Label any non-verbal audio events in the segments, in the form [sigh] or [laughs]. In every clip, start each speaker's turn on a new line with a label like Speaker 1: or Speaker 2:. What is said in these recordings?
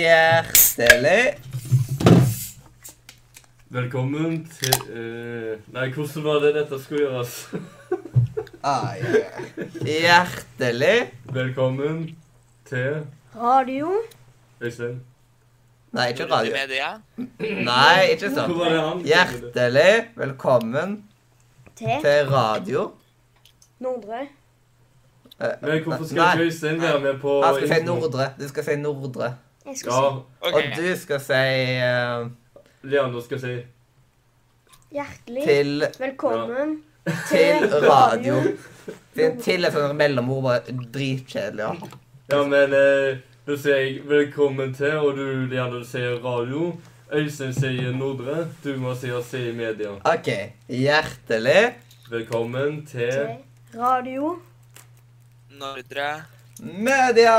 Speaker 1: Hjertelig
Speaker 2: Velkommen til eh, Nei, hvordan var det dette skulle gjøres? [laughs]
Speaker 1: ah, ja. Hjertelig
Speaker 2: Velkommen til
Speaker 3: Radio.
Speaker 2: Øystein.
Speaker 1: Nei, ikke radio.
Speaker 4: Media.
Speaker 1: Nei, ikke
Speaker 2: Hvor
Speaker 1: sånn.
Speaker 2: var det han?
Speaker 1: Hjertelig velkommen
Speaker 3: Til
Speaker 1: til radio.
Speaker 3: Nordre.
Speaker 1: Eh,
Speaker 2: Men hvorfor skal
Speaker 1: nei,
Speaker 2: ikke Øystein være med på
Speaker 1: Han skal si Nordre. Du skal si Nordre.
Speaker 3: Jeg skal
Speaker 2: Ja,
Speaker 4: Ok.
Speaker 1: Og du skal si eh,
Speaker 2: Leander skal si
Speaker 3: si hjertelig
Speaker 1: til,
Speaker 3: velkommen
Speaker 1: til radio. Til, til et sånt mellomord var dritkjedelig. Ja.
Speaker 2: Ja, men eh, da sier jeg velkommen til, og du Leander sier radio. Øystein sier Nordre. Du må si å si media.
Speaker 1: OK. Hjertelig
Speaker 2: Velkommen til
Speaker 3: til radio.
Speaker 4: Nordre.
Speaker 1: Media!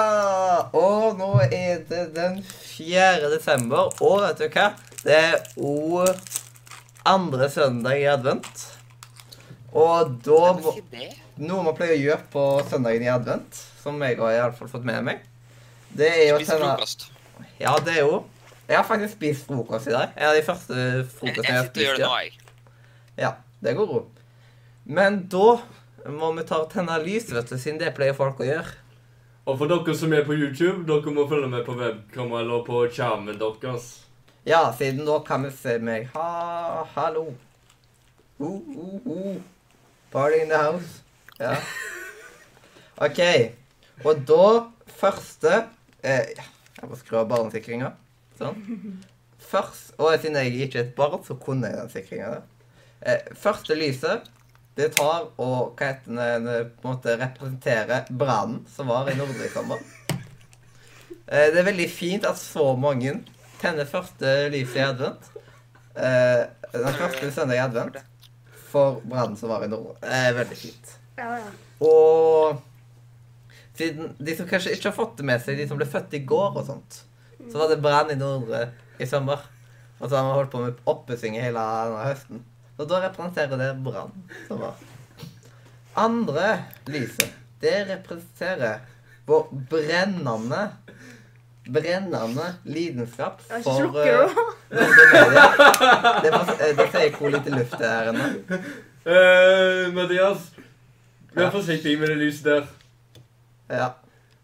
Speaker 1: Og nå er det den 4. desember, og vet du hva? Det er o andre søndag i advent. Og da
Speaker 4: Er
Speaker 1: må,
Speaker 4: det ikke det?
Speaker 1: Noe man pleier å gjøre på søndagen i advent, som jeg har i alle fall fått med meg, det er jo sånn å
Speaker 4: Spis
Speaker 1: sende
Speaker 4: frokost.
Speaker 1: Ja, det er jo Jeg har faktisk spist frokost i dag. En av de første
Speaker 4: Jeg, jeg
Speaker 1: frokostene jeg har
Speaker 4: sitter og
Speaker 1: spist. i
Speaker 4: gjør det
Speaker 1: dag.
Speaker 4: nå, jeg.
Speaker 1: Ja, det går ro. Men da må vi ta og tenne lys, vet du, siden det pleier folk å gjøre.
Speaker 2: Og for dere som er på YouTube, dere må følge med på webkamera eller på skjermen deres.
Speaker 1: Ja, siden da kan vi se meg. Ha, hallo. Uh, uh, uh. Party in the house. Ja. OK. Og da første eh, Jeg må skru av barnesikringa. Sånn. Først, og siden jeg ikke er et barn, så kunne jeg den sikringa der. Eh, første lyset det tar og hva heter det, det på en måte representerer brannen som var i Nordre i sommer. Eh, det er veldig fint at så mange tenner første lyset i advent. Eh, den første søndag i advent for brannen som var i Nordre. Det er veldig fint.
Speaker 3: Ja, ja.
Speaker 1: Og siden de som kanskje ikke har fått det med seg, de som ble født i går og sånt, så var det brann i Nordre i sommer. Og så har man holdt på med oppussing hele denne høsten. Så da representerer det brann som var. Andre lyset, det representerer vår brennende Brennende lidenskap
Speaker 3: Jeg har ikke
Speaker 1: for
Speaker 3: slukket
Speaker 1: eh,
Speaker 3: jo.
Speaker 1: Nordre-media. Det, var- eh, det sier hvor lite luft det er ennå.
Speaker 2: Eh, Mathias, vær
Speaker 1: Ja.
Speaker 2: forsiktig med det lyset der.
Speaker 1: Ja.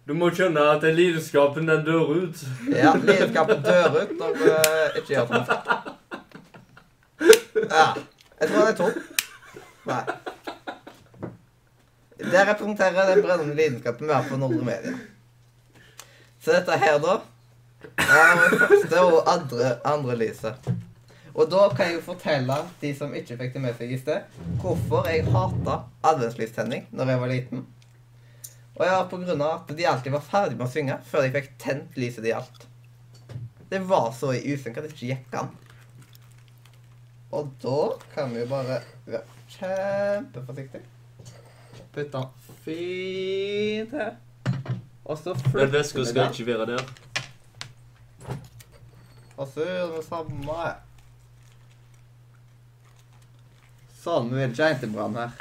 Speaker 2: Du må skjønne at den lidenskapen, den dør ut.
Speaker 1: Ja, lidenskapen dør ut når du eh, ikke gjør noe. Ja. Jeg tror han er tom. Nei. Det representerer den brennende lidenskapen vi har på Nordre Media. Så dette her, da er det første og andre, andre lyset. Og da kan jeg jo fortelle de som ikke fikk det med seg i sted, hvorfor jeg hata adventslystenning når jeg var liten. Og ja, på grunn av at de alltid var ferdig med å synge før de fikk tent lyset de gjaldt. Det var så i usynk at det ikke gikk an. Og da kan vi jo bare være kjempeforsiktig. Putte den fint her. Og så flytter vi den.
Speaker 2: ikke være der.
Speaker 1: Og så gjør vi det samme her. Sånn, vi vil ikke ha jentebrann her.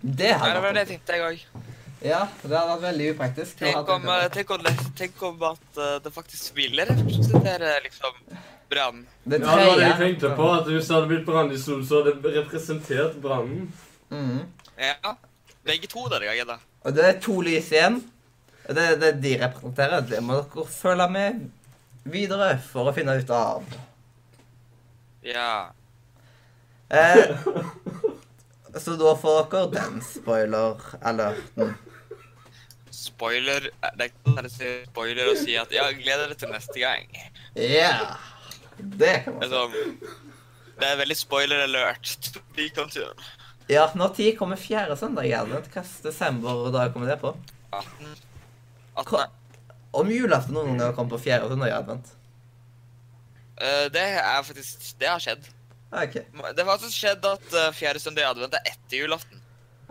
Speaker 1: Det
Speaker 4: Nei, det
Speaker 1: hadde
Speaker 4: var det jeg
Speaker 1: vært
Speaker 4: tenkte, jeg òg.
Speaker 1: Ja, det hadde vært veldig upraktisk. å ha
Speaker 4: Tenk, om, eh,
Speaker 1: jentebrann.
Speaker 4: tenk, om det- tenk om at eh, det faktisk vil representere liksom brann.
Speaker 1: Det
Speaker 2: Ja, det var det jeg
Speaker 1: tredje-
Speaker 2: tenkte på. At hvis det hadde blitt brann i Sol, så hadde det representert brannen.
Speaker 1: Mhm.
Speaker 4: Ja. Begge to denne gangen, da.
Speaker 1: Og det er to lys igjen. Og det er det de representerer. Det må dere følge med videre for å finne ut av.
Speaker 4: Ja.
Speaker 1: Eh, så da får dere den spoiler-alerten.
Speaker 4: Spoiler eh, Det er ikke sånn at jeg sier spoiler og sier at ja, gleder deg til neste gang.
Speaker 1: Ja. Det kan
Speaker 4: Det
Speaker 1: man
Speaker 4: er
Speaker 1: si.
Speaker 4: sånn Det er veldig spoiler alert. [laughs] Vi kan til
Speaker 1: Ja, når tid kommer fjerde søndag i advent? Hvilken desember og dag kommer det på?
Speaker 4: 18. 18.
Speaker 1: Hva- Om julaften noen ganger kommer på fjerde søndag i advent?
Speaker 4: Eh, det er faktisk Det har skjedd.
Speaker 1: Ok.
Speaker 4: Det har faktisk skjedd at eh, fjerde søndag i advent er etter julaften.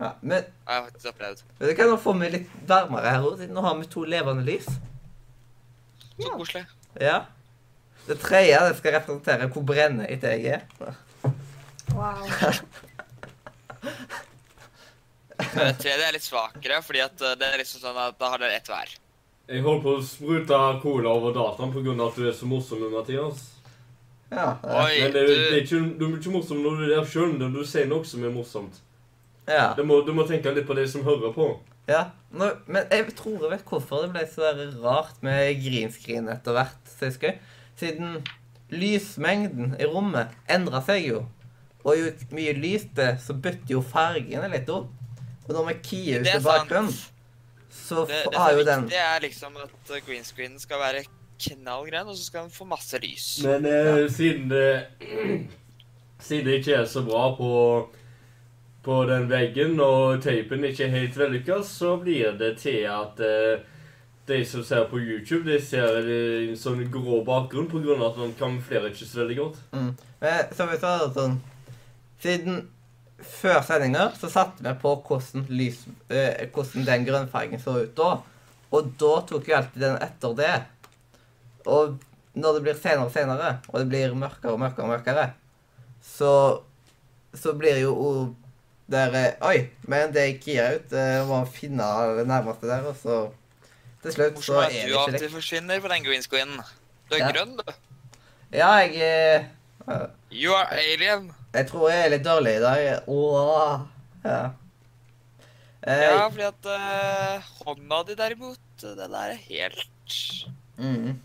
Speaker 1: Ja, men
Speaker 4: Har jeg faktisk opplevd.
Speaker 1: vet du hva, nå får vi litt varmere her også, siden nå har vi to levende lys.
Speaker 4: Så koselig.
Speaker 1: Ja. Det tredje det skal representere hvor brennende jeg er.
Speaker 3: Wow.
Speaker 4: Men det tredje er litt svakere, fordi at eh, det er liksom sånn at da har dere ett hver.
Speaker 2: Jeg holdt på å sprute cola over dataen pga. at du er så morsom, Mathias.
Speaker 1: Ja, det-
Speaker 4: Oi,
Speaker 2: Men det, er- det er
Speaker 4: du,
Speaker 2: ikke, du er ikke morsom når du er der sjøl, men du sier noe som er morsomt.
Speaker 1: ja.
Speaker 2: Du må, du må tenke litt på de som hører på.
Speaker 1: ja. Nå, men jeg tror jeg vet hvorfor det ble så der rart med greenskrin etter hvert, Siskøy. Siden lysmengden i rommet endra seg jo. Og jo mye lys det, så bytter jo fargene litt opp. Og når vi kier ut
Speaker 4: Det er
Speaker 1: i bakgrunnen, så
Speaker 4: det, det
Speaker 1: har
Speaker 4: som
Speaker 1: jo
Speaker 4: er
Speaker 1: den
Speaker 4: viktig, er liksom at eh, green screenen skal være knallgrønn, og så skal den få masse lys.
Speaker 2: Men eh, siden det Siden det ikke er så bra på på den veggen, og teipen ikke er helt vellykka, så blir det til at eh, de som ser på YouTube, de ser eh, en sånn grå bakgrunn pga. at man kamuflerer ikke så veldig godt.
Speaker 1: Men som vi sa, det er sånn Siden før sendinger så satte vi på hvordan, lys, eh, hvordan den grønnfargen så ut da. Og da tok vi alltid den etter det. Og når det blir senere og senere, og det blir mørkere og mørkere, og mørkere, så, så blir jo o- der eh, Oi, men det jeg kirer ut, eh, må man finne det nærmeste der, og så Til slutt så er
Speaker 4: Morsomt at
Speaker 1: det
Speaker 4: du
Speaker 1: ikke det.
Speaker 4: alltid forsvinner på den green screenen. Du er
Speaker 1: Ja.
Speaker 4: grønn, du.
Speaker 1: Ja, jeg eh,
Speaker 4: You are alien.
Speaker 1: Jeg tror jeg er litt dårlig i dag. Åh. Ja. Eh,
Speaker 4: Ja, fordi at eh, hånda di derimot, den der er helt
Speaker 1: mm.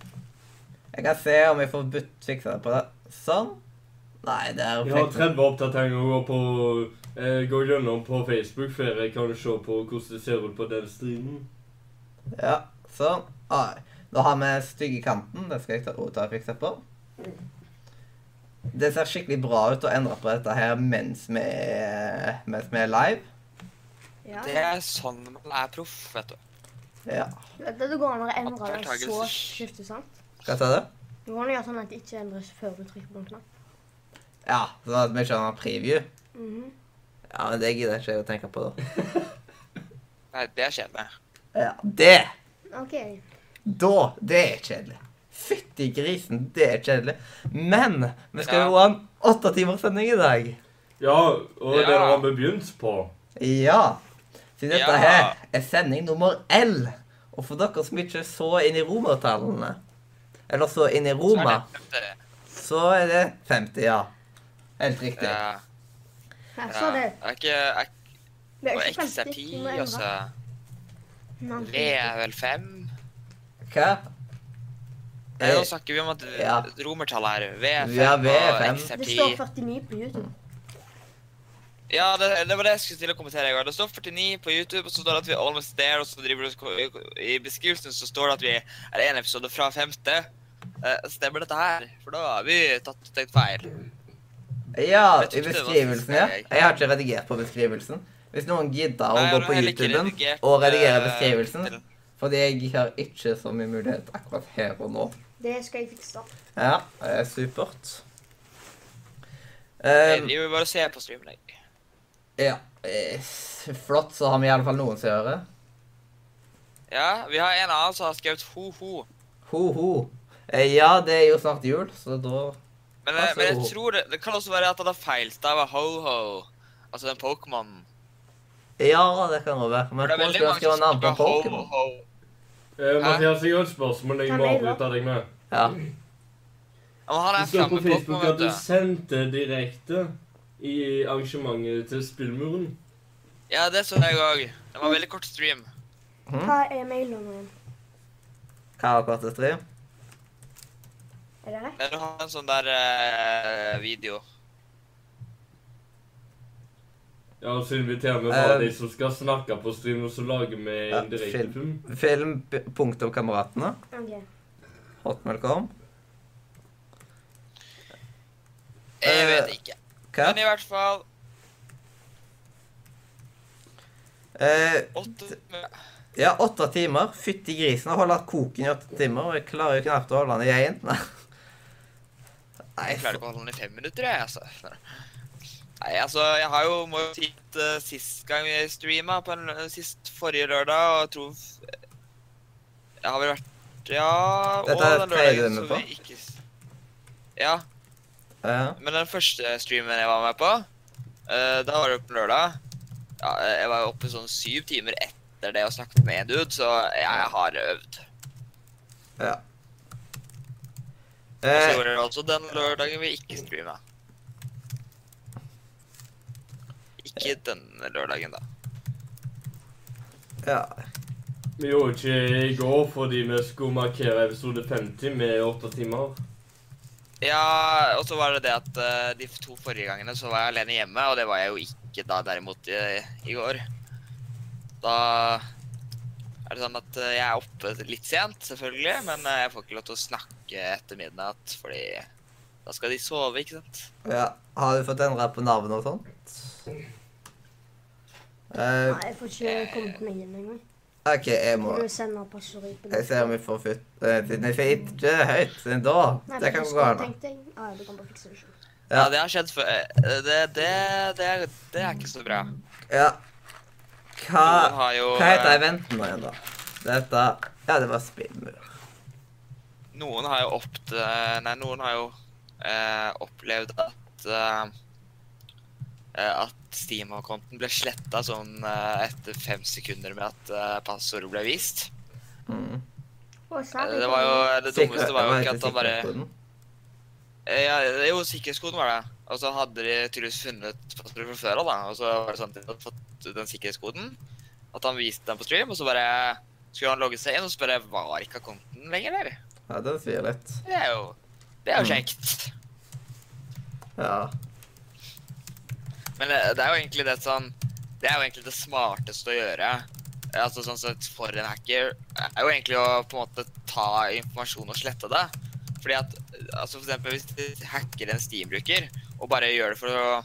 Speaker 1: Jeg kan se om jeg får butt, fiksa det på det. Sånn. Nei, det er
Speaker 2: Jeg har 30 oppdateringer å gå på eh, Gå gjennom på Facebook før jeg kan se på hvordan det ser ut på den streamen.
Speaker 1: Ja, sånn. Ah, nå har vi stygge kanten. Det skal jeg ta, ta og fikse på. Det ser skikkelig bra ut å endre på dette her mens vi er, mens vi er live.
Speaker 3: Ja.
Speaker 4: Det er sånn man er proff, vet du.
Speaker 1: Ja.
Speaker 3: Dette det går an å endre det så
Speaker 4: Opptakelse.
Speaker 3: skifte, sant?
Speaker 1: Hva sa du?
Speaker 3: Det går an å gjøre sånn at det ikke endres før du trykker på en knapp.
Speaker 1: Ja, sånn at vi ikke har noen preview.
Speaker 3: Mhm.
Speaker 1: Ja, men det gidder jeg ikke å tenke på, da.
Speaker 4: Nei, det er kjedelig.
Speaker 1: Ja, det
Speaker 3: OK.
Speaker 1: Da, det er kjedelig. Fytti grisen, det er kjedelig. Men vi skal
Speaker 4: Ja.
Speaker 1: jo ha en åtte timers sending i dag.
Speaker 2: Ja, og det
Speaker 4: Ja.
Speaker 2: har vi begynt på.
Speaker 1: Ja. Siden dette
Speaker 4: Ja.
Speaker 1: her er sending nummer L. Og for dere som ikke så inn i romertallene, eller så inn i
Speaker 4: Så er
Speaker 1: Roma,
Speaker 4: det,
Speaker 1: så er det 50, ja. Helt
Speaker 4: det,
Speaker 1: riktig.
Speaker 4: ja,
Speaker 3: Her
Speaker 4: ja.
Speaker 3: står det.
Speaker 4: Er ikke er,
Speaker 3: Det
Speaker 4: Og altså.
Speaker 3: er ikke
Speaker 4: X er
Speaker 3: 50.
Speaker 4: ti,
Speaker 3: Du må
Speaker 4: og så
Speaker 3: endre. Nei,
Speaker 4: V er vel fem.
Speaker 1: Hva?
Speaker 4: Nei,
Speaker 1: Eh,
Speaker 4: nå snakker vi om at
Speaker 1: Ja.
Speaker 4: romertallet er V er
Speaker 1: Ja,
Speaker 4: fem,
Speaker 1: V er
Speaker 4: og
Speaker 1: fem.
Speaker 4: X er
Speaker 3: Det
Speaker 4: ti.
Speaker 3: står 49 på YouTube.
Speaker 4: Ja, det, det var det jeg skulle til å kommentere i går. Det står 49 på YouTube, og så står det at vi er almost there, og så driver du I beskrivelsen så står det at vi er en episode fra femte. Eh, stemmer dette her? For da har vi tatt tenkt feil.
Speaker 1: Eh, Ja,
Speaker 4: Jeg
Speaker 1: i
Speaker 4: tror ikke det var
Speaker 1: beskrivelsen, ja.
Speaker 4: siste jeg-
Speaker 1: Jeg har ikke redigert på beskrivelsen. Hvis noen gidder å
Speaker 4: Nei,
Speaker 1: gå
Speaker 4: jeg har
Speaker 1: på
Speaker 4: heller ikke
Speaker 1: YouTuben
Speaker 4: redigert,
Speaker 1: og redigere
Speaker 4: eh,
Speaker 1: beskrivelsen,
Speaker 4: til-
Speaker 1: fordi jeg har ikke så mye mulighet akkurat her og nå.
Speaker 3: Det skal jeg fikse.
Speaker 1: Ja, eh, supert.
Speaker 4: Jeg
Speaker 1: Um,
Speaker 4: driver bare og ser på streamen, jeg.
Speaker 1: ja, eh, s- flott, så har vi i alle fall noen som gjør det.
Speaker 4: Ja, vi har en annen som har skrevet ho-ho.
Speaker 1: Ho-ho. Eh, ja, det er jo snart jul, så da
Speaker 4: Men, eh,
Speaker 1: Altså,
Speaker 4: men
Speaker 1: ho-ho.
Speaker 4: jeg tror det, det kan også være at han har feilstava ho-ho. Altså den Pokémonen.
Speaker 1: Ja, det kan det være. Men
Speaker 4: For det er
Speaker 1: hvordan
Speaker 4: veldig
Speaker 1: skal jeg
Speaker 4: mange som
Speaker 1: skrive navn på
Speaker 4: skriver
Speaker 1: Pokémon?
Speaker 4: ho-ho.
Speaker 2: Eh, Mathias, jeg har et spørsmål jeg
Speaker 3: Kan
Speaker 2: må
Speaker 3: jeg da?
Speaker 2: avbryte deg med.
Speaker 1: Ja.
Speaker 4: Ja, Men han
Speaker 2: Det
Speaker 4: er
Speaker 2: står
Speaker 4: framme
Speaker 2: på
Speaker 4: på
Speaker 2: Facebook
Speaker 4: Pokémon,
Speaker 2: at
Speaker 4: vet
Speaker 2: du
Speaker 4: du.
Speaker 2: sendte direkte i arrangementet til Spillmuren.
Speaker 4: Ja, det så jeg òg. Det var en veldig kort stream.
Speaker 1: Mm.
Speaker 3: Hva er mailnummeret?
Speaker 1: Hva var kortest stream?
Speaker 3: Er det rett?
Speaker 4: Men du har en sånn der eh, video.
Speaker 2: Ja, og så inviterer vi bare
Speaker 1: Eh.
Speaker 2: de som skal snakke på streamen, og så lager vi
Speaker 1: Ja,
Speaker 2: en direktefilm.
Speaker 1: Film b- punktum Kameratene.
Speaker 3: OK.
Speaker 1: Hotmail.com.
Speaker 4: Jeg
Speaker 1: Eh,
Speaker 4: vet ikke.
Speaker 1: Hva?
Speaker 4: Men i hvert fall
Speaker 1: Eh,
Speaker 4: åtte
Speaker 1: ja, åtte timer. Fytti grisen. Jeg holder koken i åtte timer, og jeg klarer jo knapt å holde den i én. [laughs] Nei,
Speaker 4: Jeg klarer ikke å holde den i fem minutter, jeg, altså. Nei, altså, jeg har jo må jo si at eh, sist gang jeg streama, på en, lø- sist forrige lørdag, og jeg tror Jeg har vel vært Ja,
Speaker 1: Dette er
Speaker 4: og den
Speaker 1: tredje du
Speaker 4: lørdagen
Speaker 1: er med
Speaker 4: som
Speaker 1: på?
Speaker 4: vi ikke s- Ja,
Speaker 1: Ja.
Speaker 4: men den første streamen jeg var med på, eh, da var det på en lørdag. Ja, eh, jeg var jo oppe sånn syv timer etter det og snakket med en dude, så jeg, jeg har øvd. Og så
Speaker 1: Eh,
Speaker 4: gjorde jeg altså den lørdagen vi ikke streama. Ikke denne lørdagen, da.
Speaker 1: ja.
Speaker 2: Vi gjorde ikke i går fordi vi skulle markere episode 50 med åtte timer.
Speaker 4: Ja, og så var det det at eh, de to forrige gangene så var jeg alene hjemme, og det var jeg jo ikke da derimot i, i går. Da er det sånn at eh, jeg er oppe litt sent, selvfølgelig, men eh, jeg får ikke lov til å snakke etter midnatt, fordi da skal de sove, ikke sant?
Speaker 1: ja. Har du fått endra på navn og sånt? Eh,
Speaker 3: Nei, jeg får ikke kommet meg inn engang.
Speaker 1: OK, jeg må
Speaker 3: Må du sende passordet på
Speaker 1: Jeg ser om vi får fytt eh, Siden jeg sier ikke det høyt siden da. Det
Speaker 3: Nei, på
Speaker 1: kan gå
Speaker 3: Discord,
Speaker 1: an.
Speaker 3: tenkte jeg. Ja, ja, du kan bare fikse det selv.
Speaker 1: Ja.
Speaker 4: Ja, det har skjedd før. Eh, Det, det, det, er, det er ikke så bra.
Speaker 1: Ja. Hva,
Speaker 4: Noen har jo,
Speaker 1: hva heter
Speaker 4: eh,
Speaker 1: eventen nå igjen, da? Dette Ja, det var spinnmur.
Speaker 4: Noen har jo oppt... Nei, noen har jo eh, opplevd at eh, eh, at Steam-konten ble sletta sånn eh, etter fem sekunder med at eh, passordet ble vist.
Speaker 1: Mm.
Speaker 3: Å,
Speaker 4: Eh,
Speaker 3: særlig.
Speaker 4: Det var jo det dummeste var jo
Speaker 1: Hva
Speaker 4: ikke
Speaker 1: heter
Speaker 4: at han bare
Speaker 1: sikkerhetskoden?
Speaker 4: Eh, ja, Jo, sikkerhetskoden var det. Og så hadde de tydeligvis funnet passordet fra før av, da. Og så var det sånn at de hadde fått den sikkerhetskoden. At han viste den på stream, og så bare skulle han logge seg inn og spørre var ikke konten lenger der.
Speaker 1: Ja, den svir litt.
Speaker 4: Det er jo Det er jo
Speaker 1: Mm.
Speaker 4: kjekt.
Speaker 1: Ja.
Speaker 4: Men det, det er jo egentlig det sånn Det er jo egentlig det smarteste å gjøre. eh, Altså sånn sett for en hacker er jo egentlig å på en måte ta informasjon og slette det. Fordi at altså for eksempel hvis du hacker en Steam-bruker og bare gjør det for å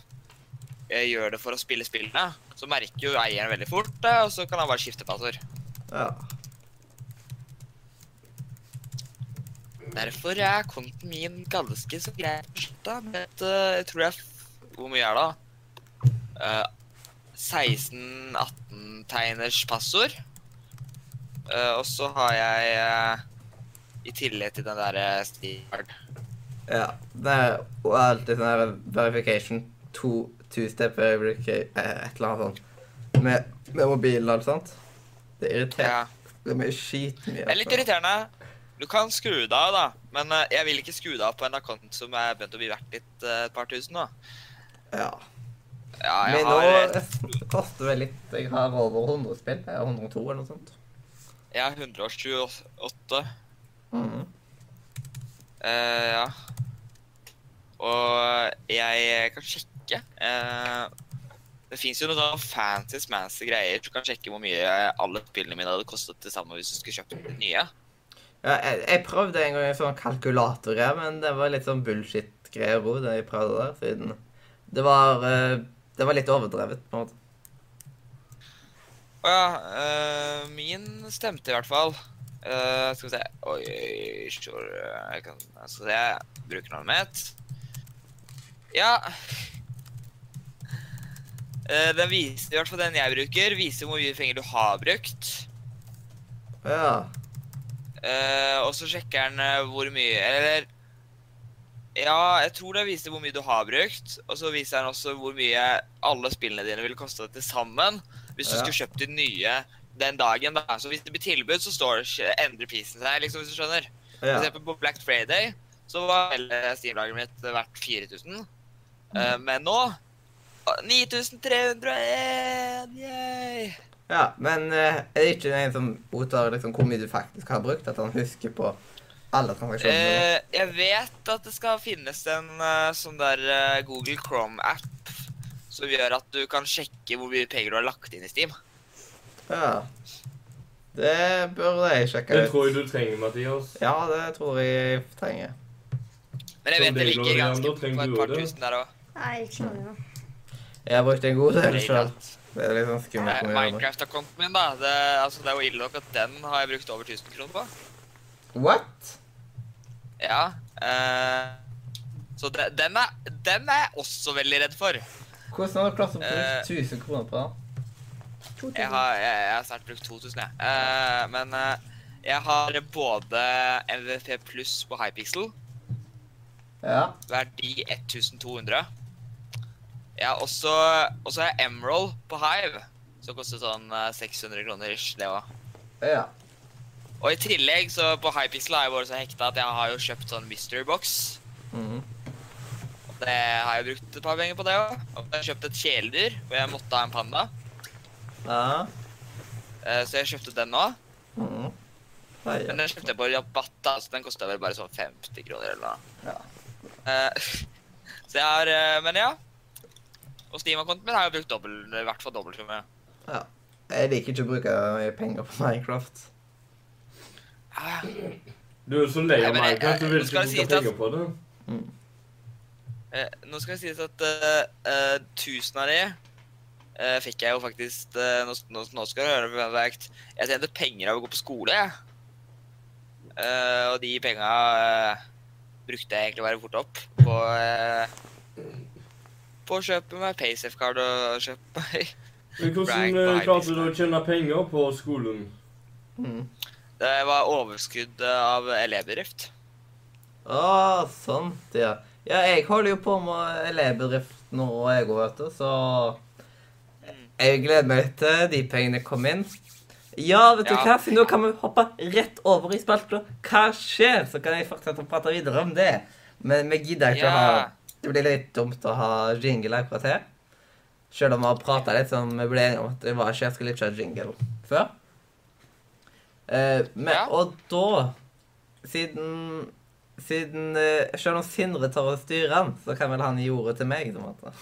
Speaker 4: eh, gjør det for å spille spillene, så merker jo eieren veldig fort det, og så kan han bare skifte passord.
Speaker 1: ja.
Speaker 4: Derfor er konten min ganske så grei beskytta, men eh, jeg tror jeg f- Hvor mye er det, Eh, da? 16-18-tegners passord. Eh, og så har jeg eh, I tillegg til den eh, derre Steam-card.
Speaker 1: Ja. Det er jo alltid sånn her verification. To, two step verification Et eller annet sånt. Med, med mobilen og alt sånt. Det irriterer
Speaker 4: Ja.
Speaker 1: meg skitmye. altså.
Speaker 4: Det er litt irriterende. Du kan skru det av, da, men eh, jeg vil ikke skru det av på en account som er begynt å bli verdt litt eh, et par tusen. da.
Speaker 1: Ja.
Speaker 4: Ja, jeg
Speaker 1: Men nå
Speaker 4: har, et-
Speaker 1: det [laughs] koster det litt. Jeg har over 100 spill. Jeg har 102 eller noe sånt.
Speaker 4: jeg har 128.
Speaker 1: Mhm.
Speaker 4: Eh, ja. Og jeg kan sjekke. eh, det fins jo noen sånne fancy smancy greier. Du kan sjekke hvor mye alle spillene mine hadde kostet til sammen hvis du skulle kjøpt de nye.
Speaker 1: Ja, jeg, jeg prøvde en gang en sånn kalkulatorgreie, men det var litt sånn bullshit-greier òg, det jeg prøvde der, siden det var, eh, det var litt overdrevet, på en måte.
Speaker 4: Å ja. eh, min stemte i hvert fall. Eh, skal vi se Oi, oi, sure. jeg kan, altså, Skal vi se. Brukernavnet mitt. Ja. Eh, den viser, i hvert fall den jeg bruker, viser hvor mye penger du har brukt.
Speaker 1: Ja.
Speaker 4: Eh, og så sjekker han eh, hvor mye Eller Ja, jeg tror det viser hvor mye du har brukt. Og så viser han også hvor mye alle spillene dine ville kosta til sammen hvis du
Speaker 1: Ja.
Speaker 4: skulle kjøpt de nye den dagen. da. Så hvis det blir tilbud, så står det ikke, endrer prisen seg, liksom, hvis du skjønner. For
Speaker 1: ja.
Speaker 4: eksempel på Black Friday så var hele Steam-lageret mitt verdt 4000.
Speaker 1: Mm.
Speaker 4: Eh, men nå å, 9301! Yay!
Speaker 1: ja. Men eh, er det ikke en som godtar liksom, hvor mye du faktisk har brukt, at han husker på alle transaksjonene?
Speaker 4: Eh, jeg vet at det skal finnes en eh, sånn der eh, Google Chrome-app som gjør at du kan sjekke hvor mye penger du har lagt inn i Steam.
Speaker 1: Ja. Det burde jeg sjekke
Speaker 2: Det
Speaker 1: ut.
Speaker 2: tror jeg du trenger, Mathias.
Speaker 1: Ja, det tror jeg jeg trenger.
Speaker 4: Men jeg
Speaker 2: Som det
Speaker 4: vet det
Speaker 2: går
Speaker 4: ligger
Speaker 2: igjen,
Speaker 4: ganske
Speaker 2: Sånn da
Speaker 4: på
Speaker 2: trenger
Speaker 4: et
Speaker 2: du
Speaker 4: par
Speaker 2: det.
Speaker 4: tusen der òg.
Speaker 3: Nei, jeg klarer det.
Speaker 1: Jeg har brukt en god del sjøl. Det er litt sånn skummelt. hvor mye jeg har brukt.
Speaker 4: Minecraft-akkonten Eh, min, da. Det, altså, det er jo ille nok at den har jeg brukt over 1000 kroner på.
Speaker 1: What?
Speaker 4: Ja. eh, så de, den, er, den er jeg også veldig redd for.
Speaker 1: Hvordan har du klart å bruke
Speaker 4: Eh.
Speaker 1: 1000 kroner på det?
Speaker 3: To
Speaker 4: Jeg
Speaker 3: timer.
Speaker 4: har, jeg, jeg har snart brukt 2000, jeg. Eh, men eh, jeg har både MVP pluss på Hypixel,
Speaker 1: Ja.
Speaker 4: verdi 1200. Jeg har også, og så har jeg Emerald på Hive, som koster sånn eh, 600 kroner ish, det òg.
Speaker 1: Ja.
Speaker 4: Og i tillegg så på Hypixel har jeg vært så hekta at jeg har jo kjøpt sånn mystery box.
Speaker 1: Mhm.
Speaker 4: Og Det har jeg brukt et par penger på det òg. Og jeg har kjøpt et kjæledyr hvor jeg måtte ha en panda.
Speaker 1: Ja.
Speaker 4: Eh, Så jeg kjøpte den nå.
Speaker 1: Mhm. Oi,
Speaker 4: Men den kjøpte jeg på rabatt, da, så den kosta vel bare sånn 50 kroner eller noe.
Speaker 1: Ja.
Speaker 4: Eh, [laughs] så jeg har eh, Men ja. Og Steam-kontoen min har jeg brukt dobbelt, i hvert fall dobbelt så mye.
Speaker 1: Jeg liker ikke å bruke penger på Minecraft.
Speaker 4: Ah,
Speaker 2: Du er så lei
Speaker 4: Nei,
Speaker 2: av
Speaker 4: men,
Speaker 2: Minecraft, du
Speaker 4: eh,
Speaker 2: vil
Speaker 4: nå
Speaker 2: ikke bruke
Speaker 4: skal det sies at-
Speaker 2: penger på det.
Speaker 4: Eh, nå skal det sies at eh, eh, tusen av de eh, fikk jeg jo faktisk eh, nå, nå, nå skal du høre på vekt. Jeg tjente penger av å gå på skole, jeg. Eh, og de penga eh, brukte jeg egentlig bare fort opp på eh, På å kjøpe meg PaySafe-card og kjøpe meg [laughs]
Speaker 2: Men
Speaker 4: Rank
Speaker 2: hvordan
Speaker 4: by
Speaker 2: eh, klarte du å
Speaker 4: business.
Speaker 2: tjene penger på skolen?
Speaker 1: Mhm.
Speaker 4: Det var overskudd av elevbedrift.
Speaker 1: Å, sånt, ja. Ja, jeg holder jo på med elevbedrift nå, jeg òg, vet du, så Jeg gleder meg litt til de pengene kommer inn. Ja, vet du
Speaker 4: Ja.
Speaker 1: hva, siden nå kan vi hoppe rett over i spalta Hva skjer? Så kan jeg fortsette å prate videre om det. Men vi gidder ikke å ha
Speaker 4: Ja.
Speaker 1: Det blir litt dumt å ha jingle akkurat her. Selv om vi har prata litt, som vi ble enige om at det var ikke jeg skulle ikke ha jingle før. Eh, men,
Speaker 4: Ja.
Speaker 1: Og da, siden siden eh, Selv om Sindre tar og styrer han, så kan vel han gi ordet til meg. på en måte.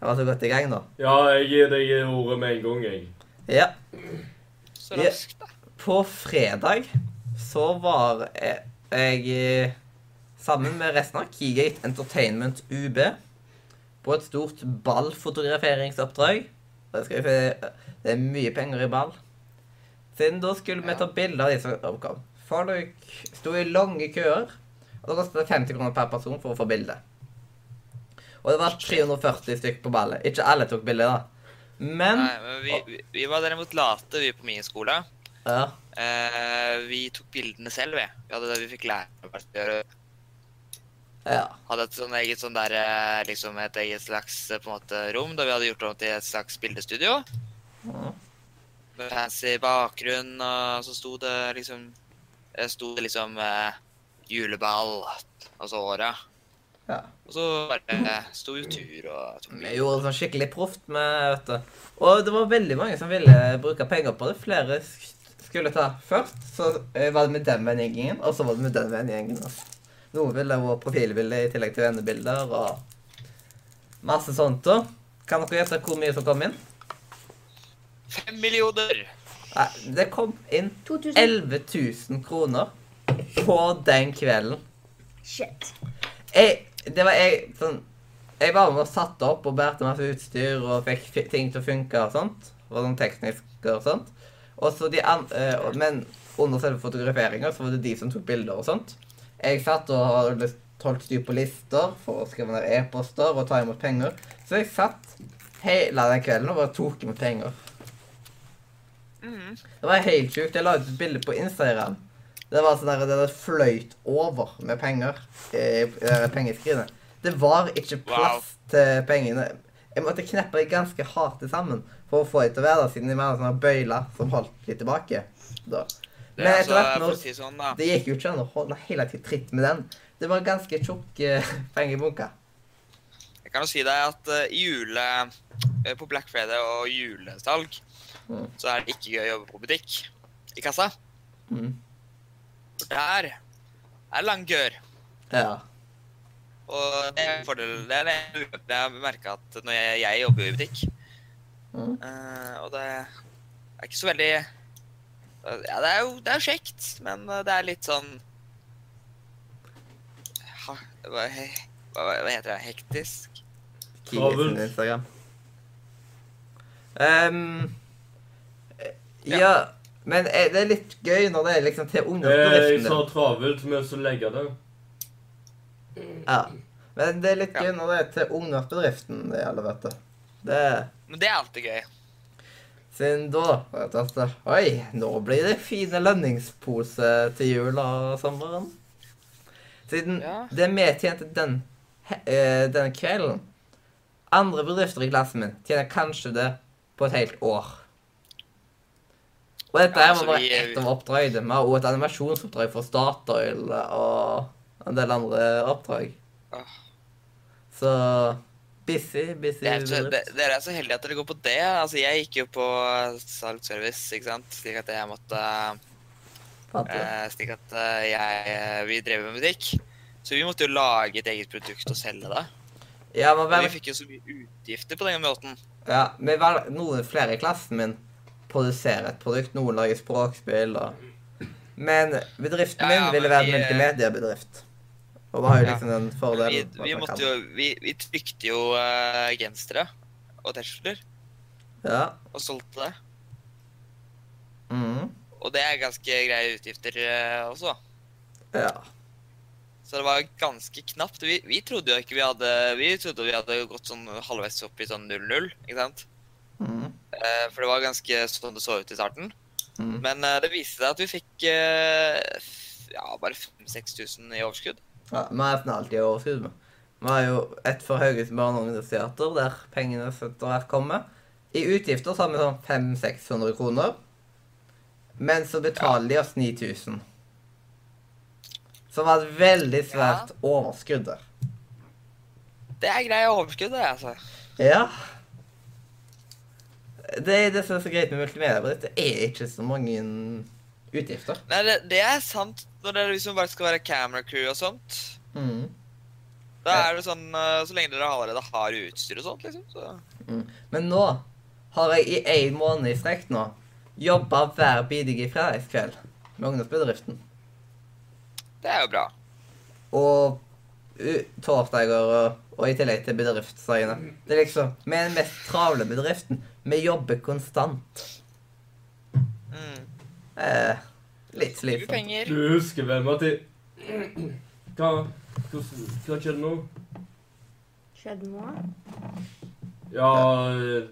Speaker 1: Jeg var så godt i gang nå.
Speaker 2: Ja, jeg gir deg ordet med en gang, jeg.
Speaker 1: Ja.
Speaker 4: Så
Speaker 1: Ja.
Speaker 4: raskt, da.
Speaker 1: På fredag så var jeg, jeg eh, sammen med resten av Keygate Entertainment UB på et stort ballfotograferingsoppdrag. Det, skal vi se, det er mye penger i ball. Siden da skulle vi ta bilder av de som oppkom. Folk sto i lange køer, og det kostet 50 kroner per person for å få bilde. Og det var 340 stykk på ballet. Ikke alle tok bilde, da. Men
Speaker 4: Nei, men vi, vi, vi var derimot late, vi på min skole.
Speaker 1: ja,
Speaker 4: Eh, vi tok bildene selv, vi. Vi hadde det vi fikk lære oss å gjøre.
Speaker 1: ja.
Speaker 4: Hadde et sånn eget sånn der, eh, liksom et eget slags eh, på en måte rom, da vi hadde gjort det om til et slags bildestudio.
Speaker 1: Mhm.
Speaker 4: Med fancy bakgrunn, og så sto det liksom eh, Sto det liksom eh, juleball, altså året.
Speaker 1: Ja.
Speaker 4: Og så bare eh, sto jo tur og tok
Speaker 1: Vi
Speaker 4: bilder.
Speaker 1: gjorde det sånn skikkelig proft med vet du. Og det var veldig mange som ville bruke penger på det. Flere sk- skulle ta først. Så eh, var det med den vennegjengen, og så var det med den vennegjengen. altså. Noen ville ha profilbilde i tillegg til vennebilder og masse sånt. da. Kan dere gjette hvor mye som kom inn?
Speaker 4: Fem millioner!
Speaker 1: Nei, det kom inn
Speaker 3: 2000.
Speaker 1: 11 000 kroner på den kvelden.
Speaker 3: Shit.
Speaker 1: jeg, det var jeg sånn Jeg var med og satte opp og bærte masse utstyr og fikk fi- ting til å funke og sånt. Var sånn teknisk og sånt. Og så de an, eh, og- men under selve fotograferinga så var det de som tok bilder og sånt. Jeg satt og holdt- holdt styr på lister for å skrive ned e-poster og ta imot penger. Så jeg satt hele den kvelden og bare tok imot penger.
Speaker 4: Mhm.
Speaker 1: Det var helt sjukt. Jeg la ut et bilde på Instagram. Det var sånn der, det der fløyt over med penger. eh, eh, Pengeskrinet. Det var ikke plass til pengene. Jeg måtte kneppe dem ganske hardt til sammen for å få dem til å være der, siden de var sånne bøyler som holdt litt tilbake. Da.
Speaker 4: Det,
Speaker 1: Men
Speaker 4: er
Speaker 1: etter
Speaker 4: altså,
Speaker 1: hvert
Speaker 4: for
Speaker 1: når
Speaker 4: å si det sånn, da.
Speaker 1: Det gikk jo ikke an å holde hele tiden tritt med den. Det var ganske tjukk eh, pengebunker.
Speaker 4: Jeg kan jo si deg at eh, i jule, eh, på Black Friday og julesalg
Speaker 1: Mm.
Speaker 4: så er det ikke gøy å jobbe på butikk i kassa.
Speaker 1: Mm.
Speaker 4: For der er langkøer.
Speaker 1: Ja.
Speaker 4: Og det er en fordel. Det er en ulempe jeg har merka at når jeg, jeg jobber jo i butikk
Speaker 1: Mm.
Speaker 4: eh, Og det er ikke så veldig Ja, det er jo det er kjekt, men eh, det er litt sånn ha, hva, hva, hva heter det? Hektisk?
Speaker 1: Kiwi sin
Speaker 2: Travelt.
Speaker 1: Instagram. Ehm, eh, ja.
Speaker 4: Ja.
Speaker 1: men eh, det er litt gøy når det er liksom til
Speaker 2: Eh, Jeg sa
Speaker 1: ungdomsbedriften.
Speaker 2: travelt, men så legger jeg det.
Speaker 1: din. Ja. Men det er litt
Speaker 4: Ja.
Speaker 1: gøy når det er til ungdomsbedriften det gjelder, vet du. Det
Speaker 4: Men det er alltid gøy.
Speaker 1: Siden da vet du at Oi, nå blir det fine lønningsposer til jul og sommeren. Siden
Speaker 4: Ja.
Speaker 1: det vi tjente den, he- eh, den kvelden Andre bedrifter i klassen min tjener kanskje det på et helt år. Og dette
Speaker 4: Ja,
Speaker 1: her
Speaker 4: altså,
Speaker 1: var bare
Speaker 4: vi-
Speaker 1: ett av oppdragene. Vi har også et animasjonsoppdrag for Statoil eh, og en del andre oppdrag.
Speaker 4: Åh.
Speaker 1: Så busy, busy
Speaker 4: Det er så,
Speaker 1: bedrift.
Speaker 4: det, dere er så heldige at dere går på det. Altså, jeg gikk jo på salgsservice, ikke sant. Slik at jeg måtte
Speaker 1: Fant du det?
Speaker 4: eh, Slik at eh, jeg Vi drev med musikk. Så vi måtte jo lage et eget produkt og selge det.
Speaker 1: Ja, men
Speaker 4: Og vi
Speaker 1: vel,
Speaker 4: fikk jo så mye utgifter på den måten.
Speaker 1: ja, vi vel, noen flere i klassen min produserer et produkt. Noen lager språkspill og Men bedriften
Speaker 4: Ja,
Speaker 1: min
Speaker 4: ja,
Speaker 1: ville
Speaker 4: men
Speaker 1: være en
Speaker 4: vi, eh,
Speaker 1: multimediebedrift. Og vi har jo
Speaker 4: Ja.
Speaker 1: liksom den
Speaker 4: Men vi,
Speaker 1: fordelen. at
Speaker 4: vi
Speaker 1: man
Speaker 4: måtte
Speaker 1: kan-
Speaker 4: jo Vi, vi trykte jo eh, gensere og T-skjorter
Speaker 1: Ja.
Speaker 4: og solgte det.
Speaker 1: mhm,
Speaker 4: Og det er ganske greie utgifter eh, også.
Speaker 1: ja.
Speaker 4: Så det var ganske knapt. Vi, vi trodde jo ikke vi hadde Vi trodde vi hadde gått sånn halvveis opp i sånn 0-0, ikke sant?
Speaker 1: mhm,
Speaker 4: Eh, for det var ganske sånn det så ut i starten.
Speaker 1: mhm.
Speaker 4: Men eh, det viste seg at vi fikk eh, f- ja, bare 5000-6000 i overskudd.
Speaker 1: Ja, vi har nesten alltid overskudd. med. Vi har jo et for Hauges barne- og ungdomsteater, der pengene støtter hvert kommer. I utgifter så har vi sånn 500-600 kroner. Men så betaler de oss 9000. Som var et veldig svært overskudd der.
Speaker 4: Det er greie overskudd, det, altså.
Speaker 1: Ja. Det er det som er så greit med multimedia. for Det er ikke så mange utgifter.
Speaker 4: Nei, det, det er sant når dere liksom bare skal være camera crew og sånt.
Speaker 1: Mm.
Speaker 4: Da
Speaker 1: Ja.
Speaker 4: er det sånn eh, Så lenge dere allerede har utstyr og sånt, liksom, så
Speaker 1: Men nå har jeg i en måned i strekk nå jobba hver bidige fredagskveld med ungdomsbedriften.
Speaker 4: Det er jo bra.
Speaker 1: Og u- torsdager og, og i tillegg til bedriftsdagene. Det er liksom Vi er den mest travle bedriften. Vi jobber konstant.
Speaker 4: Mm.
Speaker 1: Eh, litt
Speaker 4: Gi meg
Speaker 1: slitsomt.
Speaker 4: penger.
Speaker 2: Du husker vel, Martin? Hva, hvordan, hva skjedde nå?
Speaker 3: Skjedde noe?
Speaker 2: Ja,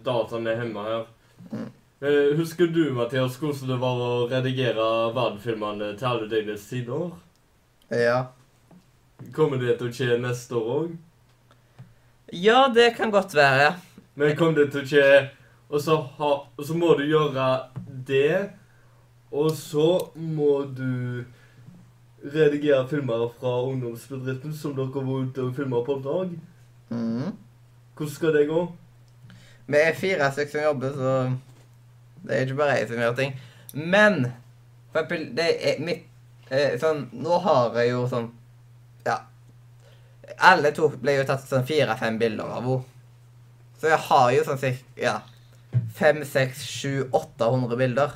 Speaker 2: dataen er hjemme her.
Speaker 1: Mm.
Speaker 2: Eh, Husker du, Mathias, hvordan det var å redigere verdenfilmene til alle dine sider?
Speaker 1: Ja.
Speaker 2: Kommer det til å skje neste år òg?
Speaker 1: ja, det kan godt være.
Speaker 2: Men kom det til å skje og så, ha, og så må du gjøre det, og så må du redigere filmer fra ungdomsbedriften som dere var ute og filma på oppdrag.
Speaker 1: Mhm.
Speaker 2: Hvordan skal det gå?
Speaker 1: Vi er fire stykker som jobber, så det er ikke bare jeg som gjør ting. Men for eksempel, det er mitt eh, Sånn, nå har jeg jo sånn Ja. Alle to ble jo tatt sånn fire-fem bilder av henne. Så jeg har jo sånn cirka ja, fem, seks, sju, 800 bilder.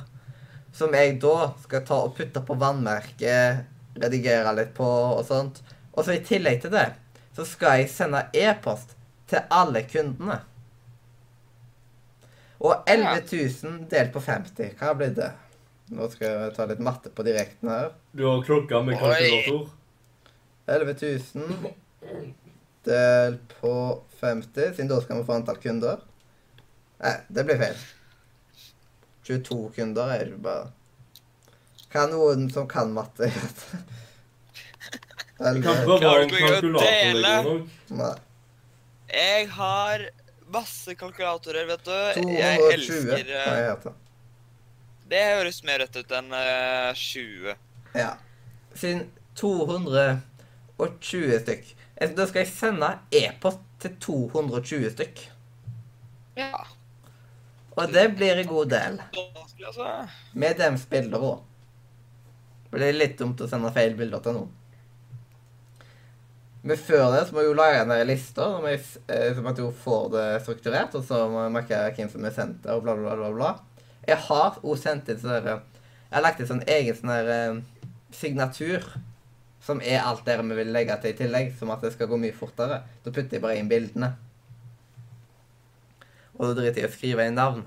Speaker 1: Som jeg da skal ta og putte på vannmerket, redigere litt på og sånt. Og så i tillegg til det så skal jeg sende e-post til alle kundene. Og 11 000 delt på 50, hva blir det? Nå skal jeg ta litt matte på direkten her.
Speaker 2: Du har klokka med
Speaker 4: Oi.
Speaker 2: kalkulator.
Speaker 1: 11 000 delt på 50, siden da skal vi få antall kunder. Nei, det blir feil. 22 kunder er det bare Kan noen som kan matte [laughs] gjøre det?
Speaker 2: Vi kan
Speaker 1: Eller
Speaker 2: prøve å ha
Speaker 4: Klarer
Speaker 2: en
Speaker 4: du ikke å
Speaker 2: kalkulator. er
Speaker 4: dele?
Speaker 2: god nok.
Speaker 1: Nei.
Speaker 4: Jeg har masse kalkulatorer, vet du. Jeg
Speaker 1: 220
Speaker 4: elsker eh,
Speaker 1: har jeg hørt. det.
Speaker 4: Det høres mer rett ut enn eh, 20.
Speaker 1: Ja. Siden 220 stykk. Eh, Da skal jeg sende e-post til 220 stykk.
Speaker 4: Ja.
Speaker 1: Og det blir en god del.
Speaker 4: Vanskelig, altså.
Speaker 1: Med dems bilder òg. For det er litt dumt å sende feil bilder til noen. Men før det så må jeg jo lage en del lister, som jeg, s- eh, som at jeg får det strukturert. Og så må jeg merke hvem som er sendt det, og bla, bla, bla. bla. Jeg har òg sendt inn sånn derre- Jeg har lagt inn sånn egen sånn der eh, signatur. Som er alt dere vi vil legge til i tillegg, som at det skal gå mye fortere. Da putter jeg bare inn bildene. Og da driter jeg i å skrive inn navn.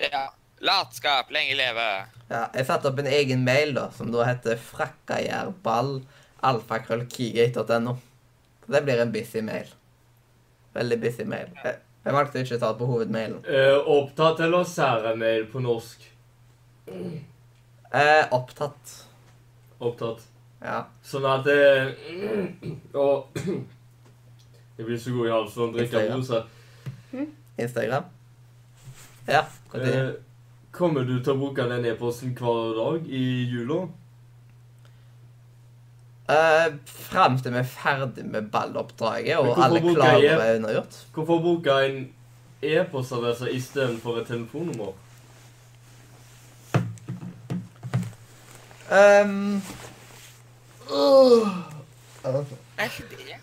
Speaker 4: Ja. Latskap, lenge leve.
Speaker 1: Ja, jeg satte opp en egen mail da, som da heter frakkajærball.alfakrøllkeygate.no. Så det blir en busy mail. Veldig busy mail. Jeg, jeg valgte ikke å ta det på hovedmailen.
Speaker 2: Eh, opptatt eller særemail på norsk?
Speaker 1: Eh, opptatt.
Speaker 2: Opptatt.
Speaker 1: Ja.
Speaker 2: Sånn at det [clears throat] Og Jeg blir så god i halsen av å drikke
Speaker 1: Instagram.
Speaker 2: rosa.
Speaker 1: Instagram. Ja, hva det er.
Speaker 2: Eh, Kommer du til å bruke den e-posten hver dag i jula?
Speaker 1: Uh, Fram til vi er ferdig med balloppdraget
Speaker 2: Men
Speaker 1: og
Speaker 2: hvorfor
Speaker 1: alle
Speaker 2: bruker
Speaker 1: klarer
Speaker 2: jeg-
Speaker 1: å være unnagjort.
Speaker 2: Hvorfor bruke en e-postadresse istedenfor et telefonnummer?
Speaker 1: Um,
Speaker 4: Nei, det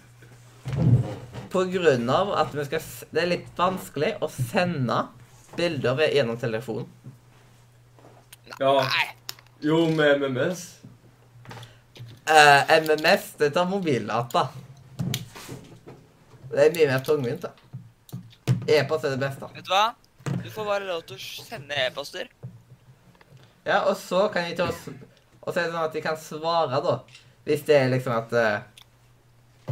Speaker 1: på grunn av at vi skal s det er litt vanskelig å sende bilder ved- gjennom telefon.
Speaker 2: Ja.
Speaker 4: Nei.
Speaker 2: Jo, med MMS.
Speaker 1: Eh, MMS, det tar mobildata. Det er mye mer tungvint, da. E-post er det beste.
Speaker 4: Vet du hva? Du får bare lov til å sende e-poster.
Speaker 1: Ja, og så kan de ta oss Og så er det sånn at de kan svare, da. Hvis det er liksom at eh,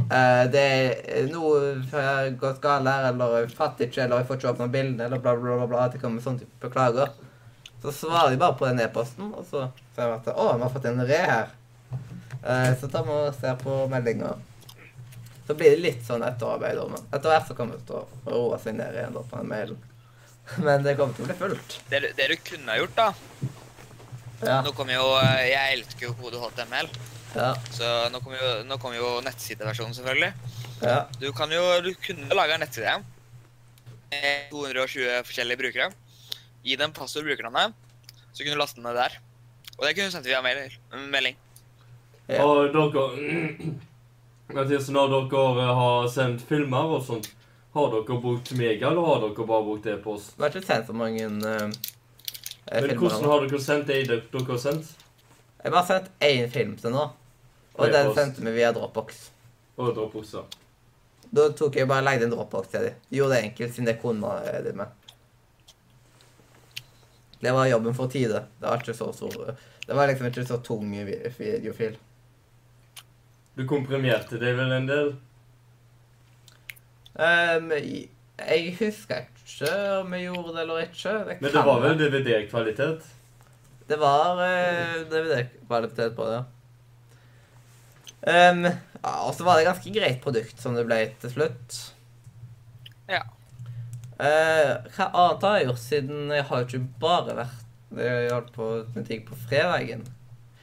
Speaker 1: eh, det er noe har gått galt her, eller jeg fatter ikke, eller jeg får ikke åpna bildene, eller bla, bla, bla, bla. At det kommer sånne type klager. Så svarer de bare på den e-posten, og så ser vi at Å, vi har fått en re her. Eh, så tar vi og ser på meldinga. Så blir det litt sånn etterarbeid, da. Men etter hvert så kommer det til å roe seg ned igjen da, på den mailen. [laughs] Men det kommer til å bli fullt.
Speaker 4: Det, du- det du kunne ha gjort, da
Speaker 1: Ja.
Speaker 4: Nå kommer jo eh, Jeg elsker jo kode HTML,
Speaker 1: Ja.
Speaker 4: så nå kommer jo, nå kommer jo nettsideversjonen, selvfølgelig.
Speaker 1: ja.
Speaker 4: Du kan jo Du kunne laga en nettside med 220 forskjellige brukere. Gi dem passord og brukernavnet, så kunne du laste den ned der. Og det kunne du sendt via mail, melding.
Speaker 1: Ja.
Speaker 2: Og dere [clears throat] Mathias, når dere eh, har sendt filmer og sånt, har dere brukt mega, eller har dere bare brukt e-post?
Speaker 1: Det har ikke sendt så mange eh,
Speaker 2: Men
Speaker 1: filmer.
Speaker 2: hvordan
Speaker 1: nå.
Speaker 2: har dere sendt det dere dere har sendt?
Speaker 1: Jeg har bare sendt én film til nå. Og
Speaker 2: På
Speaker 1: den
Speaker 2: e-post.
Speaker 1: sendte vi via Dropbox.
Speaker 2: Og dropboxer.
Speaker 1: Da tok jeg bare og lagde en Dropbox til dem. Gjorde det enkelt, siden det kunne eh, de med. Det var jobben for tide. Det var ikke så stor Det var liksom ikke så tung vi- videofil.
Speaker 2: Du komprimerte det vel en del?
Speaker 1: Ehm, i- jeg husker ikke om jeg gjorde det eller ikke. Det
Speaker 2: Men det
Speaker 1: kan
Speaker 2: var
Speaker 1: være.
Speaker 2: vel DVD-kvalitet?
Speaker 1: Det var uh, DVD-kvalitet på det, ja. Ehm, ja, og så var det ganske greit produkt som det ble til slutt.
Speaker 4: Ja.
Speaker 1: Eh, hva annet har jeg gjort siden jeg har jo ikke bare vært Jeg holdt på med ting på fredagen.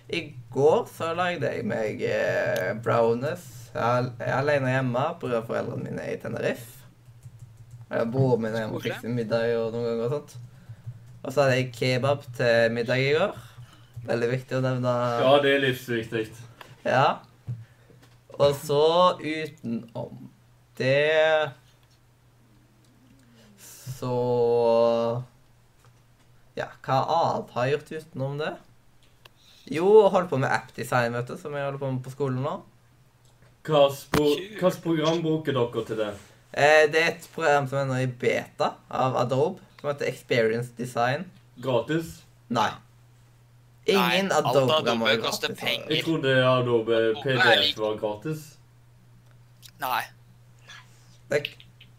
Speaker 1: I går så lagde jeg meg eh, brownies. Jeg er al- jeg er alene hjemme pga. foreldrene mine er i Tenerife. Eh, Broren min er hjemme og
Speaker 4: Koselig.
Speaker 1: fikser middag og noen ganger og sånt. Og så hadde jeg kebab til middag i går. Veldig viktig å nevne.
Speaker 2: Ja, det er livsviktig.
Speaker 1: Ja. Og så utenom det Så Ja, hva annet har jeg gjort utenom det? Jo, holdt på med appdesign, vet du, som jeg holder på med på skolen nå.
Speaker 2: Hvilket program bruker dere til det?
Speaker 1: Eh, det er et program som er nå i beta av Adobe, som heter Experience Design.
Speaker 2: Gratis?
Speaker 1: Nei. Ingen
Speaker 4: Nei, alt
Speaker 1: Adobe-programmer
Speaker 4: Adobe koster
Speaker 1: gratis, har det.
Speaker 2: Jeg trodde Adobe PDF var gratis.
Speaker 4: Nei.
Speaker 1: Det,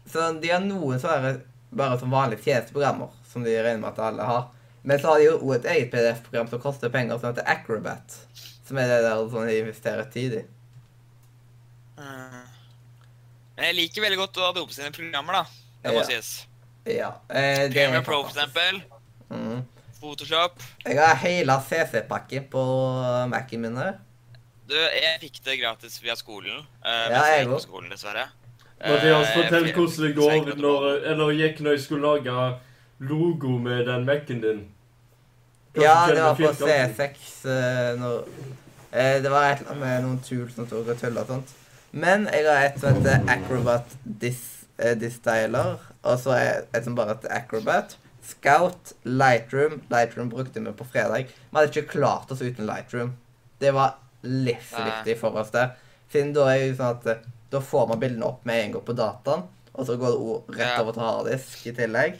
Speaker 1: så de har noen som er bare som vanlige tjenesteprogrammer, som de regner med at alle har. Men så har de jo også et eget PDF-program som koster penger, som heter Acrobat. Som er det der som de investerer tid i.
Speaker 4: Mm. Men jeg liker veldig godt Adobe sine programmer, da. Det må
Speaker 1: Ja.
Speaker 4: sies.
Speaker 1: Ja. Eh, det er
Speaker 4: Premiere Pro, for
Speaker 1: fantastisk.
Speaker 4: eksempel.
Speaker 1: Mm.
Speaker 4: Photoshop.
Speaker 1: Jeg har hele CC-pakken på Mac-en min her.
Speaker 4: Du, jeg fikk det gratis via skolen. eh,
Speaker 1: Ja,
Speaker 4: mens jeg
Speaker 1: jeg
Speaker 4: gikk på
Speaker 1: også.
Speaker 4: skolen, dessverre.
Speaker 2: Mathias,
Speaker 4: Eh,
Speaker 2: fortell
Speaker 4: fordi-
Speaker 2: hvordan det
Speaker 4: så jeg
Speaker 2: går
Speaker 4: kunne-
Speaker 2: når, eller gikk når jeg skulle lage logo med den Mac-en din. Hvordan
Speaker 1: Ja, det
Speaker 2: kjenner
Speaker 1: var
Speaker 2: du
Speaker 1: på
Speaker 2: firkanten?
Speaker 1: C6 eh, når eh, Det var et eller annet med noen tool som tok og tulla og sånt. Men jeg har et som heter Acrobat Dis, eh, Distyler, og så er et som bare heter Acrobat. Scout, Lightroom. Lightroom brukte vi på fredag. Vi hadde ikke klart oss uten Lightroom. Det var livsviktig for oss, det. Siden da er det jo sånn at eh, da får man bildene opp med en gang på dataen, og så går det ord rett
Speaker 4: Ja.
Speaker 1: over til harddisk i tillegg.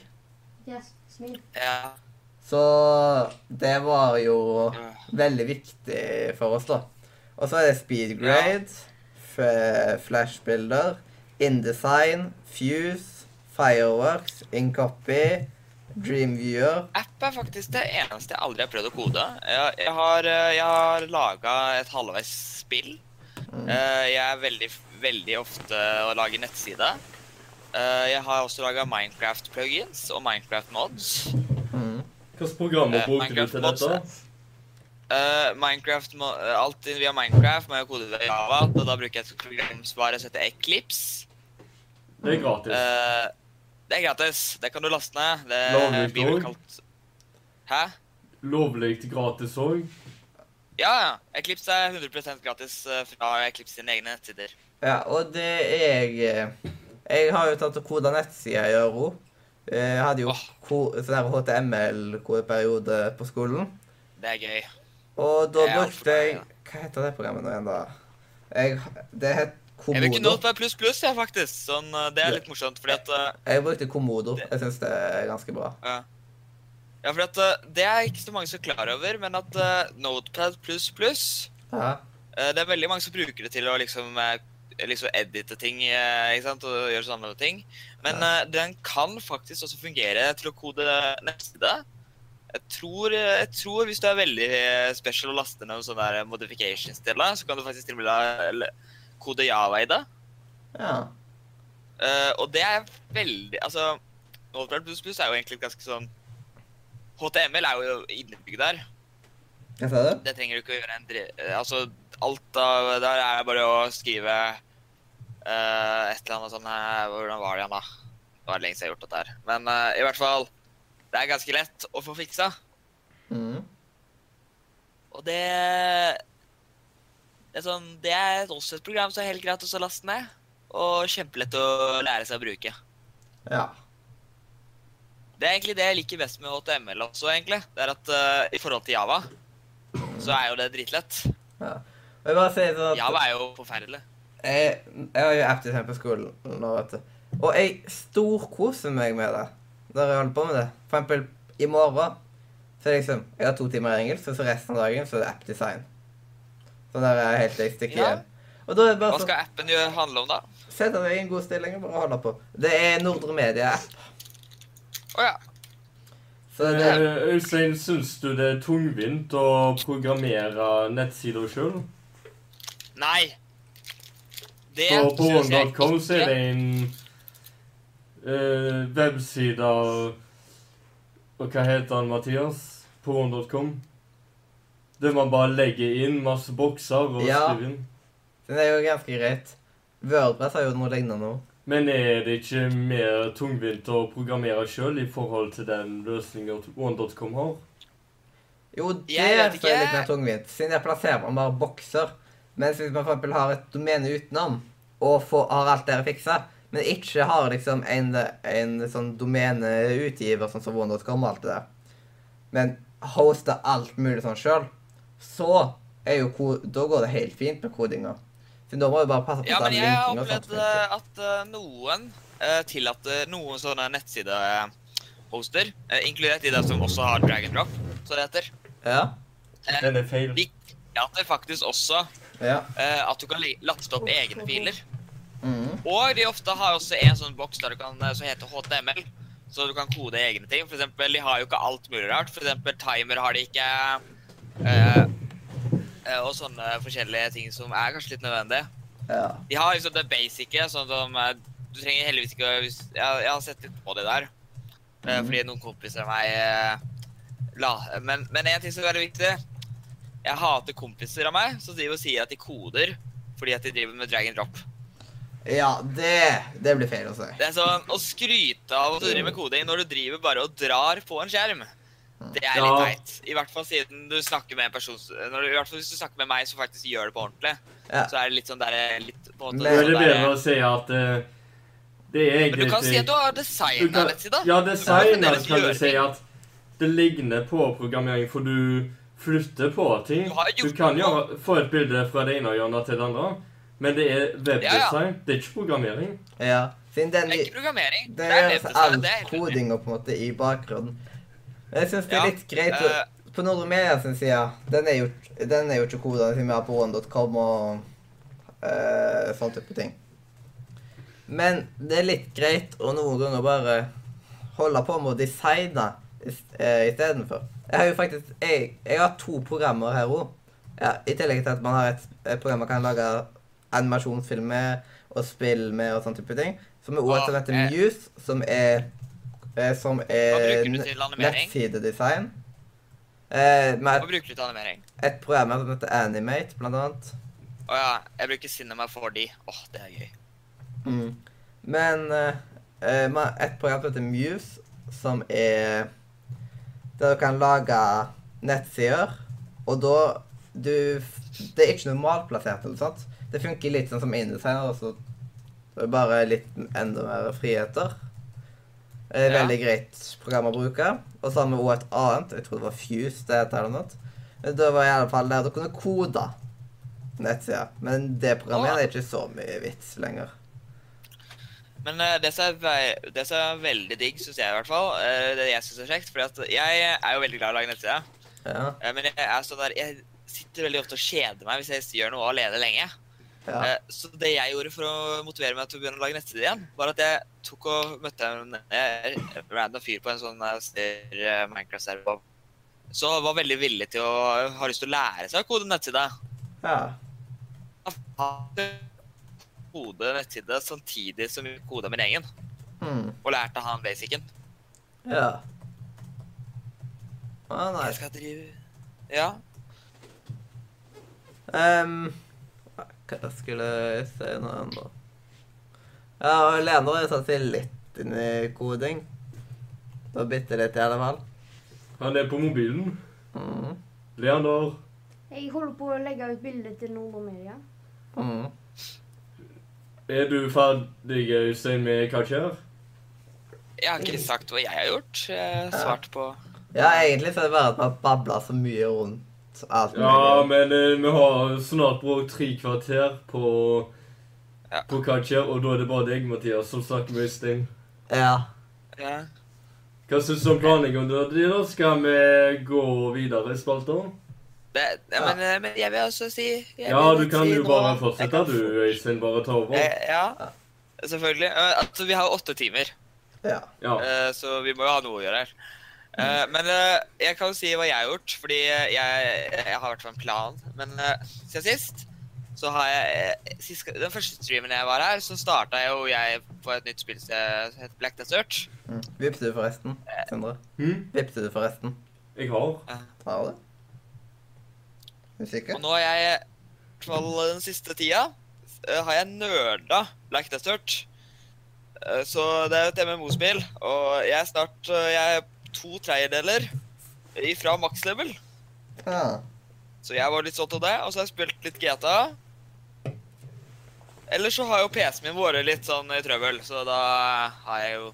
Speaker 3: Yes, smil.
Speaker 4: Ja.
Speaker 1: Så det var jo
Speaker 4: ja.
Speaker 1: veldig viktig for oss, da. Og så er det speedgrade, f- flashbilder, InDesign, Fuse, Fireworks, InCopy, Dreamviewer
Speaker 4: App er faktisk det eneste jeg aldri har prøvd å kode. Jeg, jeg har, eh, jeg har laga et halvveis spill. Eh, Jeg er veldig, veldig ofte å lage nettside. Eh, Jeg har også laga Minecraft-plugins og Minecraft-mods.
Speaker 1: mm.
Speaker 2: Hvilke programmer
Speaker 4: Eh,
Speaker 2: brukte du til
Speaker 4: Minecraft-mods.
Speaker 2: dette?
Speaker 4: Eh, Minecraft, må, eh, alt via Minecraft må jeg kode det i Java, og da bruker jeg et program som bare heter Eclipse.
Speaker 2: Det er gratis.
Speaker 4: Eh, det er gratis. Det kan du laste ned. Det
Speaker 2: Lovlig
Speaker 4: blir
Speaker 2: dog.
Speaker 4: vel kalt Hæ?
Speaker 2: Lovlig gratis òg.
Speaker 4: Ja, ja. Eclipse er 100 gratis eh, fra Eclipse sine egne nettsider.
Speaker 1: Ja, og det er jeg Jeg har jo tatt og koda nettsida i Euro. Jeg hadde jo
Speaker 4: Åh.
Speaker 1: ko- sånn her HTML-kodeperiode på skolen.
Speaker 4: Det er gøy.
Speaker 1: Og da
Speaker 4: Det er alt for
Speaker 1: brukte
Speaker 4: meg,
Speaker 1: jeg Hva heter det programmet nå igjen, da? Jeg, det het
Speaker 4: Jeg bruker
Speaker 1: Komodo.
Speaker 4: Notepad pluss pluss, jeg, faktisk. Sånn, eh, det
Speaker 2: Ja.
Speaker 4: er litt morsomt, fordi at eh,
Speaker 1: Jeg brukte Komodo. Jeg syns det er ganske bra.
Speaker 4: Ja, fordi at eh, det er ikke så mange som er klar over, men at eh, Notepad pluss pluss
Speaker 1: Ja.
Speaker 4: eh, Det er veldig mange som bruker det til å liksom, eh, liksom edite ting eh, ikke sant? og gjøre sånne ting. Men eh, den kan faktisk også fungere til å kode nettside. Jeg tror, eh, jeg tror hvis du er veldig eh, special og laster ned sånne der modifications til det, så kan du faktisk til og med la- eller kode Java i det.
Speaker 1: ja.
Speaker 4: Eh, og det er veldig Altså, Notepad pluss pluss er jo egentlig et ganske sånn HTML er jo innebygd der.
Speaker 1: Hva sa du?
Speaker 4: Det trenger du ikke å gjøre en dri... eh, Altså, alt av Der er det bare å skrive eh, et eller annet sånn eh, Hvordan var det igjen, da? Det var lenge siden jeg har gjort dette her. Men eh, i hvert fall Det er ganske lett å få fiksa.
Speaker 1: Mm.
Speaker 4: Og det Det er, sånn, det er også et program som er helt greit å så laste ned. Og kjempelett å lære seg å bruke.
Speaker 1: Ja.
Speaker 4: Det er egentlig det jeg liker best med HTML også, egentlig. Det er at eh, i forhold til Java, så er jo det dritlett.
Speaker 1: ja. Og jeg bare sier sånn at
Speaker 4: Java er jo forferdelig.
Speaker 1: jeg, jeg har jo app-design på skolen nå, vet du. Og jeg storkoser meg med det. Der jeg holder på med det. For eksempel i morgen så er det liksom Jeg har to timer i engelsk, og så resten av dagen så er det app-design. Så der er jeg helt til jeg stikker
Speaker 4: Ja.
Speaker 1: hjem. Og da er det
Speaker 4: Hva
Speaker 1: bare sånn
Speaker 4: skal appen gjøre- handle om, da?
Speaker 1: Sett deg i en god stilling og bare holde på. Det er Nordre Media-app.
Speaker 4: Å ja.
Speaker 1: Så det
Speaker 2: Eh, Øystein, syns du det er tungvint å programmere nettsider sjøl?
Speaker 4: Nei. Det
Speaker 2: Så på
Speaker 4: synes jeg
Speaker 2: One.com så er
Speaker 4: ikke.
Speaker 2: det en eh, webside av Og hva heter han, Mathias? På One.com? Der man bare legger inn masse bokser og
Speaker 1: Ja.
Speaker 2: skriver inn.
Speaker 1: så det er jo ganske greit. Wordpress har jo noe lignende nå.
Speaker 2: Men er det ikke mer tungvint å programmere sjøl i forhold til den løsninga One.com har?
Speaker 1: Jo, det
Speaker 4: Jeg
Speaker 1: er
Speaker 4: vet
Speaker 1: så litt
Speaker 4: ikke.
Speaker 1: mer tungvint, siden jeg plasserer man bare bokser. Mens hvis man for eksempel har et domene utenom, og får, har alt dere fiksa, men ikke har liksom en, en sånn domeneutgiver sånn som Wonder.com og alt det der, men hoster alt mulig sånn sjøl, så er jo ko- Da går det helt fint med kodinga. Så da må vi bare passe på
Speaker 4: Ja,
Speaker 1: at
Speaker 4: men jeg har
Speaker 1: linking og sånt
Speaker 4: opplevd
Speaker 1: funker.
Speaker 4: eh, at eh, noen eh, tillater noen sånne nettsidehoster, eh, inkludert de der som også har drag and drop, som det heter,
Speaker 1: Ja.
Speaker 2: Den er feil.
Speaker 4: de tillater faktisk også
Speaker 1: Ja.
Speaker 4: eh, at du kan le- laste opp egne filer.
Speaker 1: Mm.
Speaker 4: Og de ofte har også en sånn boks der du kan, som heter HTML, så du kan kode egne ting. For eksempel, de har jo ikke alt mulig rart. For eksempel timer har de ikke. eh, eh, og sånne forskjellige ting som er kanskje litt nødvendig.
Speaker 1: ja.
Speaker 4: De har liksom det basice, sånn som eh, Du trenger heldigvis ikke å- hvis, jeg, jeg har sett litt på det der. eh,
Speaker 1: Mhm.
Speaker 4: Fordi noen kompiser av meg eh, la Men, men en ting som er veldig viktig Jeg hater kompiser av meg som driver og sier at de koder fordi at de driver med drag and drop.
Speaker 1: Ja, det, det blir feil å si.
Speaker 4: Det er sånn å skryte av at du driver med koding når du driver bare og drar på en skjerm. Det er litt
Speaker 2: Ja.
Speaker 4: teit. I hvert fall siden du snakker med en person s- når du, I hvert fall hvis du snakker med meg som faktisk gjør det på ordentlig.
Speaker 1: Ja.
Speaker 4: Så er det litt sånn der litt på en
Speaker 1: Men-
Speaker 4: måte
Speaker 2: Da er
Speaker 4: sånn
Speaker 2: det
Speaker 4: der-
Speaker 2: bedre å si at eh, det er egentlig
Speaker 4: Men du kan si at du har
Speaker 2: Du
Speaker 4: designa
Speaker 2: kan-
Speaker 4: nettsida.
Speaker 2: Ja,
Speaker 4: Du
Speaker 2: designet
Speaker 4: kan fremdeles
Speaker 2: kan du
Speaker 4: gjøre
Speaker 2: si
Speaker 4: ting.
Speaker 2: at det ligner på programmering, for du flytter på ting.
Speaker 4: Du har jo gjort
Speaker 2: Du kan
Speaker 4: noe.
Speaker 2: gjøre, få et bilde fra det ene hjørnet til det andre, men det er
Speaker 4: Ja,
Speaker 2: webdesign. Det er ikke programmering.
Speaker 1: Ja. Siden
Speaker 4: Det
Speaker 1: den
Speaker 4: er ikke programmering.
Speaker 1: Det er altså
Speaker 4: webdesign,
Speaker 1: all
Speaker 4: det er helt riktig.
Speaker 1: kodinga på en måte i bakgrunnen. Jeg syns det er
Speaker 4: Ja,
Speaker 1: litt greit å,
Speaker 4: eh.
Speaker 1: På Nordre Media sin side, den er jo, den er jo ikke koda siden vi har på one.com og eh, sånn type ting. Men det er litt greit å noen ganger bare holde på med å designe eh, istedenfor. Jeg har jo faktisk Jeg, jeg har to programmer her òg. Ja, I tillegg til at man har et, et program man kan lage animasjonsfilm med og spill med og sånn type ting. Som er også
Speaker 4: Åh,
Speaker 1: som heter
Speaker 4: jeg-
Speaker 1: Muse, som er eh, som
Speaker 4: Hva
Speaker 1: er
Speaker 4: bruker du til animering?
Speaker 1: nettsidedesign. Eh,
Speaker 4: Hva
Speaker 1: med
Speaker 4: bruker du til animering?
Speaker 1: et program som heter Animate, blant annet.
Speaker 4: Å ja, jeg bruker Cinema 4D. Åh, det er gøy.
Speaker 1: Mm. Men eh, eh, med et program som heter Muse, som er der du kan lage nettsider, og da du f- Det er ikke normalplassert, eller sant? Det funker litt sånn som InDesign, og så det er bare litt enda mer friheter. Eh,
Speaker 4: Ja.
Speaker 1: Veldig greit program å bruke. Og så har vi også et annet, jeg tror det var Fuse det heter eller noe. sånt. Men Det var i alle fall der du kunne kode nettsider. Men det programmet
Speaker 4: Å.
Speaker 1: er ikke så mye vits lenger.
Speaker 4: Men eh, det som er, vei- det som er veldig digg, syns jeg i hvert fall, eh, det jeg syns er kjekt fordi at jeg er jo veldig glad i å lage nettsider.
Speaker 1: Ja,
Speaker 4: Eh, Men jeg er sånn der Jeg sitter veldig ofte og kjeder meg hvis jeg gjør noe alene lenge.
Speaker 1: ja.
Speaker 4: Eh, Så det jeg gjorde for å motivere meg til å begynne å lage nettsider igjen, var at jeg tok og møtte en eh, random fyr på en sånn eh, server, eh, Minecraft-server. Så var veldig villig til å ha lyst til å lære seg å kode nettside.
Speaker 1: ja.
Speaker 4: Han Kode nettside samtidig som jeg koda min egen,
Speaker 1: Hmm.
Speaker 4: og lærte han basicen.
Speaker 1: Ja. Ah,
Speaker 4: Jeg
Speaker 1: nice.
Speaker 4: skal drive Ja.
Speaker 1: Ehm, hva skulle jeg si nå ennå? Ja, og Leander er jo satt seg litt inn i koding. Da bitte litt, i alle fall.
Speaker 2: Han er på mobilen.
Speaker 1: Mm.
Speaker 2: Leander.
Speaker 3: Jeg holder på å legge ut bilde til Nord-Amerika.
Speaker 1: Mm.
Speaker 2: Er du ferdig, Øystein, med hva skjer?
Speaker 4: Jeg har ikke sagt hva jeg har gjort. Jeg svarte på
Speaker 1: Ja, egentlig så er det bare at man babler så mye rundt alt
Speaker 2: Ja,
Speaker 1: mulig.
Speaker 2: men eh, vi har snart brukt tre kvarter på,
Speaker 4: Ja.
Speaker 2: på hva skjer, og da er det bare deg, Mathias, som snakker med Øystein.
Speaker 1: Ja.
Speaker 4: ja.
Speaker 2: Hva syns du om planleggingen din? da? Skal vi gå videre i spalta?
Speaker 4: Det, ja, men, eh, men jeg vil også si jeg
Speaker 2: Ja,
Speaker 4: vil
Speaker 2: du kan
Speaker 4: si
Speaker 2: jo
Speaker 4: nå-
Speaker 2: bare
Speaker 4: jeg
Speaker 2: fortsette,
Speaker 4: kan-
Speaker 2: du, Øystein. Bare ta over.
Speaker 4: Eh, Ja, selvfølgelig. Eh, Altså, vi har jo åtte timer,
Speaker 1: Ja.
Speaker 2: Ja.
Speaker 4: eh, så vi må jo ha noe å gjøre her. Eh, Men eh, jeg kan jo si hva jeg har gjort, fordi jeg, jeg har i hvert fall en plan. Men eh, siden sist så har jeg eh, sist, Den første streamen jeg var her, så starta jo jeg på et nytt spill som heter Black Desert.
Speaker 1: Mm. Vippte du forresten, Sindre?
Speaker 2: Hm?
Speaker 1: Vippte du forresten?
Speaker 2: Jeg har.
Speaker 1: Har du det? Er du
Speaker 4: Og
Speaker 1: sikker?
Speaker 4: nå har jeg, i hvert fall den siste tida, eh, har jeg nerda Black Desert. Eh, Så det er jo et MMO-spill, og jeg er snart eh, jeg er to tredjedeler ifra max level.
Speaker 1: Ja.
Speaker 4: Så jeg var litt sånn til det, og så har jeg spilt litt GTA. Ellers så har jo PC-en min vært litt sånn i trøbbel, så da har jeg jo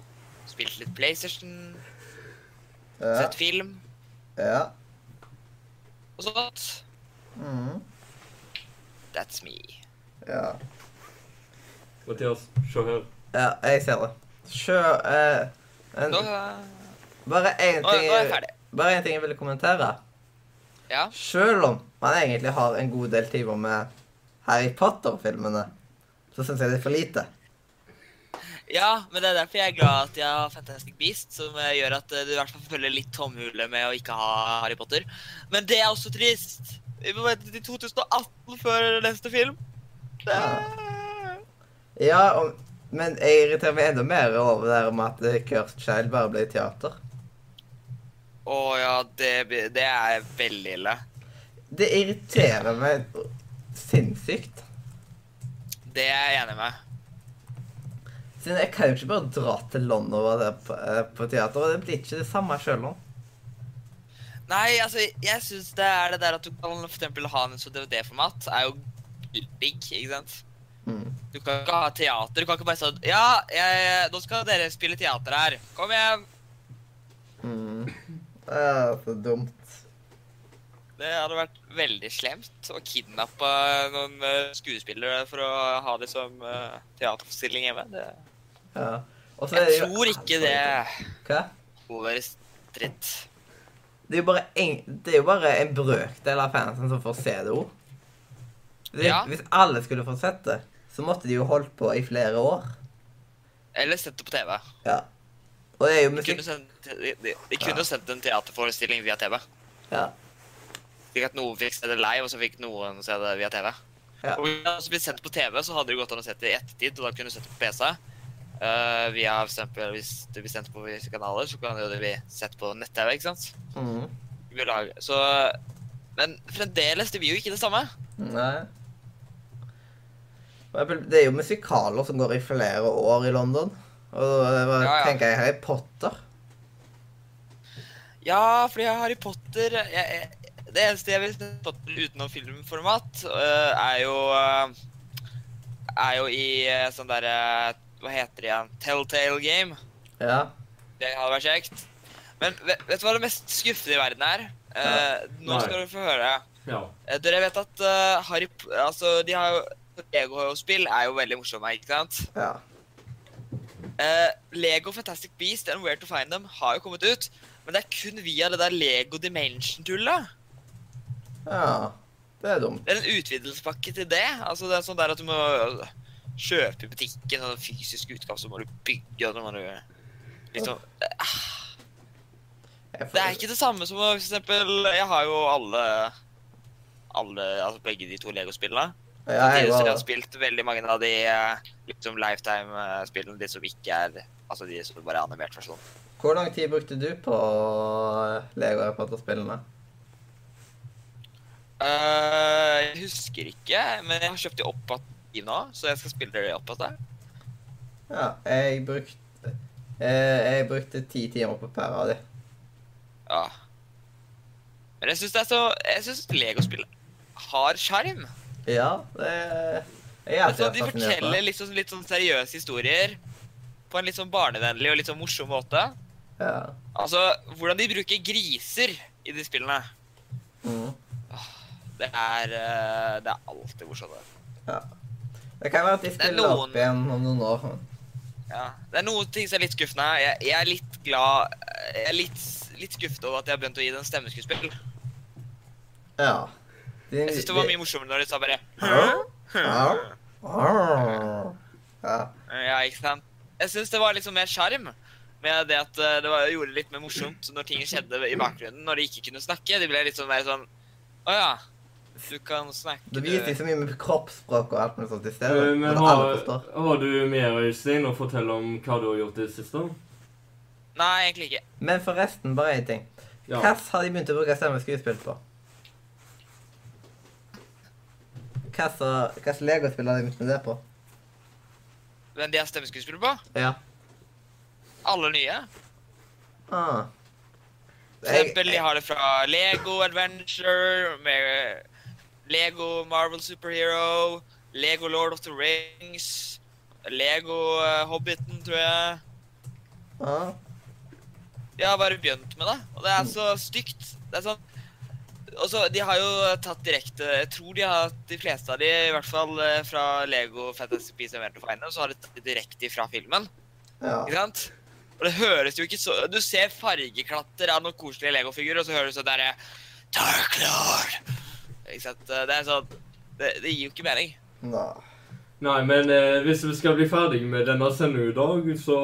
Speaker 4: spilt litt PlayStation,
Speaker 1: Ja.
Speaker 4: sett film
Speaker 1: ja.
Speaker 4: og sånt.
Speaker 1: Mm.
Speaker 4: That's me.
Speaker 1: ja.
Speaker 2: Mathias, se her.
Speaker 1: Ja, jeg ser det. Sjø... eh, en,
Speaker 4: Nå, eh,
Speaker 1: bare én
Speaker 4: nå, nå er jeg
Speaker 1: ting,
Speaker 4: ferdig.
Speaker 1: bare en ting jeg ville kommentere.
Speaker 4: Ja.
Speaker 1: Selv om man egentlig har en god del timer med Harry Potter-filmene, så syns jeg det er for lite.
Speaker 4: Ja, men det er derfor jeg er glad at jeg har Fantastic Beast, som eh, gjør at eh, du i hvert fall følger litt tomhule med å ikke ha Harry Potter. Men det er også trist. Vi må vente til 2018 før neste film. Det er-
Speaker 1: Ja, og, men jeg irriterer meg enda mer over det her med at Kurt Child bare ble teater.
Speaker 4: Å ja, det, blir- det er veldig ille.
Speaker 1: Det irriterer meg sinnssykt.
Speaker 4: Det er jeg enig med.
Speaker 1: Siden jeg kan jo ikke bare dra til London og være på, eh, på teater, og det blir ikke det samme sjøl nå.
Speaker 4: Nei, altså, jeg syns det er det der at du kan for eksempel ha en sånn DVD-format, er jo digg, ikke sant?
Speaker 1: Mm.
Speaker 4: Du kan ikke ha teater. Du kan ikke bare sånn Ja, jeg, nå skal dere spille teater her. Kom hjem.
Speaker 1: Mm. Det er så dumt.
Speaker 4: Det hadde vært veldig slemt å kidnappe noen eh, skuespillere for å ha det som eh, teaterforestilling hjemme. Det,
Speaker 1: Ja. Og så er
Speaker 4: Altså, jeg
Speaker 1: det jo-
Speaker 4: tror ikke det
Speaker 1: Hva?
Speaker 4: holder stritt.
Speaker 1: Det er jo bare en, det er jo bare en brøkdel av fansen som får se det òg.
Speaker 4: Ja.
Speaker 1: Hvis alle skulle fått sett det, så måtte de jo holdt på i flere år.
Speaker 4: Eller sendt det på TV.
Speaker 1: Ja. Og det er jo
Speaker 4: De
Speaker 1: musikk
Speaker 4: kunne, sendt, de, de, de kunne jo sendt en teaterforestilling via TV.
Speaker 1: Ja.
Speaker 4: Slik at noen fikk se det live, og så fikk noen se det via TV.
Speaker 1: Ja.
Speaker 4: Og hvis det hadde blitt sendt på TV, så hadde det gått an å se det i ettertid, og da kunne du sett det på PC. Eh, vi har eksempel, hvis det blir sendt på visse kanaler, så kan jo det bli sett på nett-TV, ikke sant?
Speaker 1: Mhm.
Speaker 4: Vi lager, så, men fremdeles, det blir jo ikke det samme.
Speaker 1: Nei. Og jeg bel- Det er jo musikaler som går i flere år i London. Og da var-
Speaker 4: Ja, ja.
Speaker 1: tenker jeg Harry Potter.
Speaker 4: Ja, fordi Harry Potter jeg, jeg, Det eneste jeg vil se Harry Potter utenom filmformat, øh, er jo øh, Er jo i øh, sånn derre Hva heter det igjen? Telltale Game.
Speaker 1: Ja.
Speaker 4: Det hadde vært kjekt. Men vet, vet du hva det mest skuffende i verden er? Eh, nå
Speaker 2: Nei.
Speaker 4: skal du få høre.
Speaker 2: Ja.
Speaker 4: Eh, Dere vet at øh, Harry P- Altså, de har jo Lego-spill er jo veldig morsomme, ikke sant?
Speaker 1: ja.
Speaker 4: Eh, Lego Fantastic Beast and Where to Find Them har jo kommet ut, men det er kun via det der Lego Dimension-tullet.
Speaker 1: Ja. Det er dumt.
Speaker 4: Det er en utvidelsespakke til det. Altså, det er sånn der at du må kjøpe i butikken sånn fysisk utgave, så må du bygge og så må du liksom
Speaker 1: Jeg
Speaker 4: Det er ikke det samme som å for eksempel Jeg har jo alle alle, altså Begge de to Lego-spillene.
Speaker 1: ja, jeg,
Speaker 4: Samtidig som jeg har
Speaker 1: var,
Speaker 4: spilt veldig mange av de eh, liksom lifetime-spillene, de som ikke er Altså de som bare er animert versjon.
Speaker 1: Hvor lang tid brukte du på Lego Harry Potter-spillene?
Speaker 4: Eh, jeg husker ikke, men jeg har kjøpt de opp igjen nå, så jeg skal spille de opp igjen.
Speaker 1: Ja, jeg brukte eh, Jeg brukte ti timer på per av de.
Speaker 4: Ja. Men jeg syns det er så Jeg syns Lego-spill har sjarm.
Speaker 1: Ja, det Jeg er
Speaker 4: Altså,
Speaker 1: alltid
Speaker 4: de
Speaker 1: fascinert av
Speaker 4: forteller
Speaker 1: det.
Speaker 4: liksom, litt sånn seriøse historier på en litt sånn barnevennlig og litt sånn morsom måte.
Speaker 1: Ja.
Speaker 4: Altså, hvordan de bruker griser i de spillene.
Speaker 1: Mm.
Speaker 4: Det er, eh, det er alltid morsomt. det.
Speaker 1: Det kan være at de
Speaker 4: Det er
Speaker 1: spiller
Speaker 4: noen-
Speaker 1: opp igjen om noen år.
Speaker 4: Ja. Det er noen ting som er litt skuffende. Jeg, jeg er litt glad Jeg er litt, litt skuffet over at jeg har begynt å gi den stemmeskuespill.
Speaker 1: Ja. De,
Speaker 4: Jeg syns det var
Speaker 1: de-
Speaker 4: mye morsommere når de sa bare
Speaker 1: Ja. Ja. Arr. Ja.
Speaker 4: Ja, ikke sant? Jeg syns det var litt sånn mer sjarm med det at eh, det var, gjorde det litt mer morsomt når ting skjedde i bakgrunnen, når de ikke kunne snakke. De ble litt sånn mer sånn Å ja, du kan snakke
Speaker 1: Det viser
Speaker 4: du».
Speaker 1: ikke så mye med kroppsspråk og alt mulig sånt i stedet.
Speaker 2: Eh,
Speaker 1: Men
Speaker 2: Men
Speaker 1: alle
Speaker 2: har,
Speaker 1: forstår.
Speaker 2: har du mer, Øystein, å fortelle om hva du har gjort i det siste?
Speaker 4: Nei, egentlig ikke.
Speaker 1: Men forresten, bare én ting.
Speaker 2: Ja.
Speaker 1: Hva har de begynt å bruke stemmeskuespill på? Hva slags legospill har de begynt med det på?
Speaker 4: Men de har stemmeskuespillere på?
Speaker 1: Ja.
Speaker 4: Alle nye.
Speaker 1: Ah.
Speaker 4: For eksempel, de har det fra Lego Adventure, med eh, Lego Marvel Superhero, Lego Lord of the Rings, Lego eh, Hobbiten, tror jeg.
Speaker 1: ah.
Speaker 4: De har bare begynt med det, og det er så stygt. Det er sånn Og så, de har jo tatt direkte Jeg tror de har de fleste av de, i hvert fall eh, fra Lego Fantasy Beasts and Where to Find Them, så har de tatt det direkte fra filmen.
Speaker 1: Ja.
Speaker 4: Ikke sant? Og det høres jo ikke så Du ser fargeklatter av noen koselige Lego-figurer, og så hører du sånn derre Dark Lord! Ikke sant? Det er sånn Det, det gir jo ikke mening.
Speaker 1: Nå.
Speaker 2: Nei, men eh, hvis vi skal bli ferdig med denne sendingen i dag, så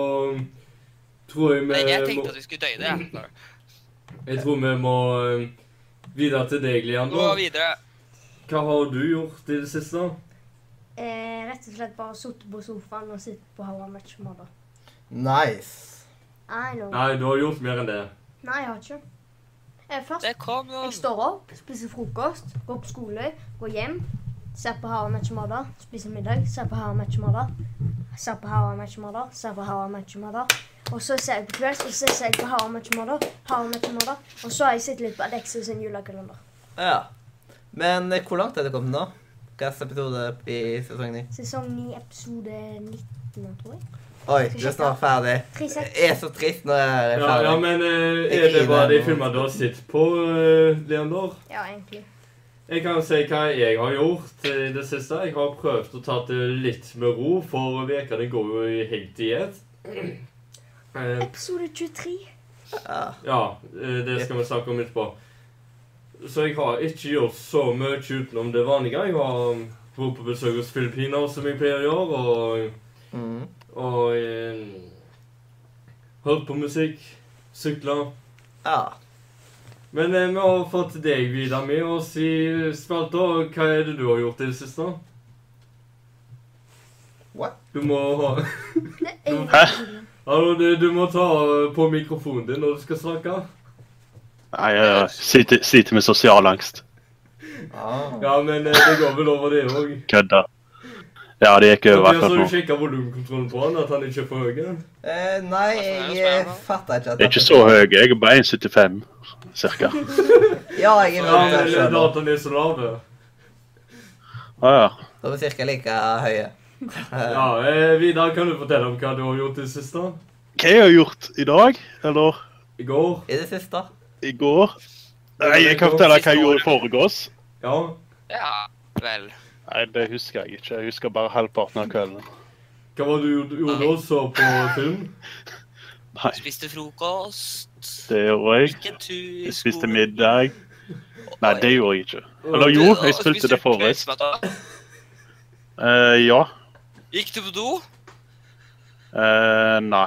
Speaker 2: tror jeg vi
Speaker 4: Men jeg
Speaker 2: eh, må,
Speaker 4: tenkte at vi skulle døye det. ja.
Speaker 2: jeg tror vi må eh, videre til deg,
Speaker 4: Gå
Speaker 2: Leander.
Speaker 4: videre.
Speaker 2: Hva har du gjort i det siste?
Speaker 3: Eh, rett og slett bare sittet på sofaen og sittet på How I Match Mother.
Speaker 1: Nice.
Speaker 3: I know.
Speaker 2: Nei, du har gjort mer enn det.
Speaker 3: Nei, jeg har ikke. Eh, først
Speaker 4: Det kom
Speaker 3: jeg
Speaker 4: noen
Speaker 3: står opp, spiser frokost, går på skole, går hjem, ser på How I Match Mother, spiser middag, ser på How I Match Mother, ser på How I Match Mother, ser på How I Match Mother. Og så ser jeg på kvelds, og så ser jeg på How I Match Mother, How I Match Mother, og så har jeg sett litt på Alexis sin julekalender.
Speaker 1: Ja. Men eh, hvor langt er det kommet nå? Hvilken episode i sesong ni?
Speaker 3: Sesong 9, episode 19, tror jeg.
Speaker 1: Oi, du er snart ferdig.
Speaker 3: Trisett.
Speaker 1: Jeg er så trist når jeg er
Speaker 2: Ja, ja
Speaker 1: ferdig.
Speaker 2: men eh,
Speaker 1: Jeg
Speaker 2: er det
Speaker 1: griner
Speaker 2: bare de
Speaker 1: nå.
Speaker 2: filmene du har sett på, eh, Leander?
Speaker 3: Ja, egentlig.
Speaker 2: Jeg kan si hva jeg har gjort eh, i det siste. Jeg har prøvd å ta det litt med ro, for ukene går jo helt i ett. Eh,
Speaker 3: Episode 23.
Speaker 1: Ja.
Speaker 2: ja, eh, det skal vi snakke om etterpå. Så jeg har ikke gjort så mye utenom det vanlige. Jeg har um, vært på besøk hos filippiner, som jeg pleier å gjøre, og,
Speaker 1: Mm.
Speaker 2: og eh, hørt på musikk, sykla.
Speaker 1: ja.
Speaker 2: Men eh, vi har fått deg videre med oss i spalta. Hva er det du har gjort i det siste?
Speaker 1: What?
Speaker 2: Du må ha
Speaker 3: Det er ingen
Speaker 5: Hæ?
Speaker 3: problem.
Speaker 2: Hallo, du, du må ta på mikrofonen din når du skal snakke.
Speaker 5: Nei, jeg sliter, sliter med sosial angst.
Speaker 1: Ah.
Speaker 2: Ja, men eh, det går vel over, det òg.
Speaker 5: Kødda. Ja, det gikk over
Speaker 2: Så
Speaker 5: akkurat
Speaker 2: du
Speaker 5: nå.
Speaker 2: sjekka volumkontrollen på han, at han ikke er for høy?
Speaker 1: Eh, nei, jeg eh, fatter ikke at
Speaker 5: Jeg er ikke så høy, jeg er bare 1,75 cirka.
Speaker 1: Ja, jeg er
Speaker 2: Ja,
Speaker 1: rundt der
Speaker 2: men eh,
Speaker 1: sjøl.
Speaker 2: dataen er så lave.
Speaker 5: Å ja.
Speaker 1: Da er vi cirka like høye.
Speaker 2: [laughs] Ja, eh, Vidar, kan du fortelle om hva du har gjort i det siste?
Speaker 5: Hva jeg har gjort i dag, eller
Speaker 2: I går?
Speaker 1: I det siste.
Speaker 5: i går? Nei, jeg kan fortelle hva jeg gjorde i forgårs.
Speaker 2: Ja.
Speaker 4: Ja vel.
Speaker 5: Nei, det husker jeg ikke. Jeg husker bare halvparten av kvelden.
Speaker 2: Hva var det du gjorde- gjorde da? Så på film?
Speaker 5: Nei,
Speaker 4: Spiste frokost.
Speaker 5: det gjorde jeg.
Speaker 4: Gikk en tur i
Speaker 5: Jeg spiste
Speaker 4: skogen.
Speaker 5: middag. Nei, det gjorde jeg ikke. Eller
Speaker 2: Og-
Speaker 5: jo, jeg
Speaker 4: Og
Speaker 5: spilte
Speaker 4: spiste
Speaker 5: det forrest.
Speaker 4: kveldsmat.
Speaker 5: Eh, ja.
Speaker 4: Gikk du på do?
Speaker 5: Eh, nei,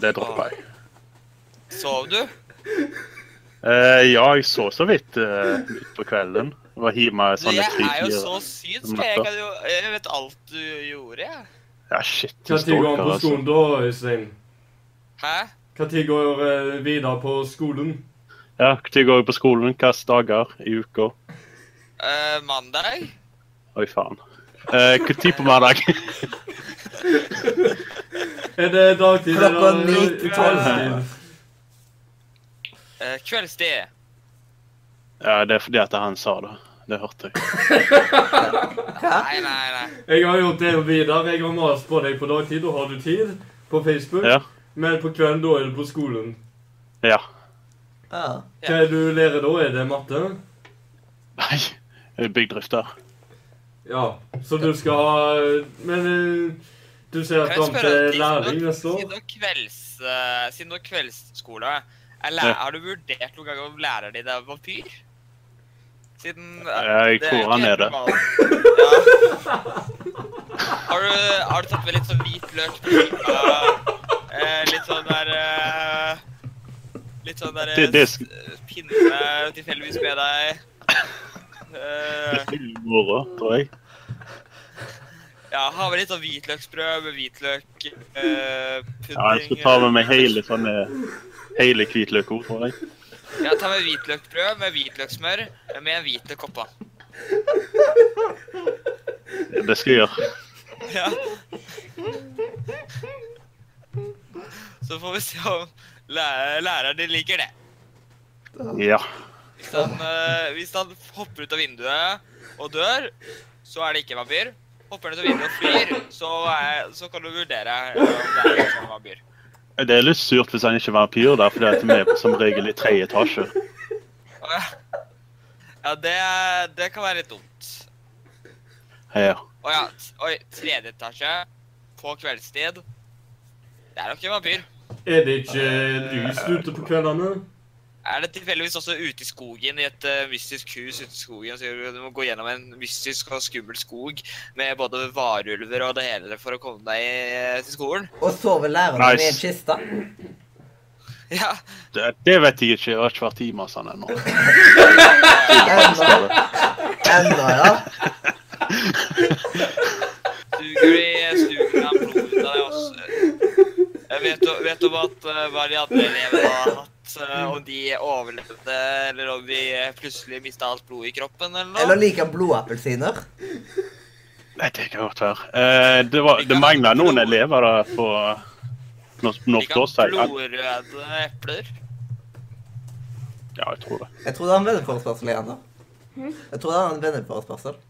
Speaker 5: det droppa jeg.
Speaker 4: Sov du?
Speaker 5: Eh, ja, jeg så så vidt eh, midt på kvelden. Jeg var hjemme
Speaker 4: Du,
Speaker 5: sånn
Speaker 4: jeg
Speaker 5: et
Speaker 4: er jo så
Speaker 5: tre-fire.
Speaker 4: synsk.
Speaker 5: om
Speaker 4: Jeg,
Speaker 5: natta.
Speaker 4: kan jo, jeg vet alt du gjorde, jeg.
Speaker 5: Ja, shit. du
Speaker 2: Når går
Speaker 5: stalker,
Speaker 2: han på
Speaker 5: altså.
Speaker 2: skolen da, Øystein?
Speaker 4: Hæ?
Speaker 2: Når går eh, Vidar på skolen?
Speaker 5: Ja, når går jeg på skolen? Hvilke dager i uka?
Speaker 4: Eh, mandag?
Speaker 5: Oi, faen. Eh, Når tid på mandag? [laughs]
Speaker 2: Er det dagtid?
Speaker 1: Klokka
Speaker 2: eller-
Speaker 1: ni til tolv.
Speaker 2: Kveldstid.
Speaker 4: Eh, kveldstid.
Speaker 5: ja, det er fordi at han sa det. Det hørte jeg.
Speaker 4: Nei, nei, nei.
Speaker 2: Jeg har gjort det Vidar. Jeg har mast på deg på dagtid. Da har du tid på Facebook.
Speaker 5: Ja.
Speaker 2: Men på kvelden, da er du på skolen.
Speaker 5: Ja.
Speaker 1: Ja.
Speaker 4: Ja.
Speaker 2: Hva er det du lærer da? Er det matte?
Speaker 5: Nei, jeg er byggdrifter.
Speaker 2: Ja. Så du skal ha Men eh, du ser
Speaker 4: Kan jeg
Speaker 2: fram
Speaker 4: spørre
Speaker 2: til
Speaker 4: deg,
Speaker 2: lærling neste
Speaker 4: Siden
Speaker 2: år?
Speaker 4: du har kvelds, eh, siden du har kveldsskole, er læ
Speaker 5: Ja.
Speaker 4: har du vurdert noen gang om læreren din er vampyr? Siden eh,
Speaker 5: Jeg
Speaker 4: det
Speaker 5: tror
Speaker 4: jo
Speaker 5: han
Speaker 4: ikke
Speaker 5: er
Speaker 4: helt
Speaker 5: det.
Speaker 4: normalt. Ja. Har, du, har du tatt med litt sånn hvit løk på pipa? Eh, litt sånn der eh, Litt sånn der eh,
Speaker 5: Det- det-
Speaker 4: s- eh, pinne tilfeldigvis med deg.
Speaker 5: Det
Speaker 4: Eh,
Speaker 5: er veldig moro, tror jeg.
Speaker 4: ja, har vi litt sånn hvitløksbrød med hvitløk eh, pudding
Speaker 5: Ja, jeg skal ta med meg
Speaker 4: eh,
Speaker 5: hele sånne Hele hvitløkord, tror jeg.
Speaker 4: Ja, ta med hvitløkbrød med hvitløksmør med en hvitløk oppå.
Speaker 5: Det skal jeg gjøre.
Speaker 4: Ja. Så får vi se om læ- læreren din liker det.
Speaker 5: Ja.
Speaker 4: Hvis han, eh, hvis han hopper ut av vinduet og dør, så er det ikke vampyr. Hopper han ut av vinduet og flyr, så, er, så kan du vurdere eh, om det er en vampyr.
Speaker 5: Det er litt surt hvis han ikke er vampyr, da, fordi at vi er som regel i tredje etasje.
Speaker 4: Ja, det, det kan være litt dumt.
Speaker 5: Her.
Speaker 4: Å ja, t- oi, tredje etasje på kveldstid. Det er nok en vampyr.
Speaker 2: Er det ikke eh, lyst ute på kveldene?
Speaker 4: Er det tilfeldigvis også ute i skogen, i et eh, mystisk hus ute i skogen? Så du må gå gjennom en mystisk og skummel skog med både varulver og det hele for å komme deg eh, til skolen? [laughs]
Speaker 1: Og sover læreren din i en
Speaker 5: Nice.
Speaker 1: kiste.
Speaker 4: Ja.
Speaker 5: Det, det vet jeg ikke. Jeg har ikke vært hjemme hos han
Speaker 4: [laughs]
Speaker 5: ennå.
Speaker 1: Ennå, ennå, ja.
Speaker 4: Suger de eh, suger han blodet ut av deg også? Jeg vet, jo- vet om at eh, hva de andre elevene har hatt, eh, om de overlevde, eller om de eh, plutselig mista alt blodet i kroppen, eller
Speaker 1: Eller
Speaker 4: noe?
Speaker 1: liker han blodappelsiner?
Speaker 5: Nei, det kan godt være. Eh, det var, det mangla noen elever da, på eh, når- når
Speaker 4: De kan
Speaker 5: torsdag.
Speaker 4: blodrøde epler.
Speaker 5: Ja, jeg tror det.
Speaker 1: Jeg trodde han hadde venneforespørsel igjen. da. Jeg trodde han hadde venneforespørsel.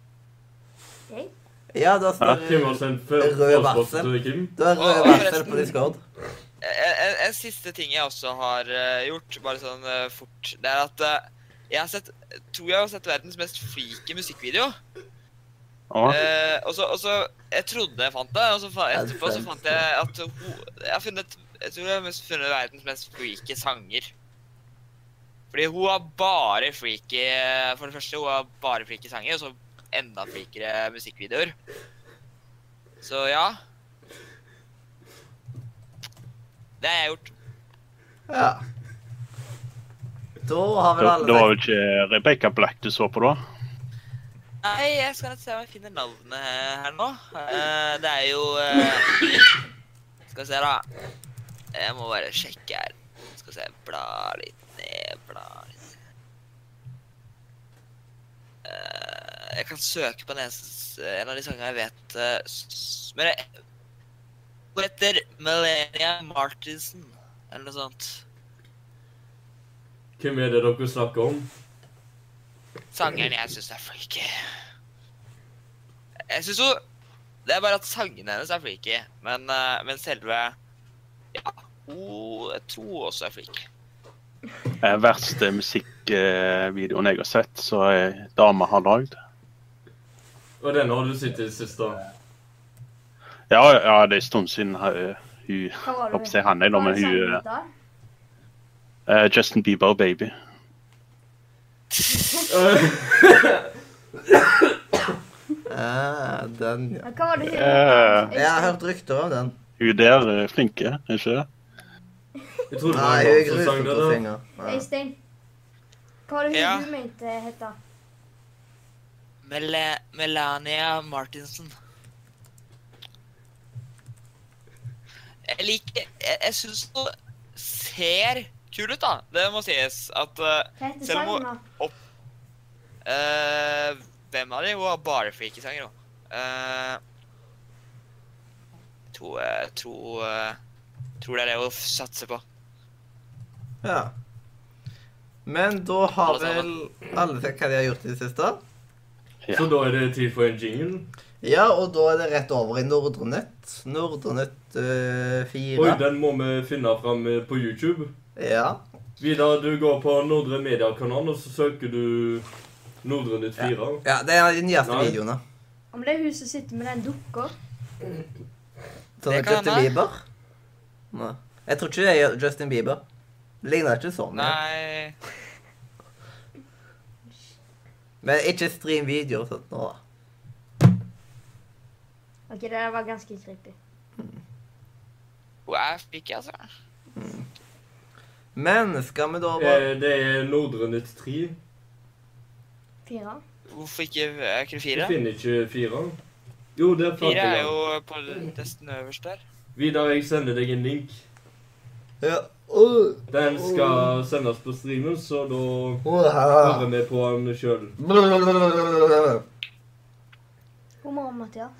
Speaker 3: Ok.
Speaker 1: Ja, da
Speaker 4: Eh,
Speaker 1: står
Speaker 2: Kim har sendt
Speaker 1: Rød
Speaker 2: forespørsel
Speaker 1: varsel.
Speaker 2: til Kim.
Speaker 1: Du har
Speaker 4: Å,
Speaker 1: rød varsel
Speaker 4: forresten.
Speaker 1: på Discord.
Speaker 4: en, en- en siste ting jeg også har eh, gjort, bare sånn eh, fort, det er at eh, jeg har sett, tror jeg har sett verdens mest freaky musikkvideo.
Speaker 5: Ja.
Speaker 4: Eh, og, så, og så, jeg trodde jeg fant det, og så, fa
Speaker 1: Ja, du
Speaker 4: etterpå så
Speaker 1: fant
Speaker 4: fant jeg at ho, jeg har funnet, jeg tror jeg har mest- funnet verdens mest freaky sanger. Fordi hun har bare freaky, eh, for det første, hun har bare freaky sanger, og så enda freakere musikkvideoer. Så ja. Det har jeg gjort.
Speaker 1: Ja. Da har
Speaker 5: Det,
Speaker 1: vel alle
Speaker 5: det var vel ikke Rebecca Black du så på da?
Speaker 4: Nei, jeg skal se om jeg finner navnet her nå. Eh, Det er jo eh, Skal vi se, da. Jeg må bare sjekke her. Skal vi se Bla litt ned, bla litt ned. Eh, Jeg kan søke på den eneste, en av de sangene jeg vet eh, s- Men jeg går etter Melania Martinsen eller noe sånt.
Speaker 2: Hvem er det dere snakker om?
Speaker 4: Sangeren jeg syns er freaky. Jeg syns jo Det er bare at sangene hennes er freaky, men, eh, men selve Ja, hun jeg tror også er freaky.
Speaker 5: Eh, verste musikkvideoen jeg har sett, som ei dame har lagd.
Speaker 2: Og denne har du sett i det siste.
Speaker 5: Ja, ja, det er en stund siden hun, hun
Speaker 3: Hva var
Speaker 5: Håper jeg han er da, men
Speaker 3: Hva
Speaker 5: hun,
Speaker 3: sangen der?
Speaker 5: eh, Justin Bieber, baby.
Speaker 1: Ah, den, ja.
Speaker 3: Men Hva var det hun
Speaker 5: Eh.
Speaker 1: Jeg har hørt rykter om den.
Speaker 5: Hun der er flinke, er ikke det?
Speaker 2: Jeg tror det
Speaker 1: Nei,
Speaker 2: var
Speaker 1: hun
Speaker 2: en
Speaker 1: er
Speaker 2: som
Speaker 1: grusom
Speaker 2: sang det.
Speaker 1: til å
Speaker 2: da.
Speaker 1: synge. Ja.
Speaker 3: Øystein. Hva var det hun
Speaker 4: Ja.
Speaker 3: du mente het, da?
Speaker 4: Mele Melania Martinsen. Jeg liker Jeg, jeg syns hun ser kul ut, da. Det må sies at eh,
Speaker 3: Hva heter
Speaker 4: Selv om hun-
Speaker 3: sangen, da?
Speaker 4: Eh, hvem av de? Hun har bare freaky-sanger, hun. Eh, jeg tror, jeg tror, eh, tror det er det hun satser på.
Speaker 1: Ja. Men da har
Speaker 4: Alle
Speaker 1: vel
Speaker 4: sammen.
Speaker 1: alle sett hva de har gjort i det siste?
Speaker 5: Ja.
Speaker 2: Så da er det tid for en jingle.
Speaker 1: Ja, og da er det rett over i Nordrenett. Nordrenett øh,
Speaker 2: Oi,
Speaker 1: 4.
Speaker 2: den må vi finne fram eh, på YouTube.
Speaker 1: Ja.
Speaker 2: Vidar, du går på Nordre Mediakanal, og så søker du Nordre Nytt 4.
Speaker 1: ja, det er de nyeste
Speaker 2: Nei.
Speaker 1: videoene.
Speaker 3: Om det er hun som sitter med den dukka?
Speaker 1: Sånn
Speaker 4: Det
Speaker 1: er
Speaker 4: kan
Speaker 1: Justin
Speaker 4: hende.
Speaker 1: Bieber. Nei. Jeg tror ikke det er Justin Bieber. Ligner ikke sånn. ja.
Speaker 4: Nei
Speaker 1: Men ikke stream videoer og sånt nå, da.
Speaker 3: Ok, det der var ganske creepy.
Speaker 4: Hun er freaky, altså.
Speaker 1: Men skal vi da bare
Speaker 2: Eh, det er Nordre Nytt 3.
Speaker 3: Fire?
Speaker 4: Hvorfor ikke er ikke
Speaker 2: Jeg
Speaker 4: det fire?
Speaker 2: finner ikke 4. Jo, der fant
Speaker 4: Fire er
Speaker 2: jeg den.
Speaker 4: jo på nesten øverst der.
Speaker 2: Vidar, jeg sender deg en link.
Speaker 1: ja. Åh,
Speaker 2: Den
Speaker 4: Oh.
Speaker 2: skal sendes på streamen, så da
Speaker 1: åh,
Speaker 2: hører
Speaker 1: her.
Speaker 2: vi på den sjøl.
Speaker 1: Blablabla.
Speaker 3: God morgen, Mathias.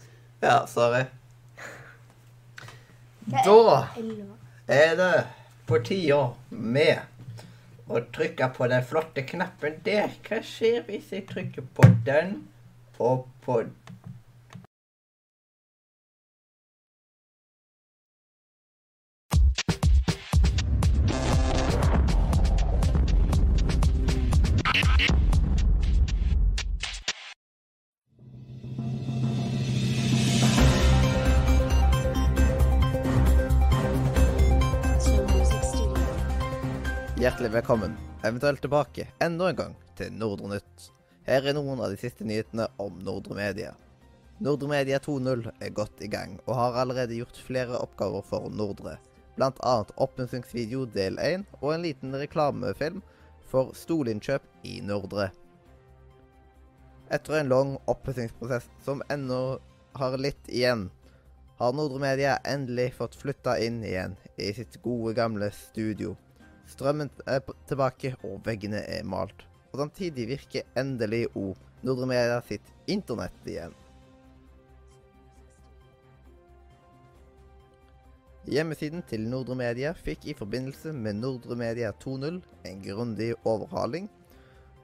Speaker 1: Ja, sorry.
Speaker 3: Hva er
Speaker 1: Da
Speaker 3: elleve?
Speaker 1: er det på tide med å trykke på den flotte knappen der. Hva skjer hvis jeg trykker på den og på Hjertelig velkommen, eventuelt tilbake enda en gang til Nordre Nytt. Her er noen av de siste nyhetene om Nordre Media. Nordre Media 2.0 er godt i gang, og har allerede gjort flere oppgaver for Nordre. Blant annet oppmuntringsvideo del 1 og en liten reklamefilm for stolinnkjøp i Nordre. Etter en lang oppussingsprosess som ennå har litt igjen, har Nordre Media endelig fått flytta inn igjen i sitt gode, gamle studio. Strømmen er p- tilbake, og veggene er malt. Og samtidig virker endelig O Nordre Media sitt internett igjen. Hjemmesiden til Nordre Media fikk i forbindelse med Nordre Media 2.0 en grundig overhaling,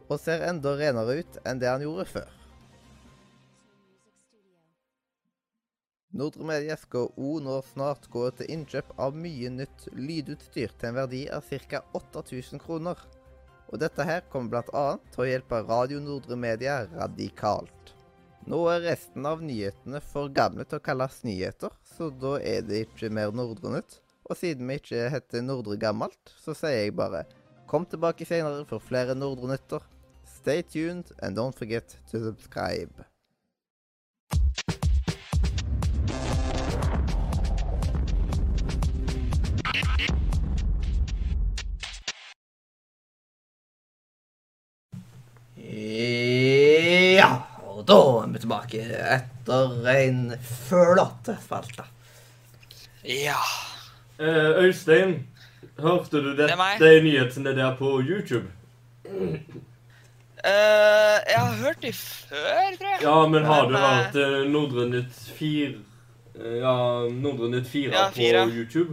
Speaker 1: og ser enda renere ut enn det han gjorde før. Nordre Media skal O nå snart gå til innkjøp av mye nytt lydutstyr til en verdi av ca. 8000 kroner. Og dette her kommer bl.a. til å hjelpe Radio Nordre Media radikalt. Nå er resten av nyhetene for gamle til å kalles nyheter, så da er det ikke mer Nordre Nytt. Og siden vi ikke heter Nordre Gammelt, så sier jeg bare kom tilbake senere for flere Nordre Nytter. Stay tuned and don't forget to subscribe. Ja, og Og da er vi tilbake etter en flotte spalte.
Speaker 4: Ja.
Speaker 2: Eh, Øystein, hørte du
Speaker 4: Det
Speaker 2: det,
Speaker 4: er meg.
Speaker 2: de nyhetene der på YouTube?
Speaker 4: Eh, jeg har hørt de før, tror jeg.
Speaker 2: Ja, men har du
Speaker 4: Men, eh,
Speaker 2: hørt eh, Nordre Nytt 4 eh, Ja, Nordre Nytt 4
Speaker 4: Ja,
Speaker 2: på
Speaker 4: fire.
Speaker 2: YouTube?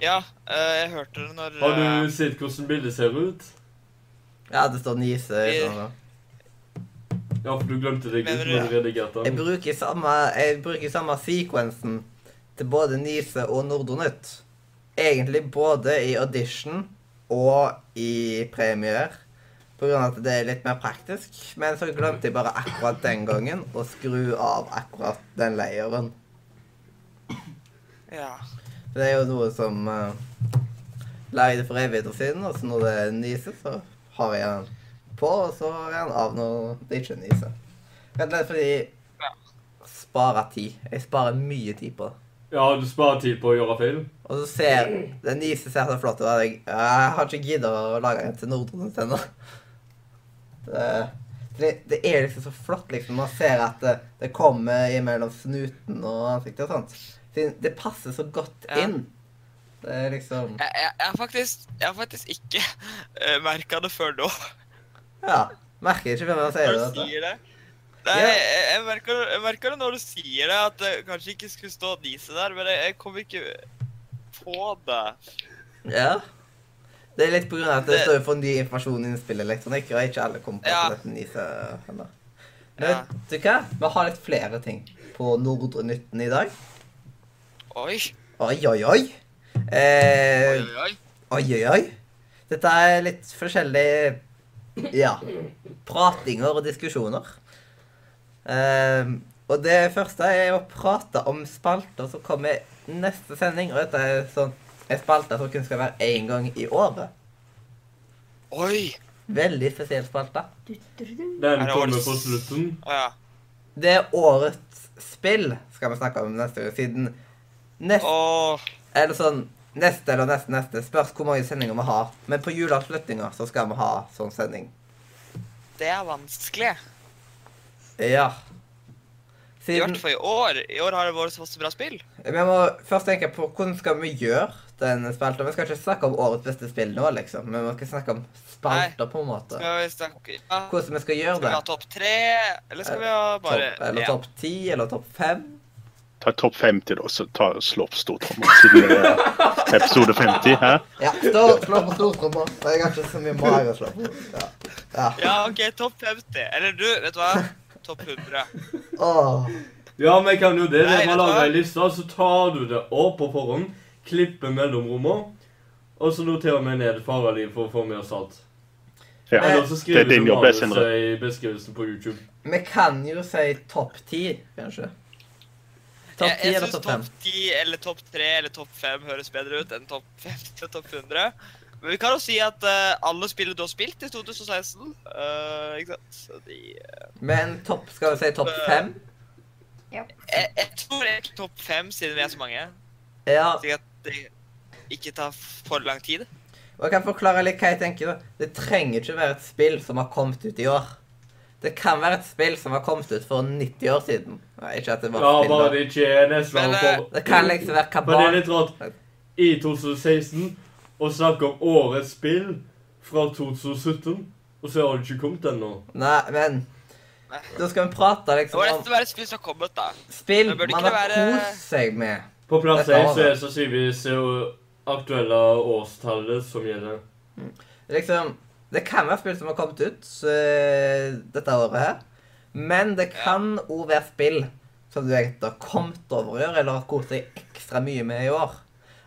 Speaker 4: Ja, eh, jeg hørte det når
Speaker 2: Har
Speaker 4: eh,
Speaker 2: du sett hvordan bildet ser ut?
Speaker 1: Ja, det står Nise.
Speaker 4: Vi-
Speaker 1: sånn da.
Speaker 2: Ja, for du glemte deg ut
Speaker 4: Mener
Speaker 2: når du
Speaker 4: du-
Speaker 2: redigerte
Speaker 1: Jeg
Speaker 2: den.
Speaker 1: bruker samme, jeg bruker samme sequensen til både Nise og Nordonytt. Egentlig både i audition og i premier. På grunn av at det er litt mer praktisk. Men så glemte jeg bare akkurat den gangen å skru av akkurat den layeren.
Speaker 4: Ja.
Speaker 1: Så Det er jo noe som uh, lagde for evigheter siden, og så når det er Nise, så har jeg den på, og så er den av når det ikke er Nise. Rett og slett fordi
Speaker 4: Ja.
Speaker 1: Spare tid. Jeg sparer mye tid på det.
Speaker 2: Ja, du sparer tid på å gjøre feil.
Speaker 1: Og så ser den nise ser så flott ut. og Jeg, jeg har ikke giddet å lage en til Nordrønnes ennå. Det, det, det er liksom så flott, liksom. Man ser at det, det kommer imellom snuten og ansiktet og sånt. Det, det passer så godt
Speaker 4: Ja.
Speaker 1: inn. Det er liksom
Speaker 4: Jeg, jeg, jeg, har faktisk, jeg har faktisk ikke uh, merka det før nå.
Speaker 1: Ja. Merker ikke hvem jeg sier
Speaker 4: Når
Speaker 1: det. altså.
Speaker 4: du
Speaker 1: vet du.
Speaker 4: sier det. Nei,
Speaker 1: Ja.
Speaker 4: jeg, jeg, merker, jeg merker det når du sier det, at det kanskje ikke skulle stå Nise der, men jeg, jeg kom ikke på det.
Speaker 1: Ja. Det er litt på grunn av at det
Speaker 4: Det-
Speaker 1: står for ny informasjon i innspillelektronikk, og ikke alle kommer på
Speaker 4: Ja.
Speaker 1: dette nise ennå.
Speaker 4: Ja.
Speaker 1: Men vet du hva? Vi har litt flere ting på Nordre Nytten i dag.
Speaker 4: Oi.
Speaker 1: Oi, oi, oi. Eh,
Speaker 4: Oi, oi.
Speaker 1: oi, oi, oi. Dette er litt forskjellige ja, pratinger og diskusjoner. Eh, og det første er å prate om spalter som kommer neste sending. Og dette er sånn en spalte som kun skal være én gang i året.
Speaker 4: Oi.
Speaker 1: Veldig spesiell spalte.
Speaker 3: Du, du, du, du.
Speaker 2: Den
Speaker 4: Er det
Speaker 2: kommer
Speaker 4: årets-
Speaker 2: på slutten.
Speaker 4: Å ja.
Speaker 1: Det er årets spill skal vi snakke om neste gang, siden neste
Speaker 4: Åh.
Speaker 1: Eller sånn Neste eller neste neste. Spørs hvor mange sendinger vi har. Men på juleavslutninga så skal vi ha sånn sending.
Speaker 4: Det er vanskelig.
Speaker 1: Ja.
Speaker 4: I
Speaker 1: Siden
Speaker 4: hvert fall i år. I år har det vært masse bra spill.
Speaker 1: Vi må først tenke på hvordan skal vi gjøre den spalta. Vi skal ikke snakke om årets beste spill nå, liksom. Men vi skal snakke om spalter, på en måte.
Speaker 4: Skal vi snakke ja.
Speaker 1: Hvordan vi skal gjøre
Speaker 4: Skal vi
Speaker 1: det. Eh,
Speaker 4: ha topp tre, eller skal vi ha bare
Speaker 1: Topp, eller
Speaker 4: én?
Speaker 1: topp ti, eller topp fem.
Speaker 5: Ta topp 50, da, så ta, slå opp stortromma siden det er episode 50. Hæ?
Speaker 1: Ja, stå, slå på stortromma. Jeg har ikke så mye mage å slå på. Ja. ja.
Speaker 4: Ja, OK, topp 50. Eller du, vet
Speaker 1: [laughs]
Speaker 4: du hva? Topp 100.
Speaker 1: Åh.
Speaker 2: Ja, men jeg kan jo det. Når
Speaker 4: Nei, vet
Speaker 2: man
Speaker 4: du
Speaker 2: lager
Speaker 4: hva?
Speaker 2: ei liste, så tar du det opp på forhånd, klipper mellomrommene, og så noterer vi ned fareliv for å få med oss alt.
Speaker 5: Ja.
Speaker 2: Eller så
Speaker 5: Det er
Speaker 2: skriver
Speaker 5: din
Speaker 2: du
Speaker 5: jobb, det,
Speaker 2: manuset
Speaker 5: Sindre.
Speaker 2: i beskrivelsen på YouTube.
Speaker 1: Vi kan jo si topp ti, kanskje. Topp
Speaker 4: Jeg,
Speaker 1: ti
Speaker 4: jeg
Speaker 1: eller
Speaker 4: syns
Speaker 1: topp fem.
Speaker 4: topp 10 eller topp 3 eller topp 5 høres bedre ut enn topp [laughs] 50 og topp 100. Men vi kan jo si at eh, alle spillene du har spilt i 2016 eh, Ikke sant? Så de,
Speaker 1: Men topp, skal vi si topp
Speaker 4: Topp, eh,
Speaker 1: fem?
Speaker 4: jeg, jeg tror det er topp 5 siden vi er så mange.
Speaker 1: Ja,
Speaker 4: Slik at det ikke tar for lang tid.
Speaker 1: og jeg kan forklare litt hva jeg tenker. da. Det trenger ikke være et spill som har kommet ut i år. Det kan være et spill som har kommet ut for 90 år siden. Nei, ikke at det var
Speaker 2: Ja,
Speaker 1: spill
Speaker 2: bare
Speaker 1: da.
Speaker 2: det ikke er nesten
Speaker 4: Men,
Speaker 2: for-
Speaker 4: eh,
Speaker 1: Det kan liksom være
Speaker 2: Men det er
Speaker 1: kabal.
Speaker 2: litt rart. I 2016 å snakke om årets spill fra 2017, og så har det ikke kommet ennå.
Speaker 1: Nei, men
Speaker 4: Nei.
Speaker 1: Da skal vi prate
Speaker 4: Det var
Speaker 1: liksom om
Speaker 4: nesten bare spill som har kommet, da.
Speaker 1: spill
Speaker 4: Men bør det
Speaker 1: man
Speaker 4: ikke
Speaker 1: har
Speaker 4: være-
Speaker 1: kost seg med.
Speaker 2: På plass
Speaker 1: Dette har
Speaker 2: 1 så
Speaker 1: det.
Speaker 2: er sannsynligvis eh, aktuelle årstallet som gjelder.
Speaker 1: Liksom, Det kan være spill som har kommet ut eh, dette året her. Men det kan òg være spill som du egentlig har kommet over i år, eller har kost deg ekstra mye med i år.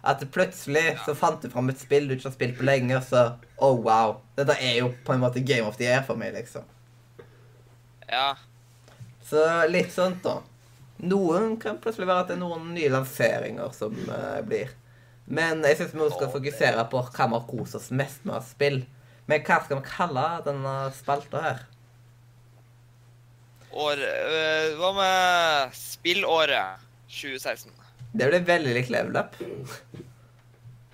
Speaker 1: At plutselig så fant du fram et spill du ikke har spilt på lenge, så Oh, wow. Dette er jo på en måte Game of the Year for meg, liksom.
Speaker 4: Ja.
Speaker 1: Så litt sånt, da. Noen kan plutselig være at det er noen nye lanseringer som eh, blir. Men jeg syns vi også skal fokusere på hva vi har kost oss mest med av spill. Men hva skal vi kalle denne spalta her?
Speaker 4: År, eh, hva med spillåret 2016?
Speaker 1: Det blir veldig likt level up.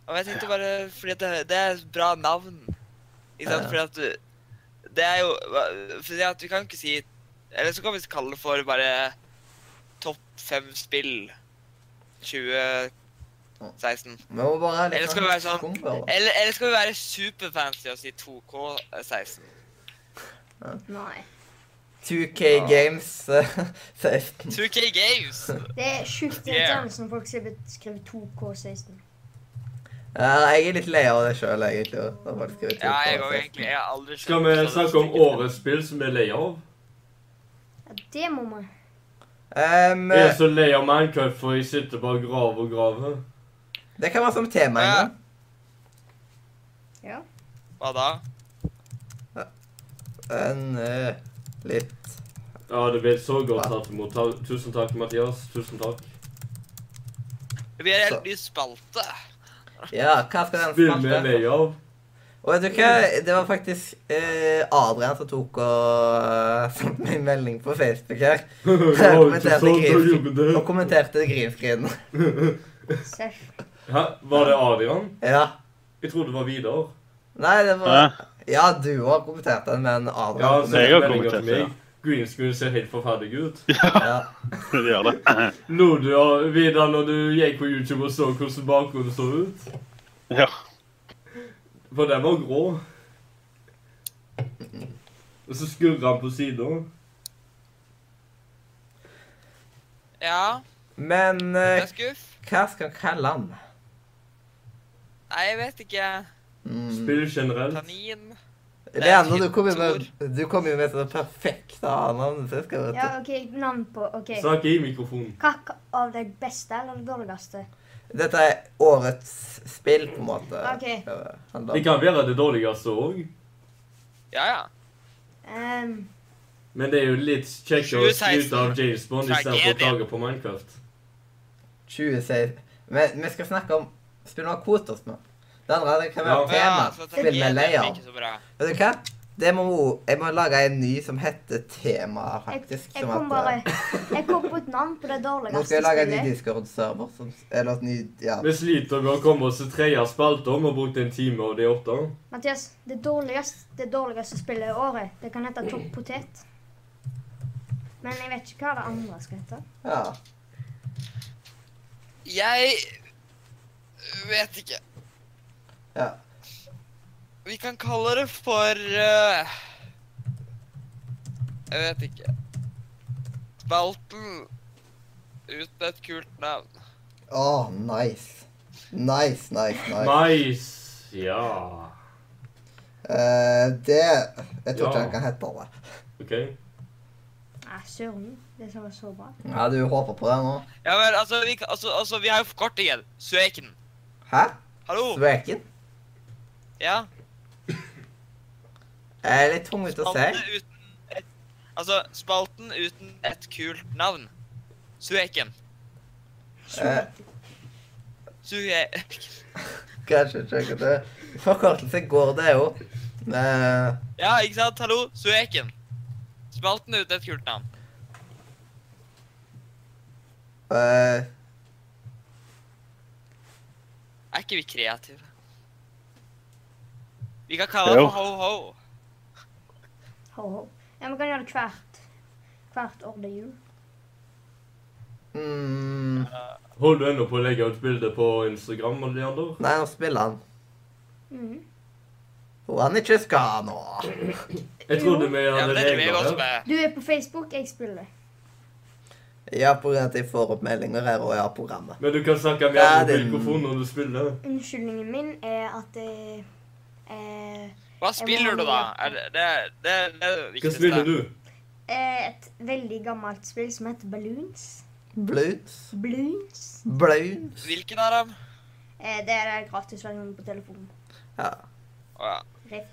Speaker 4: Og jeg tenkte bare, fordi at det, det er et bra navn. Ikke sant?
Speaker 1: Ja.
Speaker 4: Fordi at du Det er jo hva- Fordi at du kan ikke si Eller så kan vi kalle det for bare topp fem spill 2016.
Speaker 1: Vi må bare
Speaker 4: Eller
Speaker 1: liksom
Speaker 4: skal det være sånn-
Speaker 1: skumle, da.
Speaker 4: Eller, eller skal vi være superfancy og si 2K16?
Speaker 3: Nei.
Speaker 1: 2K Games eh, [laughs] 16.
Speaker 4: 2K
Speaker 1: [laughs]
Speaker 4: Games!
Speaker 3: Det er sjukt
Speaker 4: Yeah.
Speaker 3: irriterende når folk skriver, skriver 2K16.
Speaker 1: Ja, jeg er litt lei av det sjøl, egentlig. Når folk skriver
Speaker 4: Ja, jeg
Speaker 1: 2K
Speaker 4: går
Speaker 1: 16.
Speaker 4: egentlig. Jeg har aldri sånn
Speaker 2: Skal vi snakke om årets spill som vi er lei av?
Speaker 3: Ja, det må man.
Speaker 1: Em, eh,
Speaker 2: Jeg er så lei av Minecraft, for jeg sitter bare og graver og graver.
Speaker 1: det kan være som tema en gang.
Speaker 3: Ja.
Speaker 4: Hva da?
Speaker 1: En eh, litt
Speaker 2: Ja, det ble så godt tatt imot. Ta- Tusen takk, Mathias. Tusen takk.
Speaker 4: Det blir en helt
Speaker 1: Så.
Speaker 4: ny spalte.
Speaker 1: Ja, hva skal den
Speaker 2: Spill vi er lei
Speaker 1: spalte?
Speaker 2: av. [laughs]
Speaker 1: Og vet du hva, det var faktisk eh, Adrian som tok og eh, [laughs] sendte meg en melding på Facebook her.
Speaker 2: Det var jo ikke sånn du gjorde
Speaker 1: Og
Speaker 2: det.
Speaker 1: kommenterte greenfreen.
Speaker 3: Seff.
Speaker 2: [laughs] Hæ? Var det Adrian?
Speaker 1: [laughs] Ja.
Speaker 2: Jeg trodde det var Vidar.
Speaker 1: Nei, det
Speaker 5: Hæ?
Speaker 1: var Ja, du har kommentert den, men Adrian
Speaker 2: Ja,
Speaker 5: det er
Speaker 2: sendte
Speaker 5: jo
Speaker 2: meldinger til
Speaker 5: kommentert, ja.
Speaker 2: meg. Green screen ser helt forferdelig ut.
Speaker 1: ja.
Speaker 5: [laughs] De gjør det.
Speaker 2: Lo du av Vidar når du gikk på YouTube og så hvordan bakgrunnen så ut?
Speaker 5: Ja.
Speaker 2: For den var grå. Og så skurrer han på sida.
Speaker 4: Ja,
Speaker 1: Men
Speaker 4: det
Speaker 1: eh,
Speaker 4: er skuff.
Speaker 1: hva skal en kalle han?
Speaker 4: Nei, jeg vet ikke.
Speaker 1: Mm.
Speaker 2: Spill generelt.
Speaker 4: Kanin.
Speaker 1: Det ene du kom jo med Du kom jo med sånn perfekt navn. Så jeg skal
Speaker 3: Ja,
Speaker 1: vet
Speaker 3: OK, navn på OK.
Speaker 2: Snakk i mikrofonen.
Speaker 3: Hva av det beste eller det dårligste?
Speaker 1: du. Dette er årets spill, på en måte.
Speaker 3: Ok.
Speaker 1: skal det handle om.
Speaker 2: Det kan være det dårligste òg,
Speaker 4: Ja, ja.
Speaker 3: Ehm,
Speaker 2: men det er jo litt kjekkere å skryte av James Bond istedenfor å klage på Minecraft.
Speaker 1: 2016 Men vi skal snakke om spill vi har kost oss med. sånn. Det andre det kan være
Speaker 2: Ja.
Speaker 1: tema.
Speaker 4: så tenker
Speaker 1: Spill
Speaker 4: jeg
Speaker 1: med
Speaker 4: det blir
Speaker 1: layer.
Speaker 4: ikke så bra.
Speaker 1: Vet du hva? Det må, jeg må lage en ny som heter tema,
Speaker 3: jeg,
Speaker 1: faktisk.
Speaker 3: jeg
Speaker 1: som
Speaker 3: kom
Speaker 1: at,
Speaker 3: bare
Speaker 1: eh,
Speaker 3: Jeg kom på et navn på det
Speaker 1: Nå
Speaker 3: dårligste
Speaker 1: skal jeg lage en ny
Speaker 3: spillet.
Speaker 1: Discord-server. som- Eller et ny Ja.
Speaker 2: Vi sliter med å komme oss til tredje spalte om og brukt en time av de åtte.
Speaker 3: Mathias, det dårligste, det dårligste spillet i året, det kan hete Topp potet. Men jeg vet ikke hva det andre skal hete.
Speaker 1: ja.
Speaker 4: Jeg vet ikke.
Speaker 1: ja.
Speaker 4: Vi kan kalle det for eh, Jeg vet ikke. Spalten ut med et kult navn.
Speaker 1: Åh, nice. Nice, nice, nice.
Speaker 2: Nice. Ja.
Speaker 1: Eh, det Jeg tror ikke
Speaker 2: Ja.
Speaker 1: han kan hete det.
Speaker 2: OK.
Speaker 3: Nei, søren. Det som var så bra.
Speaker 1: Ja, du håper på det nå?
Speaker 4: Ja, men altså, vi, kan- altså, altså, vi har jo forkortingen. Søken.
Speaker 1: Hæ?
Speaker 4: Hallo?
Speaker 1: Sveken?
Speaker 4: Ja.
Speaker 1: Jeg er litt tvunget til å si.
Speaker 4: Spalten uten et, altså, spalten uten et kult navn. Sueken.
Speaker 1: Eh,
Speaker 4: Sue...
Speaker 1: kanskje ikke akkurat det. Forkortelse går, det jo. Eh,
Speaker 4: Ja, ikke sant? Hallo? Sueken. Spalten uten et kult navn.
Speaker 1: eh,
Speaker 4: Er ikke vi kreative? Vi kan kalle det
Speaker 5: Jo.
Speaker 4: for ho-ho.
Speaker 3: Ho, ho. Ja, vi kan gjøre det hvert, hvert år det er jul.
Speaker 1: mm,
Speaker 2: Holder du ennå på å legge ut bilde på Instagram? Leander?
Speaker 1: Nei, nå spiller han.
Speaker 3: Mhm.
Speaker 1: Hvor han ikke skal nå.
Speaker 2: Jeg trodde vi
Speaker 4: Ja, men
Speaker 2: hadde
Speaker 4: det driver jeg
Speaker 2: regler
Speaker 4: også
Speaker 2: her.
Speaker 4: med.
Speaker 3: Du er på Facebook, jeg spiller.
Speaker 1: Ja, på grunn av at jeg får opp meldinger her, og jeg har programmet.
Speaker 2: Men du kan snakke
Speaker 1: Ja,
Speaker 2: mer på
Speaker 1: det-
Speaker 2: mikrofonen når du spiller.
Speaker 3: Unnskyldningen min er at jeg eh,
Speaker 4: Hva spiller du, da? Er det, det, det, det er det
Speaker 2: Hva
Speaker 4: viktigste.
Speaker 2: spiller du?
Speaker 3: er et veldig gammelt spill som heter Balloons.
Speaker 1: Blues.
Speaker 3: Balloons.
Speaker 1: Blues.
Speaker 4: Hvilken av dem?
Speaker 3: Eh, det er det gratisversjonen på telefonen.
Speaker 1: Ja.
Speaker 4: Å ja.
Speaker 3: Rip.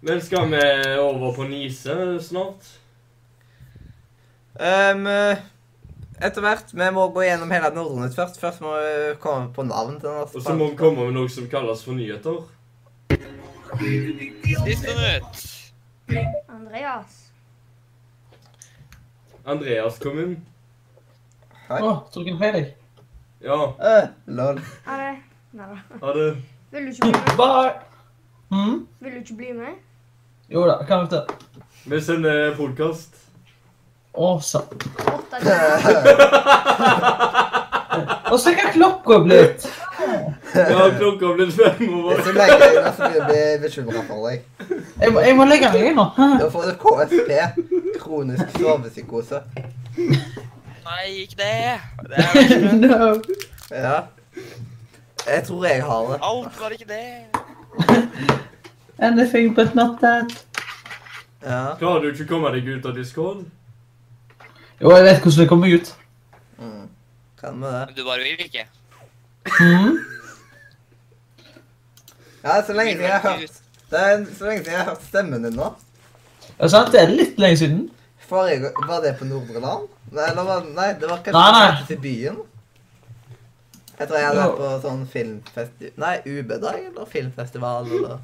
Speaker 2: Men skal vi over på Nise snart?
Speaker 1: Um, etter hvert, vi må gå gjennom hele Nordnytt først. Først må vi komme på navn til
Speaker 2: Og
Speaker 1: den.
Speaker 2: så må vi komme med noe som kalles for nyheter.
Speaker 4: Siste nytt.
Speaker 3: Andreas.
Speaker 2: Andreas kom inn.
Speaker 1: Hei.
Speaker 6: Å, tror du ikke hei deg?
Speaker 2: Ja,
Speaker 1: Eh, lol.
Speaker 3: Ha det. Nei da.
Speaker 2: ha det.
Speaker 3: Vil du ikke bli med?
Speaker 6: Bye! Mm?
Speaker 3: Vil du ikke bli med?
Speaker 6: Jo da, kan vi det.
Speaker 2: Vi sender podkast.
Speaker 6: Awesome.
Speaker 3: Åtte timer.
Speaker 6: Og så kan klokka blitt.
Speaker 2: Ja, klokka ble fem over.
Speaker 1: Hvis du legger deg inn, så blir jeg bli bekymra for deg.
Speaker 6: Jeg må, jeg må legge meg
Speaker 4: [laughs]
Speaker 6: nå.
Speaker 1: Da får du KSP. Kronisk sovepsykose.
Speaker 4: Nei, ikke det.
Speaker 2: [laughs]
Speaker 4: Det er vel ikke det.
Speaker 6: No.
Speaker 1: Ja. Jeg tror jeg har det.
Speaker 4: Alt var ikke det.
Speaker 6: Anything but not that.
Speaker 1: Ja.
Speaker 2: Klarer du ikke å komme deg ut av discord?
Speaker 6: Jo, jeg vet hvordan det kommer ut.
Speaker 1: Mm. Kan vi det.
Speaker 4: Men du bare vil ikke.
Speaker 6: Mhm.
Speaker 1: Ja, så lenge
Speaker 4: Vil
Speaker 1: siden jeg har
Speaker 4: ikke
Speaker 1: hørt
Speaker 4: ut.
Speaker 1: Det er så lenge siden jeg har hørt stemmen din nå.
Speaker 6: Ja, sant? Det er litt lenge siden.
Speaker 1: Forrige, var det på Nordre Land? Nei, eller var, nei det var kanskje
Speaker 6: Nei, nei.
Speaker 1: ute i byen? Jeg tror jeg hadde vært på sånn filmfesti... Nei, UB-dag eller filmfestival eller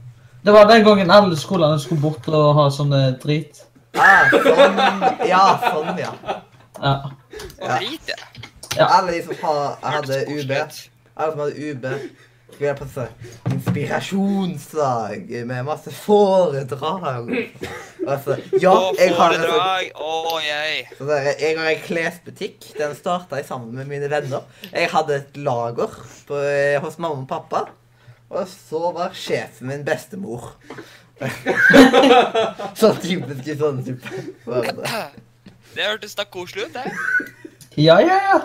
Speaker 6: Det var den gangen alle skolene skulle bort og ha sånne drit.
Speaker 1: ah, sånn, Ja, sånn, ja.
Speaker 6: Ja.
Speaker 4: Og
Speaker 1: Ja.
Speaker 4: drit, ja.
Speaker 1: Alle de som har, hadde
Speaker 4: Hørtes
Speaker 1: UB,
Speaker 4: koselig ut.
Speaker 1: alle som hadde UB, skulle være på sånn inspirasjonsdag med masse foredrag. Og så, ja,
Speaker 4: Og
Speaker 1: jeg har en sånn
Speaker 4: foredrag. Å, jeg.
Speaker 1: Så der, jeg har en klesbutikk. Den starta jeg sammen med mine venner. Jeg hadde et lager på, eh, hos mamma og pappa. Og så var sjefen min bestemor. [laughs] sånn typisk i sånne type. var det.
Speaker 4: [laughs] Det hørtes da koselig ut, det.
Speaker 6: Ja, ja,
Speaker 4: [laughs]
Speaker 6: ja.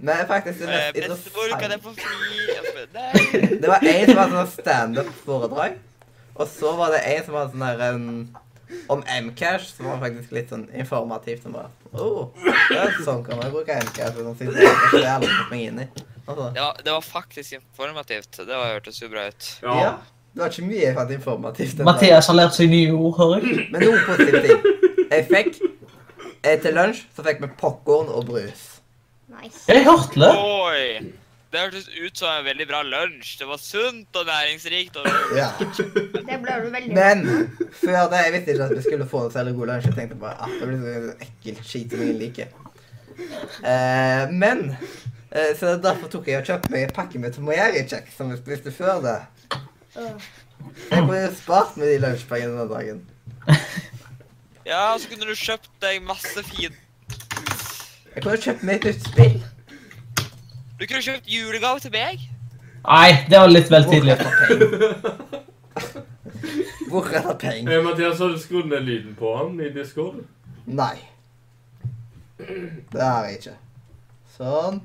Speaker 1: Men faktisk det
Speaker 4: Eh,
Speaker 1: mest
Speaker 4: Bestemor, kan
Speaker 1: interessante
Speaker 4: jeg få fri? Altså, Nei.
Speaker 1: Det var en som hadde sånn standup-foredrag. Og så var det en som hadde sånn der en, om Mcash, som var faktisk litt sånn informativt. Som bare oh, ja, Sånn kan man bruke Mcash. Og sånn, så det har jeg aldri fått meg inn i. Og så-
Speaker 4: Det var, det var faktisk informativt. Det var, hørtes jo bra ut.
Speaker 1: Ja. Det var ikke mye jeg fant informativt. den
Speaker 6: Mathias har lært seg nye ord, hører jeg.
Speaker 1: dagen. Men noen positive ting. Jeg fikk eh, Til lunsj så fikk vi popkorn og brus.
Speaker 3: Nice.
Speaker 6: Jeg hørte det.
Speaker 4: Oi! Det hørtes ut som en veldig bra lunsj. Det var sunt og næringsrikt. Og...
Speaker 1: Ja.
Speaker 3: Det ble du veldig
Speaker 1: Men før det Jeg visste ikke at vi skulle få en særlig god lunsj. Jeg tenkte bare at det blir så ekkelt skit som ingen liker. Eh, men eh, Så derfor tok jeg og kjøpte meg en pakke med tomoyeri-kjeks som jeg spiste før det.
Speaker 3: Øh.
Speaker 1: Jeg kunne jo spart med de lunsjpengene den dagen.
Speaker 4: Ja, så kunne du kjøpt deg masse fin...
Speaker 1: Jeg kunne jo kjøpt meg et nytt spill.
Speaker 4: Du kunne kjøpt julegave til meg.
Speaker 6: Nei, det var litt vel
Speaker 1: Hvor
Speaker 6: tidlig.
Speaker 1: er det penger? Hvor er det penger?
Speaker 2: [laughs] Eh, Mathias, har du skrudd ned lyden på han i discord?
Speaker 1: Nei. Det har jeg ikke. Sånn.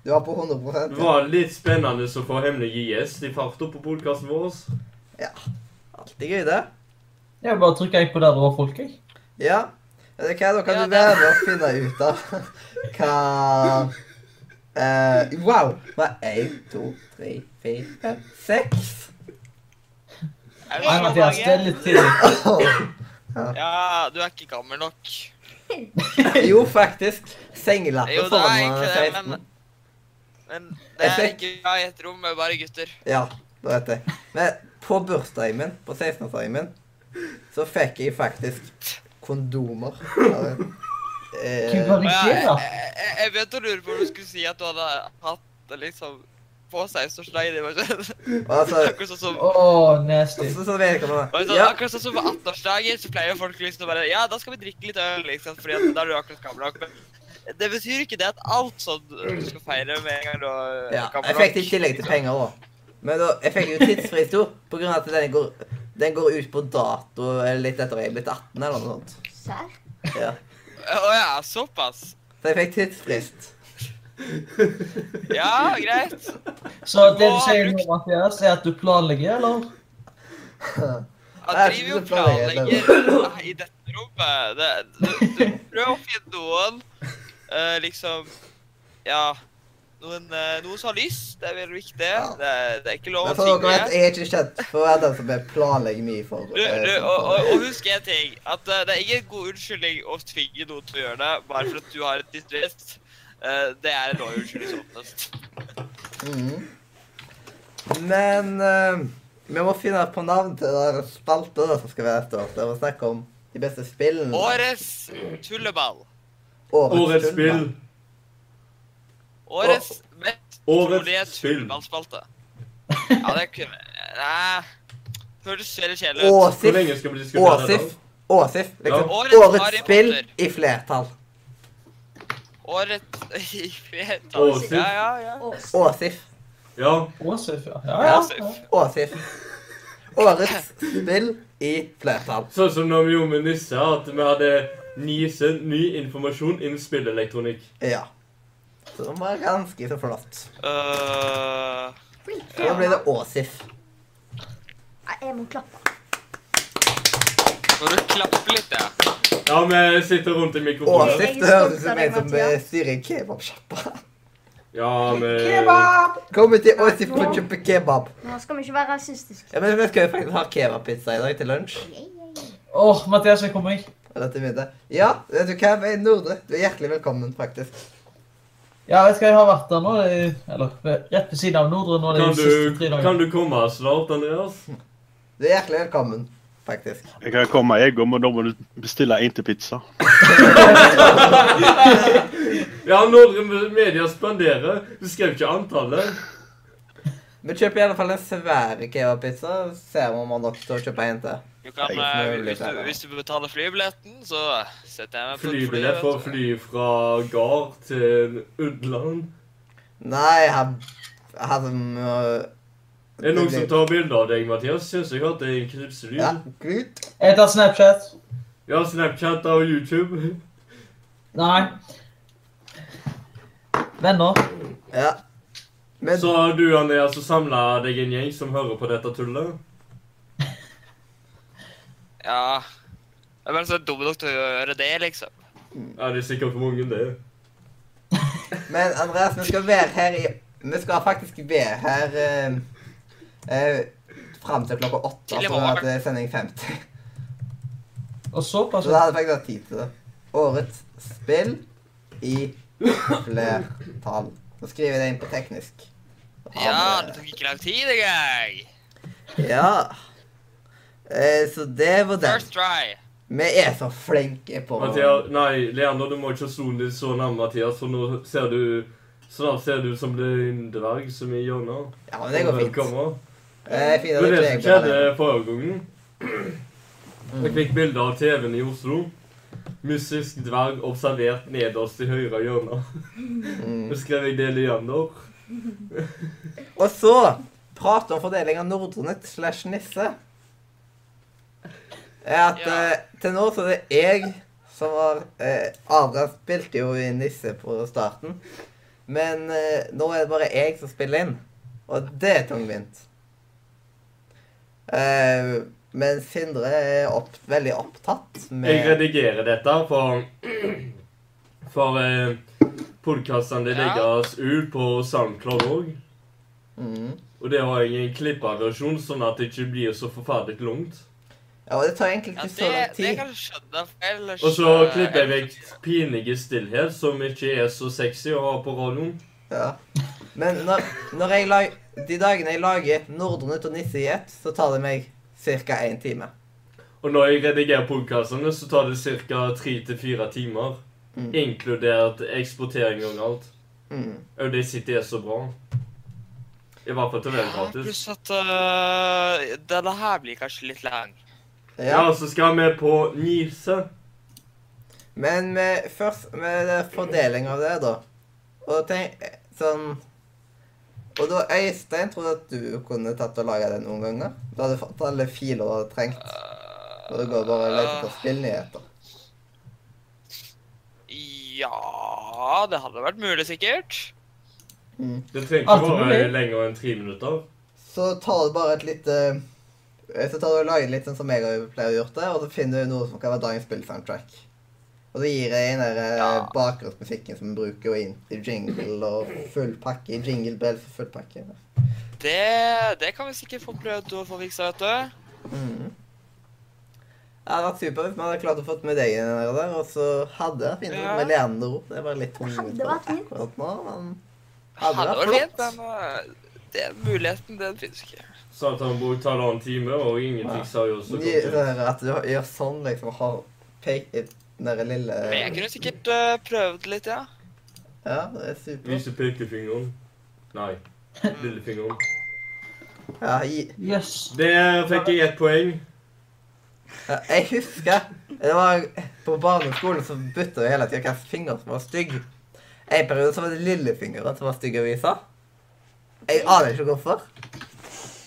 Speaker 1: Du var på 100
Speaker 2: Det
Speaker 1: ja.
Speaker 2: var litt spennende å få hemmelige gjest i farta på podkasten vår.
Speaker 1: Alltid gøy, det.
Speaker 6: Jeg bare trykka jeg på der det var folk, jeg.
Speaker 1: Ja. Vet du hva, da kan
Speaker 4: Ja,
Speaker 1: du
Speaker 4: det-
Speaker 1: være med og finne ut av [laughs] hva eh, Wow! Det var én, to, tre, fire, fem, seks.
Speaker 4: [coughs] Er det
Speaker 6: Nei,
Speaker 4: så
Speaker 6: Mathias, det er
Speaker 4: mange?
Speaker 6: litt tidlig.
Speaker 4: Ja, du er ikke gammel nok.
Speaker 1: Jo, faktisk. Sengelatter
Speaker 4: Jo, det er
Speaker 1: foran
Speaker 4: egentlig det,
Speaker 1: 16.
Speaker 4: men Men det er
Speaker 1: Jeg fikk-
Speaker 4: ikke bra i et rom med bare gutter.
Speaker 1: Ja, det vet jeg. Men på bursdagen min, på 16-årsdagen min, så fikk jeg faktisk
Speaker 6: [laughs]
Speaker 1: kondomer. Ja,
Speaker 6: Hva
Speaker 1: eh,
Speaker 6: var
Speaker 4: Og
Speaker 6: det
Speaker 4: jeg,
Speaker 6: skjer, da?
Speaker 4: jeg, jeg, jeg begynte å lure på om du skulle si at du hadde hatt det liksom på 16-årsdagen din. bare sånn.
Speaker 1: og altså,
Speaker 4: [laughs] Akkurat sånn som
Speaker 6: Å, nasty.
Speaker 1: så, så vet jeg hva
Speaker 4: Og
Speaker 1: det
Speaker 4: så,
Speaker 1: var. Ja,
Speaker 4: Akkurat sånn som på 18-årsdager, så pleier jo folk liksom å bare Ja, da skal vi drikke litt øl, liksom, fordi at da er du akkurat gammel nok. Men det betyr ikke det at alt sånn du skal feire med en gang du er
Speaker 1: ja.
Speaker 4: gammel
Speaker 1: Jeg fikk det i
Speaker 4: nok,
Speaker 1: tillegg til penger òg. Men da, jeg fikk jo tidsfrist òg, på grunn av at den går, den går ut på dato eller litt etter at jeg er blitt 18 eller noe sånt.
Speaker 3: Serr?
Speaker 1: Ja.
Speaker 4: Å ja, såpass.
Speaker 1: Så jeg fikk tidsfrist.
Speaker 6: [laughs]
Speaker 4: Ja, greit.
Speaker 6: Så det du sier nå, Mathias, er at du planlegger, eller?
Speaker 4: Han
Speaker 1: Jeg
Speaker 4: driver jo og
Speaker 1: synes det er
Speaker 4: planlegger [laughs] i dette rommet. Det, du, du prøver å finne noen eh, liksom Ja. Noen, eh, noen som har lyst, det er veldig viktig.
Speaker 1: Ja.
Speaker 4: Det, det er ikke lov å
Speaker 1: Men så
Speaker 4: tvinge.
Speaker 1: dere vet, jeg er ikke kjent for å være den som jeg planlegger mye for.
Speaker 4: Du,
Speaker 1: eh,
Speaker 4: du,
Speaker 1: sånn
Speaker 4: og, og,
Speaker 1: for-
Speaker 4: og husk en ting, at eh, det er ingen god unnskyldning å tvinge noen til å gjøre det, bare for at du har et distress. Eh, det er en dårlig unnskyldning som oftest.
Speaker 1: Mhm. Mm. Men eh, vi må finne på navn til den spalta da, som skal være neste år. Der vi snakker om de beste spillene.
Speaker 4: Årets tulleball.
Speaker 1: Årets
Speaker 2: Årets
Speaker 1: tull,
Speaker 2: spill.
Speaker 1: da.
Speaker 4: Årets mest
Speaker 2: Årets
Speaker 4: trolige
Speaker 2: spill.
Speaker 4: tulleballspalte. Ja, det kunne Nei. Eh, Hørtes veldig kjedelig ut.
Speaker 1: Åsif.
Speaker 2: Hvor lenge skal vi diskutere det?
Speaker 1: Åsif. Åsif. Liksom,
Speaker 4: Ja. Årets
Speaker 1: årets
Speaker 4: Harry
Speaker 1: spill
Speaker 4: Potter.
Speaker 1: i flertall.
Speaker 4: Året Jeg vet
Speaker 2: Åsif.
Speaker 4: ikke. [laughs] Ja, ja, ja.
Speaker 3: Ås.
Speaker 1: Åsif.
Speaker 2: Ja.
Speaker 6: Åsif, ja. Ja,
Speaker 4: Ja,
Speaker 6: ja.
Speaker 4: Åsif.
Speaker 1: Åsif. Årets spill i flertall.
Speaker 2: Sånn som når vi gjorde med Nisse, at vi hadde nise ny informasjon innen spillelektronikk.
Speaker 1: Ja. Som var ganske så flott.
Speaker 4: Øh,
Speaker 3: Flink.
Speaker 1: Da blir det Åsif.
Speaker 3: Nei, Jeg må klappe.
Speaker 4: Må du klappe litt, ja?
Speaker 2: Ja, vi sitter rundt i mikrofonen.
Speaker 3: Åh.
Speaker 1: Åsif, det høres ut som
Speaker 3: Jeg
Speaker 1: en
Speaker 3: er stolt av deg,
Speaker 1: som eh, styrer en kebabsjappa.
Speaker 2: Ja, vi
Speaker 1: Kommer til Åsif for å kjøpe kebab.
Speaker 3: Nå skal vi ikke være rasistiske.
Speaker 1: Ja, men Vi skal jo faktisk ha kebabpizza i dag til lunsj.
Speaker 6: Åh, Mathias, jeg kommer ikke.
Speaker 1: Eller til middag. Ja, vet du hva, vi er Nordre. Du er hjertelig velkommen, faktisk.
Speaker 6: Ja, vet du hva, jeg har vært der nå, det er- eller rett ved siden av Nordre nå de
Speaker 2: Kan
Speaker 6: siste
Speaker 2: du,
Speaker 6: tre
Speaker 2: kan
Speaker 6: dagene.
Speaker 2: du komme snart, Andreas?
Speaker 1: Du er hjertelig velkommen, faktisk.
Speaker 5: Jeg kan komme, jeg òg, men da må du bestille én til pizza.
Speaker 2: Ja, Nordre Media spanderer. Du skrev ikke antallet.
Speaker 1: Vi kjøper i alle fall en svær kebabpizza. Ser om man har nok til å kjøpe en til.
Speaker 4: Du kan,
Speaker 5: Jeg
Speaker 1: er
Speaker 4: eh, hvis,
Speaker 1: litt
Speaker 4: du,
Speaker 1: ærlig.
Speaker 4: hvis du betaler flybilletten, så setter jeg meg på et fly.
Speaker 2: Flybillett for å
Speaker 4: vet du.
Speaker 2: fly fra gard til Udland.
Speaker 1: Nei, jeg hadde øh,
Speaker 2: Er det noen som tar bilde av deg, Mathias? Syns jeg hørte en knipselyd.
Speaker 1: Ja,
Speaker 2: Ja.
Speaker 1: gud.
Speaker 6: Jeg tar Snapchat.
Speaker 2: Snapchat og YouTube. [laughs]
Speaker 6: Nei. Venner.
Speaker 1: Ja. Men
Speaker 2: Så du, Andreas, så samla deg en gjeng som hører på dette tullet?
Speaker 4: Ja. Det er bare så dumt nok til å gjøre det, liksom.
Speaker 2: Ja, det er sikkert mange, det.
Speaker 1: Men Andreas, vi skal være her i Vi skal faktisk være her eh, eh, fram til klokka åtte.
Speaker 4: Til i
Speaker 1: Altså at
Speaker 4: morgen.
Speaker 1: det er sending 50.
Speaker 6: Og såpass.
Speaker 1: Så da hadde jeg faktisk hatt tid til det. Årets spill i flertall. Nå skriver jeg det inn på teknisk. eh,
Speaker 4: Ja, det tok ikke lang tid engang.
Speaker 1: ja. Eh, så det var den.
Speaker 4: First try.
Speaker 1: Vi er så flinke på
Speaker 2: Mathias, nei, Leander, du må ikke sone deg så nær Mathias, for nå ser du Snart ser du ut som det er en dverg som er i hjørnet.
Speaker 1: Ja, men det går fint.
Speaker 2: Velkommen.
Speaker 1: Eh, fint at
Speaker 2: Det var det
Speaker 1: ikke jeg
Speaker 2: som
Speaker 1: Mm. ble
Speaker 2: skjedde forrige gangen. Jeg fikk bilde av TV-en i Oslo. Mystisk dverg observert nederst i høyre hjørne.
Speaker 1: Mm.
Speaker 2: Så skrev jeg det Leander.
Speaker 1: Og så prat om fordeling av Nordrenett slash Nisse. Er at
Speaker 4: Ja.
Speaker 1: eh, til nå så er det jeg som var eh, Adrian spilte jo i Nisse på starten. Men eh, nå er det bare jeg som spiller inn. Og det er tungvint. Eh, men Sindre er opp, veldig opptatt
Speaker 2: Jeg
Speaker 1: med
Speaker 2: redigerer dette for For eh, podkastene
Speaker 4: Ja.
Speaker 2: legges ut på SoundCloud òg.
Speaker 1: mm.
Speaker 2: Og det har jeg en klippaversjon, sånn at det ikke blir så forferdelig langt.
Speaker 1: Ja, og det tar egentlig
Speaker 4: Ja,
Speaker 1: ikke så lang
Speaker 4: det, det
Speaker 1: tid.
Speaker 4: kan du skjønne. for Ellers
Speaker 2: Og så
Speaker 4: eh,
Speaker 2: klipper jeg vekk pinlige stillhet, som ikke er så sexy å ha på radioen.
Speaker 1: Ja. Men når, når jeg lag, de dagene jeg lager Nordrenut og Nisse i ett, så tar det meg ca. én time.
Speaker 2: Og når jeg redigerer podkastene, så tar det ca. tre til fire timer.
Speaker 1: Mm.
Speaker 2: Inkludert eksportering og alt.
Speaker 1: Mm.
Speaker 2: Og det sitter er så bra. I hvert fall til veldig
Speaker 4: Ja,
Speaker 2: gratis.
Speaker 4: pluss at eh, denne her blir kanskje litt lang.
Speaker 1: Ja.
Speaker 2: Ja, så skal vi på Nise.
Speaker 1: Men med, først med det fordeling av det, da. Og tenk sånn Og da Øystein trodde at du kunne tatt og laga den noen ganger. Du hadde fått alle filer du hadde trengt. Og det går bare å lete etter spillnyheter.
Speaker 4: Ja Det hadde vært mulig, sikkert.
Speaker 2: Det trenger
Speaker 6: Alt er
Speaker 2: ikke være
Speaker 6: mulig.
Speaker 2: lenger enn tre minutter.
Speaker 1: Så tar du bare et lite Så tar du og lager litt sånn som jeg har pleier å gjort det, og så finner du noe som kan være dagens spillsoundtrack. Og så gir jeg den der ja.
Speaker 4: Ja.
Speaker 1: bakgrunnsmusikken som vi bruker, og inn til jingle og full pakke. Jinglebell for full pakke.
Speaker 4: Det, det kan vi sikkert få prøvd å få fiksa, vet du. Mm.
Speaker 1: Mhm. Det hadde vært supert hvis vi hadde klart å få med deg inn der, og der, og så hadde jeg fint
Speaker 4: Ja.
Speaker 1: med Leander opp. Det er bare litt tungt
Speaker 3: Hadde vært fint.
Speaker 1: akkurat nå, men
Speaker 4: Hadde vært fint,
Speaker 1: flott.
Speaker 4: men eh, den muligheten, den finnes ikke.
Speaker 2: Sa at han brukte halvannen time, og ingenting
Speaker 1: Ja.
Speaker 2: seriøst. og
Speaker 1: Ny-
Speaker 2: godt.
Speaker 1: det der At du gjør sånn, liksom, har pek... Den derre lille
Speaker 4: Men jeg kunne sikkert eh, prøvd litt, ja.
Speaker 1: Ja, det er supert.
Speaker 2: Vise pekefingeren. Nei. Lillefingeren.
Speaker 1: Ja, gi...
Speaker 6: Yes.
Speaker 2: Der fikk jeg ett poeng.
Speaker 1: Ja, Jeg husker det var På barneskolen så bytta vi hele tida hvilken finger som var stygg. En periode så var det lillefingeren som var stygg å vise. Jeg aner ikke hvorfor.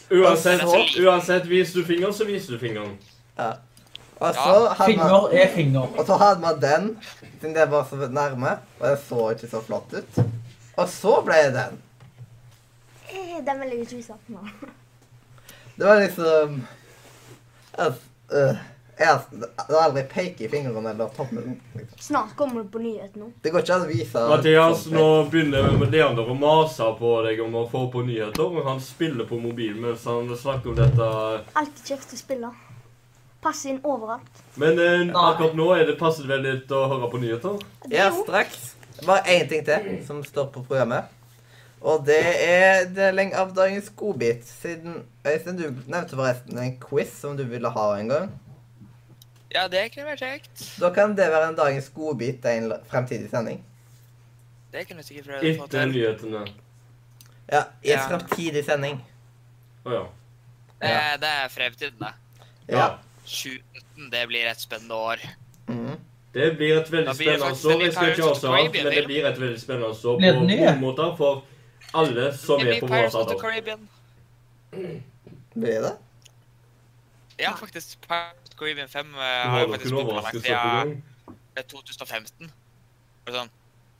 Speaker 2: Uansett,
Speaker 4: Altså-
Speaker 2: uansett viser du fingeren, så viser du fingeren.
Speaker 1: Og så hadde man,
Speaker 6: Finger er finger.
Speaker 1: og så hadde man den, siden det var så nærme. Og den så ikke så flott ut. Og så ble det den.
Speaker 3: Eh, Den vil jeg ikke vise nå.
Speaker 1: Det var liksom jeg, øh, jeg, Det var aldri peke i fingeren eller toppen. liksom.
Speaker 3: Snart kommer det på nyhetene.
Speaker 1: Det går ikke an å vise sånn
Speaker 2: Mathias, nå begynner Leander å mase på deg om å få på nyheter. og Han spiller på mobilen mens han snakker om dette.
Speaker 3: Alltid kjekt å spille. Passe inn overalt.
Speaker 2: Men eh, akkurat nå er det passet vel litt å høre på nyheter.
Speaker 3: Det
Speaker 1: Ja,
Speaker 3: er jo-
Speaker 1: straks. Bare én ting til som står på programmet. Og det er deling av dagens godbit. Siden Øystein, du nevnte forresten en quiz som du ville ha en gang.
Speaker 4: Ja, det kunne vært kjekt.
Speaker 1: Da kan det være en dagens godbit til en l- fremtidig sending.
Speaker 4: Det kunne jeg sikkert prøvd å få
Speaker 2: Etter
Speaker 4: til.
Speaker 2: nyhetene.
Speaker 1: Ja, i en
Speaker 4: Ja.
Speaker 1: fremtidig sending.
Speaker 2: Å ja.
Speaker 4: Det, er- Eh, det er fremtiden, da.
Speaker 2: ja.
Speaker 4: 2019, det blir et spennende år.
Speaker 1: Mhm.
Speaker 2: Det blir et veldig
Speaker 4: Da blir det
Speaker 2: spennende
Speaker 4: faktisk
Speaker 2: år.
Speaker 4: veldig
Speaker 2: Jeg skal ikke
Speaker 4: Pirates of the
Speaker 2: avsløre alt,
Speaker 4: Caribbean,
Speaker 2: men det
Speaker 4: vel?
Speaker 2: blir et veldig spennende år
Speaker 6: Blir det
Speaker 2: på
Speaker 6: nye?
Speaker 2: mange måter for alle som
Speaker 4: Det
Speaker 2: er
Speaker 4: blir
Speaker 2: på vår
Speaker 4: Pirates of the
Speaker 2: alder.
Speaker 4: Caribbean.
Speaker 1: Blir det?
Speaker 4: Ja, faktisk. Pirates of the Caribbean 5 eh,
Speaker 2: Du
Speaker 4: har
Speaker 2: har
Speaker 4: jo
Speaker 2: nok
Speaker 4: faktisk
Speaker 2: en
Speaker 4: blitt planlagt
Speaker 2: overraskelse på gang.
Speaker 4: siden 2015. Og Sånn.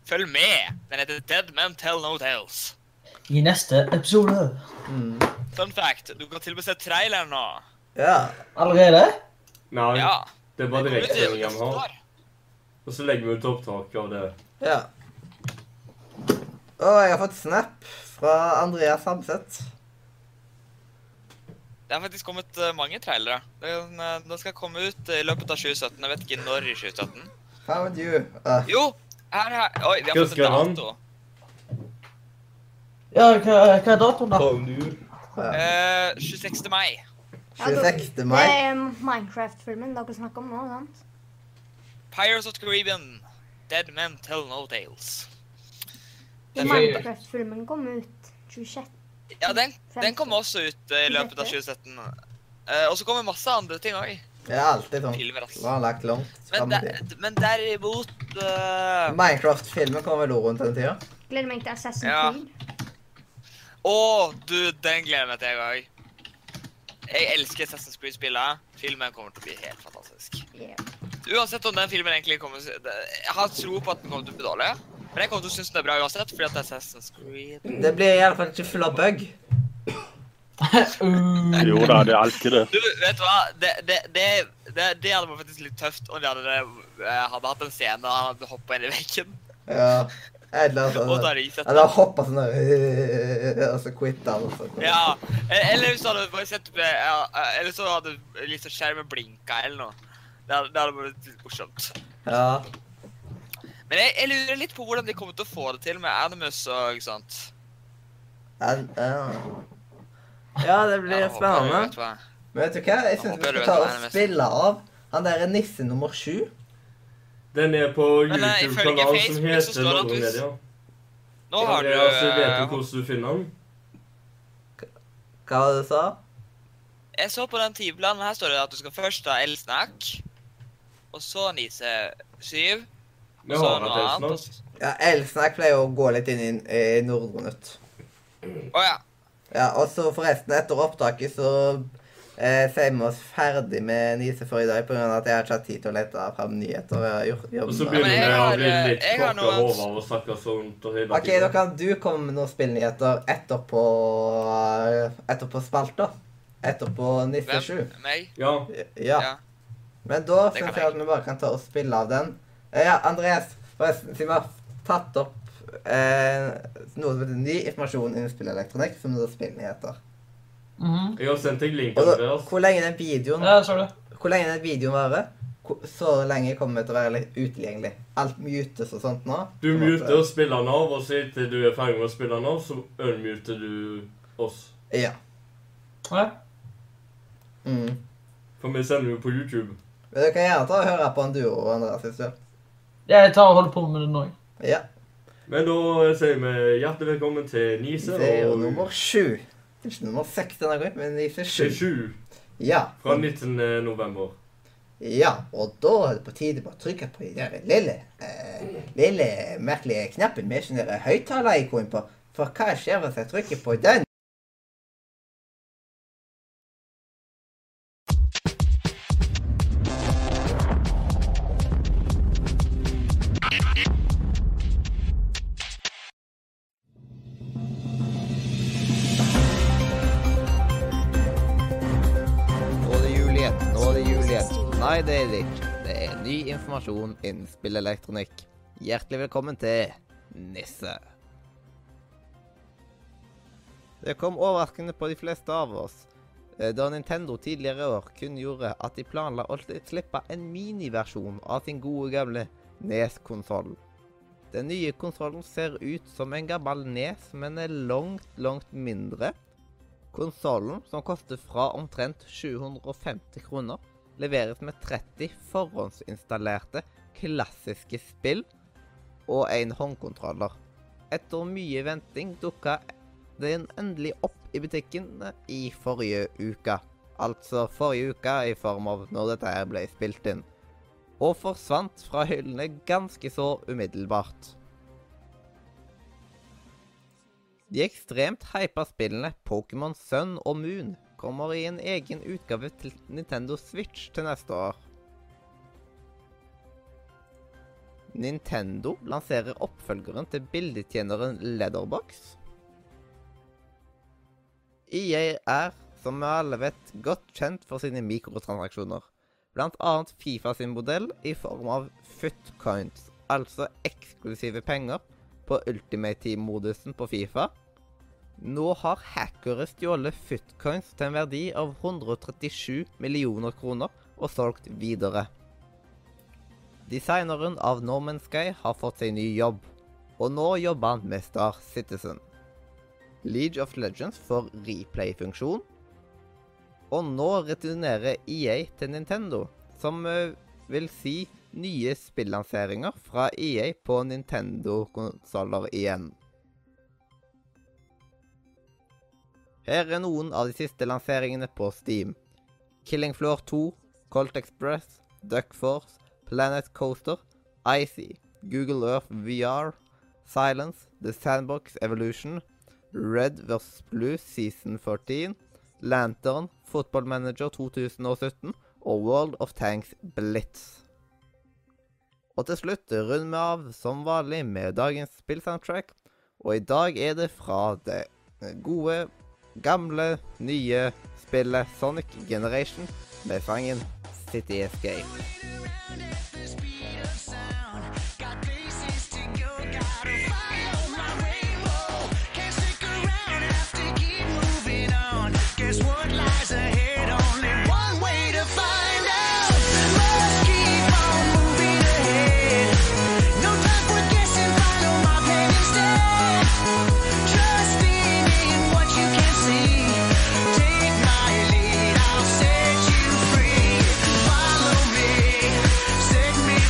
Speaker 4: Følg med! Den heter Dead Men Tell No Tales.
Speaker 6: I neste episode.
Speaker 1: Mhm.
Speaker 4: Fun fact, du kan til og med se traileren nå.
Speaker 1: Ja.
Speaker 6: Allerede?
Speaker 2: Nei,
Speaker 4: Ja.
Speaker 2: det er
Speaker 4: Det
Speaker 2: bare
Speaker 4: kommer ut i
Speaker 2: direktesendinga vi
Speaker 4: neste
Speaker 2: har.
Speaker 4: år.
Speaker 2: Og så legger vi ut opptak av det.
Speaker 1: ja. Og jeg har fått snap fra Andreas Hamseth.
Speaker 4: Det har faktisk kommet eh, mange trailere. Den, eh, den skal komme ut i løpet av 2017. Jeg vet ikke når i 2017.
Speaker 1: Found you. Ah,
Speaker 4: Jo! Her, her. Oi, vi har
Speaker 2: Hva
Speaker 4: fått
Speaker 2: skrev
Speaker 4: en
Speaker 2: han?
Speaker 4: dato.
Speaker 6: Ja, hva, hva er
Speaker 2: [laughs]
Speaker 1: Ah.
Speaker 6: datoen, da?
Speaker 2: Kom du.
Speaker 1: ja.
Speaker 4: Eh, 26. mai.
Speaker 3: Ja, da-
Speaker 1: 26.
Speaker 3: Det
Speaker 1: mai.
Speaker 3: er Minecraft-filmen dere snakker om nå, sant?
Speaker 4: Pirates of the Caribbean. Dead Men Tell No Tales. Den,
Speaker 6: Minecraft.
Speaker 3: Minecraft-filmen kom ut 26.
Speaker 4: ja, den, den kom også ut eh, i løpet av 2017. Eh, og så kommer masse andre ting òg.
Speaker 1: Det er alltid sånn.
Speaker 4: Filmer, altså.
Speaker 1: Planlagt langt
Speaker 4: Men,
Speaker 1: frem i tid.
Speaker 4: der, men derimot eh,
Speaker 1: Minecraft-filmen kom vel også rundt den tida?
Speaker 3: Gleder meg til Assassin's
Speaker 4: Ja.
Speaker 3: Creed.
Speaker 4: Å, du, den gleder jeg meg til, jeg òg. Jeg elsker Assassin's Creed-spillene. Filmen kommer til å bli helt fantastisk.
Speaker 3: Yeah.
Speaker 4: Uansett om den filmen egentlig kommer det- Jeg har tro på at den kommer til å bli dårlig. Men jeg kommer til å synes den er bra uansett, fordi at det er Assassin's Creed.
Speaker 1: Det blir i alle fall ikke full av bug.
Speaker 6: Uh,
Speaker 5: Jo da, det er alltid det.
Speaker 4: Du, vet du hva? Det, det, det, det, det hadde vært faktisk litt tøft om de hadde, eh, hadde hatt en scene og han hadde hoppa inn i veggen. [laughs]
Speaker 1: Ja. Eller
Speaker 4: Og da
Speaker 1: altså
Speaker 4: hadde de sett
Speaker 1: Eller hoppa sånn der [laughs] Og så quitta han og sånn.
Speaker 4: Ja, eh, eller så hadde du bare sett eh, ja, eh, Eller så hadde liksom skjermen blinka eller noe. Det hadde, det hadde vært litt morsomt.
Speaker 1: ja.
Speaker 4: Men jeg, jeg lurer litt på hvordan de kommer til å få det til med Animus og ikke sant.
Speaker 1: En- ja. Ja, det blir
Speaker 4: Jeg håper du vet
Speaker 1: spennende.
Speaker 4: hva.
Speaker 1: Men vet du hva? Jeg syns
Speaker 4: håper
Speaker 1: vi skal
Speaker 4: du vet
Speaker 1: ta
Speaker 4: hva
Speaker 1: og
Speaker 4: NMS
Speaker 1: spille av han derre nisse nummer sju.
Speaker 2: Den er på
Speaker 4: Men, eh, ifølge
Speaker 2: YouTube-kanalen som
Speaker 4: Facebook så
Speaker 2: heter
Speaker 4: står det at
Speaker 2: Norge
Speaker 4: du-
Speaker 2: Media.
Speaker 4: Nå har du
Speaker 2: Andreas, vet
Speaker 4: eh,
Speaker 2: altså, du hvordan du finner den?
Speaker 1: Hva var det du sa?
Speaker 4: Jeg så på den timeplanen. Her står det at du skal først ta elsnakk, og så Nise 7, og
Speaker 2: Vi
Speaker 4: så
Speaker 2: har
Speaker 4: noe
Speaker 2: hatt en
Speaker 4: annet. og
Speaker 2: snart.
Speaker 4: så-
Speaker 1: Ja, Elsnakk pleier å gå litt inn i, i Nordnytt.
Speaker 4: Å ja.
Speaker 1: Ja, og så forresten, etter opptaket så eh, sier vi oss ferdig med Nise for i dag pga. at jeg har ikke hatt tid til å lete fram nyheter. Jeg har gjort
Speaker 2: Og så
Speaker 1: jobben.
Speaker 4: Men
Speaker 2: begynner
Speaker 4: jeg
Speaker 2: vi å
Speaker 4: har,
Speaker 2: bli
Speaker 4: eh,
Speaker 2: litt
Speaker 4: jeg har
Speaker 2: klokka
Speaker 4: noen-
Speaker 2: over og snakke sånt og hele
Speaker 1: OK, da kan du komme med noen spillnyheter etterpå eh, etterpå spalta. Etterpå Nisse
Speaker 4: Hvem?
Speaker 1: 7.
Speaker 4: Meg?
Speaker 2: Ja.
Speaker 1: Ja.
Speaker 4: Ja.
Speaker 1: Men da
Speaker 4: Det kan
Speaker 1: syns jeg at vi bare kan ta og spille av den. Eh, Ja, Andreas, forresten, siden vi har tatt opp eh, noe som heter ny informasjon innen spillelektronikk, som er spillnyheter.
Speaker 6: mhm.
Speaker 2: Jeg har sendt deg link,
Speaker 1: Og da,
Speaker 2: Andreas.
Speaker 1: hvor lenge den videoen
Speaker 6: Ja, så du.
Speaker 1: Hvor lenge den videoen varer, hvor- så lenge kommer det til å være litt utilgjengelig. Alt mutes og sånt nå.
Speaker 2: Du
Speaker 1: på en måte.
Speaker 2: muter spilleren av, og så etter du er ferdig med å spille den av, så unmuter du oss.
Speaker 1: Ja.
Speaker 6: Ja.
Speaker 1: Mm.
Speaker 2: For vi sender jo på YouTube.
Speaker 1: Men du kan gjerne ta og høre på Enduro og Andreas, hvis du vil.
Speaker 6: Jeg tar og holder på med det nå.
Speaker 1: Ja.
Speaker 2: Men da sier vi hjertelig velkommen til Nise
Speaker 1: Det er jo
Speaker 2: og
Speaker 1: nummer sju. Det er Ikke nummer seks denne gangen, men i seg sju.
Speaker 2: til sju
Speaker 1: Ja.
Speaker 2: fra 19. eh, november.
Speaker 1: Ja, og da er det på tide med å trykke på den der lille, eh, lille merkelige knappen med sånn der høyttaler-ikon på. For hva skjer hvis jeg trykker på den? Nå er det jul igjen. Nå er det jul igjen. Nei, det er det ikke. Det er ny informasjon innen spillelektronikk. Hjertelig velkommen til Nisse. Det kom overraskende på de fleste av oss. eh, Da Nintendo tidligere i år kun gjorde at de planla å sli- slippe en miniversjon av sin gode gamle Nes-konsoll. Den nye konsollen ser ut som en gammel Nes, men er langt, langt mindre. Konsollen, som koster fra omtrent 750 kroner, leveres med 30 forhåndsinstallerte klassiske spill og en håndkontroller. Etter mye venting dukka den endelig opp i butikken i forrige uke. Altså forrige uke i form av når dette her ble spilt inn. Og forsvant fra hyllene ganske så umiddelbart. De ekstremt hypa spillene Pokémon Sun og Moon kommer i en egen utgave til Nintendo Switch til neste år. Nintendo lanserer oppfølgeren til bildetjeneren Leatherbox. EA E er, som vi alle vet, godt kjent for sine mikrotransaksjoner. Blant annet Fifa sin modell i form av footcoins, altså eksklusive penger på Ultimate Team-modusen på Fifa. Nå har hackere stjålet footcoins til en verdi av 137 millioner kroner og solgt videre. Designeren av Norman Sky har fått seg ny jobb, og nå jobber han med Star Citizen. League of Legends får replay-funksjon. Og nå returnerer EA til Nintendo, som eh, vil si nye spillanseringer fra EA på Nintendo-konsoller igjen. Her er noen av de siste lanseringene på Steam. Killing Floor 2, Colt Express, Duck Force, Planet Coaster, Icy, Google Earth VR, Silence, The Sandbox Evolution, Red vs. Blue Season 14, Lantern, Football Manager 2017 og World of Tanks Blitz. Og til slutt runder vi av som vanlig med dagens spillsoundtrack, og i dag er det fra det gode, gamle, nye spillet Sonic Generation med sangen City Escape.
Speaker 7: What lies ahead? Only one way to find out. Must keep on moving ahead. No time for guessing. Follow my plan instead. Trusting in what you can see. Take my lead. I'll set you free. Follow me.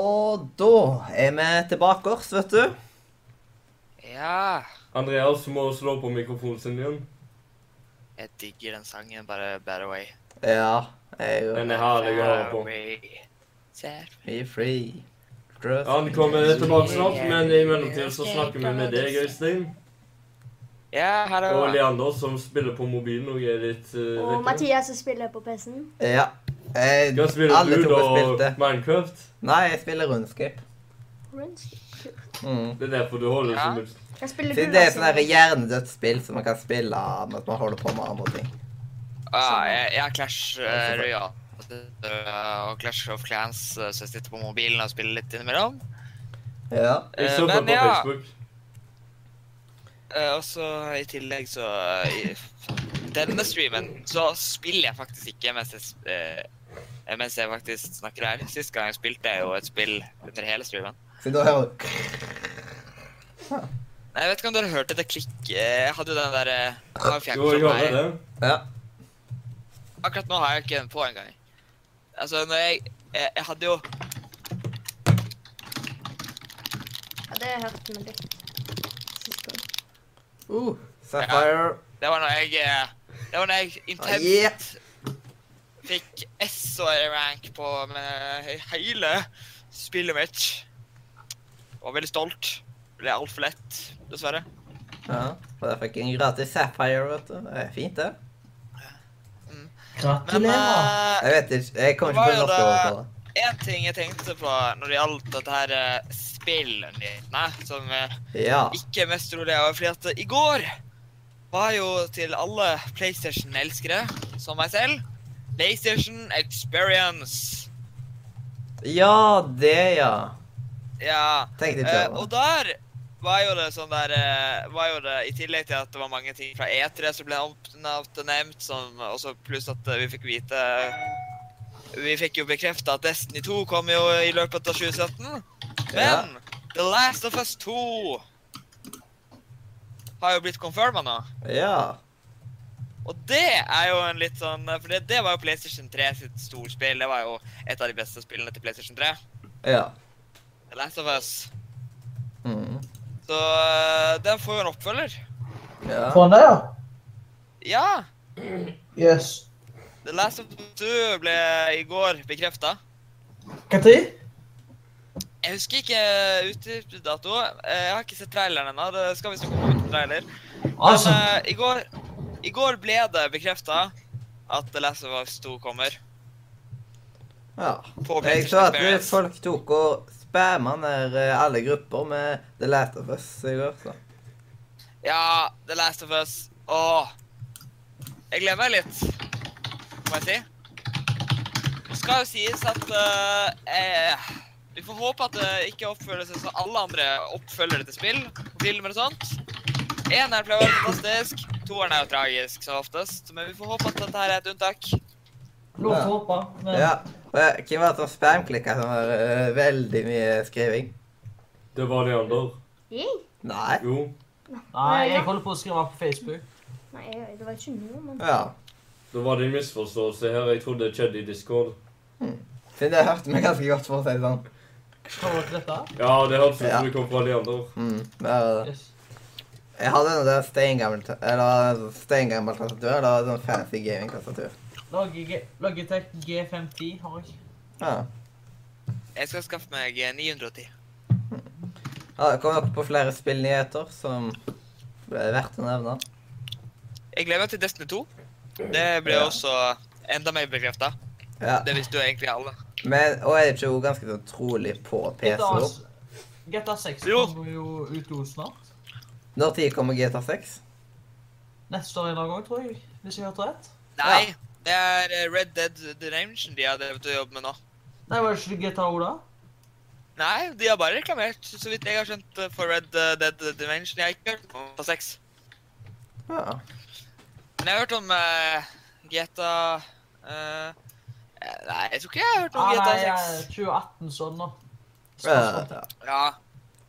Speaker 1: er vi tilbake oss, vet du.
Speaker 4: Ja.
Speaker 2: Andreas må slå på mikrofonen sin igjen.
Speaker 4: Jeg digger den sangen, bare Better Way.
Speaker 1: Ja, jeg er jo
Speaker 2: Den er herlig å høre på.
Speaker 4: way. Sad.
Speaker 1: Be free. Trust
Speaker 2: Han
Speaker 1: me.
Speaker 2: kommer tilbake snart, men i mellomtiden så snakker vi med deg, Øystein.
Speaker 4: Ja, hallo.
Speaker 2: Og Leander, som spiller på mobilen og er litt eh,
Speaker 3: Og
Speaker 2: vekke.
Speaker 3: Mathias som spiller på PC-en.
Speaker 1: Ja. Eh,
Speaker 2: Hva spiller
Speaker 1: alle
Speaker 2: du
Speaker 1: to
Speaker 2: da?
Speaker 1: spilte.
Speaker 2: Minecraft?
Speaker 1: Nei, jeg spiller rundskip. Mm.
Speaker 2: Det er derfor du holder
Speaker 4: Ja.
Speaker 2: som et
Speaker 3: Hva spiller du?
Speaker 1: Siden det er
Speaker 3: Lasse?
Speaker 1: sånn her hjernedødt spill som man kan spille av mens man holder på med andre ting.
Speaker 4: Ah, jeg, jeg er Clash
Speaker 1: Ja,
Speaker 4: uh, Royale. Eh, Og Clash of Clans, eh, så jeg sitter på mobilen og spiller litt innimellom.
Speaker 1: Ja.
Speaker 4: Eh,
Speaker 2: Jeg surfer
Speaker 4: men
Speaker 2: på
Speaker 4: ja,
Speaker 2: Facebook.
Speaker 4: eh, og så i tillegg så eh, i Denne streamen så spiller jeg faktisk ikke mens jeg, s- eh, eh, mens jeg faktisk snakker her. Sist gang jeg spilte jeg jo et spill under hele streamen.
Speaker 1: Så da hører du
Speaker 4: Nei, Jeg vet ikke om dere hørte det klikket. Jeg hadde jo den der eh,
Speaker 2: Jo,
Speaker 4: har jo
Speaker 2: jeg
Speaker 4: fjernkontrollen her.
Speaker 2: hører det.
Speaker 1: Ja.
Speaker 4: Akkurat nå har jeg ikke den på engang. Altså, når jeg, jeg Jeg hadde jo
Speaker 3: Ja, det har jeg hørt med litt. Sist gang.
Speaker 1: Uh, Sapphire.
Speaker 4: Det var når jeg eh, Det var når jeg
Speaker 2: Ah,
Speaker 4: intenst
Speaker 1: Yeah.
Speaker 4: fikk S-rank på med eh, hele spillet mitt. Var veldig stolt. Ble altfor lett, dessverre.
Speaker 1: Ja. Og der fikk jeg en gratis Sapphire, vet du. Det er fint, det.
Speaker 4: Men
Speaker 6: Gratulerer.
Speaker 4: eh,
Speaker 1: Jeg vet ikke. Jeg kommer
Speaker 4: Det
Speaker 1: ikke
Speaker 4: var
Speaker 1: på
Speaker 4: jo
Speaker 1: norsk
Speaker 4: det-
Speaker 1: ord for det.
Speaker 4: en ting jeg tenkte på når det gjaldt dette her eh, spillnyhetene, som eh,
Speaker 1: Ja.
Speaker 4: ikke mest rolig over, fordi at eh, i går var jo til alle PlayStation-elskere, som meg selv, PlayStation Experience.
Speaker 1: Ja, det, ja.
Speaker 4: Ja.
Speaker 1: Tenkte ikke
Speaker 4: Eh,
Speaker 1: over
Speaker 4: og
Speaker 1: det.
Speaker 4: der var jo det sånn der eh, var jo det, I tillegg til at det var mange ting fra E3 som ble oppnevnt og nevnt, som også pluss at eh, vi fikk vite Vi fikk jo bekrefta at Destiny 2 kom jo i løpet av 2017.
Speaker 1: Ja.
Speaker 4: Men The Last of Us 2 har jo blitt confirma nå.
Speaker 1: Ja.
Speaker 4: Og det er jo en litt sånn eh, For det, det var jo PlayStation 3 sitt storspill. Det var jo et av de beste spillene til PlayStation 3.
Speaker 1: Ja.
Speaker 4: The Last of Us.
Speaker 1: Mm.
Speaker 4: Så eh, den får jo en oppfølger.
Speaker 1: Ja.
Speaker 6: Får han det, ja?
Speaker 4: Ja!
Speaker 6: Jøss.
Speaker 4: The Last of Us 2 ble i går bekrefta.
Speaker 6: Når?
Speaker 4: Jeg husker ikke utdypsdato. Jeg har ikke sett traileren ennå. Det skal visst komme ut en trailer. Men
Speaker 6: Altså,
Speaker 4: eh, i, går, i går ble det bekrefta at The Last of Us 2 kommer.
Speaker 1: ja.
Speaker 4: På
Speaker 1: Jeg så
Speaker 4: PlayStation
Speaker 1: at det-
Speaker 4: Experience.
Speaker 1: folk tok og spamma ned eh, alle grupper med The Last of Us i går, så.
Speaker 4: Ja, The Last of Us. Åh. Jeg gleder meg litt, må jeg si. Det skal jo sies at eh, eh, Vi får håpe at det ikke oppfører seg som alle andre oppfølgere til spill, filmer og sånt. Eneren pleier å være fantastisk, toeren er jo tragisk som oftest. Men vi får håpe at dette her er et unntak.
Speaker 6: lov til å håpe, men
Speaker 1: Ja. Og jeg- Hvem var det som spamklikka som var eh, veldig mye skriving?
Speaker 2: Det var Leander.
Speaker 3: Jeg?
Speaker 1: Nei.
Speaker 2: Jo.
Speaker 6: Nei, jeg holder på å skrive på Facebook.
Speaker 3: Nei, jeg- det var ikke noe, men
Speaker 1: Ja.
Speaker 2: Det var det en misforståelse her. Jeg trodde det skjedde i Discord.
Speaker 1: Siden jeg hørte meg ganske godt, for å si det sånn.
Speaker 6: Kommer dere til dette?
Speaker 2: Ja, det hørtes ut
Speaker 1: Ja.
Speaker 2: som det kom fra Leander.
Speaker 1: Mm, det er det.
Speaker 6: Yes.
Speaker 1: Jeg hadde en der steingammel ta- eller steingammel tastatur. Det var sånn fancy gaming-tastatur.
Speaker 6: Logitech G510 har jeg.
Speaker 1: Ja.
Speaker 4: Jeg skal skaffe meg eh, 910.
Speaker 1: ja. Det kom opp på flere spillnyheter som ble verdt å nevne.
Speaker 4: Jeg gleder meg til Destiny 2. Det ble
Speaker 1: Ja.
Speaker 4: også enda mer bekrefta.
Speaker 1: Ja.
Speaker 4: Det visste jo egentlig alle.
Speaker 1: Men, og er det ikke også ganske sånn trolig på PC
Speaker 6: GTA,
Speaker 1: nå?
Speaker 6: s- GTA 6
Speaker 4: Jo.
Speaker 6: kommer jo ut nå snart.
Speaker 1: Når tid kommer GTA 6?
Speaker 6: Neste år en eller annen gang, tror jeg. Hvis jeg hørte rett.
Speaker 4: Nei, det er eh, Red Dead Redemption de har drevet og jobbet med nå.
Speaker 6: Nei, var det ikke GTA O da?
Speaker 4: Nei, de har bare reklamert, så vidt jeg har skjønt, eh, for Red eh, Dead Redemption. Jeg har ikke hørt om på sex.
Speaker 1: Ja.
Speaker 4: Men jeg har hørt om eh, GTA eh, eh, Nei, jeg tror ikke jeg har hørt om
Speaker 6: Ah, nei,
Speaker 4: GTA 6.
Speaker 6: eh, 2018 sånn nå.
Speaker 1: Ja,
Speaker 6: Spørsmål.
Speaker 1: ja.
Speaker 4: Ja,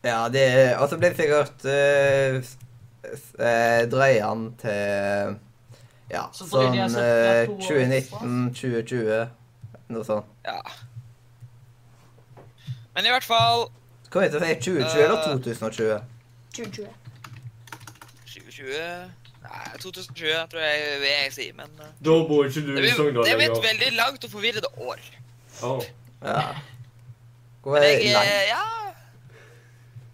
Speaker 1: Ja, det Og så blir det sikkert eh, s- s- eh, drøyene til Ja,
Speaker 6: Så drøyer
Speaker 1: sånn
Speaker 6: de altså
Speaker 1: eh,
Speaker 6: to år
Speaker 1: 2019-2020. Noe sånt.
Speaker 4: ja. Men i hvert fall
Speaker 1: Hva heter det? 2020 eller 2020?
Speaker 3: 2020.
Speaker 4: 2020 Nei, 2020 tror jeg jeg, jeg sier, men
Speaker 6: Mm,
Speaker 4: eh,
Speaker 2: Da bor ikke du
Speaker 4: det
Speaker 2: i
Speaker 4: blir,
Speaker 2: Sogndal
Speaker 4: det blir et
Speaker 2: lenger.
Speaker 4: veldig langt og forvirrende år.
Speaker 2: Å,
Speaker 1: Ja.
Speaker 6: [laughs]
Speaker 1: Hvor er
Speaker 4: Men
Speaker 1: det
Speaker 4: jeg
Speaker 1: lang?
Speaker 4: eh, Ja.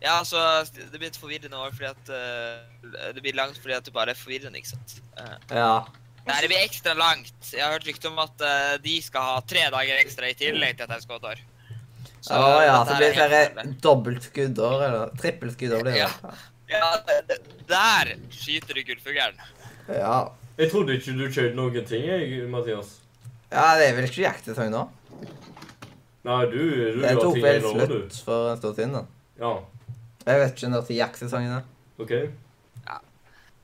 Speaker 4: Ja, altså, det blir et forvirrende år fordi at eh, Det blir langt fordi at det bare er forvirrende, ikke sant. Eh,
Speaker 1: Ja.
Speaker 4: Nei, det blir ekstra langt. Jeg har hørt rykte om at eh, de skal ha tre dager ekstra i tillegg til at jeg skal ha et år. Så
Speaker 1: Å ja,
Speaker 4: dette
Speaker 1: så
Speaker 4: her
Speaker 1: blir det
Speaker 4: er helt
Speaker 1: flere dobbeltskuddår, eller trippelskuddår blir det.
Speaker 4: forferdelig. Ja, det- det- der skyter du gullfuglen.
Speaker 1: Ja.
Speaker 2: Jeg trodde ikke du kjøpte noen ting, jeg, Mathias.
Speaker 1: Ja, det er vel ikke jaktesesong nå?
Speaker 2: Nei, du, du
Speaker 1: Jeg
Speaker 2: har
Speaker 1: tok
Speaker 2: ting
Speaker 1: vel
Speaker 2: gjennom, du.
Speaker 1: slutt for en stund siden. da.
Speaker 2: Ja,
Speaker 1: Jeg vet ikke når til jaktsesongen er.
Speaker 2: OK.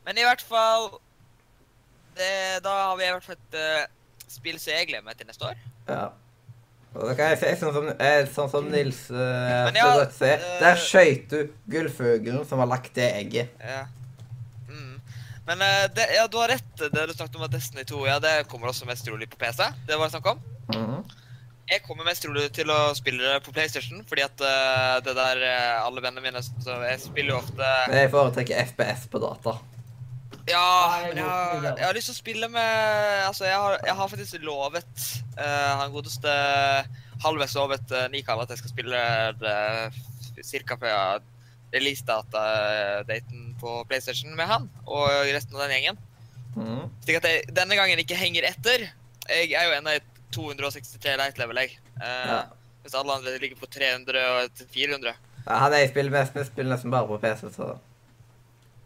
Speaker 4: Men i hvert fall det, Da har vi i hvert fall et eh, spill som jeg gleder meg til neste år.
Speaker 1: Ja. Og da kan jeg si, sånn som, eh, sånn som Nils eh,
Speaker 4: Men
Speaker 1: så
Speaker 4: ja,
Speaker 1: godt sier,
Speaker 4: eh,
Speaker 1: der skøyt du gullfuglen som har lagt det egget.
Speaker 4: Ja. Mm. Men eh, det, ja, du har rett, det du snakket om at Destiny 2 ja, det kommer også mest trolig på PC. Det var det snakk om.
Speaker 1: Mhm.
Speaker 4: Jeg kommer mest trolig til å spille det på PlayStation, fordi at eh, det der eh, alle vennene mine så Jeg spiller jo ofte
Speaker 1: Men jeg foretrekker FPS på data.
Speaker 4: Ja,
Speaker 6: Nei,
Speaker 4: men jeg
Speaker 6: mot
Speaker 4: har,
Speaker 6: Miguel.
Speaker 4: jeg har lyst til å spille med Altså, jeg har, jeg har faktisk lovet eh, han godeste halvveis lovet uh, Mikael at jeg skal spille eh, det ca. før releasedata-daten eh, på PlayStation med han og resten av den gjengen.
Speaker 1: Mhm.
Speaker 4: Slik at jeg denne gangen ikke henger etter. Jeg er jo ennå i 263 light level, jeg. Eh,
Speaker 1: Ja.
Speaker 4: Mens alle andre ligger på 300 og 400.
Speaker 1: Ja, han jeg spiller mest med, spiller nesten bare på PC, så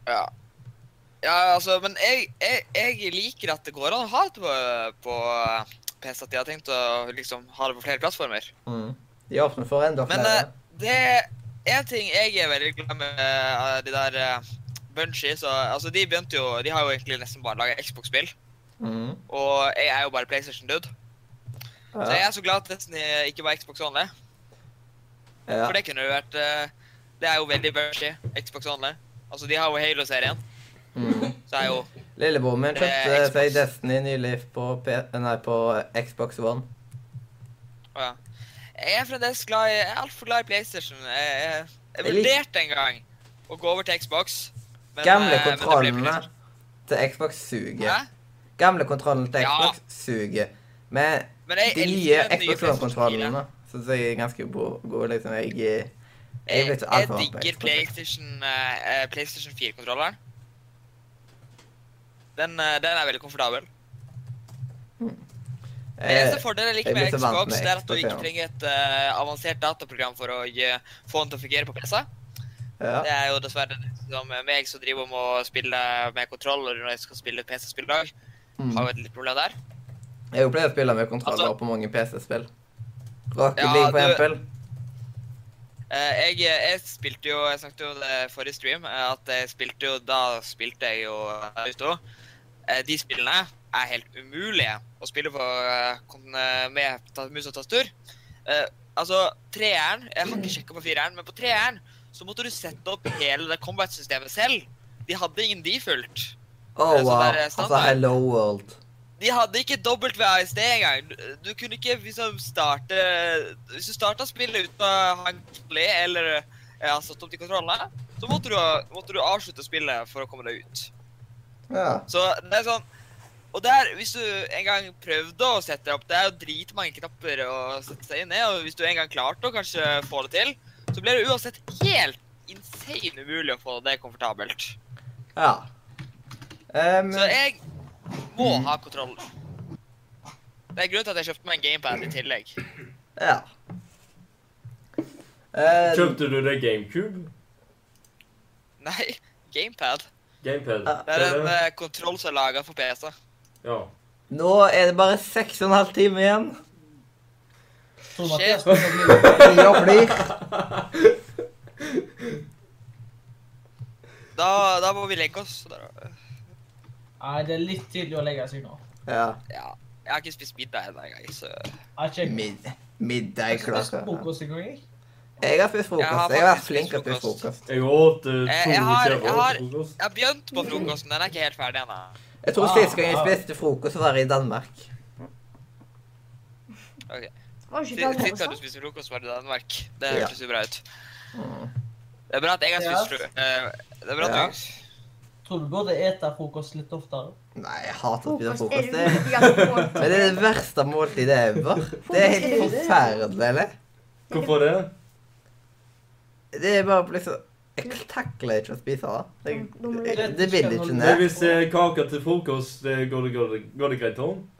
Speaker 4: Ja. Ja, altså, men jeg, jeg, jeg liker at det går an å ha det på, på PC, at de har tenkt å liksom ha det på flere plattformer.
Speaker 1: mhm. De åpner for enda
Speaker 4: Men
Speaker 1: flere.
Speaker 4: eh, det er en ting jeg er veldig glad med eh, de der uh, Bungie, så altså, de begynte jo De har jo egentlig nesten bare laga Xbox-spill,
Speaker 1: Mhm.
Speaker 4: og jeg er jo bare PlayStation-dude. Så jeg
Speaker 1: Ja.
Speaker 4: er så glad at Destiny ikke var Xbox Only,
Speaker 1: Ja.
Speaker 4: for det kunne jo vært eh, Det er jo veldig Bungie, Xbox Only. Altså, de har jo Halo-serien,
Speaker 1: Mhm.
Speaker 4: så er jo
Speaker 1: Lillebror min
Speaker 4: Eh,
Speaker 1: kjøpte
Speaker 4: Xbox.
Speaker 1: seg Destiny nylig på, P nei, på Xbox One.
Speaker 4: Å ja. Jeg er fremdeles glad i Jeg er altfor glad i PlayStation. Jeg, jeg, jeg
Speaker 1: Jeg lik-
Speaker 4: vurderte en gang å gå over til Xbox. men, eh, men
Speaker 1: Gamle
Speaker 4: det ble
Speaker 1: kontrollene
Speaker 4: PlayStation.
Speaker 1: til Xbox suger.
Speaker 4: Hæ?
Speaker 1: Gamle kontrollene til
Speaker 4: Ja.
Speaker 1: Xbox suger. Men
Speaker 4: Men jeg
Speaker 1: de
Speaker 4: elsker
Speaker 1: nye Xbox
Speaker 4: den nye PlayStation
Speaker 1: One-kontrollene syns jeg er ganske bo- gode. liksom. Jeg, jeg, jeg
Speaker 4: Jeg,
Speaker 1: er blitt
Speaker 4: jeg,
Speaker 1: altfor vant med
Speaker 4: digger
Speaker 1: Xbox.
Speaker 4: PlayStation, eh, eh, PlayStation 4-kontrolleren. Den, eh, den er veldig komfortabel. Det eneste
Speaker 1: Eh,
Speaker 4: fordelen jeg
Speaker 1: jeg
Speaker 4: liker med
Speaker 1: blir så vant
Speaker 4: Xbox,
Speaker 1: med
Speaker 4: det er at du
Speaker 1: Xbox,
Speaker 4: ikke
Speaker 1: ja.
Speaker 4: trenger et eh, avansert dataprogram for å eh, få den til å fungere på PC.
Speaker 1: ja.
Speaker 4: Det er jo dessverre som meg som driver om å spille med kontroller når jeg skal spille PC-spill i dag.
Speaker 1: Mm.
Speaker 4: Har jo et lite problem der.
Speaker 1: Jeg pleier å spille med kontroller
Speaker 4: Altså-
Speaker 1: på mange PC-spill. Rocket
Speaker 4: Ja,
Speaker 1: League, for
Speaker 4: du-
Speaker 1: eksempel.
Speaker 4: Eh, jeg, jeg spilte jo Jeg snakket jo om det forrige stream, eh, at jeg spilte jo Da spilte jeg jo Auto. De spillene er helt umulige å spille på eh, kon- eh, med ta- mus og tastatur. Eh, Altså, treeren Jeg har ikke sjekka på fireren, men på treeren så måtte du sette opp hele det combat-systemet selv. De hadde ingen de fulgt.
Speaker 1: Oh,
Speaker 4: så
Speaker 1: wow.
Speaker 4: der er
Speaker 1: Altså,
Speaker 4: standard.
Speaker 1: Hello World.
Speaker 4: De hadde ikke dobbelt WASD engang. Du- Du kunne ikke liksom starte Hvis du starta spillet uten å ha en play eller eh, ha satt opp de kontrollene, så måtte du, måtte du avslutte spillet for å komme deg ut.
Speaker 1: Ja.
Speaker 4: Så det er sånn Og der, hvis du en gang prøvde å sette deg opp Det er jo dritmange knapper å sette seg inn i, og hvis du en gang klarte å kanskje få det til, så blir det uansett helt insane umulig å få det komfortabelt.
Speaker 1: ja. Em,
Speaker 4: Så jeg må
Speaker 1: Mm.
Speaker 4: ha kontroll. Det er grunnen til at jeg kjøpte meg en gamepad i tillegg. [laughs]
Speaker 1: ja. Eh,
Speaker 2: Kjøpte du deg GameCube?
Speaker 4: Nei, gamepad.
Speaker 2: Gamepad?
Speaker 1: Ja.
Speaker 4: Det er en
Speaker 2: Hva er det?
Speaker 4: eh, kontroll som er laga for PC.
Speaker 2: Ja. [laughs]
Speaker 1: nå er det bare seks og en halv time igjen.
Speaker 6: Tror
Speaker 4: Shit.
Speaker 6: Mathias begynner å bli litt-
Speaker 1: Tida flyr.
Speaker 4: Da, da må vi legge oss. Da-
Speaker 6: Nei, det er litt tidlig å legge seg nå.
Speaker 1: Ja.
Speaker 4: Ja, jeg har ikke spist middag ennå engang, så
Speaker 6: Jeg har ikke
Speaker 1: Mid middag klokka
Speaker 6: frokost engang, jeg.
Speaker 1: Jeg har spist frokost.
Speaker 4: Jeg har
Speaker 1: Jeg har vært
Speaker 4: faktisk
Speaker 1: flink til å spise
Speaker 4: spist
Speaker 1: frokost.
Speaker 2: Jeg åt eh,
Speaker 4: Eh,
Speaker 2: to
Speaker 4: jeg har- jeg
Speaker 2: kjever
Speaker 4: har-
Speaker 2: til frokost.
Speaker 4: Jeg har begynt på frokosten. Den er ikke helt ferdig ennå.
Speaker 1: Jeg tror
Speaker 6: Ah,
Speaker 1: sist gang jeg
Speaker 6: ah.
Speaker 1: spiste frokost, var i Danmark.
Speaker 3: Var det ikke
Speaker 4: Sist
Speaker 3: Danmark
Speaker 4: sist gang du
Speaker 3: også?
Speaker 4: spiste frokost, var det i Danmark. Det
Speaker 1: Ja. Mm.
Speaker 4: hørtes jo bra ut. Det er bra at jeg har
Speaker 6: Ja.
Speaker 4: spist flue. Eh, Det er bra
Speaker 1: Ja.
Speaker 4: at du
Speaker 6: Tror du burde ete frokost litt oftere?
Speaker 1: Nei, jeg hater å spise
Speaker 3: Frokost er
Speaker 1: frokost.
Speaker 3: det
Speaker 1: Det,
Speaker 3: viktigste
Speaker 1: [laughs]
Speaker 3: måltidet.
Speaker 1: men det er det verste måltidet ever. Det er helt forferdelig, eller?
Speaker 2: Hvorfor det?
Speaker 1: Det er bare liksom Jeg takler ikke å spise det. Det,
Speaker 6: Det-
Speaker 1: det vil ikke
Speaker 2: Men
Speaker 1: ned.
Speaker 2: hvis eh, kake til frokost, eh, går det, går det, går det greit, Tom?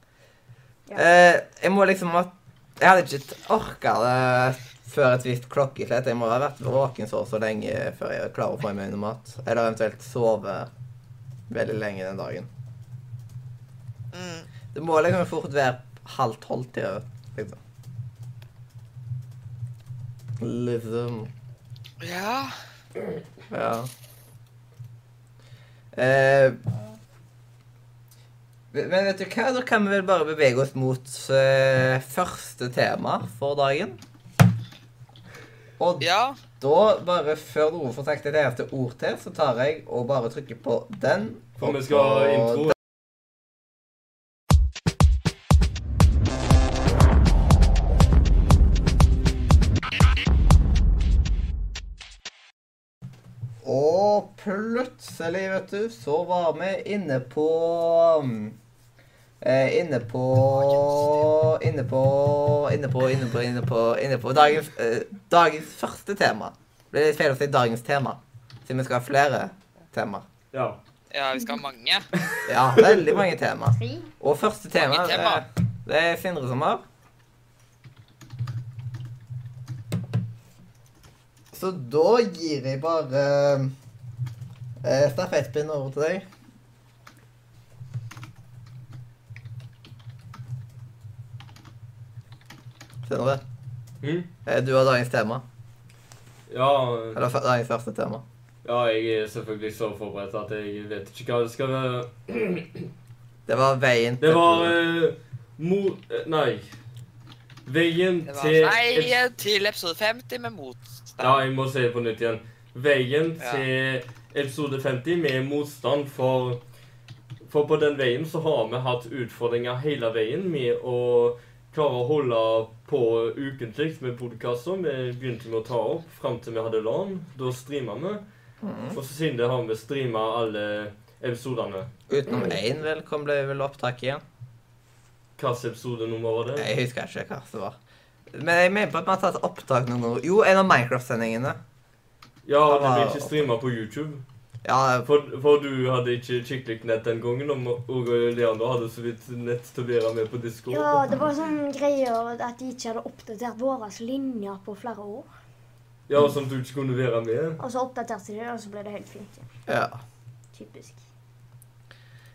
Speaker 1: Eh, jeg må liksom ha Jeg hadde ikke orka det før et visst klokkeslett. Jeg må ha vært våken så og så lenge før jeg klarer å få i meg noe mat. Eller eventuelt sove veldig lenge den dagen.
Speaker 4: Mm.
Speaker 1: Det må liksom fort være halv tolv-tida, liksom. Liksom
Speaker 4: Ja.
Speaker 1: Ja. Eh, men vet du hva, da kan vi vel bare bevege oss mot eh, første tema for dagen. Og
Speaker 4: Ja.
Speaker 1: da, bare før Ove får sagt et eneste ord til, så tar jeg og bare trykker på den.
Speaker 2: For vi skal
Speaker 1: og
Speaker 2: ha
Speaker 1: på
Speaker 2: intro.
Speaker 1: Og plutselig, vet du, så var vi inne på um, eh, Inne på Inne på Inne på, inne på, inne på, inne på dagens, eh, dagens første tema. Det blir litt feil å si dagens tema, siden vi skal ha flere temaer.
Speaker 2: Ja.
Speaker 4: ja, vi skal ha mange.
Speaker 1: Ja, veldig mange tema.
Speaker 3: Tre.
Speaker 1: Og første tema,
Speaker 4: Mange tema.
Speaker 1: Det, det er Sindre som har. Så da gir jeg bare eh, stafettpinnen over til deg. Sindre,
Speaker 2: Hm?
Speaker 1: eh, du har dagens tema.
Speaker 2: Ja, eh,
Speaker 1: Eller f- dagens første tema.
Speaker 2: ja, jeg er selvfølgelig så forberedt at jeg vet ikke hva det skal være.
Speaker 1: Det var veien
Speaker 2: Det var eh, mor... eh, Nei. Veien
Speaker 4: Det var
Speaker 2: til
Speaker 4: Nei, eh, til episode 50 med motstand.
Speaker 2: Ja, jeg må se det på nytt igjen. Veien
Speaker 4: Ja.
Speaker 2: til episode 50 med motstand for For på den veien så har vi hatt utfordringer hele veien med å klare å holde på ukentlig med podkaster. Vi begynte med å ta opp fram til vi hadde LAN. Da streama vi.
Speaker 4: Mm.
Speaker 2: Og så siden det har vi streama alle episodene.
Speaker 1: Utenom én, vel, kom det vel opptak igjen.
Speaker 2: Hvilken episodenummer var det?
Speaker 1: Jeg husker ikke hva det var. Men jeg mener på at vi har tatt opptak noen ganger. Jo, en av Minecraft-sendingene.
Speaker 2: Ja,
Speaker 1: Han
Speaker 2: det ble
Speaker 1: var-
Speaker 2: ikke streama på YouTube.
Speaker 1: Ja,
Speaker 2: For, for du hadde ikke skikkelig nett den gangen, og og Leander hadde så vidt nett til å være med på Discord.
Speaker 3: Ja, det var sånn greier at de ikke hadde oppdatert våre linjer på flere år.
Speaker 2: Ja, og som du ikke kunne være med.
Speaker 3: Og så oppdaterte de det, og så ble det helt fint igjen.
Speaker 1: ja.
Speaker 3: Typisk.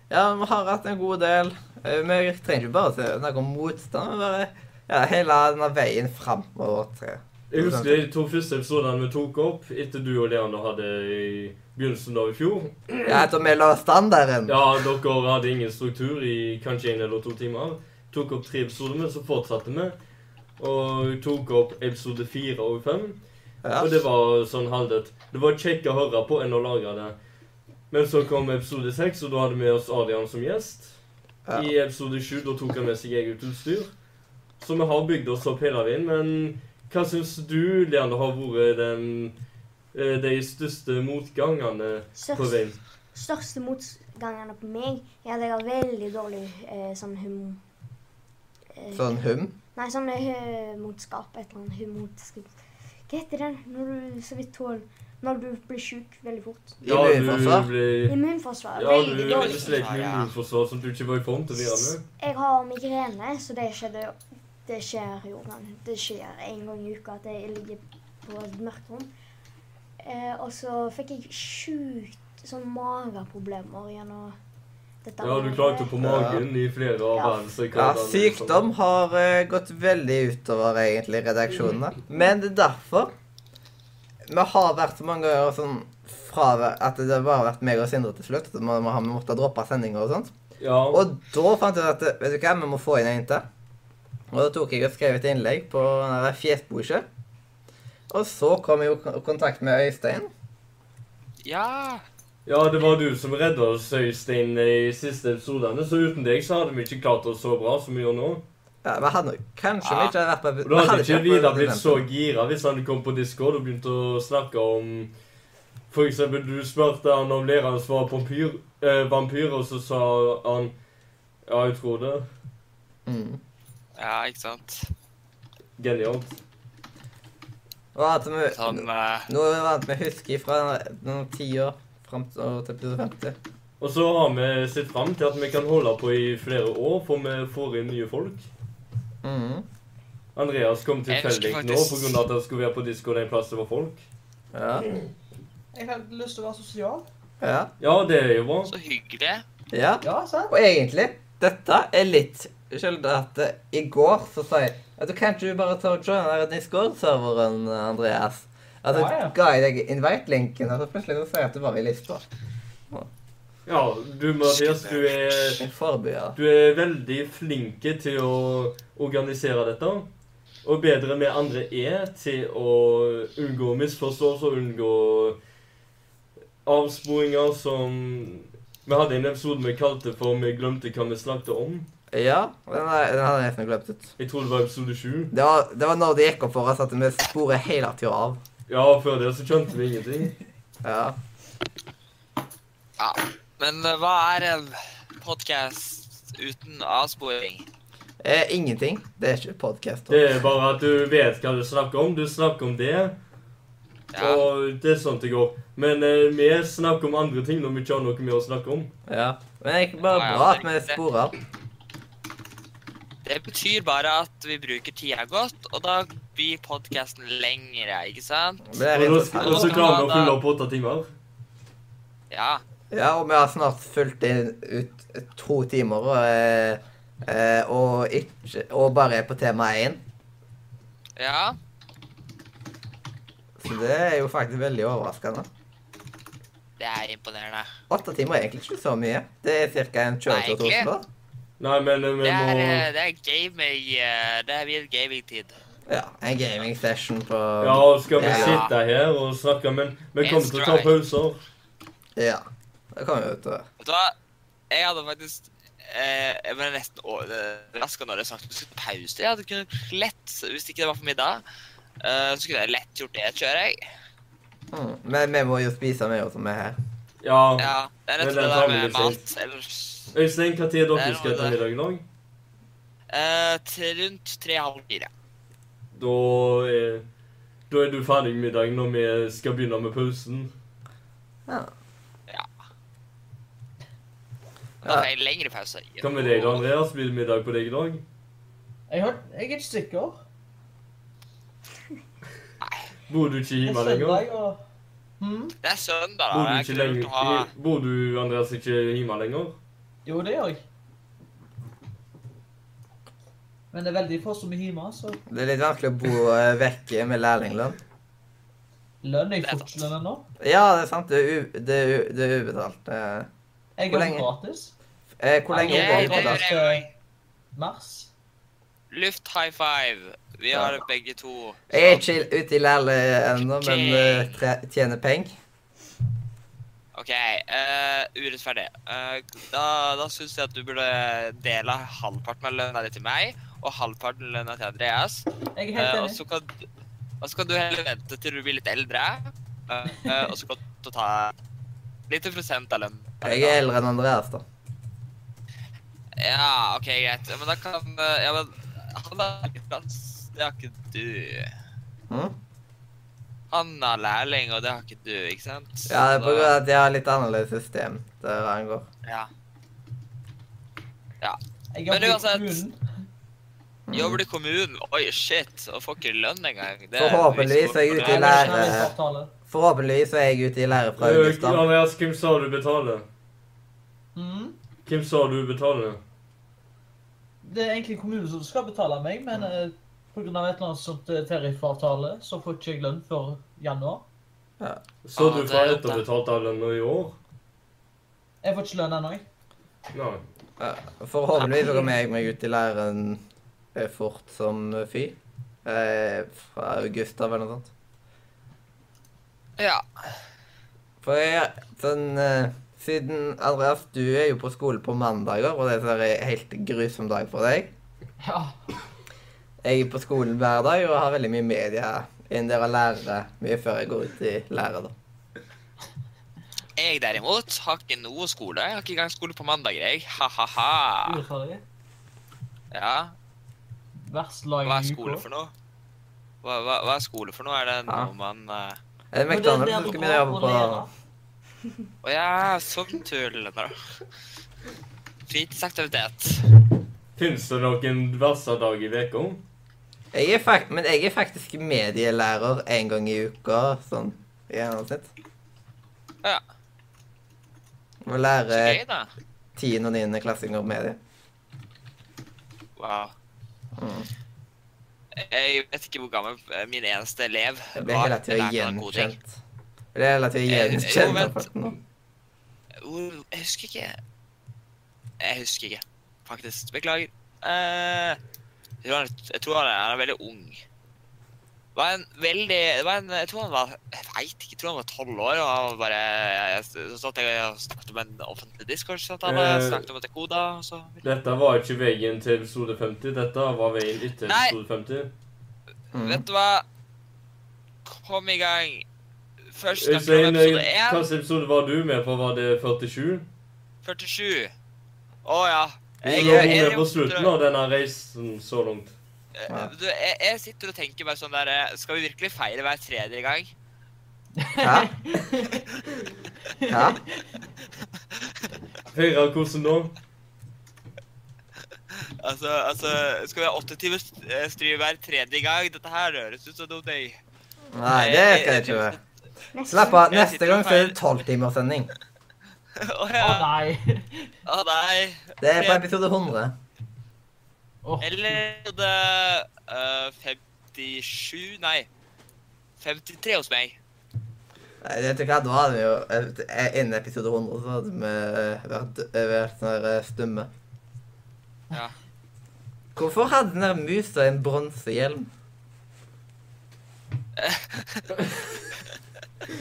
Speaker 1: ja, vi har hatt en god del. Eh, Vi trenger ikke bare å snakke om motstand, men bare ja, hele denne veien fram mot vårt tre.
Speaker 2: Jeg husker de to første episodene vi tok opp etter du og Leander hadde i begynnelsen av i fjor.
Speaker 1: Ja, etter at vi la standarden.
Speaker 2: Ja, dere hadde ingen struktur i kanskje en eller to timer. Tok opp tre episoder, men så fortsatte vi. Og tok opp episode fire og fem.
Speaker 1: Ja.
Speaker 2: Og det var sånn halvdødt. Det var kjekt å høre på enn å lage det. Men så kom episode seks, og da hadde vi med oss Adrian som gjest.
Speaker 1: Ja.
Speaker 2: I episode sju da tok han med seg eget utstyr. Så vi har bygd oss opp hele veien. Men hva syns du, Leander, har vært den, eh, de største motgangene på
Speaker 3: Størst,
Speaker 2: veien?
Speaker 3: største motgangene på meg er at jeg har veldig dårlig eh, sånn hum... Eh,
Speaker 1: Sånn hum.
Speaker 3: Nei, sånn humotskap. Et eller annet humotskap. Hva heter det når du så vidt tåler Når du blir sjuk veldig fort.
Speaker 1: I immunforsvar.
Speaker 2: ble
Speaker 3: Immunforsvar.
Speaker 2: ja, du
Speaker 3: veldig
Speaker 4: dårlig.
Speaker 2: slet med immunforsvar som du ikke var i form til å være med.
Speaker 3: Jeg har migrene, så det skjedde jo. Det skjer jo, men det skjer en gang i uka at jeg ligger på et mørkt rom. Eh, og så fikk jeg sjukt sånn mageproblemer gjennom dette.
Speaker 2: Ja, du klagde på magen i flere av
Speaker 3: Ja.
Speaker 1: Ja,
Speaker 2: verdensrekordene.
Speaker 1: sykdom
Speaker 2: sånn.
Speaker 1: har eh, gått veldig utover egentlig redaksjonene. Men det er derfor vi har vært så mange ganger sånn fravær at det har bare vært meg og Sindre til slutt. at Vi vi har måttet droppe sendinger og sånt.
Speaker 2: Ja.
Speaker 1: Og da fant jeg ut at vet du hva, vi må få inn en til. Og da tok jeg og skrev et innlegg på den der fjesboket. Og så kom jeg jo i kontakt med Øystein.
Speaker 4: Ja.
Speaker 2: Ja, det var du som redda oss, Øystein, i siste episodene. Så uten deg så hadde vi ikke klart oss så bra som vi gjør nå.
Speaker 1: Ja, men han, kanskje vi
Speaker 4: Ja.
Speaker 1: ikke hadde vært med
Speaker 2: Og da
Speaker 1: vi
Speaker 2: hadde ikke
Speaker 1: vært med
Speaker 2: Vidar blitt så
Speaker 1: presidenten.
Speaker 2: gira hvis han kom på Discord og begynte å snakke om For eksempel, du spurte han om læreren hans var vampyr, eh, vampyr, og så sa han Ja, jeg tror det.
Speaker 1: Mm.
Speaker 4: Ja, ikke sant.
Speaker 2: Genialt.
Speaker 1: Og at vi,
Speaker 4: Sånn eh,
Speaker 1: Nå er det at vi husker fra noen tiår fram til og til episode 50.
Speaker 2: Og så har vi sett fram til at vi kan holde på i flere år, for vi får inn nye folk.
Speaker 1: Mhm.
Speaker 2: Andreas kom
Speaker 4: Jeg husker
Speaker 2: tilfeldig nå
Speaker 4: faktisk-
Speaker 2: pga. at han skulle være på Discord en plass det var folk.
Speaker 1: Ja.
Speaker 6: Jeg har lyst til å være sosial.
Speaker 1: ja.
Speaker 2: Ja, det er jo bra.
Speaker 4: så hyggelig.
Speaker 1: Ja.
Speaker 6: Ja, sant?
Speaker 1: Og egentlig, dette er litt skyldig at eh, i går så sa jeg at du kan ikke du bare ta og joine den Discord-serveren, Andreas. At jeg
Speaker 6: Ja, ja.
Speaker 1: ga jeg deg invite-linken, og så plutselig så sier jeg at du var i lista.
Speaker 2: Ja, du Mathias, du er
Speaker 1: En forbyer.
Speaker 2: Du er veldig flinke til å organisere dette. Og bedre vi andre er til å unngå misforståelser og unngå avsporinger som Vi hadde en episode vi kalte for 'Vi glemte hva vi snakket om'.
Speaker 1: Ja, den, er, den hadde jeg nesten glemt ut.
Speaker 2: Jeg tror det var episode sju.
Speaker 1: Det var, det var når det gikk opp for oss at vi sporer hele tida av.
Speaker 2: Ja, før det så skjønte vi ingenting.
Speaker 1: Ja.
Speaker 4: Ja. Men eh, hva er en podkast uten avsporing?
Speaker 1: Eh, ingenting. Det er ikke podkast.
Speaker 2: Det er bare at du vet hva du snakker om. Du snakker om det,
Speaker 4: Ja.
Speaker 2: og det er sånn det går. Men eh, vi snakker om andre ting når vi ikke har noe mer å snakke om.
Speaker 1: Ja. Men det er ikke bare
Speaker 4: Ja, ja,
Speaker 1: bra at
Speaker 4: det er
Speaker 1: vi
Speaker 4: riktig.
Speaker 1: sporer.
Speaker 4: Det betyr bare at vi bruker tida godt, og da blir podkasten lengre, ikke sant?
Speaker 1: Det er
Speaker 2: Og
Speaker 1: rett
Speaker 2: da
Speaker 1: og
Speaker 2: sk-
Speaker 1: slett.
Speaker 2: og så klarer vi å fylle opp åtte timer.
Speaker 4: Ja.
Speaker 1: Ja, og vi har snart fulgt inn ut to timer, og, eh, eh, og, ikke, og bare er på tema én.
Speaker 4: Ja.
Speaker 1: Så det er jo faktisk veldig overraskende.
Speaker 4: Det er imponerende.
Speaker 1: Åtte timer er egentlig ikke så mye. Det er ca. en kjøretur til
Speaker 4: Nei, egentlig.
Speaker 1: Oslo.
Speaker 2: Nei, men eh, vi
Speaker 4: Det er,
Speaker 2: må
Speaker 4: eh, det er gaming eh, Det er min gamingtid.
Speaker 1: Ja, en gaming session på
Speaker 2: Ja, skal vi
Speaker 1: Ja.
Speaker 2: sitte her og snakke, men vi kommer til å ta
Speaker 4: It's right.
Speaker 2: pauser.
Speaker 1: ja. Det kommer jo ut av
Speaker 4: Vet du hva? Jeg hadde faktisk eh, Jeg ble nesten overraska når jeg snakket om vi skulle ta pause. Jeg hadde kunnet lett, hvis ikke det var for middag, eh, så kunne jeg lett gjort det, tror jeg.
Speaker 1: mm. Men vi må jo spise mer som er her.
Speaker 2: Ja.
Speaker 4: Ja, det er
Speaker 2: Men
Speaker 4: rett
Speaker 2: den
Speaker 4: og slett
Speaker 2: tar
Speaker 4: det
Speaker 2: vi
Speaker 4: der
Speaker 2: litt
Speaker 4: med mat. Ellers
Speaker 2: Øystein, når skal
Speaker 4: Det
Speaker 2: dere
Speaker 4: er
Speaker 2: skal
Speaker 4: noe
Speaker 2: ta
Speaker 4: der.
Speaker 2: middag i dag?
Speaker 4: eh, til rundt tre halv fire.
Speaker 2: Da er, da er du ferdig med middagen når vi skal begynne med pausen.
Speaker 4: Da får jeg en lengre pause.
Speaker 2: Hva med deg da, Andreas? Blir det middag på deg i dag?
Speaker 6: Jeg, har, jeg er ikke sikker.
Speaker 2: Bor du ikke
Speaker 6: Jeg
Speaker 2: hjemme lenger?
Speaker 6: søndag og... Hmm?
Speaker 4: Det er søndag, da.
Speaker 2: Bor du,
Speaker 4: Det er
Speaker 2: ikke
Speaker 4: ikke lurt å ha
Speaker 2: lenger? Bor du, Andreas, ikke hjemme lenger?
Speaker 6: Jo, det gjør jeg. Men det er veldig få som er hjemme, så
Speaker 1: Det er litt vanskelig å bo eh, vekke med lærlinglønn.
Speaker 6: lønner
Speaker 4: Det
Speaker 6: jeg
Speaker 4: er sant.
Speaker 6: fortlønna nå.
Speaker 1: Ja, det er sant. Det er, u det er, u det er ubetalt. Eh,
Speaker 6: Jeg
Speaker 1: Hvor
Speaker 6: går
Speaker 1: lenge?
Speaker 6: gratis.
Speaker 1: eh, hvor lenge
Speaker 4: Ja,
Speaker 1: går
Speaker 4: det
Speaker 1: det på
Speaker 4: er-
Speaker 1: da?
Speaker 6: Gratis til mars.
Speaker 4: luft high five. Vi
Speaker 1: Ja.
Speaker 4: har begge to.
Speaker 1: Jeg er sånn- ikke ute i lærle ennå, men eh, tre- tjener penger.
Speaker 4: OK. eh, urettferdig. Eh, da da syns jeg at du burde dele halvparten av lønna di til meg og halvparten av lønna til Andreas.
Speaker 6: Jeg er
Speaker 4: Eh, og,
Speaker 6: helt
Speaker 4: så
Speaker 6: enig.
Speaker 4: kan, og så kan du heller vente til du blir litt eldre, eh, eh, og så kan du ta litt prosent av lønna.
Speaker 1: Jeg er eldre enn Andreas, da.
Speaker 4: Ja, OK, greit. Ja, Men da kan eh, Ja, men han har ikke plass. Det har ikke du.
Speaker 1: Hm?
Speaker 4: Han har lærling, og det har ikke du, ikke sant?
Speaker 1: Ja, det er på
Speaker 4: Så-
Speaker 1: grunn av at jeg har litt annerledes system der han går.
Speaker 4: Ja.
Speaker 6: Jeg
Speaker 4: Men
Speaker 6: jobber i
Speaker 4: uansett-
Speaker 6: kommunen.
Speaker 4: Jobber du i kommunen? Oi, shit. Og får ikke lønn engang. Det er
Speaker 1: Forhåpentligvis er jeg ute i
Speaker 6: Jeg
Speaker 4: misforstått.
Speaker 6: har
Speaker 1: lære.
Speaker 6: lønnsavtale.
Speaker 1: Forhåpentligvis er jeg ute i lære fra
Speaker 2: Eh,
Speaker 1: august. da.
Speaker 2: Andreas, hvem sa du betaler?
Speaker 6: Hmm?
Speaker 2: Hvem sa du betaler?
Speaker 6: Det er egentlig kommunen som skal betale meg, men eh, på grunn av et eller annet sånt eh, tariffavtale, så får ikke jeg lønn før januar.
Speaker 2: Så
Speaker 4: Ah,
Speaker 2: du
Speaker 4: det
Speaker 2: fra
Speaker 4: er-
Speaker 2: etterbetalt av lønna i år?
Speaker 6: Jeg får ikke lønn ennå, jeg.
Speaker 2: Nei.
Speaker 1: Ja, Forhåpentligvis så kommer jeg meg ut i læren eh, fort som fy. Eh, fra august av eller noe sånt.
Speaker 4: Ja.
Speaker 1: For jeg, sånn, eh, siden Andreas, du er jo på skole på mandager, og det er en helt sånn grusom dag for deg.
Speaker 6: Ja.
Speaker 1: Jeg er på skolen hver dag og har veldig mye media inn der og lærer mye før jeg går ut i lære, da.
Speaker 4: Jeg derimot har ikke noe skole. Jeg har ikke engang skole på mandager, jeg. Ha-ha-ha.
Speaker 6: Urettferdig.
Speaker 4: Ja.
Speaker 6: Verst lag
Speaker 4: Hva er
Speaker 6: i
Speaker 4: skole
Speaker 6: uka.
Speaker 4: for noe? Hva, hva, hva er skole for noe? Er det
Speaker 1: Ja.
Speaker 4: noe man eh,
Speaker 1: Er det
Speaker 6: Men det er
Speaker 1: McDonald's
Speaker 6: der
Speaker 1: du
Speaker 6: du
Speaker 1: skal begynne å
Speaker 6: går
Speaker 1: jobbe
Speaker 6: og lærer.
Speaker 1: på?
Speaker 4: Å ja, sånn tull. da. Fritidsaktivitet.
Speaker 2: Fins det noen verste dag i uka?
Speaker 1: Jeg er fak men jeg er faktisk medielærer én gang i uka, sånn i gjennomsnitt.
Speaker 4: Ja.
Speaker 1: Og
Speaker 4: Så gøy,
Speaker 1: lærer
Speaker 4: da.
Speaker 1: 10. og 9. klassinger medie.
Speaker 4: Wow.
Speaker 1: Mm.
Speaker 4: Jeg vet ikke hvor gammel eh, min eneste elev
Speaker 1: Jeg blir hele tida
Speaker 4: lærte meg koding.
Speaker 1: gjenkjent. Jeg blir hele tida
Speaker 4: Eh, jo,
Speaker 1: gjenkjent
Speaker 4: vent.
Speaker 1: av folk nå.
Speaker 4: Hvor Oh, Jeg husker ikke. Jeg husker ikke, faktisk. Beklager. Eh, jeg tror han- jeg tror han er, han er veldig ung. Var en veldig det var en, Jeg tror han var jeg vet ikke, jeg tror han var tolv år. og han var bare, jeg, Så satt jeg og snakket om en offentlig discord. Så han
Speaker 2: Eh.
Speaker 4: uh, snakket om at det er koda. og så...
Speaker 2: Dette var ikke veien til episode 50. Dette var veien etter
Speaker 4: Nei.
Speaker 2: episode 50.
Speaker 1: Mm.
Speaker 4: Vet du hva? Kom i gang. Først snakker vi om
Speaker 2: Øystein,
Speaker 4: episode
Speaker 2: eh,
Speaker 4: 1.
Speaker 2: hvilken episode var du med på? Var det 47?
Speaker 4: 47. Å ja.
Speaker 2: Jeg,
Speaker 1: jeg-
Speaker 2: jeg,
Speaker 1: jeg-
Speaker 2: på slutten av denne reisen så langt.
Speaker 1: Ja.
Speaker 4: Eh, Du, jeg, jeg sitter og tenker bare sånn der eh, Skal vi virkelig feire hver tredje gang?
Speaker 1: Hæ? Hæ?
Speaker 2: Feira hvordan da?
Speaker 4: [laughs] Altså, altså Skal vi ha åtte timers eh, stream hver tredje gang? Dette her høres ut som noe døy.
Speaker 1: Nei, det skal jeg ikke være.
Speaker 3: Neste.
Speaker 1: Slapp av. Neste gang så er det tolvtimerssending.
Speaker 4: [laughs] Å
Speaker 6: Å
Speaker 4: ja.
Speaker 6: nei.
Speaker 4: Å nei.
Speaker 1: Det er på episode 100.
Speaker 6: Åh.
Speaker 4: Eller det eh, 57 Nei. 53 hos meg.
Speaker 1: Nei, vet du hva, da hadde vi jo eh, Innen episode 100 så hadde vi eh, vært, eh, vært sånn her, eh, stumme.
Speaker 4: Ja.
Speaker 1: Hvorfor hadde den der musa en bronsehjelm?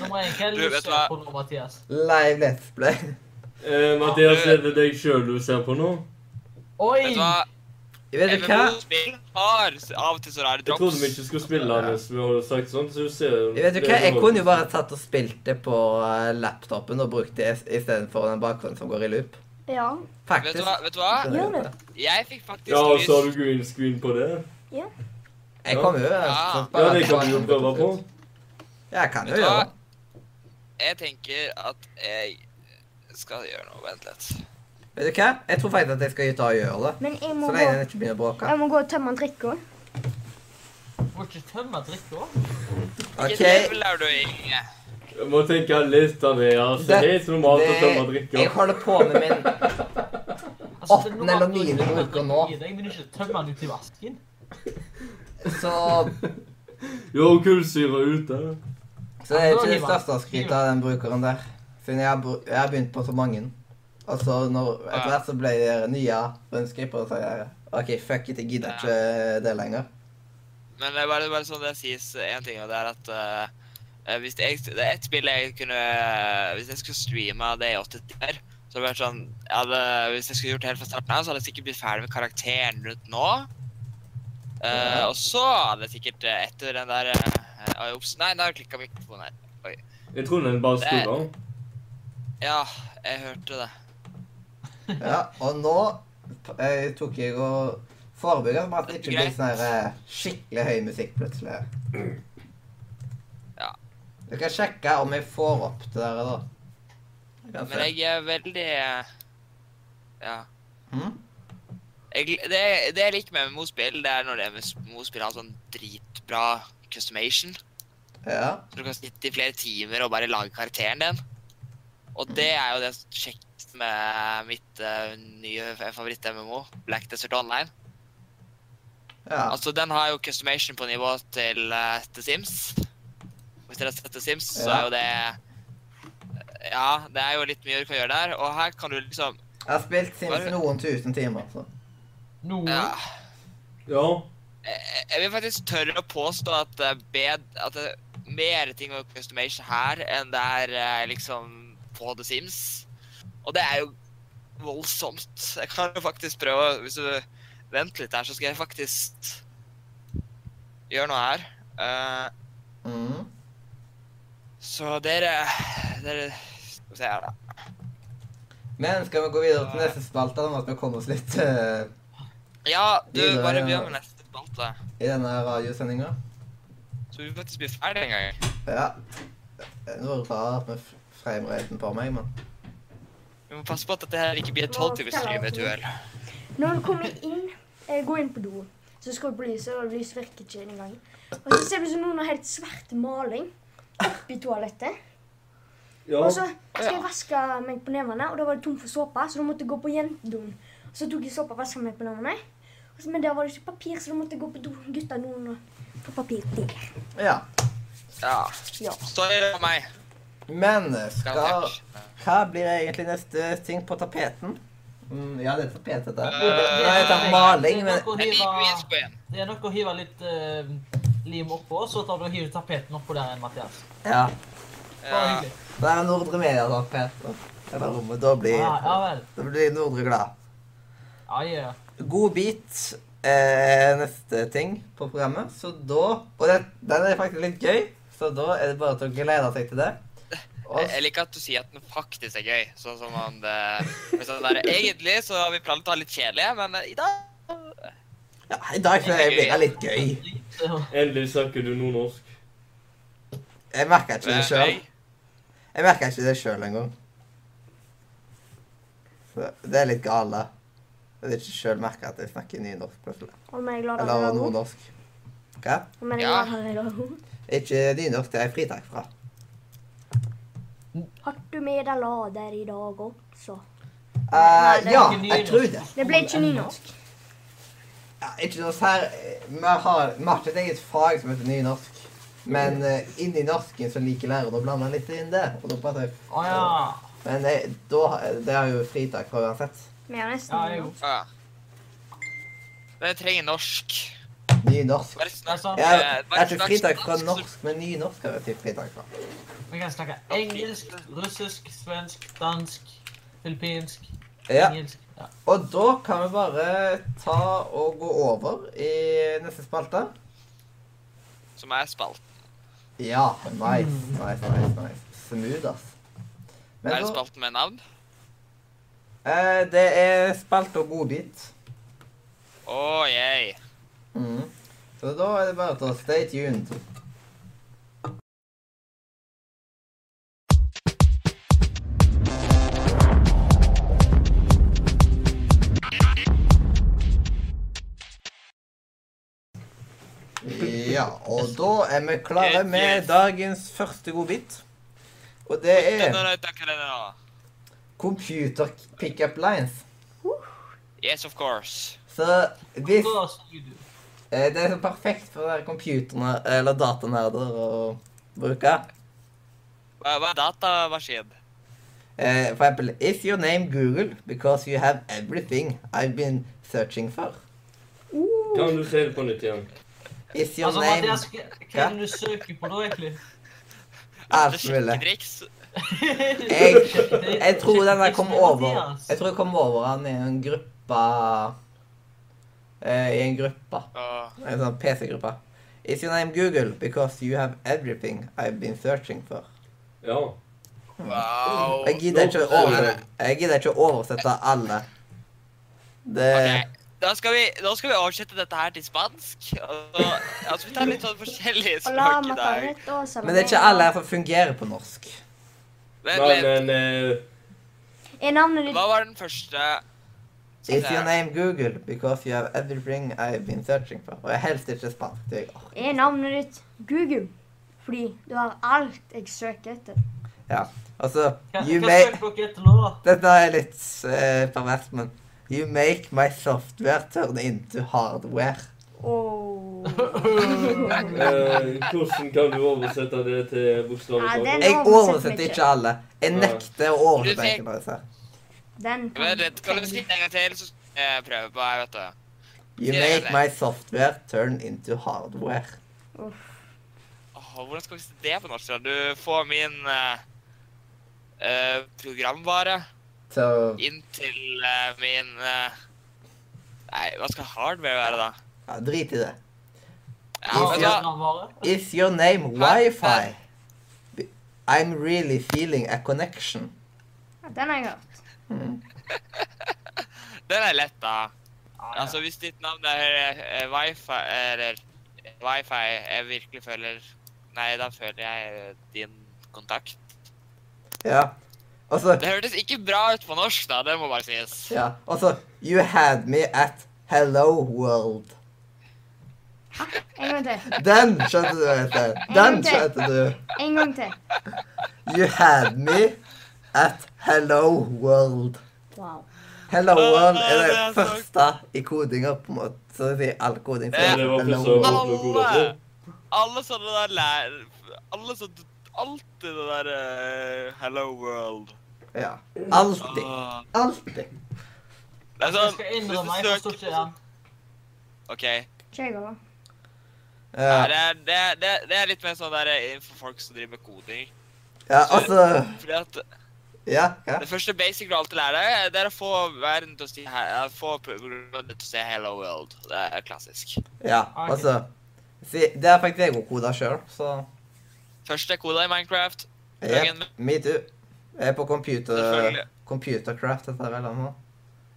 Speaker 6: Nummer én, hva er
Speaker 4: Du,
Speaker 6: det du
Speaker 4: vet du
Speaker 6: ser
Speaker 4: hva?
Speaker 6: på nå, Mathias?
Speaker 1: Live Let's Play.
Speaker 2: Eh, Mathias, er det deg sjøl du ser på nå?
Speaker 6: Oi!
Speaker 4: Vet du hva?
Speaker 1: Vet du hva?
Speaker 4: MMO-spill har av og til så rare
Speaker 2: Jeg trodde vi
Speaker 4: drops.
Speaker 2: ikke skulle spille den hvis vi hadde sagt sånn. så du ser...
Speaker 1: Vet du hva, Jeg kunne jo bare tatt og spilt det på eh, laptopen og brukt det i- istedenfor den bakgrunnen som går i loop.
Speaker 3: Ja.
Speaker 1: Faktisk.
Speaker 4: Vet du hva? vet du hva?
Speaker 1: Så jeg vet det.
Speaker 4: Jeg fikk faktisk
Speaker 2: Ja, og så har
Speaker 4: lyst
Speaker 2: du green screen på det?
Speaker 1: Jeg kommer jo altså,
Speaker 4: Ja.
Speaker 1: så
Speaker 2: Ja,
Speaker 1: bare-
Speaker 2: det kan du jo prøve på.
Speaker 1: Ja, jeg kan jo
Speaker 4: Vet du hva?
Speaker 1: gjøre det.
Speaker 4: Jeg tenker at jeg skal gjøre noe. Vent litt.
Speaker 1: Vet du hva? Jeg tror faktisk at jeg skal ut og gjøre det.
Speaker 3: Men jeg må,
Speaker 1: Så
Speaker 3: gå,
Speaker 1: lenge den ikke begynner å bråke.
Speaker 3: jeg må gå og tømme en drikke.
Speaker 6: Må ikke tømme drikka.
Speaker 1: OK.
Speaker 4: Hvilket level er du i?
Speaker 2: Jeg må tenke litt av det. altså. Det er helt normalt å tømme
Speaker 1: det-
Speaker 2: drikker.
Speaker 1: Jeg holder på med min
Speaker 6: Altså,
Speaker 1: Åttende
Speaker 6: det er normalt
Speaker 1: eller
Speaker 6: å ikke
Speaker 1: niende bruker
Speaker 6: tømme drikken
Speaker 1: nå.
Speaker 6: i deg, Men ikke tømme den ut i vasken.
Speaker 1: Så
Speaker 2: Jo, kullsyre ute.
Speaker 1: Så det er ikke det største å skryte av den brukeren der. Siden jeg har, bru- jeg har begynt på så mange. Og så når, etter hvert så ble det nye rundskriver, og så jeg OK, fuck it, jeg gidder ikke det lenger.
Speaker 4: Men det er bare, bare sånn det sies én ting, og det er at eh, eh, hvis det, jeg, det er ett spill jeg kunne Hvis jeg skulle streame det i åtte timer, så hadde det vært sånn jeg hadde, Hvis jeg skulle gjort det helt fra starten av, så hadde jeg sikkert blitt ferdig med karakteren rundt nå. Eh, Og så hadde jeg sikkert eh, etter den der uh, Ops, nei, der klikka mikrofonen her.
Speaker 2: Jeg trodde den bare sto
Speaker 4: Det-
Speaker 2: der.
Speaker 4: Ja, jeg hørte det.
Speaker 1: Ja, og nå eh, tok jeg og forebygga at det ikke ble
Speaker 4: Greit.
Speaker 1: sånn her eh, skikkelig høy musikk plutselig.
Speaker 4: Ja.
Speaker 1: Du kan sjekke om jeg får opp det der, da. Jeg kan
Speaker 4: Men
Speaker 1: se.
Speaker 4: jeg er veldig eh, Ja.
Speaker 1: Mhm.
Speaker 4: Jeg, det, det jeg liker med MMO-spill, det er når det MMO-spill har sånn dritbra customation.
Speaker 1: Ja.
Speaker 4: Så du kan sitte i flere timer og bare lage karakteren din. Og det er jo det som er kjekt med mitt eh, nye favoritt-MMO, Black Desert Online.
Speaker 1: ja.
Speaker 4: Altså, den har jo customation på nivå til eh, The Sims. Hvis dere har sett The Sims, så
Speaker 1: Ja.
Speaker 4: er jo det eh, Ja, det er jo litt mye du kan gjøre der. Og her kan du liksom
Speaker 1: Jeg har spilt Sims noen tusen timer, så.
Speaker 6: Noen.
Speaker 4: ja,
Speaker 1: Mhm.
Speaker 2: Ja.
Speaker 4: jeg, Eh, jeg vil faktisk tørre å påstå at det er bed, at det er mer ting å customation her enn det er eh, liksom på The Sims. Og det er jo voldsomt. Jeg kan jo faktisk prøve å- Hvis du Vent litt her, så skal jeg faktisk gjøre noe her. Eh,
Speaker 1: Mm.
Speaker 4: så dere Dere Skal vi se her, da.
Speaker 1: Men skal vi gå videre til neste spalte, sånn at vi kommer oss litt eh,
Speaker 4: Ja, du,
Speaker 1: Videre,
Speaker 4: bare
Speaker 1: ja.
Speaker 4: begynn med neste spalte.
Speaker 1: i denne radiosendinga?
Speaker 4: Så vi faktisk blir ferdig en gang.
Speaker 1: Ja. Nå er det rart med frameraten på meg, men
Speaker 4: Vi må passe på at dette her ikke blir et tolvtimersstream, vet du vel.
Speaker 3: Når du kommer inn, eh, går inn på do, så skal du lyset, og lyset virker ikke engang. Og så ser du som noen har helt svart maling oppi toalettet.
Speaker 2: Ja.
Speaker 3: Og så skal jeg vaske meg på nevene, og da var det tom for såpe, så da måtte jeg gå på jentedoen. Og Så tok jeg såpe og vaska meg på nevene. Og så- Men der var det ikke papir, så da måtte jeg gå på do, guttedoen og få papir der.
Speaker 1: Ja.
Speaker 4: Ja.
Speaker 3: Ja.
Speaker 4: Sorry det var meg.
Speaker 1: Men eh, skal
Speaker 4: Garantert.
Speaker 1: Hva blir egentlig neste ting på tapeten? Mm, ja, det er tapet, dette.
Speaker 4: Eh,
Speaker 1: Nei, det er maling, men
Speaker 6: Det
Speaker 4: Jeg liker
Speaker 6: er nok å hive-
Speaker 4: USP igjen.
Speaker 6: det er nok å hive litt eh, lim oppå, så tar du og hiver tapeten oppå der igjen, Mathias.
Speaker 1: Ja.
Speaker 6: Bare
Speaker 4: Ja.
Speaker 6: hyggelig.
Speaker 1: Det er Nordre Media-tapet. Eller rommet. Da blir,
Speaker 6: Ja, Ah, ja vel.
Speaker 1: da blir Nordre glad.
Speaker 6: Ja, ja. ja.
Speaker 1: God bit eh, neste ting på programmet, så da Og det, den er faktisk litt gøy, så da er det bare til å glede seg til det.
Speaker 4: Jeg-
Speaker 1: Og
Speaker 4: Jeg liker at du sier at den faktisk er gøy. Sånn som om det men sånn der, Egentlig så har vi planlagt å ha litt kjedelige, men eh, i dag
Speaker 1: ja, i dag så blir det litt gøy.
Speaker 6: Så-
Speaker 2: Endelig snakker du nordnorsk.
Speaker 1: Jeg merka ikke det
Speaker 4: eh,
Speaker 1: sjøl.
Speaker 4: hei.
Speaker 1: Jeg merka ikke det sjøl engang. Så Det er litt gale. Jeg vil ikke sjøl merke at jeg snakker nynorsk plutselig.
Speaker 3: Og men jeg er glad at jeg
Speaker 1: Eller
Speaker 3: har henne.
Speaker 1: nordnorsk. Hva?
Speaker 3: Og men jeg
Speaker 4: Ja.
Speaker 3: er glad at jeg har henne.
Speaker 1: Ikke nynorsk, det er jeg fritak fra.
Speaker 3: Har du med deg lader i dag også?
Speaker 1: Eh,
Speaker 3: det er
Speaker 1: ja,
Speaker 6: ikke
Speaker 1: jeg tror det.
Speaker 3: Det ble ikke nynorsk.
Speaker 1: Ja, ikke noe sær... eh, Vi har vi har ikke et eget fag som heter nynorsk. Men eh, inni norsken så liker læreren å blande litt inn det. Og da prater jeg.
Speaker 6: Å ja.
Speaker 1: Men eh, da, det er jo fritak fra uansett.
Speaker 3: Vi har nesten
Speaker 6: Ja, jeg er
Speaker 3: nynorsk.
Speaker 4: Ja. Men jeg trenger norsk.
Speaker 1: Nynorsk.
Speaker 4: Bare snakk.
Speaker 6: Altså,
Speaker 1: Jeg
Speaker 4: Eh,
Speaker 1: jeg
Speaker 4: bare
Speaker 1: er ikke
Speaker 4: snakk
Speaker 1: fritak fra
Speaker 4: norsk, så-
Speaker 1: norsk, men nynorsk har jeg typ fritak fra.
Speaker 6: Vi kan snakke engelsk, russisk, svensk, dansk, filippinsk,
Speaker 1: Ja.
Speaker 6: engelsk ja.
Speaker 1: Og da kan vi bare ta og gå over i neste spalte.
Speaker 4: Som er spalt.
Speaker 1: Ja, nice, nice, nice, nice. Smooth, ass. Men
Speaker 4: Er det
Speaker 1: så-
Speaker 4: spalten med navn?
Speaker 1: eh, det er spalte og godbit.
Speaker 4: Å, yay.
Speaker 1: Mhm. Så da er det bare til å stay tuned. Ja, og da er vi klare med dagens første godbit. Og det
Speaker 4: Den
Speaker 1: er
Speaker 4: er ute, hva er det nå?
Speaker 1: computer pickup lines.
Speaker 4: Yes, of course.
Speaker 1: Så hvis
Speaker 6: Så snur du.
Speaker 1: Eh, Det er så perfekt for dere computerne, eller datanerder å bruke.
Speaker 4: Hva hva er datamaskin?
Speaker 1: Eh, For eksempel Is your name Google because you have everything I've been searching for?
Speaker 2: Kan du si det på nytt igjen?
Speaker 1: Is your
Speaker 6: Altså,
Speaker 1: name
Speaker 6: Mathias, hva hva er det du søker på da, egentlig?
Speaker 1: Alt mulig.
Speaker 4: Sjekketriks?
Speaker 6: [laughs]
Speaker 1: Jeg, jeg tror den der kom over Jeg tror jeg kom over han i en gruppe eh, I en gruppe.
Speaker 4: Åh,
Speaker 1: En sånn PC-gruppe. Is your name Google because you have everything I've been searching for?
Speaker 2: Ja.
Speaker 4: wow.
Speaker 1: Jeg gidder ikke å, over, jeg gidder ikke å oversette alle. Det
Speaker 4: Ok, Da skal, vi, da skal vi oversette dette her til spansk. Altså, altså vi tar litt sånn forskjellige
Speaker 3: Hola,
Speaker 4: språk i dag.
Speaker 3: mataret og salamandre.
Speaker 1: Men det er ikke alle her som fungerer på norsk.
Speaker 4: Vent
Speaker 2: Nei,
Speaker 4: litt.
Speaker 2: men eh,
Speaker 3: Er navnet ditt
Speaker 4: Hva var den første? Skal vi
Speaker 1: Is
Speaker 4: se
Speaker 1: your
Speaker 4: her.
Speaker 1: name Google because you have everything I've been searching for? Og jeg er helst ikke spansk. Jeg, orker.
Speaker 3: Er navnet ditt Google? Fordi du har alt jeg søker etter.
Speaker 1: altså,
Speaker 6: Hva,
Speaker 1: you
Speaker 6: hva
Speaker 1: make...
Speaker 6: søker dere etter nå, da?
Speaker 1: Dette er litt eh, pervers, men... You make my software turn into hardware.
Speaker 3: Åh.
Speaker 2: eh, hvordan kan du oversette det til
Speaker 3: Nei,
Speaker 2: bokstavelig
Speaker 3: den-
Speaker 2: talt?
Speaker 1: Jeg
Speaker 3: oversetter
Speaker 1: oversetter
Speaker 3: vi ikke.
Speaker 1: ikke alle. Jeg
Speaker 2: Nei.
Speaker 1: nekter å
Speaker 4: Du
Speaker 1: oversette
Speaker 4: fikk-
Speaker 1: enkelte av disse. her.
Speaker 3: Den
Speaker 4: Vent litt, Kan du si det en gang til, så skal jeg prøve på her, vet du.
Speaker 1: You
Speaker 4: Sier jeg
Speaker 1: make
Speaker 4: det?
Speaker 1: my software turn into hardware.
Speaker 4: Åh, hvordan skal vi si det på norsk? da? Du får min eh, eh, programvare
Speaker 1: Så...
Speaker 4: inn til eh, min eh, Nei, hva skal hardware være, da?
Speaker 1: Ja, drit i det.
Speaker 4: Ja,
Speaker 1: Hva
Speaker 4: vet du
Speaker 1: skal-
Speaker 4: hva?
Speaker 1: Is your name
Speaker 4: Hæ?
Speaker 1: Wi-Fi? I'm really feeling a connection. Hmm.
Speaker 3: Ja, den har jeg hørt.
Speaker 4: Den er lett, da. Altså, hvis ditt navn er eh, wifi, eller wifi, jeg virkelig føler Nei, da føler jeg eh, din kontakt.
Speaker 1: Ja. Altså, Og så
Speaker 4: Det hørtes ikke bra ut på norsk, da. Det må bare sies.
Speaker 1: Ja. Og så You had me at Hello World.
Speaker 3: En gang til.
Speaker 1: Den skjønte du, Ete. Den skjønte du.
Speaker 3: En gang til.
Speaker 1: You had me at Hello World.
Speaker 3: Wow.
Speaker 1: Hello
Speaker 4: Åh,
Speaker 1: World er det
Speaker 4: det er så-
Speaker 1: første i kodinga, på en måte. Så det sier all koding. så er det
Speaker 2: Det var
Speaker 1: Hello
Speaker 2: for så-
Speaker 1: World.
Speaker 4: Alle, alle sånne der lær... Alle sånne Alltid det der eh, Hello World.
Speaker 1: Ja. Alltid.
Speaker 4: Åh.
Speaker 1: Alltid.
Speaker 4: Det er
Speaker 6: Jeg
Speaker 4: sånn hvis
Speaker 6: skal
Speaker 4: du
Speaker 6: innrømme, jeg forstår
Speaker 4: søker-
Speaker 6: ikke den.
Speaker 4: OK.
Speaker 3: Ikke jeg òg.
Speaker 4: Nei,
Speaker 1: Ja.
Speaker 4: det, er, det, er, det er- det er litt mer sånn der eh, for folk som driver med koding.
Speaker 1: ja, altså
Speaker 4: Fordi at
Speaker 1: Ja. ja.
Speaker 4: Det første basic du alltid lærer deg, eh, det er å få verden til å si he- eh, Få programmet til å si 'Hello World'. Det er klassisk.
Speaker 1: ja. Altså si- Det er faktisk jeg og koda sjøl, så
Speaker 4: Første koda i Minecraft.
Speaker 1: Jep, Me too. Jeg er på computer...
Speaker 4: Selvfølgelig.
Speaker 1: Computercraft, dette her eller noe.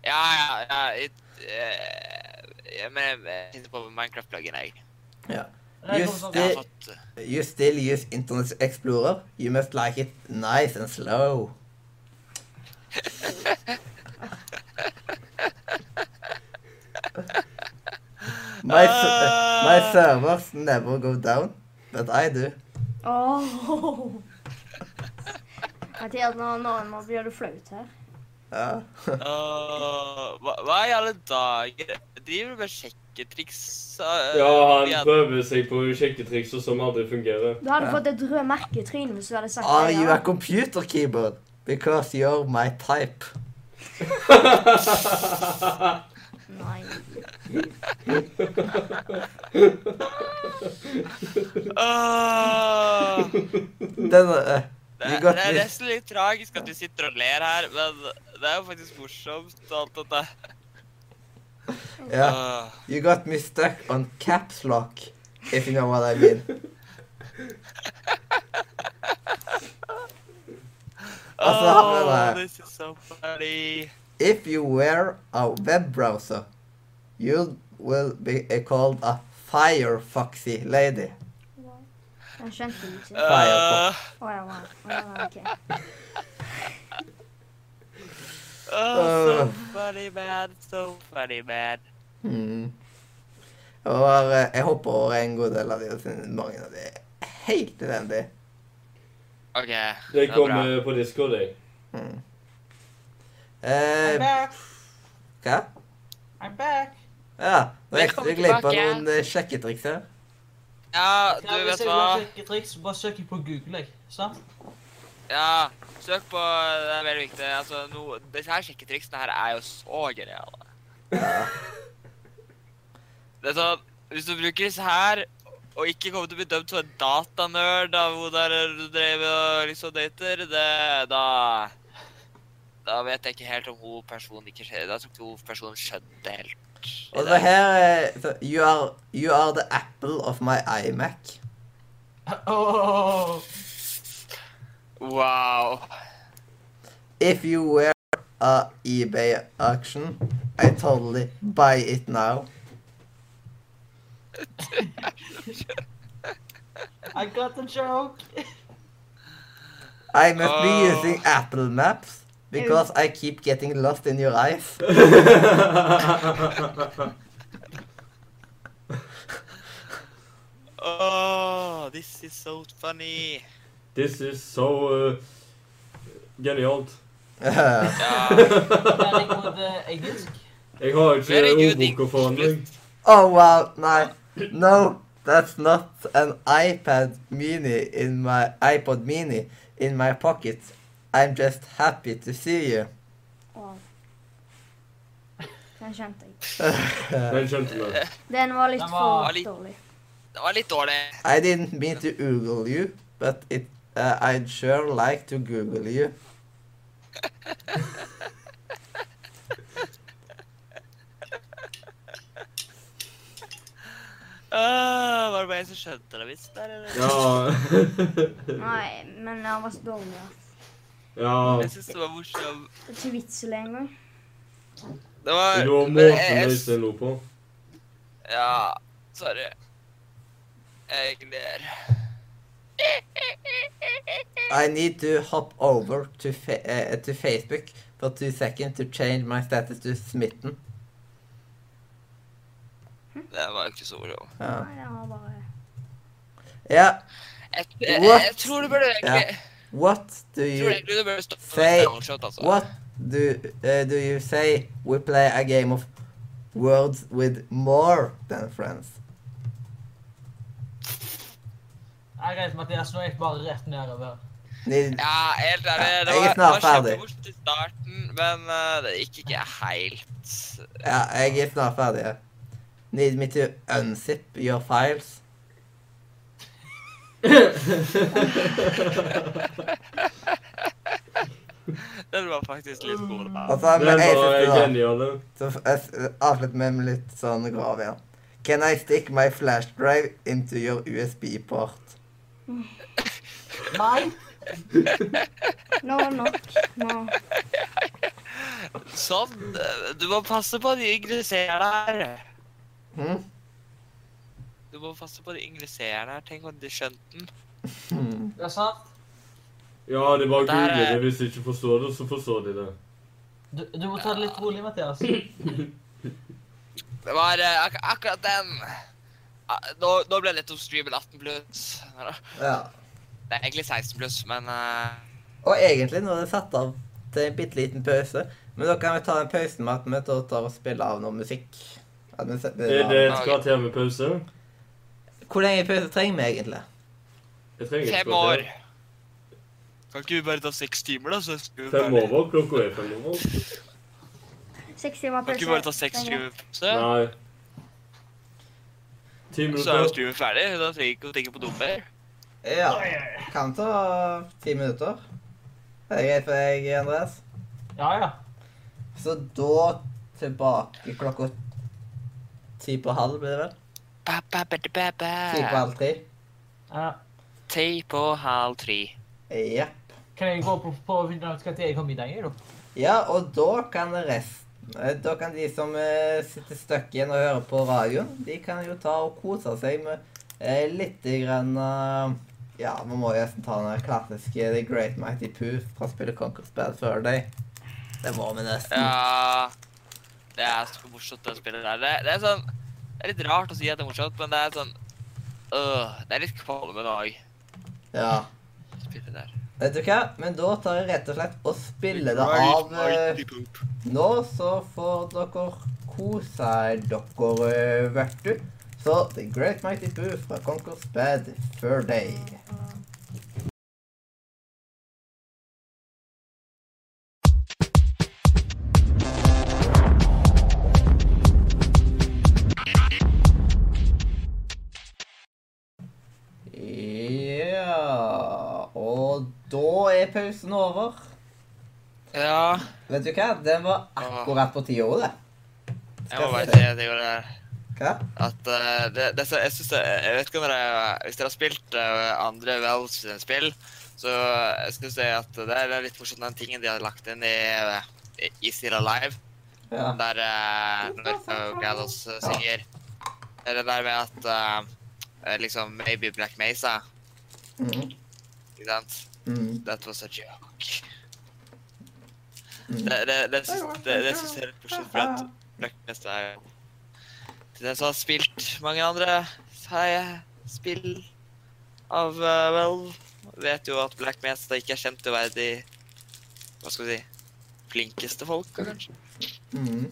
Speaker 4: Ja, ja, ja it, eh, jeg mener, jeg tenkte på Minecraft-pluggen, jeg.
Speaker 6: Jeg kommer
Speaker 1: Just
Speaker 6: sånn-
Speaker 4: Jeg har
Speaker 1: Det-
Speaker 4: fått eh,
Speaker 1: You still use Internet Explorer. You must like it nice and slow. my, ser- my servers never go down, but I do.
Speaker 3: Oh. Mathias, nå, nå, nå blir du flaut her.
Speaker 1: Ja.
Speaker 4: Åh, hva, hva i alle dager? Driver du med sjekketriks? eh,
Speaker 2: Ja,
Speaker 4: via-
Speaker 2: han prøver seg på sjekketrikser som aldri fungerer.
Speaker 3: Du hadde fått et rødt merke i trynet hvis du hadde sagt
Speaker 1: Are
Speaker 3: det.
Speaker 1: you
Speaker 3: ja.
Speaker 1: a computer keyboard? Because you're my type.
Speaker 3: Nei.
Speaker 1: [laughs]
Speaker 4: Åh, det,
Speaker 1: Den, eh, Vi
Speaker 4: det
Speaker 1: går
Speaker 4: er
Speaker 1: til-
Speaker 4: nesten litt tragisk at vi sitter og ler her, men det er jo faktisk morsomt alt dette.
Speaker 1: ja.
Speaker 4: Åh.
Speaker 1: You got me stuck on caps lock, if you know what I mean. Altså, han er
Speaker 4: Åh,
Speaker 1: bare-
Speaker 4: Oh, this is so funny.
Speaker 1: If you wear a web browser, you will be uh, called a firefoxy lady.
Speaker 3: Den skjønte du ikke.
Speaker 1: Firefox.
Speaker 4: Øh,
Speaker 3: Å ja, wow. Å, ja, ok.
Speaker 4: åh,
Speaker 1: Øh.
Speaker 4: Oh, so funny, man. So funny, man.
Speaker 1: Mm. Og, eh, jeg hopper over en god del av de, siden mange av de er helt elendige.
Speaker 4: OK.
Speaker 2: Det
Speaker 4: er bra.
Speaker 2: kommer på Discord, jeg.
Speaker 1: Mm.
Speaker 6: I'm
Speaker 1: Eh,
Speaker 6: back,
Speaker 1: hva?
Speaker 6: I'm back.
Speaker 1: Ja, nå gikk du
Speaker 4: Velkommen
Speaker 1: glipp av
Speaker 4: tilbake.
Speaker 1: noen eh, sjekketriks
Speaker 4: [laughs]
Speaker 1: her.
Speaker 4: Ja, du
Speaker 6: Ja, hvis
Speaker 4: vet
Speaker 6: jeg vil
Speaker 4: hva.
Speaker 6: sjekke triks, bare søk på Google, jeg.
Speaker 4: [laughs]
Speaker 6: Sant?
Speaker 4: Ja, søk på Det er veldig viktig. Altså, no, disse her sjekketriksene her er jo så geniale. Det er sånn Hvis du bruker disse her og ikke kommer til å bli dømt som en datanerd av hvor der du drev og liksom dater, det Da Da vet jeg ikke helt om hun personen ikke skjer. Da tror jeg ikke hun personen skjønte helt. i
Speaker 1: Og så
Speaker 4: det.
Speaker 1: her eh, så, you, are, you are the apple of my iMac.
Speaker 4: Oh.
Speaker 6: Åh,
Speaker 4: Wow.
Speaker 1: If you wear a eBay auction, I totally buy it now.
Speaker 6: I got the joke. [laughs]
Speaker 1: I must be
Speaker 4: Oh.
Speaker 1: using Apple Maps because I keep getting lost in your eyes. [laughs]
Speaker 4: Oh, this is so funny.
Speaker 2: This is so uh, genialt.
Speaker 1: Eh,
Speaker 4: Ja.
Speaker 6: Veldig god eh, engelsk.
Speaker 2: [laughs] Jeg har ikke
Speaker 4: Herregud,
Speaker 2: ordboka foran meg.
Speaker 1: oh wow, nei. No, that's not an iPad mini in my iPod mini in my pocket. I'm just happy to see you. [laughs]
Speaker 3: Wow. Den skjønte jeg.
Speaker 2: Den skjønte vi.
Speaker 3: Den var litt
Speaker 6: Den var-
Speaker 3: for dårlig.
Speaker 4: Det var litt dårlig.
Speaker 1: I didn't mean to Google you, but it uh, I'd sure like to Google you.
Speaker 4: jeg som skjønte det visst der. eller?
Speaker 2: Ja.
Speaker 3: Nei, men han var så dårlig at
Speaker 2: ja.
Speaker 4: Jeg syns det var morsomt.
Speaker 3: Det er ikke vits i det engang.
Speaker 4: Det var
Speaker 2: Det var
Speaker 4: men jeg-
Speaker 2: måten
Speaker 4: jeg-
Speaker 2: Øystein lo på.
Speaker 4: Ja, sorry. Jeg ler.
Speaker 1: I need to hop over to, fa eh, to Facebook for two seconds to change my status to smitten.
Speaker 4: Det var ikke så moro.
Speaker 1: Ja.
Speaker 3: Nei, det var bare...
Speaker 1: ja.
Speaker 4: Jeg, jeg,
Speaker 1: What?
Speaker 4: jeg tror du burde egentlig,
Speaker 1: What do
Speaker 4: jeg tror
Speaker 1: you
Speaker 4: egentlig du burde stoppe
Speaker 1: Say
Speaker 4: med downshot, altså.
Speaker 1: What do uh, do you say we play a game of words with more than friends?
Speaker 6: Jeg greit, Mathias. Nå er jeg bare rett nedover.
Speaker 1: Need,
Speaker 4: Ja, helt ærlig,
Speaker 1: Ja,
Speaker 4: det
Speaker 1: jeg er
Speaker 4: var, det
Speaker 1: snart
Speaker 4: var
Speaker 1: ferdig.
Speaker 4: kjempemorsomt i starten, men eh, det gikk ikke helt.
Speaker 1: ja, jeg er snart ferdig. ja. Need me to unzip your files?
Speaker 4: Den var faktisk litt god. da.
Speaker 1: Og så
Speaker 2: Den
Speaker 1: med jeg
Speaker 2: var
Speaker 1: siste da,
Speaker 2: genial. den.
Speaker 1: så f- jeg s- avslutter vi med litt sånn grov igjen. Can I stick my flash drive into your USB-port?
Speaker 6: Nei!
Speaker 3: Nå var det nok. Nå.
Speaker 4: Sånn. eh, Du må passe på de yngre seerne her.
Speaker 1: Hm?
Speaker 4: Du må passe på de yngre seerne her. Tenk om de skjønte den.
Speaker 1: Hmm.
Speaker 6: Det er sant.
Speaker 2: Ja, det var
Speaker 4: Der er-
Speaker 2: google det. Hvis de ikke forstår det, så forstår de det.
Speaker 6: Du, du må ta det litt rolig, Mathias.
Speaker 4: Det var eh, ak akkurat den. Ah, Nå, nå ble det litt om streamen 18 pluss.
Speaker 1: Ja.
Speaker 4: Det er egentlig 16 pluss, men eh,
Speaker 1: Og egentlig nå er det satt av til en bitte liten pause. Men da kan vi ta den pausen med at vi da tar og spiller av noe musikk. At vi setter-
Speaker 2: Er det et kvarter med pause?
Speaker 1: Hvor lenge pause trenger vi egentlig?
Speaker 2: Jeg trenger et
Speaker 4: fem
Speaker 2: kvarter.
Speaker 4: år. Kan ikke vi bare ta seks timer, da? Så skal vi
Speaker 2: Fem
Speaker 4: ferdig?
Speaker 2: over? Klokka er fem over?
Speaker 3: Seks timer
Speaker 4: Kan ikke vi bare ta seks timer? Så,
Speaker 2: Nei. Ti
Speaker 4: så er jo
Speaker 2: minutter.
Speaker 4: streamen ferdig. Da trenger vi ikke å tenke på dummer.
Speaker 1: Ja, kan ta ti minutter. Det er greit for deg, Andreas.
Speaker 6: Ja, ja.
Speaker 1: Så da tilbake klokka ti på halv, blir det vel?
Speaker 4: Ba, ba, ba, da, ba, ba.
Speaker 1: Ti på halv tre.
Speaker 6: ja.
Speaker 4: Ti på halv tre.
Speaker 1: Ja.
Speaker 6: Kan jeg gå på, på å finne ut hva tid jeg kom i dag, da?
Speaker 1: ja, og da kan resten eh, Da kan de som eh, sitter stuck igjen og hører på radioen, de kan jo ta og kose seg med eh, litt grann eh, Ja, vi må jo nesten ta den her klassiske The Great Mighty Poo fra spillet Conquer's Bad Fur Day. Det må vi nesten.
Speaker 4: Ja Det er så morsomt, det spillet der. Det, det er sånn Det er litt rart å si at det er morsomt, men det er sånn øh, Det er litt kvalmende òg,
Speaker 1: Ja.
Speaker 4: spillet der.
Speaker 1: Vet du hva? Men da tar jeg rett og slett og spiller det av eh, nå, så får dere kose dere, eh, vet du. Så The Great Mighty Boo fra Conquer's Bad Fur Day. Ja Og da er pausen over.
Speaker 4: Ja
Speaker 1: Vet du hva? Den var akkurat på tida, det.
Speaker 4: Jeg må
Speaker 1: Skal jeg
Speaker 4: bare
Speaker 1: si
Speaker 4: si
Speaker 1: det?
Speaker 4: at jeg gjorde det.
Speaker 1: Hva?
Speaker 4: At eh, det, det, så- jeg synes det, jeg vet ikke om dere Hvis dere har spilt eh, andre Wells sine spill, så jeg synes jeg at det er litt morsomt den tingen de har lagt inn i uh, Easy Alive.
Speaker 1: Ja.
Speaker 4: Den der eh, når uh, Gallows eh, synger. Det er Det der med at eh, eh, liksom Maybe Black Mesa.
Speaker 1: Mm.
Speaker 4: Ikke sant?
Speaker 1: Mm.
Speaker 4: That was a joke.
Speaker 1: Mm.
Speaker 4: Det, det, det, syns- det, det syns jeg er litt morsomt. For at Black Mesa er jo Til den som har spilt mange andre hei, spill av eh, Well, vet jo at Black Mesa ikke er kjent til å være de Hva skal vi si flinkeste folka, kanskje.
Speaker 1: Mm.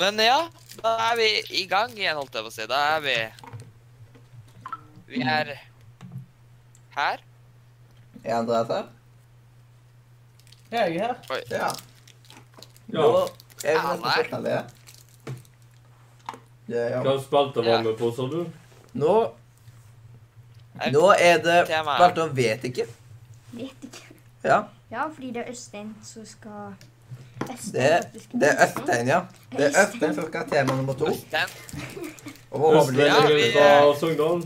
Speaker 4: Men ja, da er vi i gang igjen, holdt jeg på å si. Da er vi Vi er her.
Speaker 1: Er Andreas her?
Speaker 6: Ja, jeg er her.
Speaker 1: Ja.
Speaker 2: Ja.
Speaker 1: Nå er vi
Speaker 4: Ja,
Speaker 1: nesten
Speaker 4: nei.
Speaker 1: ferdige. Ja, ja.
Speaker 2: Hva spalta var vi på, sa du?
Speaker 1: Nå, nå er det
Speaker 4: Temaet.
Speaker 1: Bare da vet ikke.
Speaker 3: Vet ikke.
Speaker 1: Ja.
Speaker 3: Ja, fordi det er Østein som skal... Østein
Speaker 1: Det,
Speaker 3: faktisk-
Speaker 1: det er Østein, ja. Det er Østein som skal ha tema nummer to.
Speaker 4: Den
Speaker 1: Og håper de
Speaker 4: Ja,
Speaker 2: Østlendinger
Speaker 4: vi-
Speaker 2: fra Sogndal.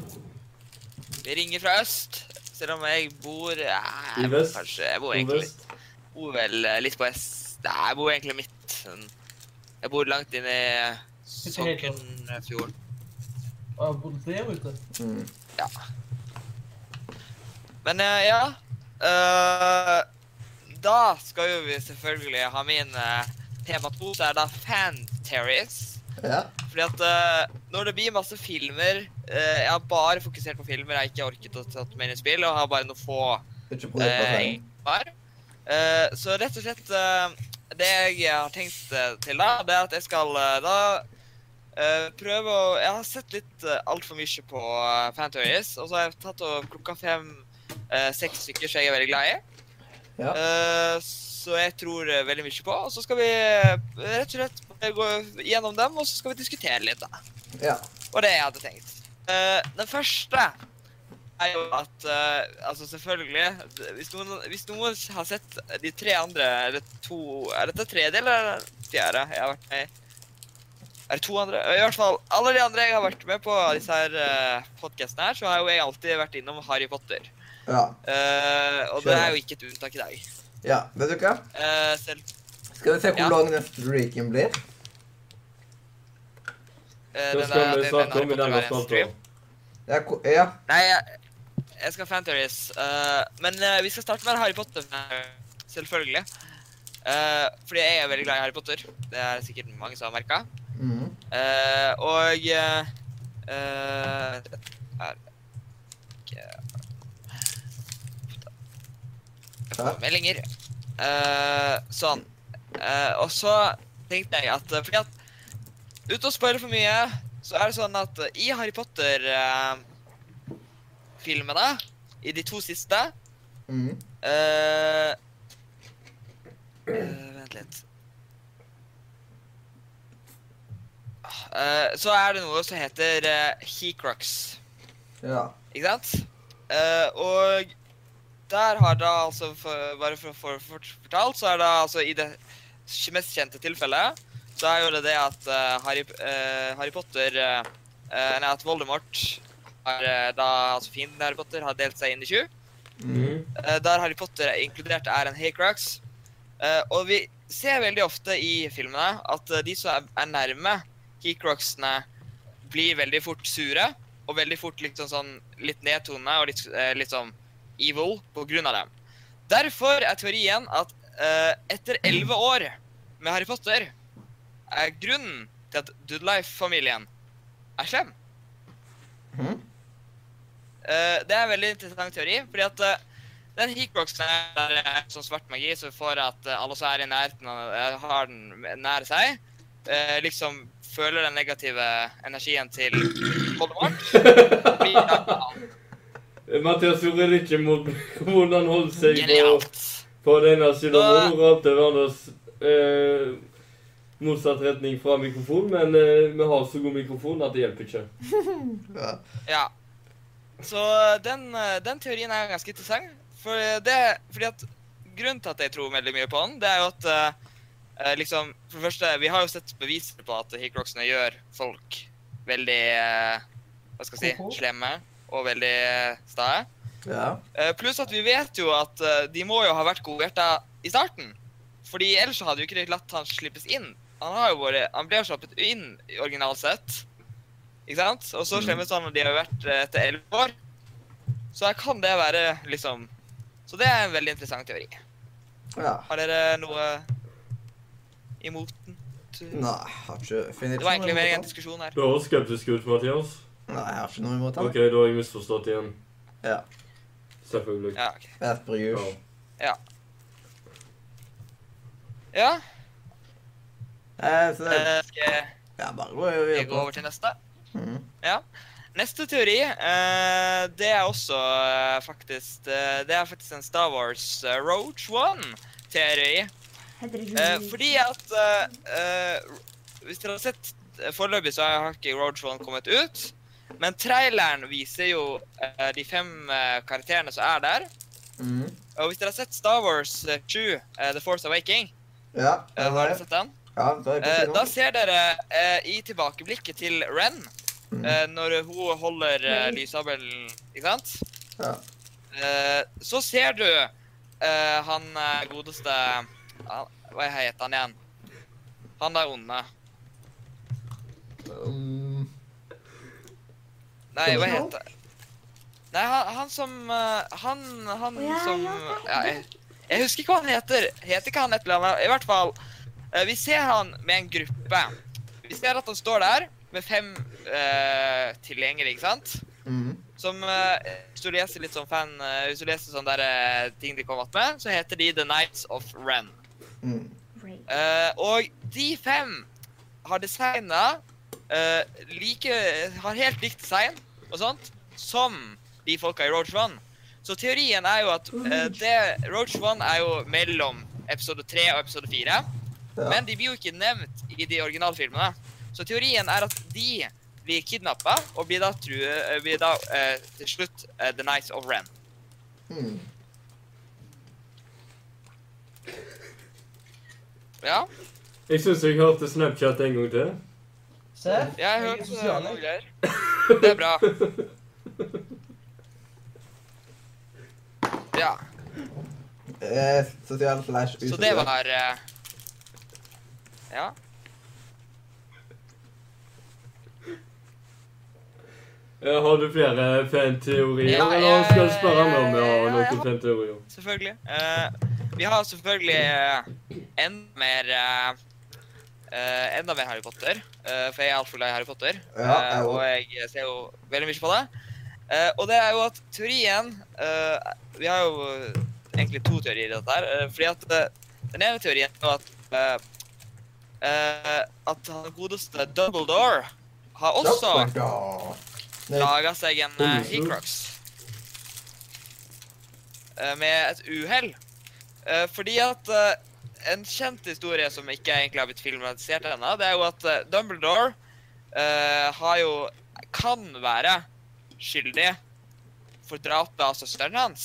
Speaker 4: Vi ringer fra øst, selv om jeg bor ja,
Speaker 2: I
Speaker 4: jeg bor
Speaker 2: vest.
Speaker 4: Kanskje jeg bor egentlig litt,
Speaker 2: Nordvest.
Speaker 4: bor vel eh, litt på est. Nei, jeg bor egentlig midt. sånn. Jeg bor langt inn i eh, sånn- Sognfjorden.
Speaker 6: Og jeg bodde der ute.
Speaker 1: Mm.
Speaker 4: Men eh, ja eh, Da skal jo vi selvfølgelig ha min eh, tema to, så er da fan-terries.
Speaker 1: Ja.
Speaker 4: Fordi at eh, når det blir masse filmer eh, Jeg har bare fokusert på filmer. Jeg har ikke orket å ta mer inn spill, og har bare noen få
Speaker 1: Ikke bruke på
Speaker 4: eh,
Speaker 1: seg.
Speaker 4: var. Eh, så rett og slett eh, Det jeg har tenkt eh, til, da, det er at jeg skal eh, da eh, prøve å Jeg har sett litt uh, altfor mye på uh, Fantories, og så har jeg tatt over klokka fem eh, seks stykker som jeg er veldig glad i.
Speaker 1: Ja.
Speaker 4: Eh, så jeg tror eh, veldig mye på. Og så skal vi eh, rett og slett bare gå gjennom dem, og så skal vi diskutere litt, da.
Speaker 1: ja.
Speaker 4: Og det jeg hadde tenkt. Eh, den første er jo at eh, Altså, selvfølgelig d- hvis noen, hvis noen har sett de tre andre Er det to Er dette tredje eller er det fjerde jeg har vært med i? Er det to andre? I hvert fall alle de andre jeg har vært med på disse her eh, podcastene her, så har jo jeg alltid vært innom Harry Potter.
Speaker 1: ja.
Speaker 4: Eh, og det er jo ikke et unntak i dag.
Speaker 1: Ja. Vet du hva?
Speaker 4: Eh, selv
Speaker 1: Skal vi se hvor
Speaker 4: Ja.
Speaker 1: lang neste streaken blir?
Speaker 2: Det
Speaker 4: eh, den
Speaker 2: skal
Speaker 4: der-
Speaker 2: vi
Speaker 4: den- den
Speaker 2: snakke
Speaker 4: Harry
Speaker 2: om i
Speaker 4: Potter
Speaker 2: denne
Speaker 4: var en stream.
Speaker 2: spalten.
Speaker 1: Ja, ko- ja.
Speaker 4: Nei, jeg, jeg skal ha fanteories. Uh, men eh, vi skal starte med Harry Potter. Selvfølgelig. Eh, fordi jeg er veldig glad i Harry Potter. Det er sikkert mange som har merka.
Speaker 1: Mhm.
Speaker 4: og eh, eh, her. Ikke- Jeg får Meldinger. Eh, sånn. Eh, og så tenkte jeg at eh, Fordi at uten å spørre for mye, så er det sånn at eh, i Harry Potter-filmene, i de to siste
Speaker 1: Mhm.
Speaker 4: eh, eh, Vent litt. Eh, så er det noe som heter eh, Heacrux.
Speaker 1: Ja.
Speaker 4: Ikke sant? Eh, og der har da altså for, Bare for å få for, fortalt, så er det altså i det mest kjente tilfellet så er jo det det at eh, Harry, eh, Harry Potter eh, eh, Nei, at Voldemort har eh, da Altså fienden Harry Potter har delt seg inn i sju.
Speaker 1: Mhm.
Speaker 4: Eh, der Harry Potter er inkludert, er en Haycrux. Uh, og vi ser veldig ofte i filmene at eh, de som er, er nærme Haycruxene, blir veldig fort sure. Og veldig fort liksom sånn litt nedtonende og litt, eh, litt sånn evil på grunn av dem. Derfor er teorien at eh, etter elleve år med Harry Potter er grunnen til at Doodlife-familien er slem.
Speaker 1: Mhm.
Speaker 4: Eh, det er en veldig interessant teori, fordi at eh, den heatboxen er er sånn svart magi som får at eh, alle som er i nærheten av eh, har den nær seg, eh, liksom føler den negative energien til Voldemort. Blir da
Speaker 2: Mathias gjorde det ikke mot [laughs] hvordan han holdt seg på,
Speaker 4: Genialt.
Speaker 2: på den ene siden av rommet og ralte hverandres eh, motsatt retning fra mikrofonen, men eh, vi har så god mikrofon at det hjelper ikke.
Speaker 1: Ja.
Speaker 4: Ja. Så den, eh, den teorien er ganske interessant. For det, fordi at grunnen til at jeg tror veldig mye på den, det er jo at eh, eh, liksom, For det første, vi har jo sett beviser på at Hickroxene gjør folk veldig eh, Hva skal jeg
Speaker 6: Ko-ko.
Speaker 4: si slemme og veldig eh, stae.
Speaker 1: Ja.
Speaker 4: Eh, Pluss at vi vet jo at eh, de må jo ha vært godhjerta i starten. Fordi ellers så hadde jo ikke de latt han slippes inn. Han, har jo vært, han ble jo sluppet inn originalt sett. Ikke sant? Og så
Speaker 1: Mm.
Speaker 4: slemmes han når de har vært eh, etter elleve år. Så her kan det være liksom Så det er en veldig interessant teori.
Speaker 1: ja.
Speaker 4: Har dere noe imot den?
Speaker 1: Nei, jeg har ikke funnet
Speaker 4: Det var egentlig mer en
Speaker 1: imot han.
Speaker 4: diskusjon her.
Speaker 2: Du høres skeptisk ut, Mathias.
Speaker 1: Nei, jeg har ikke noe imot han.
Speaker 2: OK, da har jeg misforstått igjen.
Speaker 1: Ja.
Speaker 2: Selvfølgelig.
Speaker 4: Ja, ok.
Speaker 1: Jeg er brus.
Speaker 2: Ja.
Speaker 4: ja
Speaker 1: Eh, så det
Speaker 4: eh, skal jeg,
Speaker 1: Ja, bare gå og
Speaker 4: jeg gå
Speaker 1: gjør
Speaker 4: over til neste?
Speaker 1: på. Mhm.
Speaker 4: Neste teori, eh, det er også eh, faktisk eh, Det er faktisk en Star Wars eh, Roach One-teori.
Speaker 3: Heter det
Speaker 4: Eh,
Speaker 3: Julie?
Speaker 4: fordi at eh, eh, Hvis dere har sett eh, Foreløpig så har ikke Roach One kommet ut. Men traileren viser jo eh, de fem eh, karakterene som er der.
Speaker 1: Mhm.
Speaker 4: Og hvis dere har sett Star Wars eh, 7, eh, The Force Awaking,
Speaker 1: Ja.
Speaker 4: eh,
Speaker 1: Ja,
Speaker 4: har dere sett den?
Speaker 1: da er jeg på
Speaker 4: Eh,
Speaker 1: siden.
Speaker 4: da ser dere eh, i tilbakeblikket til Ren
Speaker 1: Mm.
Speaker 4: Eh, når hun holder eh, lysabelen, ikke sant?
Speaker 1: Ja.
Speaker 4: Eh, så ser du eh, han eh, godeste han- Hva heter han igjen? Han der onde.
Speaker 1: Um,
Speaker 4: Nei, hva
Speaker 1: Snow?
Speaker 4: heter Nei, han, han som eh, Han, han
Speaker 3: Å, ja,
Speaker 4: som
Speaker 3: ja,
Speaker 4: ja, jeg, jeg husker ikke hva han heter. Heter ikke han et eller annet? I hvert fall. eh, vi ser han med en gruppe. Vi ser at han står der med fem eh, tilhengere, ikke sant?
Speaker 1: mm.
Speaker 4: Som eh, Hvis du leser litt sånn fan eh, Hvis du leser sånne der, eh, ting de kom opp med, så heter de The Knights of Ren.
Speaker 1: Mm.
Speaker 3: Ray.
Speaker 4: Eh, og de fem har designa eh, like Har helt likt design og sånt som de folka i Roach One. Så teorien er jo at eh, det, Roach One er jo mellom episode 3 og episode 4.
Speaker 1: Ja.
Speaker 4: Men de blir jo ikke nevnt i de originalfilmene. Så teorien er at de blir kidnappa og blir da, true, eh, blir da eh, til slutt eh, The Nights of Ren.
Speaker 1: Mm.
Speaker 4: Ja,
Speaker 2: Jeg syns jeg hørte Snapchat en gang til.
Speaker 6: Se,
Speaker 4: jeg har
Speaker 6: er
Speaker 4: hørt eh,
Speaker 6: sosial,
Speaker 4: noen
Speaker 6: jeg.
Speaker 4: greier. Det er bra.
Speaker 2: [laughs]
Speaker 4: Ja,
Speaker 1: Eh, sosial slash
Speaker 4: så det
Speaker 1: usosial.
Speaker 4: var eh, Ja.
Speaker 2: Eh, Har du flere fan-teorier,
Speaker 4: Ja,
Speaker 2: eller skal du
Speaker 4: jeg-
Speaker 2: spørre andre om jeg har
Speaker 4: ja, jeg
Speaker 2: noen
Speaker 4: har-
Speaker 2: fan-teorier?
Speaker 4: selvfølgelig. Eh, vi har selvfølgelig eh, enda mer eh, eh, Enda mer Harry Potter, eh, for jeg er altfor glad i Harry Potter.
Speaker 1: Ja,
Speaker 4: eh,
Speaker 1: jeg
Speaker 4: og jeg ser jo veldig mye på det. Eh, og det er jo at teorien eh, Vi har jo egentlig to teorier i dette her. eh, fordi at eh, den ene teorien er jo at eh, eh, At han godeste Dumbledore har også
Speaker 1: Doppelganger. Nei,
Speaker 4: laga seg en uh,
Speaker 2: Olsen.
Speaker 4: Hicrox. Eh, med et uhell. Eh, fordi at eh, en kjent historie som ikke egentlig har blitt filmatisert ennå, det er jo at eh, Dumbledore eh, har jo kan være skyldig for drapet av søsteren hans.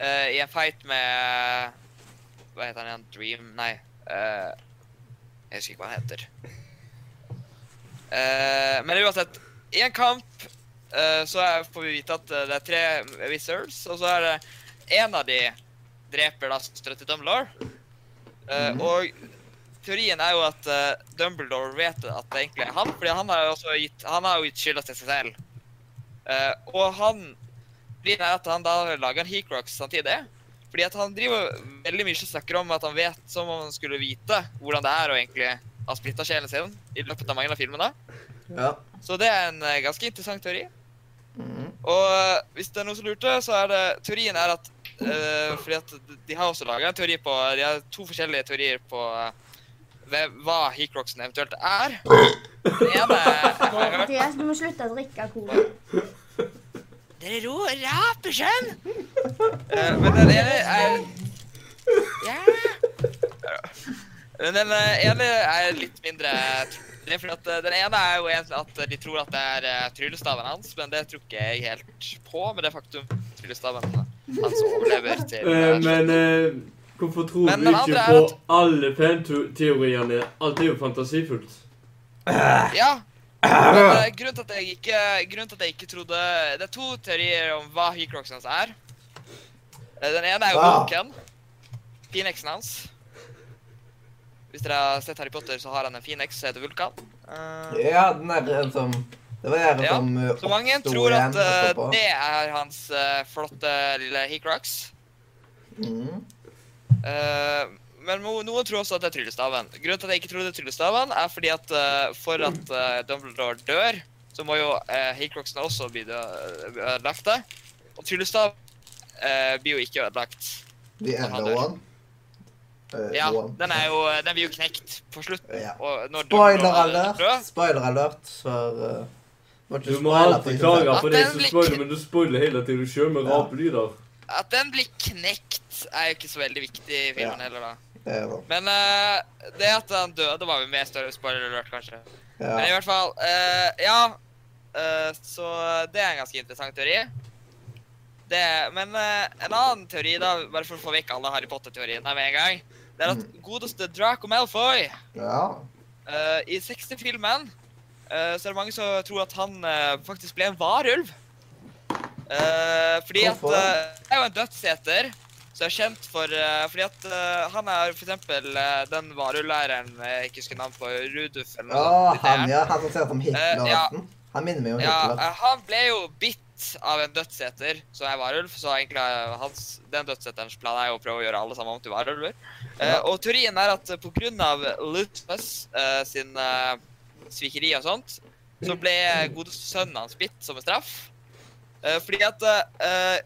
Speaker 4: Eh, I en fight med Hva heter han igjen? Dream? Nei. eh, jeg husker ikke hva han heter. Eh, men uansett, i en kamp eh, så er, får vi vite at eh, det er tre wizards, og så er det en av de dreper da søstera til Dumbledore. Eh,
Speaker 1: Mhm.
Speaker 4: Og teorien er jo at eh, Dumbledore vet at det egentlig er han, fordi han har jo også gitt, han har jo gitt skylda til seg selv. Eh, og han blir er at han da lager en Heacrox samtidig. Fordi at han driver veldig mye og snakker om at han vet som om han skulle vite hvordan det er å egentlig ha splitta sjelen sin i løpet av mange av filmene.
Speaker 1: Ja.
Speaker 4: Så det er en eh, ganske interessant teori.
Speaker 1: Mm.
Speaker 4: Og eh, hvis det er noen som lurte, så er det teorien er at eh, Fordi at de har også laga en teori på De har to forskjellige teorier på eh, hvem- hva Heacroxen eventuelt er. Den ene har jeg hørt
Speaker 3: Mathias, du må slutte å drikke cola.
Speaker 4: Dere ro raper, skjønn! Eh, men den ene er Ja Men den eh, ene er litt mindre trolig, for at eh, den ene er jo egentlig at de tror at det er eh, tryllestaven hans, men det tror ikke jeg helt på med det faktum at tryllestaven hans overlever til
Speaker 2: Eh,
Speaker 4: eh,
Speaker 2: Men eh, hvorfor tror
Speaker 4: Men
Speaker 2: du
Speaker 4: den
Speaker 2: ikke
Speaker 4: andre er
Speaker 2: på
Speaker 4: at-
Speaker 2: alle fan-teoriene? Alt er jo fantasifullt.
Speaker 4: Ja. Men, eh, grunnen, til at jeg ikke, grunnen til at jeg ikke trodde Det er to teorier om hva Heacrox hans er. Eh, Den ene er jo
Speaker 1: Hva?
Speaker 4: Loken. Phoenixen hans. Hvis dere har sett Harry Potter, så har han en Phoenix som heter Vulkan. Eh,
Speaker 1: ja, den derre som Det var den der
Speaker 4: Ja,
Speaker 1: som eh,
Speaker 4: så mange
Speaker 1: oppsto
Speaker 4: tror at
Speaker 1: igjen
Speaker 4: eh,
Speaker 1: etterpå.
Speaker 4: det er hans eh, flotte lille Heacrox.
Speaker 1: Mm.
Speaker 4: Eh, men mo- noen tror også at det er tryllestaven. Grunnen til at jeg ikke tror det er tryllestaven, er fordi at eh, for at eh, Dumbledore dør, så må jo uh, Haycroxen også bli dø- ødelagt. da. Og tryllestav eh, blir jo ikke ødelagt.
Speaker 1: The
Speaker 4: Han
Speaker 1: other
Speaker 4: dør.
Speaker 1: one. Eh,
Speaker 4: Ja,
Speaker 1: one.
Speaker 4: den, er jo, den blir jo knekt på slutten.
Speaker 1: Ja.
Speaker 4: Og når
Speaker 1: Spoiler
Speaker 4: Dumbledore er
Speaker 1: alert!
Speaker 4: død-
Speaker 1: Spoiler alert for eh, må ikke
Speaker 2: Du må
Speaker 1: spoile for
Speaker 2: alltid
Speaker 1: ikke
Speaker 2: klage
Speaker 1: sant?
Speaker 2: på
Speaker 4: At
Speaker 2: de
Speaker 4: den
Speaker 2: som
Speaker 4: blir
Speaker 2: spoiler,
Speaker 4: kn-
Speaker 2: men du spoiler hele tiden sjøl med
Speaker 1: altså. Ja.
Speaker 2: rapelyder.
Speaker 4: At den blir knekt, er jo ikke så veldig viktig i filmen
Speaker 1: Ja.
Speaker 4: heller, da.
Speaker 1: Det er sånn.
Speaker 4: Men eh, det at han døde, var jo mer større spoiler alert, kanskje. Men i
Speaker 1: Ja.
Speaker 4: hvert fall, eh, ja. eh, så det er en ganske interessant teori. Det, men eh, en annen teori, da, bare for å få vekk alle Harry Potter-teoriene med en gang,
Speaker 1: Mm.
Speaker 4: det er at godeste Draco Malfoy
Speaker 1: ja.
Speaker 4: eh, i 60-filmen eh, så er det mange som tror at han eh, faktisk ble en varulv. Eh, fordi at
Speaker 1: Hvorfor?
Speaker 4: eh, det er jo en dødseter som er kjent for eh, Fordi at eh, han er for eksempel eh, den varulvlæreren eh, jeg ikke husker navnet på, Rudolf eller
Speaker 1: Å,
Speaker 4: sånt.
Speaker 1: Ah, han ja. Han som ser ut som Hitler.
Speaker 4: Eh, ja.
Speaker 1: nesten. Han minner meg om
Speaker 4: Ja,
Speaker 1: Hitler.
Speaker 4: eh, han ble jo bitt av en dødseter som er varulv, så egentlig er hans, den dødseterens plan er jo å prøve å gjøre alle sammen om til varulver. Eh,
Speaker 1: Ja.
Speaker 4: og teorien er at eh, på grunn av Lutmus eh, sin eh, svikeri og sånt, så ble gode sønnen hans bitt som en straff. Eh, fordi at eh,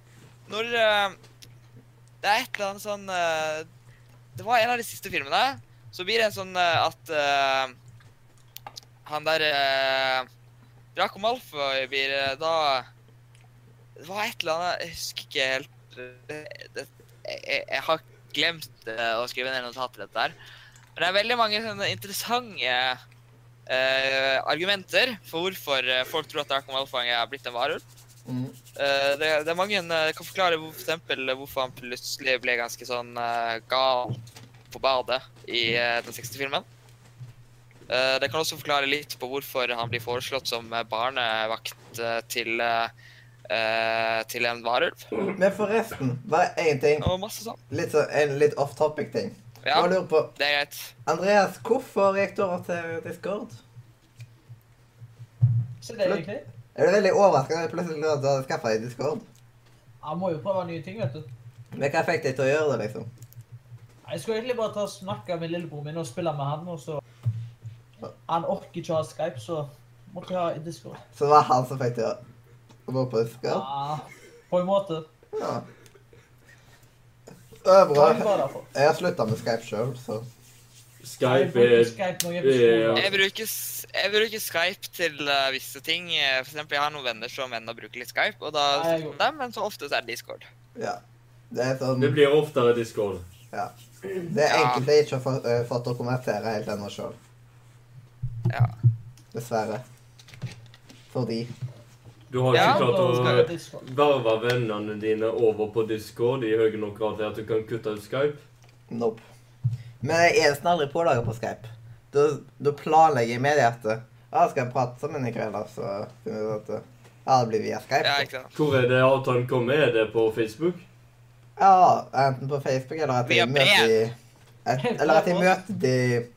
Speaker 4: når eh, Det er et eller annet sånn eh, Det var en av de siste filmene. Så blir det en sånn eh, at eh, han der eh, Draco Malfoy blir eh, da Det var et eller annet Jeg husker ikke helt eh, det, jeg, jeg- jeg har glemt eh, å skrive ned notater dette her. Men det er veldig mange sånne interessante eh, argumenter for hvorfor eh, folk tror at Draco Malfoy er blitt en varulv.
Speaker 1: Mm.
Speaker 4: Eh, det, det er mange eh, kan forklare hvor, for eksempel, eh, hvorfor han plutselig ble ganske sånn eh, gal på badet i eh, den siste filmen. Eh, det kan også forklare litt på hvorfor han blir foreslått som eh, barnevakt eh, til, eh, eh, til en varulv.
Speaker 1: Men forresten, bare én ting.
Speaker 4: Og masse sånn.
Speaker 1: Litt så, en litt off topic-ting.
Speaker 4: Ja,
Speaker 1: Jeg lurer på
Speaker 4: det er greit.
Speaker 1: Andreas, hvorfor gikk du over til Discord?
Speaker 6: Så det er egentlig.
Speaker 1: Jeg ble veldig overrasket da jeg plutselig lurte på å skaffe deg Discord.
Speaker 6: Jeg må jo prøve nye ting, vet du.
Speaker 1: Men hva fikk deg til å gjøre det, liksom?
Speaker 6: Jeg skulle egentlig bare ta og snakke med lillebroren min og spille med han, og så Han orker ikke å ha Skype, så måtte jeg ha i Discord.
Speaker 1: Så det var han som fikk deg til å gå på Discord?
Speaker 6: Ja, på en måte.
Speaker 1: Ja. Det er
Speaker 6: Hva
Speaker 1: bra.
Speaker 6: er det bare for?
Speaker 1: Jeg har slutta med Skype sjøl, så
Speaker 6: Jeg
Speaker 2: Skype
Speaker 6: bruker
Speaker 2: er
Speaker 6: Skype når jeg er på skolen.
Speaker 4: Jeg bruker, s- jeg bruker Skype til eh, visse ting. Eh, For eksempel, jeg har noen venner som ender å bruke litt Skype, og da
Speaker 6: Nei, jeg
Speaker 4: snakker jeg med dem, men så ofte så er det Discord.
Speaker 1: ja. Det er sånn
Speaker 2: Det blir oftere Discord.
Speaker 1: Det er
Speaker 4: Ja.
Speaker 1: enkelte jeg ikke har fått, eh, fått å konvertere helt ennå sjøl.
Speaker 4: Ja.
Speaker 1: Dessverre. Fordi
Speaker 2: Du har
Speaker 4: Ja,
Speaker 2: ikke
Speaker 6: Skal
Speaker 2: klart
Speaker 6: jeg på Discord.
Speaker 2: å verve vennene dine over på Discord i høy nok grad til at du kan kutte ut Skype.
Speaker 1: Nope. Men jeg er nesten aldri pålaga på Skype. Da, da planlegger jeg med det at Ja, skal jeg prate sammen i kveld, da? Så finner vi ut at Ja, det blir via Skype.
Speaker 4: Ja,
Speaker 1: da.
Speaker 4: ikke sant.
Speaker 2: Hvor er det avtalen kommer? Er det på Facebook?
Speaker 1: Ja, enten på Facebook eller at
Speaker 4: Via
Speaker 1: jeg møter de et,
Speaker 4: [laughs]
Speaker 1: Eller at jeg
Speaker 6: Brev.
Speaker 1: møter de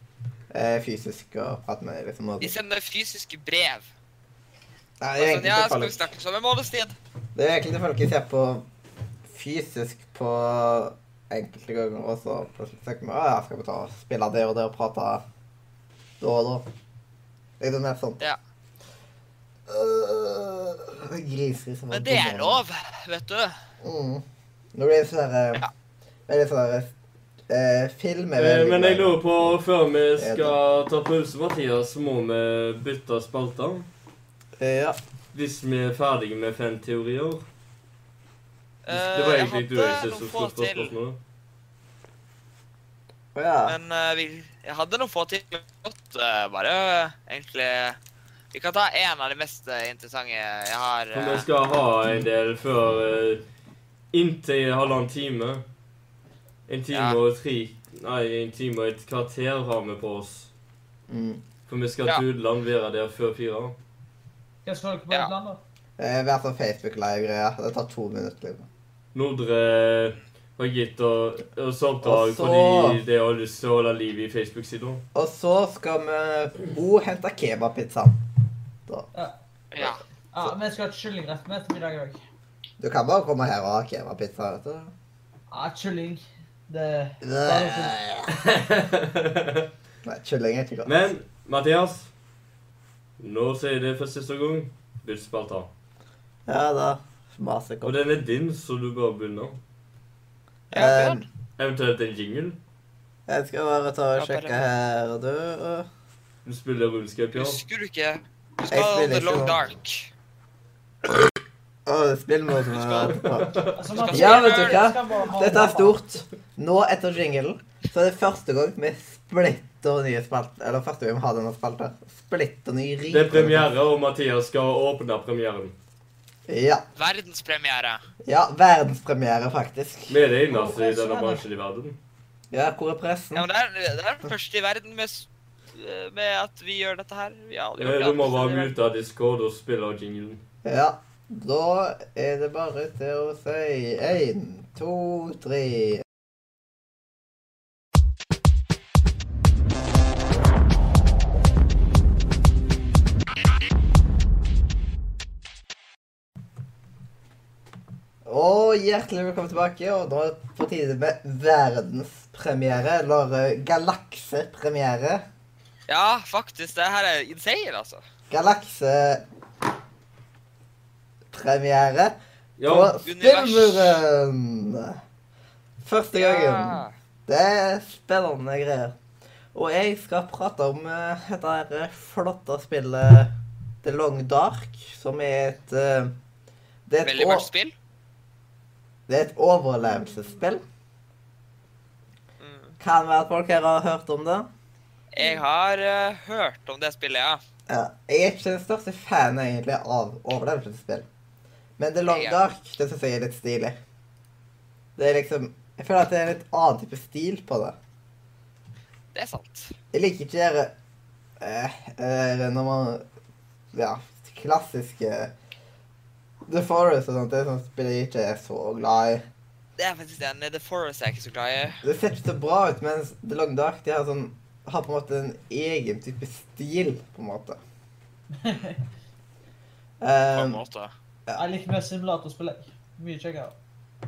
Speaker 1: eh, fysisk og prater med dem. Liksom, og,
Speaker 4: De sender fysiske brev.
Speaker 1: Nei, det er
Speaker 4: Og
Speaker 1: egentlig
Speaker 4: Sånn, ja,
Speaker 1: til
Speaker 4: skal
Speaker 1: folk-
Speaker 4: vi snakkes om en måneds tid?
Speaker 1: Det er egentlig folk jeg ser på fysisk på enkelte ganger, og så plutselig tenker vi at jeg skal vi ta og spille det og det og prate da og da. Det er jo mer sånn.
Speaker 4: Ja.
Speaker 1: Øh, det griser som
Speaker 4: Men
Speaker 1: en
Speaker 4: det er
Speaker 1: bonde.
Speaker 4: lov, vet du.
Speaker 1: Mm. Nå blir det sånn der,
Speaker 4: Ja.
Speaker 1: Veldig sånn der, eh, Film er
Speaker 2: Eh,
Speaker 1: veldig
Speaker 2: men jeg
Speaker 1: glad.
Speaker 2: lurer på, før vi skal ta pause, Mathias, må vi bytte spalter?
Speaker 1: Eh, Ja.
Speaker 2: Hvis vi er ferdige med fem teorier?
Speaker 4: Eh,
Speaker 2: Det var egentlig du
Speaker 4: jeg
Speaker 2: Øystein,
Speaker 4: hadde
Speaker 2: som
Speaker 4: noen få
Speaker 2: skulle stå
Speaker 4: til,
Speaker 2: spørsmålet.
Speaker 1: Å ja.
Speaker 4: men eh, vi, jeg hadde noen få til. men Godt, eh, bare egentlig Vi kan ta en av de mest eh, interessante jeg har.
Speaker 2: For vi
Speaker 4: eh,
Speaker 2: skal ha en del før eh, inntil halvannen time. En time
Speaker 4: Ja.
Speaker 2: og tre Nei, en time og et kvarter har vi på oss.
Speaker 1: Mm.
Speaker 2: For vi skal
Speaker 4: Ja.
Speaker 2: til Udeland være der før fire.
Speaker 6: Hva skal dere på
Speaker 4: Ja.
Speaker 6: Østlandet?
Speaker 1: Eh, Hver sånn Facebook-live-greie. Det tar to minutter. liksom.
Speaker 2: Nordre har gitt og- oss oppdrag
Speaker 1: Og så-
Speaker 2: fordi de har lyst til å holde liv i Facebook-sida.
Speaker 1: Og så skal vi Bo hente kebabpizzaen.
Speaker 4: ja.
Speaker 6: Ja, vi skal ha et kyllingrett med ettermiddag i dag.
Speaker 1: Du kan bare komme her og ha kebabpizza, vet du.
Speaker 6: Ja, kylling. Det
Speaker 1: Nei, kylling er ikke godt.
Speaker 2: [laughs] Men Mathias, nå sier jeg det for siste gang. Byttespalter.
Speaker 1: Ja da. Maser
Speaker 2: Og
Speaker 1: godt.
Speaker 2: den er din, så du bare begynner.
Speaker 4: ja Bjørn.
Speaker 1: Eh,
Speaker 2: Eventuelt en jingle.
Speaker 1: jeg skal bare ta
Speaker 4: Ja,
Speaker 1: og
Speaker 4: bare-
Speaker 1: sjekke her, du.
Speaker 2: Du spiller runescape, ja.
Speaker 4: Husker du ikke? Du
Speaker 1: Jeg
Speaker 4: skal ha
Speaker 1: spiller
Speaker 4: The Long
Speaker 1: ikke.
Speaker 4: Dark.
Speaker 1: Å, det spiller noe som er etterpå.
Speaker 6: altså, man-
Speaker 1: Ja, vet du
Speaker 6: Jeg
Speaker 1: hva?
Speaker 6: skal bare ha-
Speaker 1: Dette er
Speaker 6: [laughs]
Speaker 1: stort. Nå etter jinglen, så er det første gang vi splitter nye spalter. Eller første gang vi har denne spalten. Splitter ny rik.
Speaker 2: Det er premiere, og Mathias skal åpne premieren.
Speaker 1: Ja.
Speaker 4: Verdenspremiere.
Speaker 1: ja. Verdenspremiere, faktisk.
Speaker 2: Vi er det eneste i denne bransjen i verden.
Speaker 1: Ja, hvor er pressen?
Speaker 4: Ja, men det er, det er den første i verden med s- eh, med at vi gjør dette her. Vi har aldri gjort
Speaker 2: Eh,
Speaker 4: det
Speaker 2: Du må
Speaker 4: andre
Speaker 2: bare
Speaker 4: steder.
Speaker 2: mute av Discord og spille av jinglen.
Speaker 1: Ja. Da er det bare til å si én, to, tre. Og hjertelig velkommen tilbake. Og nå er det på tide med verdenspremiere, eller eh, galaksepremiere.
Speaker 4: Ja, faktisk. Det her er insane, altså.
Speaker 1: Galaksepremiere
Speaker 2: Ja,
Speaker 1: på
Speaker 4: univers.
Speaker 1: spillmuren! Første gangen.
Speaker 4: Ja.
Speaker 1: Det er spennende greier. Og jeg skal prate om eh, dette her flotte spillet The Long Dark, som er et eh, det er et,
Speaker 4: Veldig
Speaker 1: å,
Speaker 4: mørkt spill.
Speaker 1: det er et overlevelsesspill.
Speaker 4: Mm.
Speaker 1: Kan være at folk her har hørt om det.
Speaker 4: Jeg har eh, hørt om det spillet, ja.
Speaker 1: Ja, jeg er ikke den største fan egentlig av overlevelsesspill. Men The Long
Speaker 4: Jeg er.
Speaker 1: Dark det synes jeg er litt stilig. Det er liksom Jeg føler at det er en litt annen type stil på det.
Speaker 4: Det er sant.
Speaker 1: Jeg liker ikke det eh, eh, når man Ja, klassiske The Forest og sånt. Det er sånt spill jeg ikke er så glad i.
Speaker 4: Det er faktisk den The Forest jeg er ikke så glad i.
Speaker 1: Det ser ikke så bra ut, mens The Long Dark de har sånn har på en måte en egen type stil, på en måte.
Speaker 4: På en
Speaker 1: Um,
Speaker 4: måte.
Speaker 6: Jeg liker mer simulatorspill. jeg. Mye kjekkere.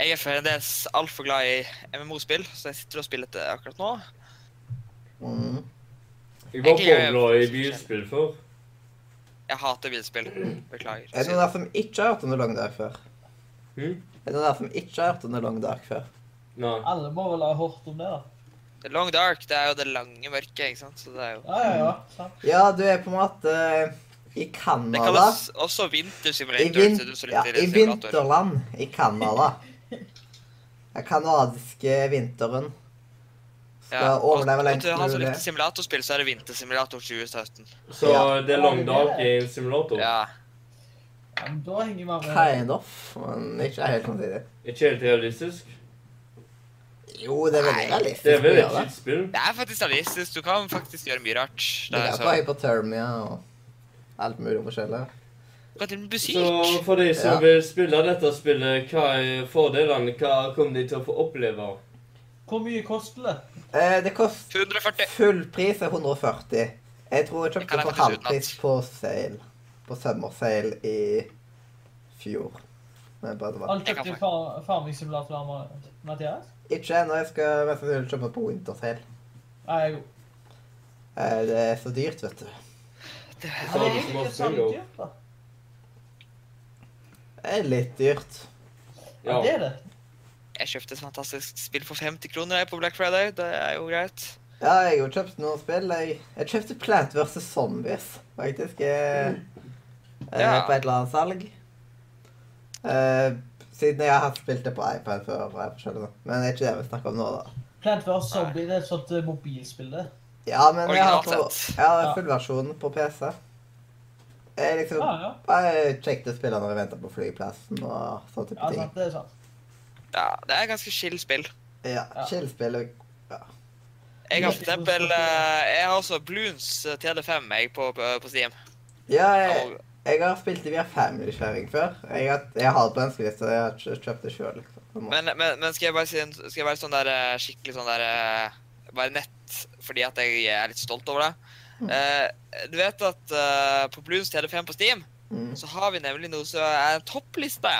Speaker 4: Jeg er fremdeles altfor glad i MMO-spill, så jeg sitter og spiller det akkurat nå.
Speaker 1: mm.
Speaker 2: jeg var
Speaker 4: Jeg gjør-
Speaker 2: bobla i bilspill før.
Speaker 4: Jeg hater bilspill. Beklager.
Speaker 1: Er det noen der som ikke har hørt om The Long Dark før?
Speaker 2: Hm?
Speaker 1: Er det noen der som ikke har hørt om The Long Dark før?
Speaker 2: Nei.
Speaker 6: Alle må vel ha hørt om det, da.
Speaker 4: The Long Dark, det er jo det lange mørket, ikke sant? Så det er jo...
Speaker 6: Ja, ja, ja. sant.
Speaker 1: Ja, du er på en måte eh, i
Speaker 4: Det
Speaker 1: Canada.
Speaker 4: kalles også
Speaker 1: I,
Speaker 4: vintersimulator.
Speaker 1: vin
Speaker 4: så du
Speaker 1: ja,
Speaker 4: sitter
Speaker 1: I
Speaker 4: en simulator.
Speaker 1: vinterland i
Speaker 4: [laughs]
Speaker 1: Canada. Den canadiske vinteren skal
Speaker 4: Ja, og-
Speaker 1: overleve
Speaker 4: Og altså
Speaker 1: lengst
Speaker 4: til han som
Speaker 1: mulig.
Speaker 4: likte simulatorspill, så er det vintersimulator 2017.
Speaker 2: Så eh,
Speaker 1: Ja.
Speaker 2: det er lang dag i en simulator.
Speaker 4: Ja.
Speaker 6: Ja, men da henger eh, man
Speaker 4: eh,
Speaker 6: med.
Speaker 1: Kind of, men ikke helt samtidig.
Speaker 2: Ikke helt realistisk.
Speaker 1: Jo, det er veldig
Speaker 4: Nei,
Speaker 1: realistisk.
Speaker 2: Det er vel
Speaker 1: å
Speaker 2: et
Speaker 1: gjøre det.
Speaker 2: skittspill.
Speaker 4: Det er faktisk realistisk. Du kan faktisk gjøre mye rart.
Speaker 1: Du
Speaker 4: Det er
Speaker 1: kan
Speaker 4: så...
Speaker 1: ta hypotermia og alt mulig forskjellig.
Speaker 4: Du kan til og med musikk.
Speaker 2: Så for de som
Speaker 1: Ja.
Speaker 2: vil spille dette spillet, hva er fordelene? Hva kommer de til å få oppleve?
Speaker 6: Hvor mye koster det?
Speaker 1: Eh, det koster
Speaker 4: 140.
Speaker 1: Full pris er 140. Jeg tror jeg
Speaker 4: Det kan
Speaker 1: kjøpte
Speaker 4: jeg
Speaker 1: for
Speaker 4: faktisk
Speaker 1: halvpris på sale. På sommerseil i fjor. Men bare det var.
Speaker 6: Har du kjøpt
Speaker 4: Jeg
Speaker 6: din
Speaker 4: kan
Speaker 6: far- farming-simulator, Mar- Mathias?
Speaker 1: Ikke ennå. Jeg skal mest sannsynlig kjøpe på winterseil.
Speaker 6: Nei, jeg
Speaker 1: Eh, Det er så dyrt, vet du.
Speaker 2: Så
Speaker 6: Nei,
Speaker 2: er det små
Speaker 6: ikke så
Speaker 2: spill,
Speaker 6: dyrt, da.
Speaker 1: Det er litt dyrt.
Speaker 6: Ja,
Speaker 2: Ja.
Speaker 6: det er det.
Speaker 4: Jeg kjøpte et fantastisk spill for 50 kroner jeg, på Black Friday. Det er jo greit.
Speaker 1: Ja, jeg har jo kjøpt noen spill. Jeg, jeg kjøpte Plant vs. Zombies, faktisk. eh, eh,
Speaker 4: Ja.
Speaker 1: På et eller annet salg. Eh, siden jeg har spilt det på iPad før. og jeg forskjellig sånn. Men det er ikke det vi snakker om nå, da.
Speaker 6: Plant vs. Zombie det er et sånt eh, mobilspill, det.
Speaker 1: Ja, men jeg har,
Speaker 4: Originalt
Speaker 1: på,
Speaker 4: sett.
Speaker 1: jeg har
Speaker 6: Ja.
Speaker 1: fullversjonen på PC. Jeg liksom
Speaker 6: Ja, ja.
Speaker 1: bare kjekte spillere når jeg venter på flyplassen og sånn type
Speaker 6: Ja,
Speaker 1: ting.
Speaker 6: sant, det er sant.
Speaker 4: Ja, det er et ganske chill spill.
Speaker 1: Ja,
Speaker 6: Ja.
Speaker 1: Chill-spill og
Speaker 4: Jeg har for eksempel eh, Jeg har også Bloons eh, TD5 jeg, på, på på Steam.
Speaker 1: Ja, jeg,
Speaker 4: Og
Speaker 1: jeg har spilt det via family-sharing før. Jeg har, jeg har det på ønskelista, jeg har ikke kjøpt det sjøl. Liksom. på en måte.
Speaker 4: Men, men, men skal jeg bare si en, skal jeg være sånn der eh, skikkelig sånn der eh, Bare nett fordi at jeg er litt stolt over det. Eh, du vet at eh, på Blues TD5 på Steam
Speaker 1: Mm.
Speaker 4: så har vi nemlig noe som er en toppliste.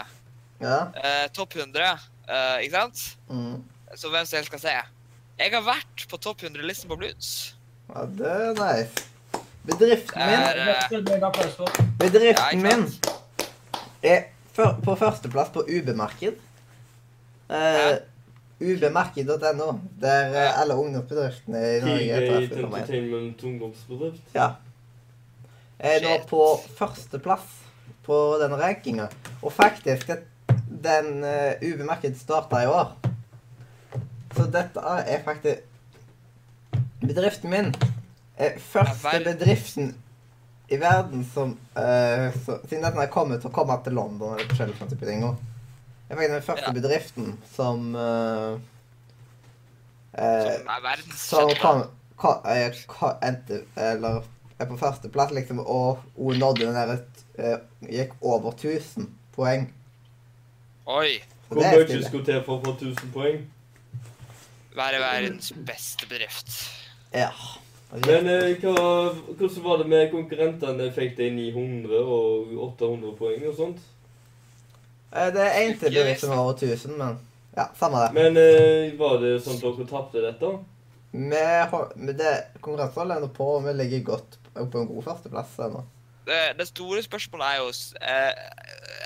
Speaker 1: Ja.
Speaker 4: eh, topp 100, eh, ikke sant?
Speaker 1: Mm.
Speaker 4: Så hvem som helst kan se. Jeg har vært på topp 100-listen på Blues.
Speaker 1: ja, det er nice. Bedriften
Speaker 4: Det
Speaker 1: min,
Speaker 4: er,
Speaker 6: Det skulle bli en applaus for.
Speaker 4: ja,
Speaker 1: bedriften
Speaker 4: ikke
Speaker 1: min
Speaker 4: sant?
Speaker 1: er før- på førsteplass på UB-marked. Eh, UB-marked.no, der eh, alle ungdomsbedriftene i Norge er
Speaker 2: Tidlig
Speaker 1: treffet for meg.
Speaker 2: Entertainment ungdomsbedrift.
Speaker 1: Ja. Jeg er nå
Speaker 4: Shit.
Speaker 1: på førsteplass på den rankinga. Og faktisk, det- den uh, UB-markedet starta i år. Så dette er faktisk Bedriften min er første
Speaker 4: vel.
Speaker 1: bedriften i verden som, eh, så, Siden den har kommet og kommet til London eller forskjellige sånne type ting. også. Det er faktisk den første
Speaker 4: Ja.
Speaker 1: bedriften som eh, eh,
Speaker 4: Som Sånn er verdens
Speaker 1: som
Speaker 4: kjente.
Speaker 1: kom, ka- eh, ka- endte Eller er på førsteplass, liksom, og hun nådde den der eh, Gikk over 1000 poeng.
Speaker 4: Oi.
Speaker 1: Så
Speaker 2: Hvor
Speaker 1: det er
Speaker 2: mye
Speaker 1: stille.
Speaker 2: skulle til for å få 1000 poeng?
Speaker 4: Være verdens beste bedrift.
Speaker 1: Ja.
Speaker 2: Men eh, hva, hvordan var det med konkurrentene? Fikk de 900 og 800 poeng og sånt?
Speaker 1: Eh, Det er én til du som er over 1000, men ja, samme det.
Speaker 2: Men eh, var det sånn at dere tapte dette?
Speaker 1: Vi har, men det konkurransen holder på, og vi ligger godt på en god førsteplass ennå.
Speaker 4: Eh, Det, det store spørsmålet er jo s- eh,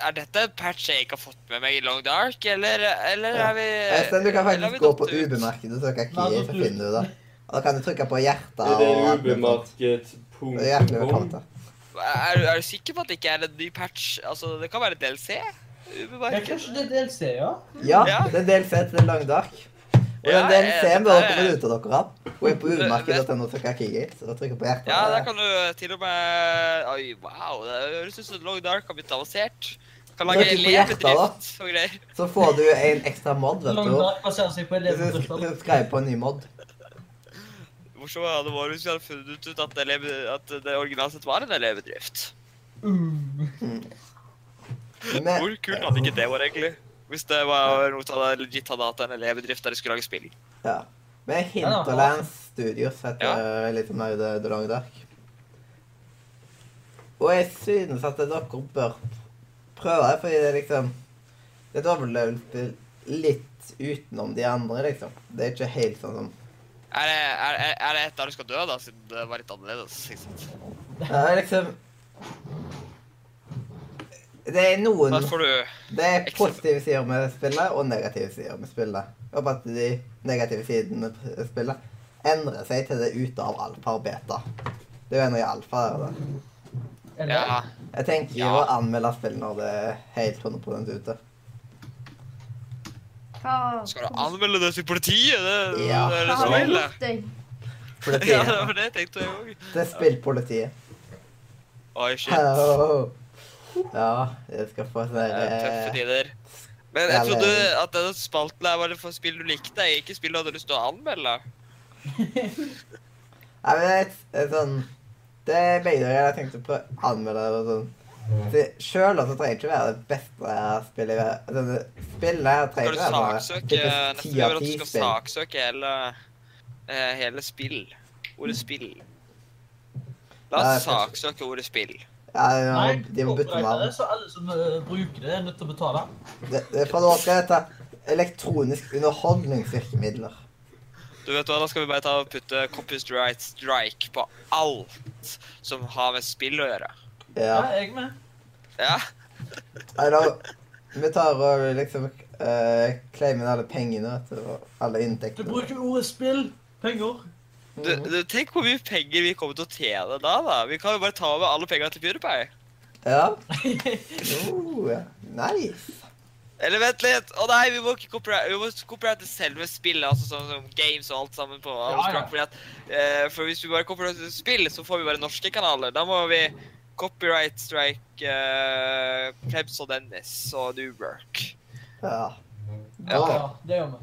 Speaker 4: Er dette en patch jeg ikke har fått med meg i Long Dark, eller, eller
Speaker 1: Ja.
Speaker 4: er vi
Speaker 1: Espen, du kan
Speaker 4: eller har vi
Speaker 1: faktisk gå på
Speaker 4: datt ut?
Speaker 1: ubemerket og søke
Speaker 6: Nei,
Speaker 1: key,
Speaker 6: datt
Speaker 1: så
Speaker 6: ut.
Speaker 1: finner du det. Og da kan du trykke på hjertet
Speaker 2: Er det
Speaker 1: og alt mulig sånt. Det er hjertelig
Speaker 2: ubemerket.com?
Speaker 1: velkommen til.
Speaker 4: Er, er du sikker på at det ikke er en ny patch? Altså, Det kan være et DLC?
Speaker 6: Ja,
Speaker 4: Ubemerket.
Speaker 6: kanskje det er DLC, ja?
Speaker 1: Ja,
Speaker 4: Ja.
Speaker 1: det er en del sett til Lang Dark. Og
Speaker 4: Ja,
Speaker 1: den delen
Speaker 4: eh,
Speaker 1: ser vi
Speaker 4: dette
Speaker 1: dere
Speaker 4: er-
Speaker 1: vil ut av dere av. Hun er på
Speaker 4: Men-
Speaker 1: ubemerket.no og trykker key, så da trykker på hjertet.
Speaker 4: Ja, der kan du eh, til og med Oi, wow. Det høres ut som Long Dark har blitt avansert. Kan lage
Speaker 1: Trykker på hjertet, da.
Speaker 4: elevbedrift og greier.
Speaker 1: Så får du en ekstra mod, vet
Speaker 6: Long
Speaker 1: du.
Speaker 6: Dark baserer seg på
Speaker 1: Hvis du
Speaker 6: elevbedrifter.
Speaker 1: sk- skriver på en ny mod.
Speaker 4: Morsomt hadde det vært hvis vi hadde funnet ut at, elev, at det originalt sett var en elevbedrift.
Speaker 6: Uh.
Speaker 1: Men,
Speaker 4: Hvor kult hadde ikke det vært, egentlig? Hvis det var noe som hadde legit hadde hatt en elevbedrift der de skulle lage spill.
Speaker 1: ja. Men Hinterlands Studios heter litt sånn mer The The Long Dark. Og jeg synes at dere bør prøve det, fordi det er liksom Det er et overlevelsesspill litt utenom de andre, liksom. Det er ikke helt sånn som
Speaker 4: Er det, er, er- er det et der du skal dø, da, siden det var litt annerledes? ikke sant?
Speaker 1: Det er liksom Det er noen
Speaker 4: Da får du
Speaker 1: Det er positive sider med spillet og negative sider med spillet. Jeg Håper at de negative sidene med spillet endrer seg til det er ute av alfa og beta. Det er jo ennå i alfa. er det.
Speaker 6: [laughs]
Speaker 4: Ja.
Speaker 1: Jeg tenker jo å
Speaker 4: Ja.
Speaker 1: anmelde spill når det er helt 100
Speaker 4: [laughs]
Speaker 1: ute.
Speaker 3: Hva
Speaker 4: Skal du anmelde det til politiet? Det,
Speaker 1: Ja.
Speaker 4: det
Speaker 3: hva
Speaker 4: er det som
Speaker 3: har du
Speaker 4: gjelder.
Speaker 3: gjort deg?
Speaker 4: Ja, det
Speaker 1: Politiet.
Speaker 4: var det jeg tenkte jeg òg.
Speaker 1: Det er spillpolitiet.
Speaker 4: Oi, shit.
Speaker 1: Hello. [laughs] Ja, jeg skal få sånn
Speaker 4: Det er Tøffe
Speaker 1: derre
Speaker 4: tider. Men jeg
Speaker 1: det er
Speaker 4: trodde
Speaker 1: veldig-
Speaker 4: at denne spalten her var det for spill du likte, ikke spill du hadde lyst til å anmelde.
Speaker 1: Nei, men det er et- et sånn Det er begge deler jeg tenkte på å anmelde og sånn. Det- Sjøl altså trenger ikke være det beste spillet i verden. Altså, det- Spillet her trenger
Speaker 4: Skal du
Speaker 1: ikke være
Speaker 4: saksøke
Speaker 1: sånn
Speaker 4: Neste
Speaker 1: ti
Speaker 4: gang
Speaker 1: av
Speaker 4: at du
Speaker 1: ti
Speaker 4: skal
Speaker 1: spill.
Speaker 4: saksøke hele, eh, hele spill. Ordet spill. La
Speaker 1: Nei,
Speaker 4: oss
Speaker 1: kanskje-
Speaker 4: saksøke ordet spill.
Speaker 1: Ja, de
Speaker 6: Nei,
Speaker 1: må, de må bytte
Speaker 6: copyright er det,
Speaker 1: navn.
Speaker 6: Så alle som eh, bruker det, er nødt til å betale.
Speaker 1: Det, det er fra nå skal dette elektronisk underholdningsvirkemidler.
Speaker 4: Du vet hva, Da skal vi bare ta og putte copyright strike på alt som har med spill å gjøre.
Speaker 6: Ja,
Speaker 1: Ja.
Speaker 6: jeg med.
Speaker 4: Ja,
Speaker 1: Eller vi tar og liksom uh, claimer alle pengene vet du, og alle
Speaker 6: Du
Speaker 1: inntektene.
Speaker 6: bruker ordet spill, penger.
Speaker 4: du,
Speaker 1: Mhm.
Speaker 4: du, Tenk hvor mye penger vi kommer til å tjene da. da. Vi kan jo bare ta over alle pengene til PewDiePie.
Speaker 1: Ja. Oh, ja. Nice.
Speaker 4: Eller vent litt! Å nei, vi må ikke copyright, vi må copyrighte selve spillet, altså sånn som games og alt sammen på
Speaker 6: Ja, ja.
Speaker 4: Abstract, fordi at, eh, For hvis vi bare copyrighter spill, så får vi bare norske kanaler. Da må vi copyright strike eh, Plebs og Dennis og New Work.
Speaker 1: Ja.
Speaker 6: Ja, ja, det gjør vi.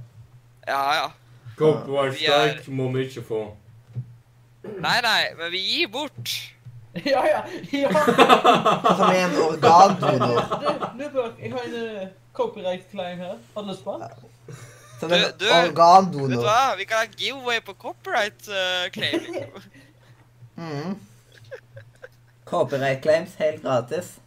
Speaker 6: [laughs]
Speaker 4: Ja, ja.
Speaker 2: Copyright
Speaker 4: Vi er-
Speaker 2: strike må vi
Speaker 1: [laughs]
Speaker 2: ikke få.
Speaker 4: Nei, nei, men vi gir bort.
Speaker 6: Ja, ja, ja.
Speaker 1: Som er Altså, en organdonor.
Speaker 6: Du, Nubøk, jeg har en eh, copyright claim her. Har du lyst på den?
Speaker 1: Som en
Speaker 4: Du- du- Vet du
Speaker 1: organdonor.
Speaker 4: hva? Vi kan ha giveaway på copyright eh, claim.
Speaker 1: [laughs]
Speaker 4: liksom.
Speaker 1: Mm. Copyright claims helt gratis.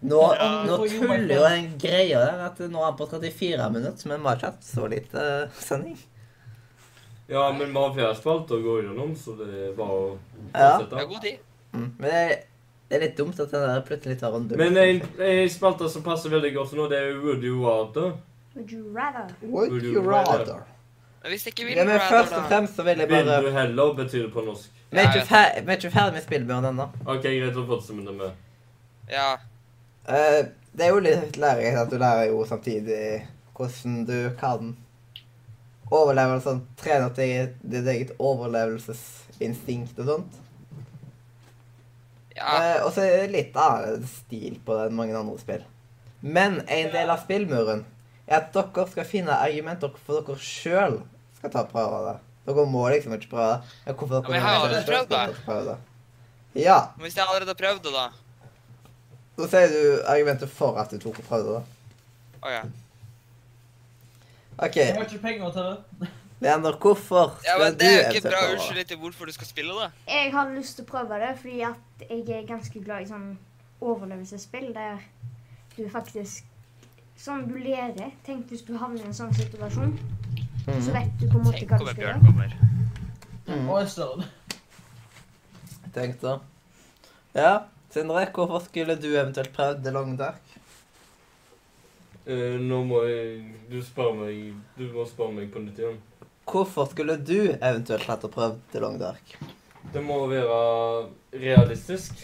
Speaker 1: Nå,
Speaker 4: Ja.
Speaker 1: nå tuller jo den greia der at nå er han på 34 minutter, men vi har ikke hatt så lite eh, sending.
Speaker 2: Ja, men vi har flere spalter å gå gjennom, så det er bare å
Speaker 1: Ja.
Speaker 4: Vi har
Speaker 2: fortsette.
Speaker 4: god tid.
Speaker 1: Mm. Men det er, det er litt dumt at den der plutselig tar en dupp.
Speaker 2: Men eh, en, en spalte som passer veldig godt nå, det er jo Would you rather.
Speaker 3: Would you rather?
Speaker 1: Would you rather?
Speaker 4: Men hvis ikke vi
Speaker 1: Ja, men
Speaker 4: rather,
Speaker 1: først
Speaker 4: da-
Speaker 1: og fremst så vil jeg
Speaker 2: Vil
Speaker 1: bare
Speaker 2: du heller, betyr det på norsk.
Speaker 1: Vi er ikke fer- vi er ikke ferdig med spillbjørn ennå.
Speaker 2: OK, greit, da fortsetter vi med
Speaker 4: Ja.
Speaker 1: Eh, Det er jo litt lærerikt at du lærer jo samtidig hvordan du kan overleve og sånn, trene opp ditt, ditt eget overlevelsesinstinkt og sånt.
Speaker 4: ja.
Speaker 1: Eh, og så er det litt annerledes stil på det enn mange andre spill. Men en del av spillmuren er at dere skal finne argumenter for dere sjøl skal ta prøver der. Dere må liksom ikke prøve. Ja, hvorfor dere
Speaker 4: Men jeg har
Speaker 1: må
Speaker 4: allerede
Speaker 1: ikke
Speaker 4: prøvd det.
Speaker 1: dere prøve det. Ja,
Speaker 4: Men hvis jeg allerede har prøvd det, da
Speaker 1: så sier du argumentet for at du tok og prøvde det.
Speaker 4: OK.
Speaker 1: OK,
Speaker 6: Jeg har ikke penger til det.
Speaker 1: Leander, hvorfor
Speaker 4: Ja,
Speaker 1: skal
Speaker 4: men
Speaker 1: du
Speaker 4: Det er jo
Speaker 1: eventuelt
Speaker 4: ikke en bra
Speaker 1: prøve det?
Speaker 4: unnskyldning til hvorfor du skal spille, da.
Speaker 3: Jeg har lyst til å prøve det fordi at jeg er ganske glad i sånn overlevelsesspill der du faktisk Sånn du lærer. Tenk hvis du havner i en sånn situasjon, så
Speaker 1: Mhm.
Speaker 3: vet du på en måte
Speaker 4: Tenk
Speaker 3: hva
Speaker 4: om
Speaker 3: du
Speaker 4: en
Speaker 3: skal
Speaker 4: bjørn
Speaker 3: gjøre.
Speaker 4: kommer.
Speaker 1: Mm.
Speaker 6: Og jeg stør den. [laughs]
Speaker 1: Tenk det. Ja, Sindre, hvorfor skulle du eventuelt prøvd The Long Dark?
Speaker 2: Eh, nå må jeg Du spør meg Du må spørre meg på nytt igjen.
Speaker 1: Hvorfor skulle du eventuelt hatt og prøvd The Long Dark?
Speaker 2: Det må være realistisk.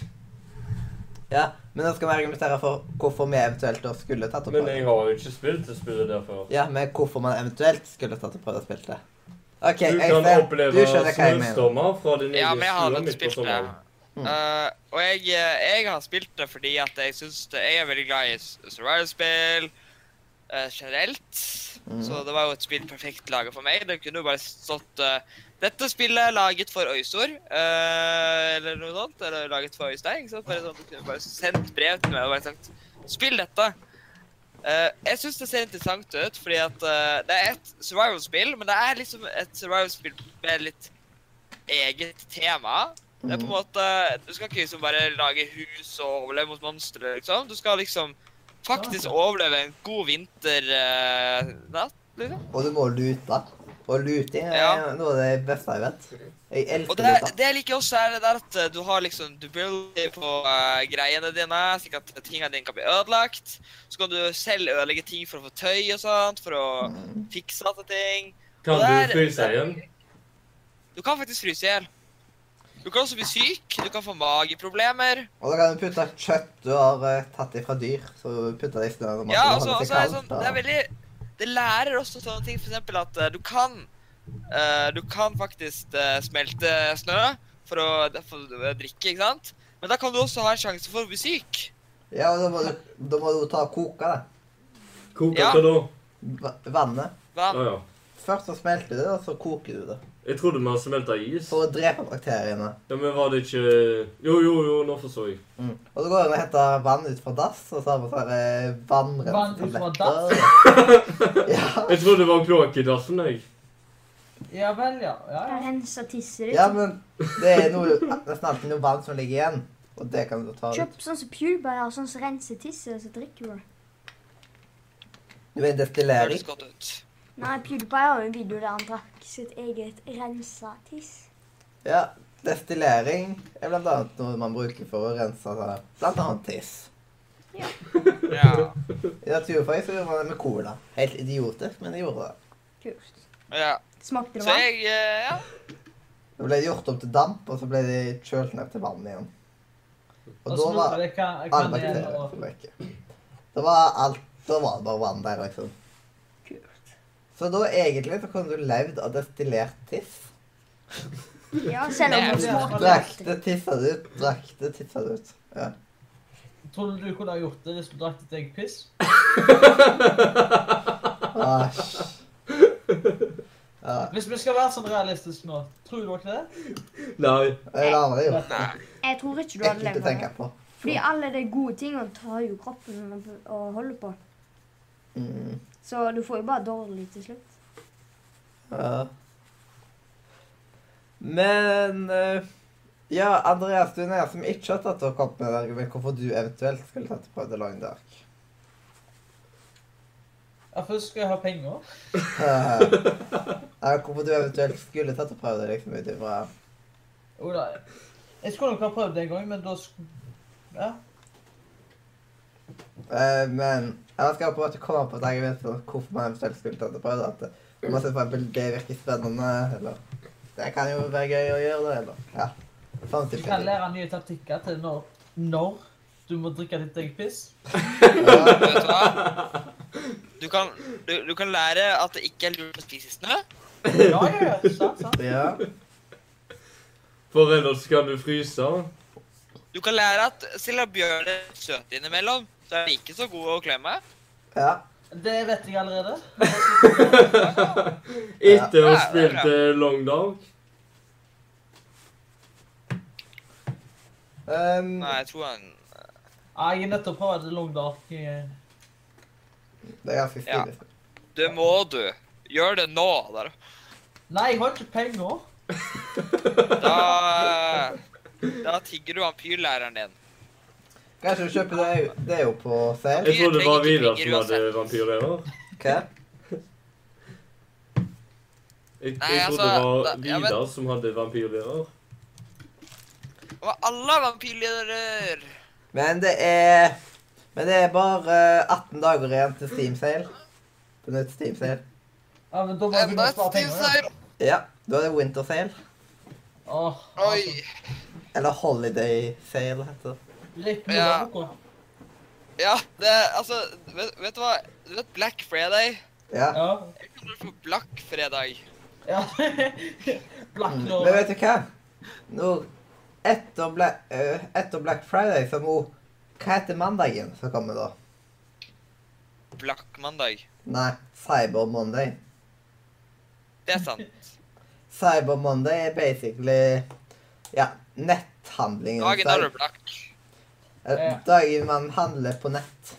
Speaker 1: Ja, men nå skal vi argumentere for hvorfor vi eventuelt da skulle tatt og
Speaker 2: Men
Speaker 1: prøvd.
Speaker 2: jeg har jo ikke spilt det spillet der før.
Speaker 1: Ja, men hvorfor man eventuelt skulle tatt og prøvd å spille det. OK,
Speaker 2: Du kan
Speaker 1: Øystein, du
Speaker 2: oppleve
Speaker 1: skjønner hva jeg mener.
Speaker 2: snøstormer fra din
Speaker 4: Ja, men jeg har
Speaker 2: egen stue
Speaker 4: allerede
Speaker 2: midt på
Speaker 4: spilt det.
Speaker 2: sommeren.
Speaker 1: Mm.
Speaker 4: Eh, og jeg, eh, jeg har spilt det fordi at jeg syns Jeg er veldig glad i s- survival-spill eh, generelt.
Speaker 1: Mm.
Speaker 4: Så det var jo et spill perfekt laget for meg. Det kunne jo bare stått eh, 'Dette spillet er laget for Øysor', eh, eller noe sånt. Eller laget for Øystein. ikke sant? Bare sånn, du kunne bare sendt brev til meg og bare sagt 'Spill dette'. Eh, jeg syns det ser interessant ut, fordi at eh, det er et survival-spill, men det er liksom et survival-spill med litt eget tema. Det er på en måte, Du skal ikke liksom bare lage hus og overleve mot monstre, liksom. Du skal liksom faktisk overleve en god vinternatt, liksom.
Speaker 1: Og du må lute. Og luting er
Speaker 4: Ja.
Speaker 1: noe av det beste jeg vet. Jeg
Speaker 4: Og
Speaker 1: elsker
Speaker 4: det,
Speaker 1: luta.
Speaker 4: det jeg liker også, er det der at eh, du har liksom Du builder på eh, greiene dine, slik at tingene dine kan bli ødelagt. Så kan du selv ødelegge ting for å få tøy og sånt, for å
Speaker 1: Mm.
Speaker 4: fikse til ting.
Speaker 2: Kan
Speaker 4: Der-
Speaker 2: du fryse igjen?
Speaker 4: Du kan faktisk fryse i hjel. Du kan også bli syk, du kan få mageproblemer.
Speaker 1: Og da kan du putte kjøtt du har eh, tatt ifra dyr, så du putter det i snøen. og man
Speaker 4: Ja,
Speaker 1: kan
Speaker 4: og så
Speaker 1: holde
Speaker 4: og
Speaker 1: seg
Speaker 4: så er det
Speaker 1: kaldt,
Speaker 4: sånn Det er
Speaker 1: og-
Speaker 4: veldig Det lærer også sånne ting, for eksempel at eh, du kan eh, Du kan faktisk eh, smelte snø for å, for å drikke, ikke sant? Men da kan du også ha en sjanse for å bli syk.
Speaker 1: Ja, og da må du, da må du ta og koke det.
Speaker 2: Koker
Speaker 4: Ja.
Speaker 2: hva da?
Speaker 1: Va- Vannet.
Speaker 4: Hva?
Speaker 2: Å ja.
Speaker 1: Først så smelter du det, og så koker du det.
Speaker 2: Jeg trodde vi hadde smelta is.
Speaker 1: For å drepe bakteriene.
Speaker 2: Ja, Men var det ikke Jo, jo, jo, nå forstår jeg.
Speaker 1: Mm. Og så går det an å hente vann ut fra dass, og så har vi sånne eh,
Speaker 6: Vann ut fra
Speaker 1: vannrensetabletter. [laughs] ja.
Speaker 2: Jeg trodde det var kloakkdassen, jeg.
Speaker 6: Ja vel, ja. ja,
Speaker 3: Kan
Speaker 6: ja.
Speaker 3: rense tisset ditt.
Speaker 1: ja, men det er noe, nesten alltid noe vann som ligger igjen, og det kan du ta ut.
Speaker 3: Kjøp sånn som Puber har, sånn som renser tisset, og så drikker du det.
Speaker 1: Du er en
Speaker 4: Det
Speaker 1: destillering.
Speaker 4: høres godt ut.
Speaker 3: Nei, PewDiePie har jo en video der han drakk sitt eget rensa tiss.
Speaker 1: Ja, destillering er blant annet noe man bruker for å rense sånne- blant annet tiss.
Speaker 4: Ja.
Speaker 1: I naturfag så gjorde man det med cola. Helt idiotisk, men de gjorde det.
Speaker 3: Kult.
Speaker 4: ja.
Speaker 3: Smakte det
Speaker 4: Så
Speaker 3: bra?
Speaker 4: jeg eh, Ja.
Speaker 1: Det ble gjort om til damp, og så ble de kjølt ned til vann igjen. Og da
Speaker 6: Og så
Speaker 1: var
Speaker 6: lurer jeg hva hva
Speaker 1: Alle
Speaker 6: det er
Speaker 1: bakterier
Speaker 6: og-
Speaker 1: som leker. Det var alt, da var det bare vann der, liksom.
Speaker 3: Kult.
Speaker 1: Så da egentlig så kunne du levd av destillert tiss.
Speaker 3: Ja, selv om
Speaker 4: Nei,
Speaker 3: hun
Speaker 6: det er
Speaker 3: smakte
Speaker 1: Drakk
Speaker 3: alltid.
Speaker 1: det, tissa det ut, drakk det, tissa det ut. Ja.
Speaker 6: Tror du du kunne ha gjort det hvis du drakk ditt eget piss?
Speaker 1: Asj. Ja,
Speaker 6: Hvis vi skal være sånn realistiske nå, tror du ikke det?
Speaker 2: Nei.
Speaker 1: jeg lar det jo.
Speaker 3: Jeg tror ikke du
Speaker 1: Ekkelt
Speaker 3: hadde
Speaker 1: å
Speaker 3: levd av
Speaker 1: tenke
Speaker 3: det.
Speaker 1: på.
Speaker 3: Fordi alle de gode tingene tar jo kroppen og- og holder på.
Speaker 1: Mm.
Speaker 3: Så du får jo bare dårlig til slutt.
Speaker 1: Ja. Men eh, Ja, Andreas, du er den eneste som ikke har tatt og kommet med et argument hvorfor du eventuelt skulle tatt og prøvd å lage en dark.
Speaker 6: Ja, først skal jeg ha penger.
Speaker 1: Ja, Eh, hvorfor du eventuelt skulle tatt og prøvd det, liksom, ut ifra
Speaker 6: Jo da. Jeg skulle nok ha prøvd det en gang, men da sk... Ja.
Speaker 1: Eh, men jeg skal prøve å komme på et argument for hvorfor man eventuelt skulle tatt og prøvd at eh, man ser for eksempel det virker spennende, eller det kan jo være gøy å gjøre det, eller ja. Sånn
Speaker 6: Du kan
Speaker 1: type.
Speaker 6: lære nye taktikker til når, når du må drikke ditt eget piss.
Speaker 1: Ja,
Speaker 4: Vet du hva? Du kan, du, du kan lære at det ikke er lurt å spise snø.
Speaker 6: Ja, ja, ja. Sant, sant.
Speaker 1: ja.
Speaker 2: For ellers kan du fryse. [laughs]
Speaker 4: Du kan lære at selv om bjørn er søt innimellom, så er de ikke så gode å klemme.
Speaker 1: ja.
Speaker 6: Det vet jeg allerede.
Speaker 2: Etter å ha
Speaker 4: Ja, det er
Speaker 2: spilt eh, Long Dark.
Speaker 1: Um,
Speaker 4: Nei, jeg tror han
Speaker 6: Ja, jeg er nettopp på det long dark. eh. Jeg-
Speaker 1: det er ganske
Speaker 4: Ja.
Speaker 1: stilig.
Speaker 4: Det må du. Gjør det nå. Der.
Speaker 6: Nei, jeg har ikke penger.
Speaker 4: Da Da tigger du han pyrlæreren din.
Speaker 1: Kanskje du kjøper det, det er jo på sale.
Speaker 2: Jeg trodde det var
Speaker 4: trenger ikke
Speaker 2: Vidar som
Speaker 4: penger
Speaker 2: hadde vampyrlever.
Speaker 1: Hva?
Speaker 2: Jeg, jeg
Speaker 4: Nei,
Speaker 2: trodde det
Speaker 4: altså,
Speaker 2: var
Speaker 4: da- ja, men-
Speaker 2: Vidar som hadde vampyrlever.
Speaker 4: Og alle er vampyrlærer.
Speaker 1: Men det er Men det er bare eh, 18 dager igjen til Steam Sale. På nytt Steam Sale.
Speaker 6: Ja, men da må jeg
Speaker 4: Enda
Speaker 6: begynne å
Speaker 4: et
Speaker 6: spare penger. ja.
Speaker 4: stivseier.
Speaker 1: Ja, da er det Winter Sale.
Speaker 6: Åh,
Speaker 4: Oi.
Speaker 6: altså,
Speaker 1: Eller Holiday Sale, heter det.
Speaker 6: litt
Speaker 4: Ja.
Speaker 6: moro.
Speaker 4: Ja, det Altså, vet, vet du hva? Du vet Black Friday?
Speaker 1: Ja.
Speaker 6: Ja.
Speaker 4: Jeg kaller det for Black Fredag.
Speaker 6: ja. [laughs] Black
Speaker 1: Mm. Men
Speaker 6: Lord.
Speaker 1: vet du hva? Når etter, Bla eh, etter Black Friday så må Hva heter mandagen som kommer da?
Speaker 4: Black Mandag.
Speaker 1: Nei, Cyber Monday.
Speaker 4: Det er sant.
Speaker 1: Cyber Monday er basically ja, netthandlingen.
Speaker 4: Dagen er du black.
Speaker 1: Eh,
Speaker 6: Ja.
Speaker 1: Dagen man handler på nett.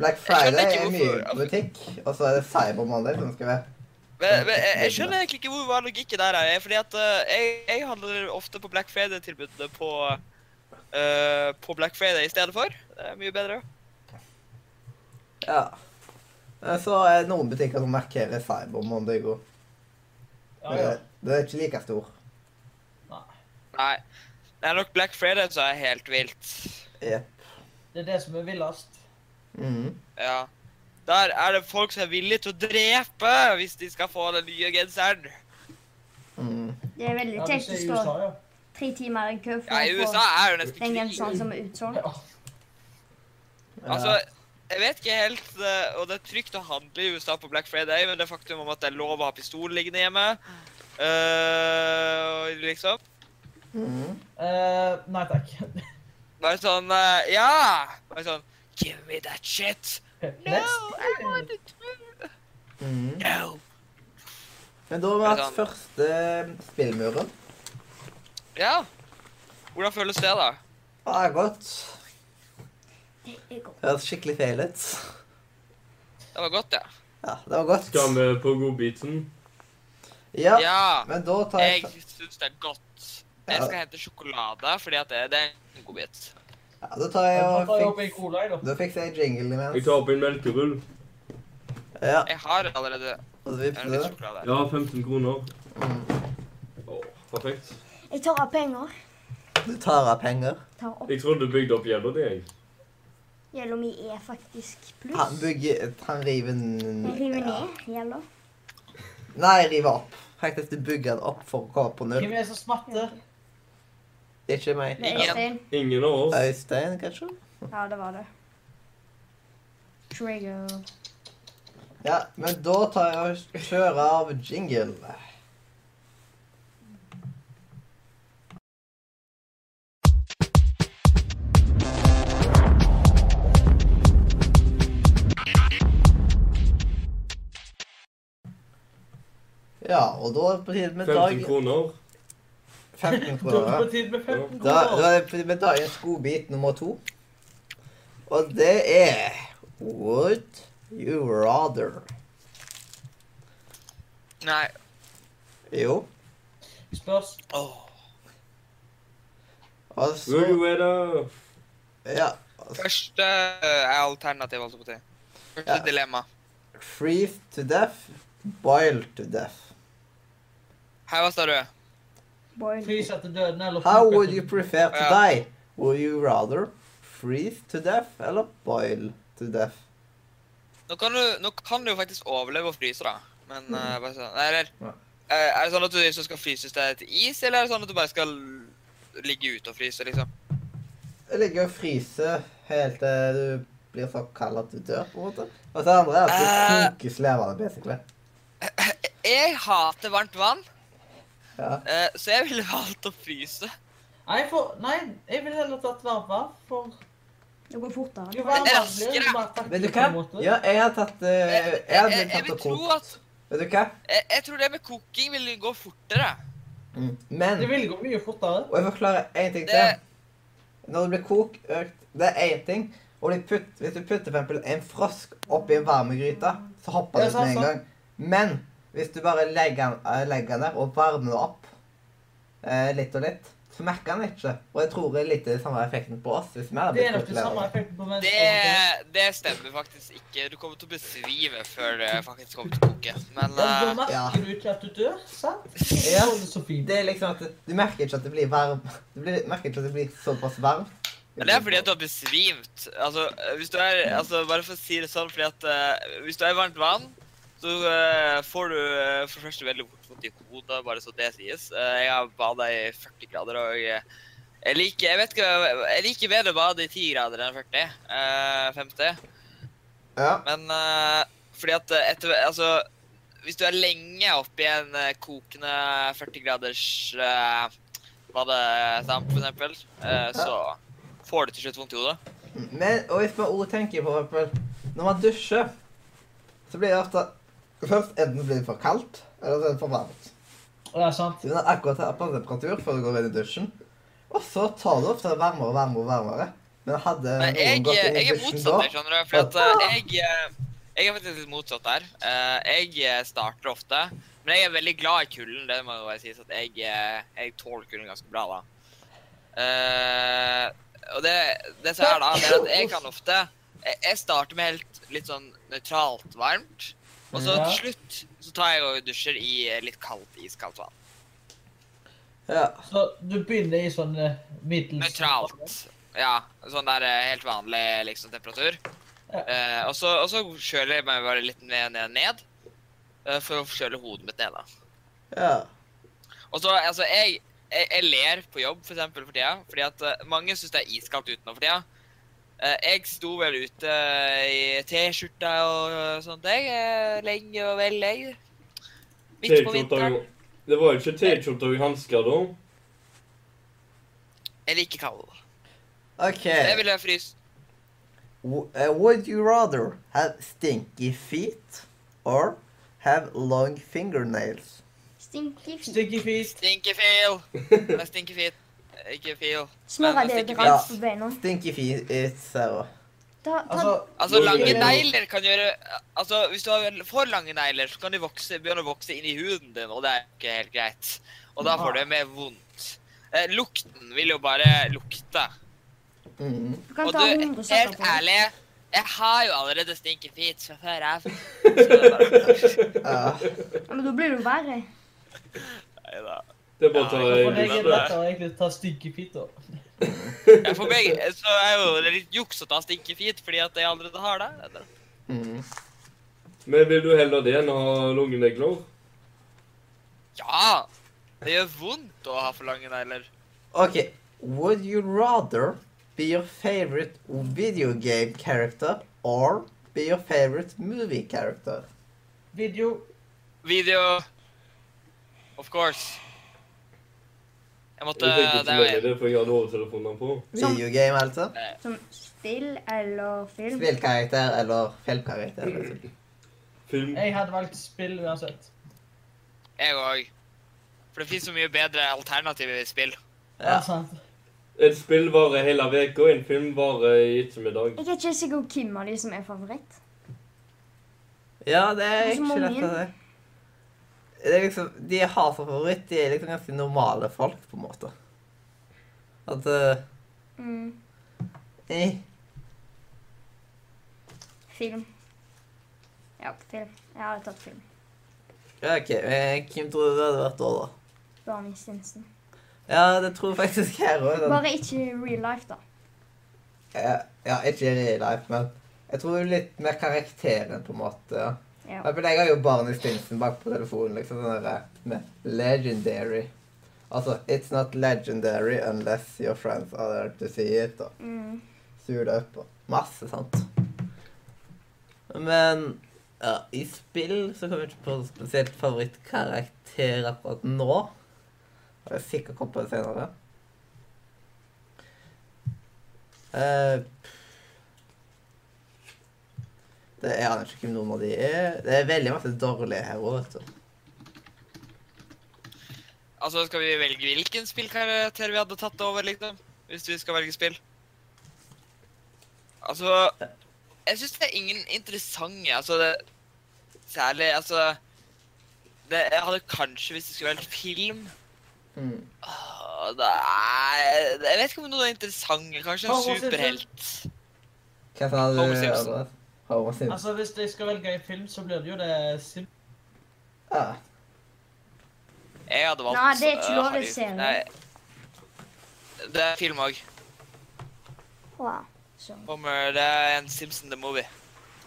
Speaker 1: Black Friday
Speaker 4: ikke
Speaker 1: er mye
Speaker 4: hvorfor-
Speaker 1: butikk, og så er det Cyber Monday som skal være.
Speaker 4: Men, men jeg, jeg skjønner egentlig ikke hvor hva logikken der er. Fordi at eh, jeg, jeg handler ofte på Black Friday-tilbudene på, eh, på Black Friday i stedet for. Det er mye bedre.
Speaker 1: Ja. Eh, Så er det noen butikker som markerer Cyber Monday òg.
Speaker 6: Ja, ja.
Speaker 1: Det er ikke like stor.
Speaker 4: Nei. Det er nok Black Friday som er helt vilt.
Speaker 1: Jepp.
Speaker 6: Det er det som er villest.
Speaker 1: Mhm.
Speaker 4: Ja. Der er det folk som er villige til å drepe hvis de skal få den nye genseren.
Speaker 1: Mm.
Speaker 3: Det er veldig
Speaker 6: Ja, du
Speaker 3: kjekt
Speaker 6: ser
Speaker 3: å
Speaker 6: i
Speaker 3: stå
Speaker 6: USA, ja.
Speaker 3: tre timer i en kø for
Speaker 4: Ja,
Speaker 3: å
Speaker 4: I USA
Speaker 3: få
Speaker 4: er det nesten
Speaker 3: den
Speaker 4: krig.
Speaker 3: genseren som er utsolgt.
Speaker 6: Ja.
Speaker 4: Altså, jeg vet ikke helt eh, Og det er trygt å handle i USA på Black Friday, men det faktum om at det er lov å ha pistol liggende hjemme eh, Liksom.
Speaker 1: Mhm.
Speaker 6: Eh, nei takk. [laughs]
Speaker 4: Bare sånn eh, Ja! Bare sånn Give me that shit! No! I want it!
Speaker 1: Mhm.
Speaker 4: No!
Speaker 1: Men da har vi hatt første spillmuren.
Speaker 4: Ja. Hvordan føles det, da?
Speaker 1: Ja, Det er godt.
Speaker 3: Det er godt.
Speaker 1: Høres skikkelig feil ut.
Speaker 4: Det var godt, ja.
Speaker 1: Ja, det var godt.
Speaker 2: Skal vi på godbiten?
Speaker 1: Ja,
Speaker 4: Ja.
Speaker 1: men da tar jeg
Speaker 4: Jeg syns det er godt. Jeg skal hente sjokolade, fordi at det, det er en godbit.
Speaker 1: ja, Da tar jeg
Speaker 6: Da tar jeg
Speaker 1: og
Speaker 6: opp en
Speaker 1: fiks,
Speaker 6: cola, jeg, da.
Speaker 1: da fikser jeg jingle
Speaker 2: Jeg
Speaker 1: imens.
Speaker 2: tar opp en melkerull.
Speaker 1: Ja,
Speaker 4: Jeg har allerede
Speaker 1: og så
Speaker 4: en
Speaker 1: vipser du.
Speaker 4: litt
Speaker 1: det.
Speaker 4: sjokolade.
Speaker 2: Ja, 15 kroner. Åh, perfekt.
Speaker 3: Jeg tar av penger.
Speaker 1: Du tar av penger.
Speaker 3: Tar opp.
Speaker 2: Jeg trodde du bygde opp gjelda di, jeg.
Speaker 3: Gjelda mi er faktisk
Speaker 1: Han
Speaker 3: pluss.
Speaker 1: bygger Han river
Speaker 3: Jeg
Speaker 1: den
Speaker 3: river
Speaker 1: ja.
Speaker 3: ned gjelda.
Speaker 1: Nei, river opp. Faktisk, du bygger den opp for å komme på null.
Speaker 6: Hvem er det som smatter?
Speaker 1: Ikke meg.
Speaker 3: Det er
Speaker 4: Ingen.
Speaker 3: Øystein.
Speaker 2: Ingen av oss.
Speaker 1: Øystein, kanskje?
Speaker 3: Ja, det var det. Trigger.
Speaker 1: Ja, men da tar jeg og kjører av jingle. Ja, og da er det på tide med
Speaker 2: 15
Speaker 1: dag
Speaker 2: kroner.
Speaker 1: 15
Speaker 6: [laughs] Da er det
Speaker 1: kroner.
Speaker 6: på tide med 15
Speaker 1: Da, da
Speaker 6: kroner.
Speaker 1: er det på tide med dagens godbit nummer to. Og det er Would you rather?
Speaker 4: Nei.
Speaker 1: Jo.
Speaker 6: Spørs.
Speaker 4: Åh.
Speaker 1: Og
Speaker 2: Will you
Speaker 1: så
Speaker 2: wait up?
Speaker 1: altså- Ja. altså,
Speaker 4: Første eh, er alternativ, holdt jeg på å si. Første
Speaker 1: Ja.
Speaker 4: dilemma.
Speaker 1: Freeze to death, boil to death.
Speaker 4: Her, hva sa du?
Speaker 3: Boil.
Speaker 6: Fryse etter døden eller
Speaker 1: How
Speaker 6: koke
Speaker 1: would
Speaker 6: til-
Speaker 1: you prefer to
Speaker 4: Ja.
Speaker 1: die? Would you rather freeze to death eller boil to death?
Speaker 4: Nå kan du, nå kan du jo faktisk overleve og fryse, da. Men eh, bare sånn Nei, Eller
Speaker 1: Ja.
Speaker 4: eh, Er det sånn at du liksom skal fryses deg til is, eller er det sånn at du bare skal ligge ute og fryse, liksom?
Speaker 1: Jeg ligger og fryser helt til du blir så kald at du dør, på en måte. Og så det andre altså, er at du
Speaker 4: Eh.
Speaker 1: kokes levende, basically.
Speaker 4: Jeg hater varmt vann,
Speaker 1: Ja.
Speaker 4: eh, så jeg ville valgt å fryse.
Speaker 6: Nei, for, nei, jeg ville heller tatt varme, for
Speaker 3: Det går fortere.
Speaker 6: Jo, hva
Speaker 4: Det er
Speaker 6: annet blir
Speaker 4: raskere.
Speaker 6: det, jo mer taktikk
Speaker 1: Vet du
Speaker 6: på
Speaker 1: hva?
Speaker 6: en måte.
Speaker 1: Ja, jeg har tatt eh,
Speaker 4: Jeg,
Speaker 1: Jeg hadde
Speaker 4: jeg, jeg
Speaker 1: tatt
Speaker 4: vil
Speaker 1: og
Speaker 4: tro
Speaker 1: kokt.
Speaker 4: at
Speaker 1: Vet du hva?
Speaker 4: jeg, jeg tror det med koking vil gå fortere.
Speaker 1: Mm. Men
Speaker 6: Det vil gå mye fortere.
Speaker 1: Og jeg forklarer én ting til.
Speaker 4: Det-
Speaker 1: Når det blir kokt økt, det er én ting. Og de putt, hvis du putter for eksempel en frosk oppi en varmegryte, så hopper
Speaker 6: Det
Speaker 1: det
Speaker 6: er
Speaker 1: ut med
Speaker 6: sant,
Speaker 1: en gang.
Speaker 6: sant.
Speaker 1: Men hvis du bare legger den, eh, legger den der og varmer den opp eh, litt og litt, så merker den ikke. Og jeg tror det er litt den samme effekten på oss. hvis vi hadde
Speaker 6: Det er
Speaker 1: blitt
Speaker 6: nok det samme
Speaker 1: populære.
Speaker 6: effekten på
Speaker 4: Det,
Speaker 6: mennesker.
Speaker 4: det stemmer faktisk ikke. Du kommer til å besvive før det faktisk kommer til å koke. Men
Speaker 6: Og da
Speaker 4: eh,
Speaker 1: Ja.
Speaker 6: merker du ikke at du dør, sant?
Speaker 1: Ja.
Speaker 6: Så er det så fint.
Speaker 1: Det er liksom at Du merker ikke at det blir varm. Du blir, merker ikke at det blir såpass varmt.
Speaker 4: det er fordi at du har besvimt. Altså, eh, hvis du er, altså, bare for å si det sånn, fordi at eh, hvis du er i varmt vann, så eh, får du eh, for det første veldig fort vondt i hodet, bare så det sies. Eh, jeg har bada i 40 grader, og jeg, jeg liker jeg vet ikke, jeg liker bedre å bade i 10 grader enn 40. eh, 50.
Speaker 1: Ja.
Speaker 4: Men eh, fordi at eh, etter, altså, hvis du er lenge oppe i en eh, kokende 40 graders uh, badestamp, for eksempel, eh, så får du til slutt vondt i hodet.
Speaker 1: Men, og hvis man også tenker på for eksempel Når man dusjer, så blir det ofte Først enten blir det for kaldt, eller så er det for varmt.
Speaker 6: Det er sant.
Speaker 1: Du må ha akkurat ha passe temperatur før du går inn i dusjen. Og så tar det ofte varmere og varmere og varmere. Men hadde
Speaker 4: Men jeg, eh,
Speaker 1: noen gått inn i
Speaker 4: jeg er
Speaker 1: dusjen
Speaker 4: motsatt der,
Speaker 1: da
Speaker 4: skjønner du. Fordi at eh, jeg, eh, jeg er faktisk litt motsatt der. Eh, jeg eh, starter ofte, men jeg er veldig glad i kulden. Det må jo bare sies at jeg, eh, jeg tåler kulden ganske bra, da. Eh, og det, det som er da, det er at jeg kan ofte Jeg, jeg starter med helt litt sånn nøytralt varmt. Og så
Speaker 6: Ja.
Speaker 4: til slutt så tar jeg og dusjer i eh, litt kaldt, iskaldt vann.
Speaker 1: ja.
Speaker 6: Så du begynner i sånn eh, middels...
Speaker 4: Nøytralt. Ja. Sånn der eh, helt vanlig liksom, temperatur.
Speaker 6: Ja.
Speaker 4: Eh, og, så, og så kjøler jeg meg bare litt ned, ned, ned. eh, for å kjøle hodet mitt ned, da.
Speaker 1: ja.
Speaker 4: Og så, altså, jeg, jeg, jeg ler på jobb, for eksempel, for tida. Fordi at eh, mange syns det er iskaldt utenfor for tida. Eh, jeg sto vel ute eh, i T-skjorta og eh, sånt, jeg. eh, lenge og vel, jeg. Midt på
Speaker 2: T-skjorta
Speaker 4: vinteren.
Speaker 2: jo- Det var jo ikke T-skjorta og hansker da.
Speaker 4: Jeg liker kald.
Speaker 1: OK.
Speaker 4: Jeg ville fryst.
Speaker 1: W- uh, Would you rather have stinky feet or have long fingernails?
Speaker 3: Stinky fint.
Speaker 6: Stinky feet.
Speaker 4: Stinky feel. Jeg stinker fint. Ikke feel.
Speaker 3: Smør
Speaker 4: Stinky
Speaker 3: deodorant
Speaker 1: feet.
Speaker 3: på beina.
Speaker 1: Stinky feet is uh,
Speaker 3: Ta, ta,
Speaker 6: Altså,
Speaker 4: Altså,
Speaker 2: Nå
Speaker 4: lange
Speaker 2: vil jeg-
Speaker 4: negler kan gjøre Altså, hvis du har vel for lange negler, så kan de vokse, begynne å vokse inn i huden din, og det er ikke helt greit. Og da får du mer vondt. Eh, lukten vil jo bare lukte.
Speaker 1: mm.
Speaker 3: du
Speaker 4: Og
Speaker 3: kan
Speaker 4: du,
Speaker 3: ta 100 sokker
Speaker 4: helt
Speaker 3: på deg.
Speaker 4: ærlig, jeg har jo allerede stinky feet fra før av. Så det
Speaker 2: [laughs]
Speaker 4: er bare-
Speaker 1: ja.
Speaker 3: Ja, Men da blir det jo verre.
Speaker 4: Neida.
Speaker 2: Det er bare å ta
Speaker 4: Ja,
Speaker 6: for meg er
Speaker 2: en
Speaker 6: det lettere egentlig å ta stinky feet, da.
Speaker 4: Ja, For meg så er jo det litt juks å ta stinky feet fordi at jeg allerede har det.
Speaker 1: mm.
Speaker 2: Men vil du heller det enn å ha lungenegler?
Speaker 4: Ja! Det gjør vondt å ha for lange negler.
Speaker 1: Okay, would you rather be your favorite video game character or be your favorite movie character?
Speaker 6: Video.
Speaker 4: Video. Of course. Jeg måtte
Speaker 2: Jeg tenkte ikke
Speaker 4: Det
Speaker 2: så
Speaker 4: er
Speaker 2: lenge
Speaker 4: jo en.
Speaker 2: det, for jeg hadde hovedtelefonene på.
Speaker 3: Som-
Speaker 1: Video game, altså?
Speaker 3: Som spill eller film.
Speaker 1: Spillkarakter eller filmkarakter? liksom.
Speaker 2: Film.
Speaker 6: Jeg hadde valgt spill uansett.
Speaker 4: Jeg òg. For det fins så mye bedre alternativer i spill.
Speaker 3: Altså,
Speaker 6: Ja,
Speaker 1: Ja.
Speaker 6: sant.
Speaker 2: Et spill varer hele veka, en film varer i ettermiddag.
Speaker 3: Jeg er ikke sikker på hvem av de som er favoritt.
Speaker 1: ja, det er
Speaker 3: Det er så
Speaker 1: ikke
Speaker 3: mange.
Speaker 1: lett å si. Det er liksom, de jeg har som favoritt, de er liksom ganske normale folk, på en måte. At eh,
Speaker 3: Mm,
Speaker 1: eh,
Speaker 3: film. Ja, film. Jeg har tatt film.
Speaker 1: ja, OK, eh, hvem tror du det hadde vært da, da?
Speaker 3: Barney Stinson.
Speaker 1: Ja, det tror jeg faktisk jeg òg.
Speaker 3: Bare ikke i real life, da.
Speaker 1: Ja, ja, ikke i real life, men jeg tror jo litt mer karakteren, på en måte. ja.
Speaker 3: Ja.
Speaker 1: For Jeg har jo Barney Stinson bak på telefonen, liksom sånn der med legendary. Altså, it's not legendary unless your friends are there to see it, og
Speaker 3: Mm.
Speaker 1: sur det opp, og masse sant. Men ja, i spill så kommer jeg ikke på noen spesielt favorittkarakter akkurat nå. Og jeg sikkert kommer på det senere. Eh, pff, Det er, jeg aner ikke hvem noen av de er. Det er veldig masse dårlige her òg, vet du.
Speaker 4: Altså, skal vi velge hvilken spillkarakter vi hadde tatt over, liksom? Hvis vi skal velge spill. Altså Jeg syns det er ingen interessante Altså, det Særlig, altså det, Jeg hadde kanskje, hvis det skulle vært film
Speaker 1: Mm.
Speaker 4: Åh, det er, Jeg vet ikke om noen er interessante. Kanskje
Speaker 6: Homer
Speaker 4: en
Speaker 6: Simpson.
Speaker 4: superhelt.
Speaker 1: Hva sa du?
Speaker 4: Homer Simpson.
Speaker 1: Albert? Homer Simpson.
Speaker 6: Altså, hvis jeg skal velge en film, så blir det jo det Sim...
Speaker 1: Ja.
Speaker 4: Jeg hadde valgt
Speaker 3: Nei, det er ikke
Speaker 4: øh,
Speaker 3: lov, det
Speaker 4: Harry.
Speaker 3: ser jeg.
Speaker 4: Nei. Det er film òg.
Speaker 3: Wow. Så.
Speaker 4: Homer, eh, det er en Simpson the Movie.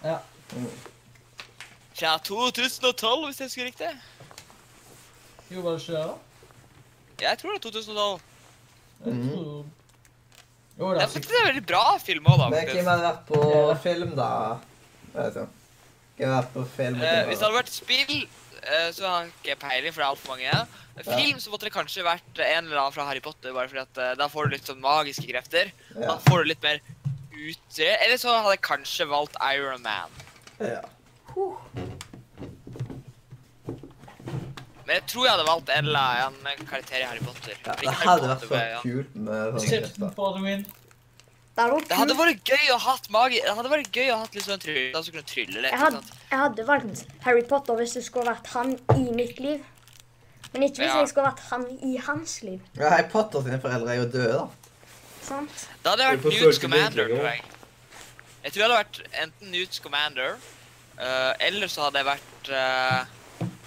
Speaker 6: Ja.
Speaker 1: Mm.
Speaker 4: Fra 2012, hvis jeg husker riktig.
Speaker 6: Jo, var det ikke det, da?
Speaker 4: Jeg tror det er 2012.
Speaker 6: Jeg
Speaker 1: Mhm.
Speaker 6: tror... Jo,
Speaker 4: Det
Speaker 6: det
Speaker 4: er
Speaker 6: er
Speaker 4: faktisk en veldig bra film òg, da.
Speaker 1: Men hvem
Speaker 4: faktisk.
Speaker 1: hadde vært på
Speaker 6: Ja.
Speaker 1: film, da? Vet du. Hvem hadde vært på film? og hvem
Speaker 4: Eh,
Speaker 1: hadde
Speaker 4: hvis det hadde vært spill, eh, så har jeg ikke peiling, for det er altfor mange. Film så måtte det kanskje vært en eller annen fra Harry Potter, bare fordi at eh, da får du litt sånn magiske krefter.
Speaker 1: vært-
Speaker 4: Da får du litt mer ut Eller så hadde jeg kanskje valgt Iron Man.
Speaker 1: Ja. ja.
Speaker 3: Huh.
Speaker 4: Men jeg tror jeg hadde valgt en eller annen karakter i Harry Potter.
Speaker 1: Ja,
Speaker 4: Ikke
Speaker 1: det
Speaker 4: Harry
Speaker 1: hadde vært
Speaker 4: Potter,
Speaker 1: så
Speaker 4: ja.
Speaker 1: kult med sånne
Speaker 6: Simpson
Speaker 1: krefter.
Speaker 6: for the win.
Speaker 3: Det hadde vært
Speaker 4: Det hadde
Speaker 3: kult.
Speaker 4: vært gøy å ha hatt magi... Det hadde vært gøy å ha hatt litt sånn tryll... Da skulle du trylle litt.
Speaker 3: Jeg
Speaker 4: ikke
Speaker 3: hadde,
Speaker 4: sant?
Speaker 3: jeg hadde valgt Harry Potter hvis det skulle vært han i mitt liv. Men ikke hvis
Speaker 4: Ja.
Speaker 3: jeg skulle vært han i hans liv.
Speaker 1: Ja, Harry Potter sine foreldre er jo døde, da.
Speaker 3: Sant?
Speaker 4: Da hadde jeg
Speaker 2: Vi får
Speaker 4: vært
Speaker 2: søke
Speaker 4: Newt Commander,
Speaker 2: vinklinger.
Speaker 4: tror jeg. Jeg tror jeg hadde vært enten Newt Commander, eh, eller så hadde jeg vært eh,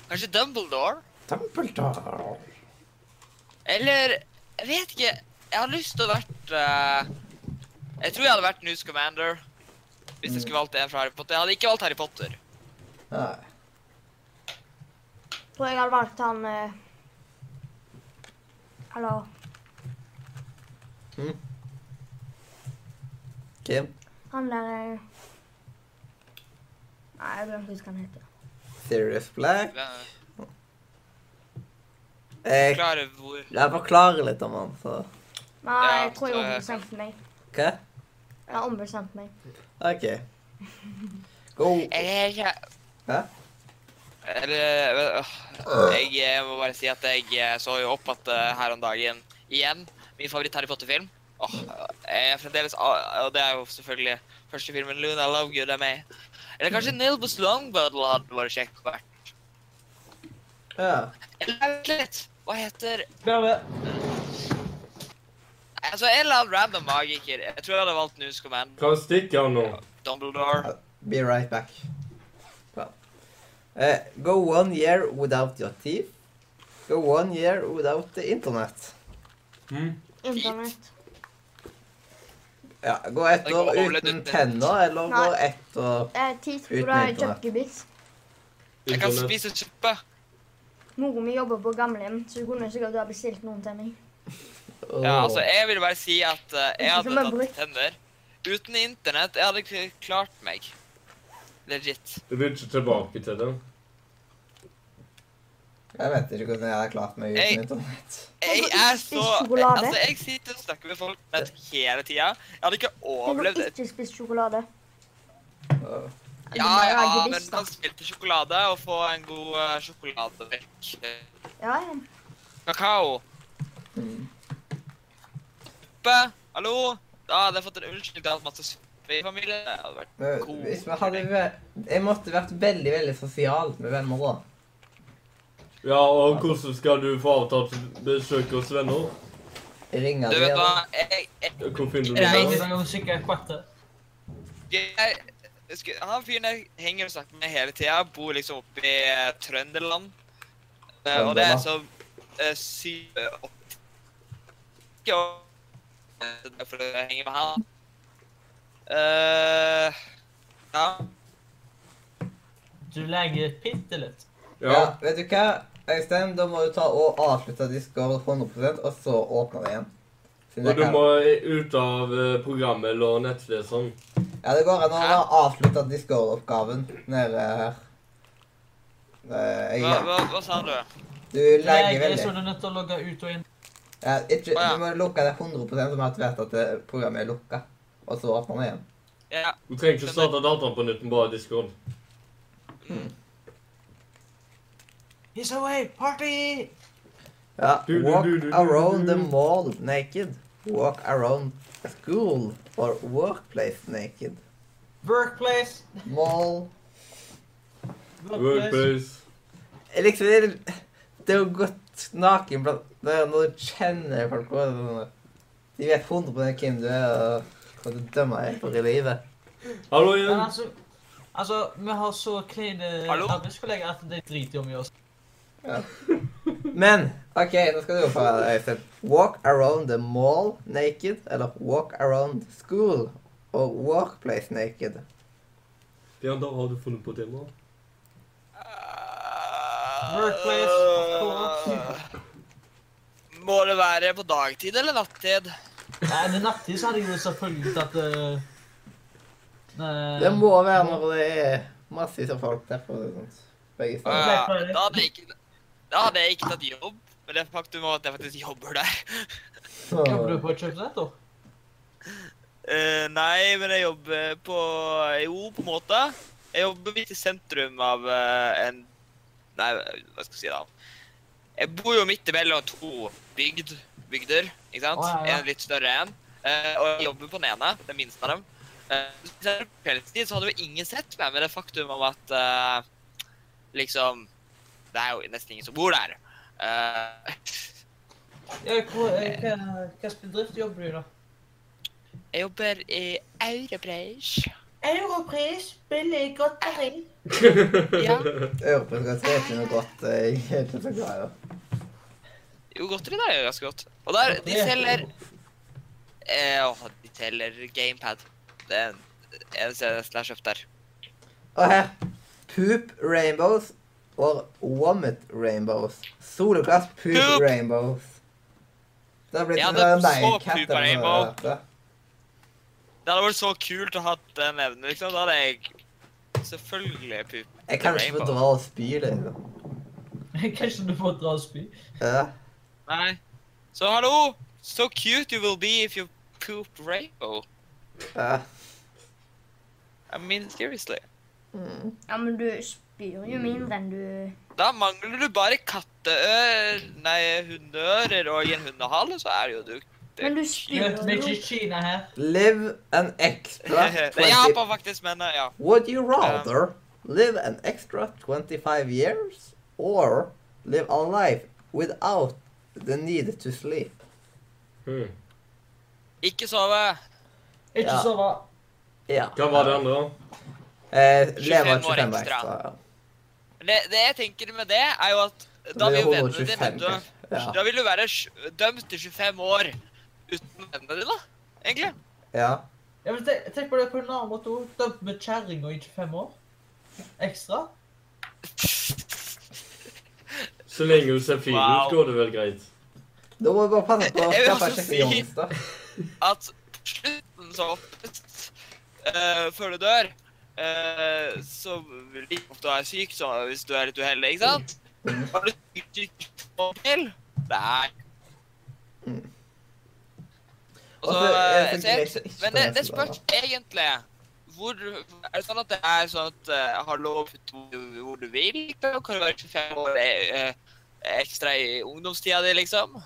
Speaker 4: Kanskje Dumbledore?
Speaker 1: Dumbledore.
Speaker 4: Eller Jeg vet ikke. Jeg har lyst til å vært eh, Jeg tror jeg hadde vært Newt Commander hvis jeg
Speaker 1: Mm.
Speaker 4: skulle valgt en fra Harry Potter. Jeg hadde ikke valgt Harry Potter.
Speaker 1: Nei.
Speaker 3: Tror jeg hadde valgt han eh, Eller
Speaker 1: Kim,
Speaker 3: han der eh, Nei, jeg glemte hva han heter.
Speaker 1: Serious Black.
Speaker 4: Jeg
Speaker 1: Jeg,
Speaker 4: klarer hvor
Speaker 1: jeg forklarer litt om han, så
Speaker 3: Nei,
Speaker 4: Ja,
Speaker 3: jeg tror jeg
Speaker 4: så-
Speaker 3: ombestemte meg.
Speaker 1: OK?
Speaker 3: Jeg har ombestemt meg.
Speaker 1: OK. Go.
Speaker 4: Jeg er
Speaker 1: Hæ?
Speaker 4: Eller øh, Jeg eh, må bare si at jeg eh, så jo opp at eh, her om dagen igjen Min favoritt Harry Potter-film. Åh, jeg er fremdeles ah, Og det er jo selvfølgelig første filmen Luna Lovegood er med i. Eller kanskje Nilbus Longbottle hadde vært kjekk å være.
Speaker 1: Ja.
Speaker 4: Eller vent litt. Hva heter
Speaker 6: Bare...
Speaker 4: Altså, en eller annen random magiker. Jeg tror jeg hadde valgt News Command.
Speaker 2: Kan stikke han nå.
Speaker 4: Dumbledore.
Speaker 1: Be right back. Well. Eh, go one year without your teeth. Go one year without the internet.
Speaker 2: Hm?
Speaker 3: Internett.
Speaker 1: Ja, gå ett
Speaker 4: Det går
Speaker 1: år
Speaker 4: overledd
Speaker 1: uten
Speaker 4: uten-
Speaker 1: tenner, eller gå
Speaker 3: Nei.
Speaker 1: ett år
Speaker 3: Eh, tid på
Speaker 1: Uten
Speaker 3: det er
Speaker 1: internett.
Speaker 3: junkiebits.
Speaker 4: Jeg kan
Speaker 2: Internett.
Speaker 4: spise suppe.
Speaker 3: Mora mi jobber på gamlehjem, så hun kunne sikkert ha bestilt noen til meg.
Speaker 1: og
Speaker 4: Ja, altså, jeg vil bare si at eh, jeg
Speaker 3: Ikke som
Speaker 4: hadde
Speaker 3: en blikk.
Speaker 4: tatt tenner. Uten internett, jeg hadde ikke klart meg. Legit.
Speaker 2: Du vil ikke tilbake til det.
Speaker 1: Jeg vet ikke hvordan jeg hadde klart meg
Speaker 4: Jeg-
Speaker 1: uten internett.
Speaker 4: Jeg
Speaker 3: ikke
Speaker 4: er
Speaker 3: spist
Speaker 4: så
Speaker 3: sjokolade?
Speaker 4: Altså, jeg sitter og snakker med folk nett hele tida. Jeg hadde ikke
Speaker 3: Jeg har
Speaker 4: overlevd et
Speaker 3: ikke spist sjokolade.
Speaker 1: Og-
Speaker 3: Det
Speaker 4: Ja, ja,
Speaker 3: var ikke
Speaker 4: men
Speaker 3: visst, da.
Speaker 4: man spilte sjokolade og få en god eh, sjokolademelk. eh,
Speaker 3: Ja, ja.
Speaker 4: Kakao.
Speaker 1: Mm.
Speaker 4: Suppe. Hallo? Da hadde jeg fått en unnskyldning til å ha hatt masse suppe i familien. Det hadde vært
Speaker 1: Men
Speaker 4: God
Speaker 1: hvis vi hadde vært Jeg måtte vært veldig, veldig sosial med venner, da.
Speaker 2: Ja, og hvordan skal du få avtalt besøk hos venner?
Speaker 1: Ringe
Speaker 4: Du
Speaker 1: de,
Speaker 4: vet hva,
Speaker 1: eller
Speaker 4: jeg, jeg,
Speaker 2: Hvor finner du
Speaker 6: Det
Speaker 4: Nei.
Speaker 6: er
Speaker 2: det?
Speaker 6: ikke noe sikkert kvarte.
Speaker 4: jeg, jeg skulle- Han fyren jeg henger og snakker med hele tida, bor liksom oppe i eh, Trøndelag. Eh, Og det er så eh, syv eh, åtti- ikke år- eh, det er Derfor jeg henger med han. Eh, ja.
Speaker 6: Du legger bitte litt.
Speaker 1: ja,
Speaker 2: Ja.
Speaker 1: Vet du hva, Øystein, da må du ta og avslutte Discord 100 og så åpne det igjen. Siden det
Speaker 2: Og du
Speaker 1: kan-
Speaker 2: må ut av eh, programmet eller nettleseren.
Speaker 1: Ja, det går an å
Speaker 4: Hæ?
Speaker 1: ha avslutta Discord-oppgaven nede her. Eh,
Speaker 4: Hva,
Speaker 1: Jeg,
Speaker 4: hva, hva sa du?
Speaker 1: du
Speaker 6: Du
Speaker 1: legger
Speaker 6: legger så
Speaker 1: veldig.
Speaker 6: du er nødt til å logge ut og inn.
Speaker 1: Ja, ikke,
Speaker 4: Å, ja.
Speaker 1: du må lukke det 100 som at du vet at eh, programmet er lukka, og så åpner det igjen.
Speaker 4: Ja,
Speaker 2: Du trenger ikke starte dataen på nytt, men bare Discord.
Speaker 6: He's away! Party!
Speaker 1: Ja.
Speaker 2: Du, du,
Speaker 1: Walk
Speaker 2: du, du, du,
Speaker 1: around the
Speaker 2: du.
Speaker 1: mall naked. Walk around school or workplace naked.
Speaker 6: Workplace!
Speaker 1: Mall
Speaker 6: Workplace!
Speaker 2: Workplace.
Speaker 1: Jeg Liksom, det, det er jo godt naken blant det er Når du kjenner folk og det er sånn, De vet 100 hvem du er, og hva du dømmer deg for i livet.
Speaker 2: Hallo
Speaker 6: Men
Speaker 2: igjen.
Speaker 6: altså, altså, vi har så kleine
Speaker 4: Hallo?
Speaker 6: arbeidskollegaer at de driter om i oss.
Speaker 1: Men OK, nå skal du jo få høre det, Øystein. Walk around the mall naked, eller walk around school og workplace naked.
Speaker 2: Bjørn, da har du funnet på [laughs] temaet.
Speaker 6: Workplace, of
Speaker 4: Eh, Må det være på dagtid eller nattid?
Speaker 6: Nei, men nattid så hadde jeg jo selvfølgelig tatt eh, eh,
Speaker 1: Det må være når det er massevis av folk der. for sånt. sånn. Begge
Speaker 4: Å,
Speaker 1: steder.
Speaker 4: ja. Da hadde jeg ikke, da hadde jeg ikke tatt jobb. Men det faktum var at jeg faktisk jobber der.
Speaker 1: Så,
Speaker 6: eh, Jobber du på et kjøpesenter?
Speaker 4: Eh, nei, men jeg jobber på eh, Jo, på en måte. Jeg jobber midt i sentrum av eh, en Nei, hva skal jeg si da? Jeg bor jo midt imellom to bygd, bygder, ikke sant?
Speaker 6: Å, ja, ja.
Speaker 4: En litt større en. Eh, og jeg jobber på den ene, den minste av dem. Eh, hvis jeg hadde kveldstid, så hadde jo ingen sett meg med det faktum om at eh, liksom Det er jo nesten ingen som bor der. Eh,
Speaker 6: Ja, hvor- eh, hva Hvilken bedrift jobber [laughs] du i, da?
Speaker 4: jeg jobber i Europreis.
Speaker 6: Europris, billig godteri.
Speaker 4: Ja.
Speaker 1: Europeisk har spist noe godt. eh, Jeg er ikke så glad i det.
Speaker 4: Jo, godteri der er jo ganske godt. Og der, de selger eh, Åh, de selger gamepad. Det er en- en eneste jeg har kjøpt der.
Speaker 1: Og her. Poop rainbows or vomit rainbows. Soloklass poop,
Speaker 4: Poop.
Speaker 1: rainbows. Det har blitt
Speaker 4: Ja,
Speaker 1: en
Speaker 4: det er
Speaker 1: sånn
Speaker 4: så
Speaker 1: nei-katt
Speaker 4: poop
Speaker 1: eller noe
Speaker 4: rainbow.
Speaker 1: av dette.
Speaker 4: Det hadde vært så kult å ha den evnen, liksom. Da hadde jeg selvfølgelig pup.
Speaker 1: Jeg kan
Speaker 4: The
Speaker 1: ikke få
Speaker 4: rainbow.
Speaker 1: dra og spy, liksom.
Speaker 6: Kanskje du får dra og spy?
Speaker 1: Ja.
Speaker 4: Nei. Så hallo! So cute you will be if you poop rainbow.
Speaker 1: ja.
Speaker 4: I mean, seriously.
Speaker 1: Mm.
Speaker 3: Ja, men du spyr jo mindre enn du
Speaker 4: Da mangler du bare katteør... Nei, hundeører og en hundehale, så er det jo du.
Speaker 3: Men du
Speaker 6: Du
Speaker 3: spyr
Speaker 6: vet, vi er
Speaker 3: jo
Speaker 6: ikke i Kina her.
Speaker 1: Live an extra
Speaker 4: [laughs] Det
Speaker 1: 20
Speaker 4: hjelper faktisk, men eh, ja.
Speaker 1: Would you rather live an extra 25 years or live a life without the need to sleep?
Speaker 2: Hmm.
Speaker 4: Ikke sove.
Speaker 6: Ikke
Speaker 1: Ja.
Speaker 6: sove.
Speaker 1: Ja.
Speaker 2: Hva var det andre?
Speaker 1: Eh, leve
Speaker 4: 25 år
Speaker 1: 25 år
Speaker 4: ekstra.
Speaker 1: ekstra. ja.
Speaker 4: Det, det jeg tenker med det, er jo at da
Speaker 1: Det
Speaker 4: vil
Speaker 1: er
Speaker 4: jo vennene
Speaker 1: 125,
Speaker 4: dine dø.
Speaker 1: kanskje.
Speaker 4: Da vil du være sj- dømt til 25 år uten vennene dine, egentlig.
Speaker 1: Ja.
Speaker 6: Ja, men tenk, tenk på det på en annen måte òg. Dømt med kjerringa i 25 år. Ekstra.
Speaker 2: Så lenge du ser fin ut,
Speaker 4: Wow.
Speaker 2: går det vel greit.
Speaker 1: Da må vi bare passe
Speaker 4: [laughs]
Speaker 1: på å
Speaker 4: Jeg vil
Speaker 1: skaffe
Speaker 4: også
Speaker 1: seg
Speaker 4: si-
Speaker 1: Youngster.
Speaker 4: At på slutten så oftest, eh, før du dør, eh, så vil de ofte være syk så hvis du er litt uheldig, ikke sant? Har du syk, syk og til? Nei.
Speaker 1: Mm.
Speaker 4: Og
Speaker 1: Og
Speaker 4: så, eh,
Speaker 1: så er det
Speaker 4: så Altså, jeg,
Speaker 1: selvfølgelig ikke
Speaker 4: men det, det
Speaker 1: venstre, da.
Speaker 4: spørs egentlig hvor, Er det sånn at det er sånn at eh, har lov å putte hvor du- hvor du vil? Liksom? Kan du være 25 år eh, eh, ekstra i ungdomstida di, liksom?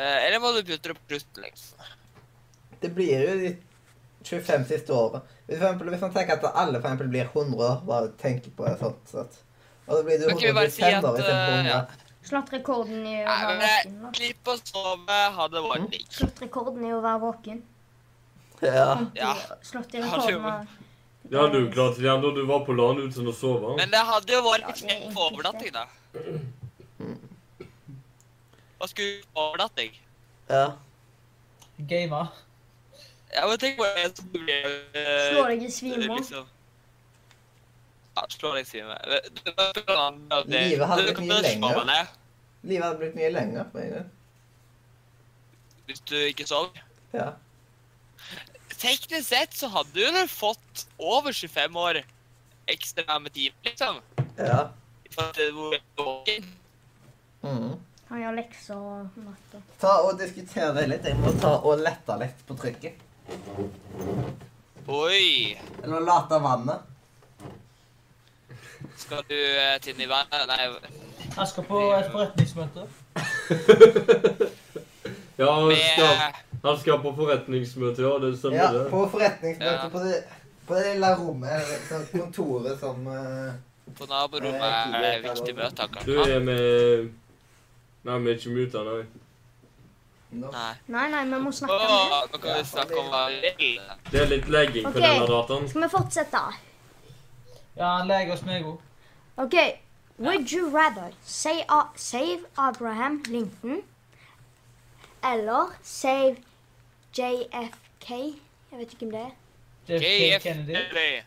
Speaker 4: Eh, eller må du putte det på slutten, liksom?
Speaker 1: Det blir jo de 25 siste årene. Hvis, for eksempel, hvis man tenker at alle for eksempel blir 100 år, bare tenker på det sånt. sånt. Og da blir du
Speaker 4: Men kan vi bare si
Speaker 1: 125
Speaker 4: at,
Speaker 1: år istedenfor
Speaker 4: eh,
Speaker 1: 100.
Speaker 4: ja.
Speaker 3: Slått rekorden i å
Speaker 4: Nei,
Speaker 3: være
Speaker 4: men
Speaker 3: våken. da.
Speaker 4: jeg slipper å sove, ha det
Speaker 1: Mm.
Speaker 4: varmt. ikke?
Speaker 3: Slått rekorden i å være våken.
Speaker 1: Ja.
Speaker 4: Ja.
Speaker 3: Slått
Speaker 4: Ja,
Speaker 3: i
Speaker 4: det
Speaker 3: rekorden
Speaker 4: gjorde
Speaker 3: av
Speaker 2: Det hadde du klart igjen da du var på LAN uten å sove.
Speaker 4: Men det hadde jo vært
Speaker 3: Ja,
Speaker 4: litt
Speaker 3: det er
Speaker 4: fint på
Speaker 3: egentlig Mm.
Speaker 4: overnatting, da. Hva skulle du på overnatting?
Speaker 1: ja.
Speaker 6: Gamer.
Speaker 4: Ja, men tenk på en som blir eh,
Speaker 3: Slå deg i svime.
Speaker 4: liksom. Ja, slå deg i svime. Du- du- du- du- du-
Speaker 1: Livet hadde
Speaker 4: du
Speaker 1: blitt
Speaker 4: kan
Speaker 1: mye
Speaker 4: ikke
Speaker 1: lenger.
Speaker 4: sove ned
Speaker 1: Livet hadde blitt mye lenger. på en gang.
Speaker 4: Hvis du ikke sover.
Speaker 1: Ja.
Speaker 4: Teknisk sett så hadde du jo fått over 25 år ekstra med tid, liksom.
Speaker 1: Ja.
Speaker 4: For at det var
Speaker 1: Mm.
Speaker 3: Han gjør lekser og matte.
Speaker 1: Ta og diskutere det litt. Jeg må ta og lette litt på trykket.
Speaker 4: Oi!
Speaker 1: Eller late av vannet.
Speaker 4: Skal du eh, til Nivea? Nei,
Speaker 6: Jeg skal på et forretningsmøte.
Speaker 2: Ja, han skal,
Speaker 4: med
Speaker 2: han skal på forretningsmøte, ja. Det stemmer,
Speaker 1: Ja,
Speaker 2: det.
Speaker 1: på forretningsmøte
Speaker 4: Ja.
Speaker 1: på, det, på det lille rommet, eller sånn kontoret som eh,
Speaker 4: på naborommet er det viktig møte,
Speaker 2: Du
Speaker 4: akkurat.
Speaker 2: er med Nei, vi er ikke med utlandet, nei.
Speaker 1: nå.
Speaker 4: Nei.
Speaker 3: Nei, nei, vi må
Speaker 4: Å,
Speaker 3: snakke mer.
Speaker 4: nå kan vi snakke om hva vi vil.
Speaker 2: Det er litt legging på
Speaker 3: Ok.
Speaker 2: denne dataen.
Speaker 3: Skal vi fortsette?
Speaker 6: Ja, han leker hos meg òg.
Speaker 3: Okay, would you rather say, uh, save Abraham Lincoln eller save JFK? Jeg vet ikke hvem det er.
Speaker 6: JFK Kennedy.
Speaker 4: Kennedy.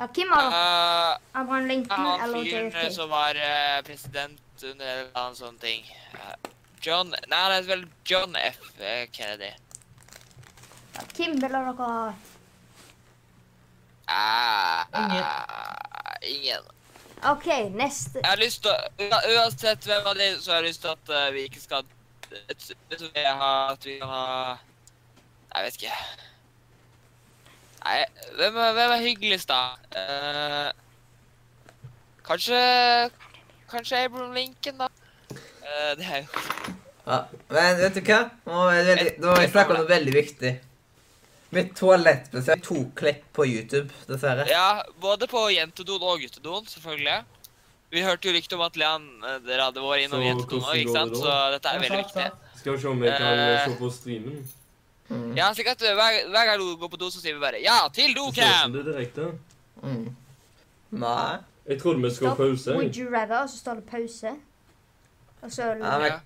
Speaker 3: Ja, hvem av dem?
Speaker 4: Eh,
Speaker 3: Abraham Lincoln
Speaker 4: Han
Speaker 3: eller
Speaker 4: fyren
Speaker 3: JFK?
Speaker 4: som var eh, president under en eller annen sånn ting. Eh, John Nei, han heter vel John F. eh, Kennedy.
Speaker 3: Hvem ville dere ha?
Speaker 4: Eh,
Speaker 6: Ingen.
Speaker 4: eh, ingen.
Speaker 3: OK, neste.
Speaker 4: Jeg har lyst til å ua- Uansett hvem av de, så har jeg lyst til at eh, vi ikke skal et- Vet du hva jeg har At vi kan ha Jeg vet ikke. Nei, hvem er, hvem er hyggeligst, da? Eh, kanskje Kanskje Abraham Lincoln, da. Eh, det er jo
Speaker 1: Ja. Men vet du hva? Nå er det veldig, nå har jeg snakket om noe veldig viktig. Mitt toalettbesøk tok klipp på YouTube, dessverre.
Speaker 4: Ja, både på jentedoen og guttedoen, selvfølgelig. Vi hørte jo rykte om at Leon, eh, dere hadde vært innom
Speaker 2: Så
Speaker 4: jentedoen
Speaker 2: hvordan
Speaker 4: òg, ikke
Speaker 2: går
Speaker 4: sant?
Speaker 2: det da?
Speaker 4: Så dette er
Speaker 6: Ja,
Speaker 4: veldig
Speaker 6: sant,
Speaker 4: viktig.
Speaker 6: sant.
Speaker 2: Skal vi se om vi kan
Speaker 4: Eh.
Speaker 2: se på streamen.
Speaker 1: Mm.
Speaker 4: Ja, slik at eh, hver, hver gang du går på do, så sier vi bare ja, til
Speaker 2: Det ser ut som
Speaker 4: dokrem!
Speaker 2: det er direkte.
Speaker 1: Mm. Nei.
Speaker 2: Jeg trodde vi skulle
Speaker 3: Stopp.
Speaker 2: ha pause.
Speaker 3: Would you rather, og så står det pause. Og så
Speaker 1: Ja,
Speaker 2: Ah.
Speaker 1: men
Speaker 4: Ja.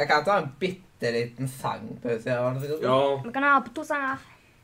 Speaker 1: jeg kan ta en bitte liten sangpause. her, var det så godt?
Speaker 2: Ja.
Speaker 3: Vi kan ha på to sanger.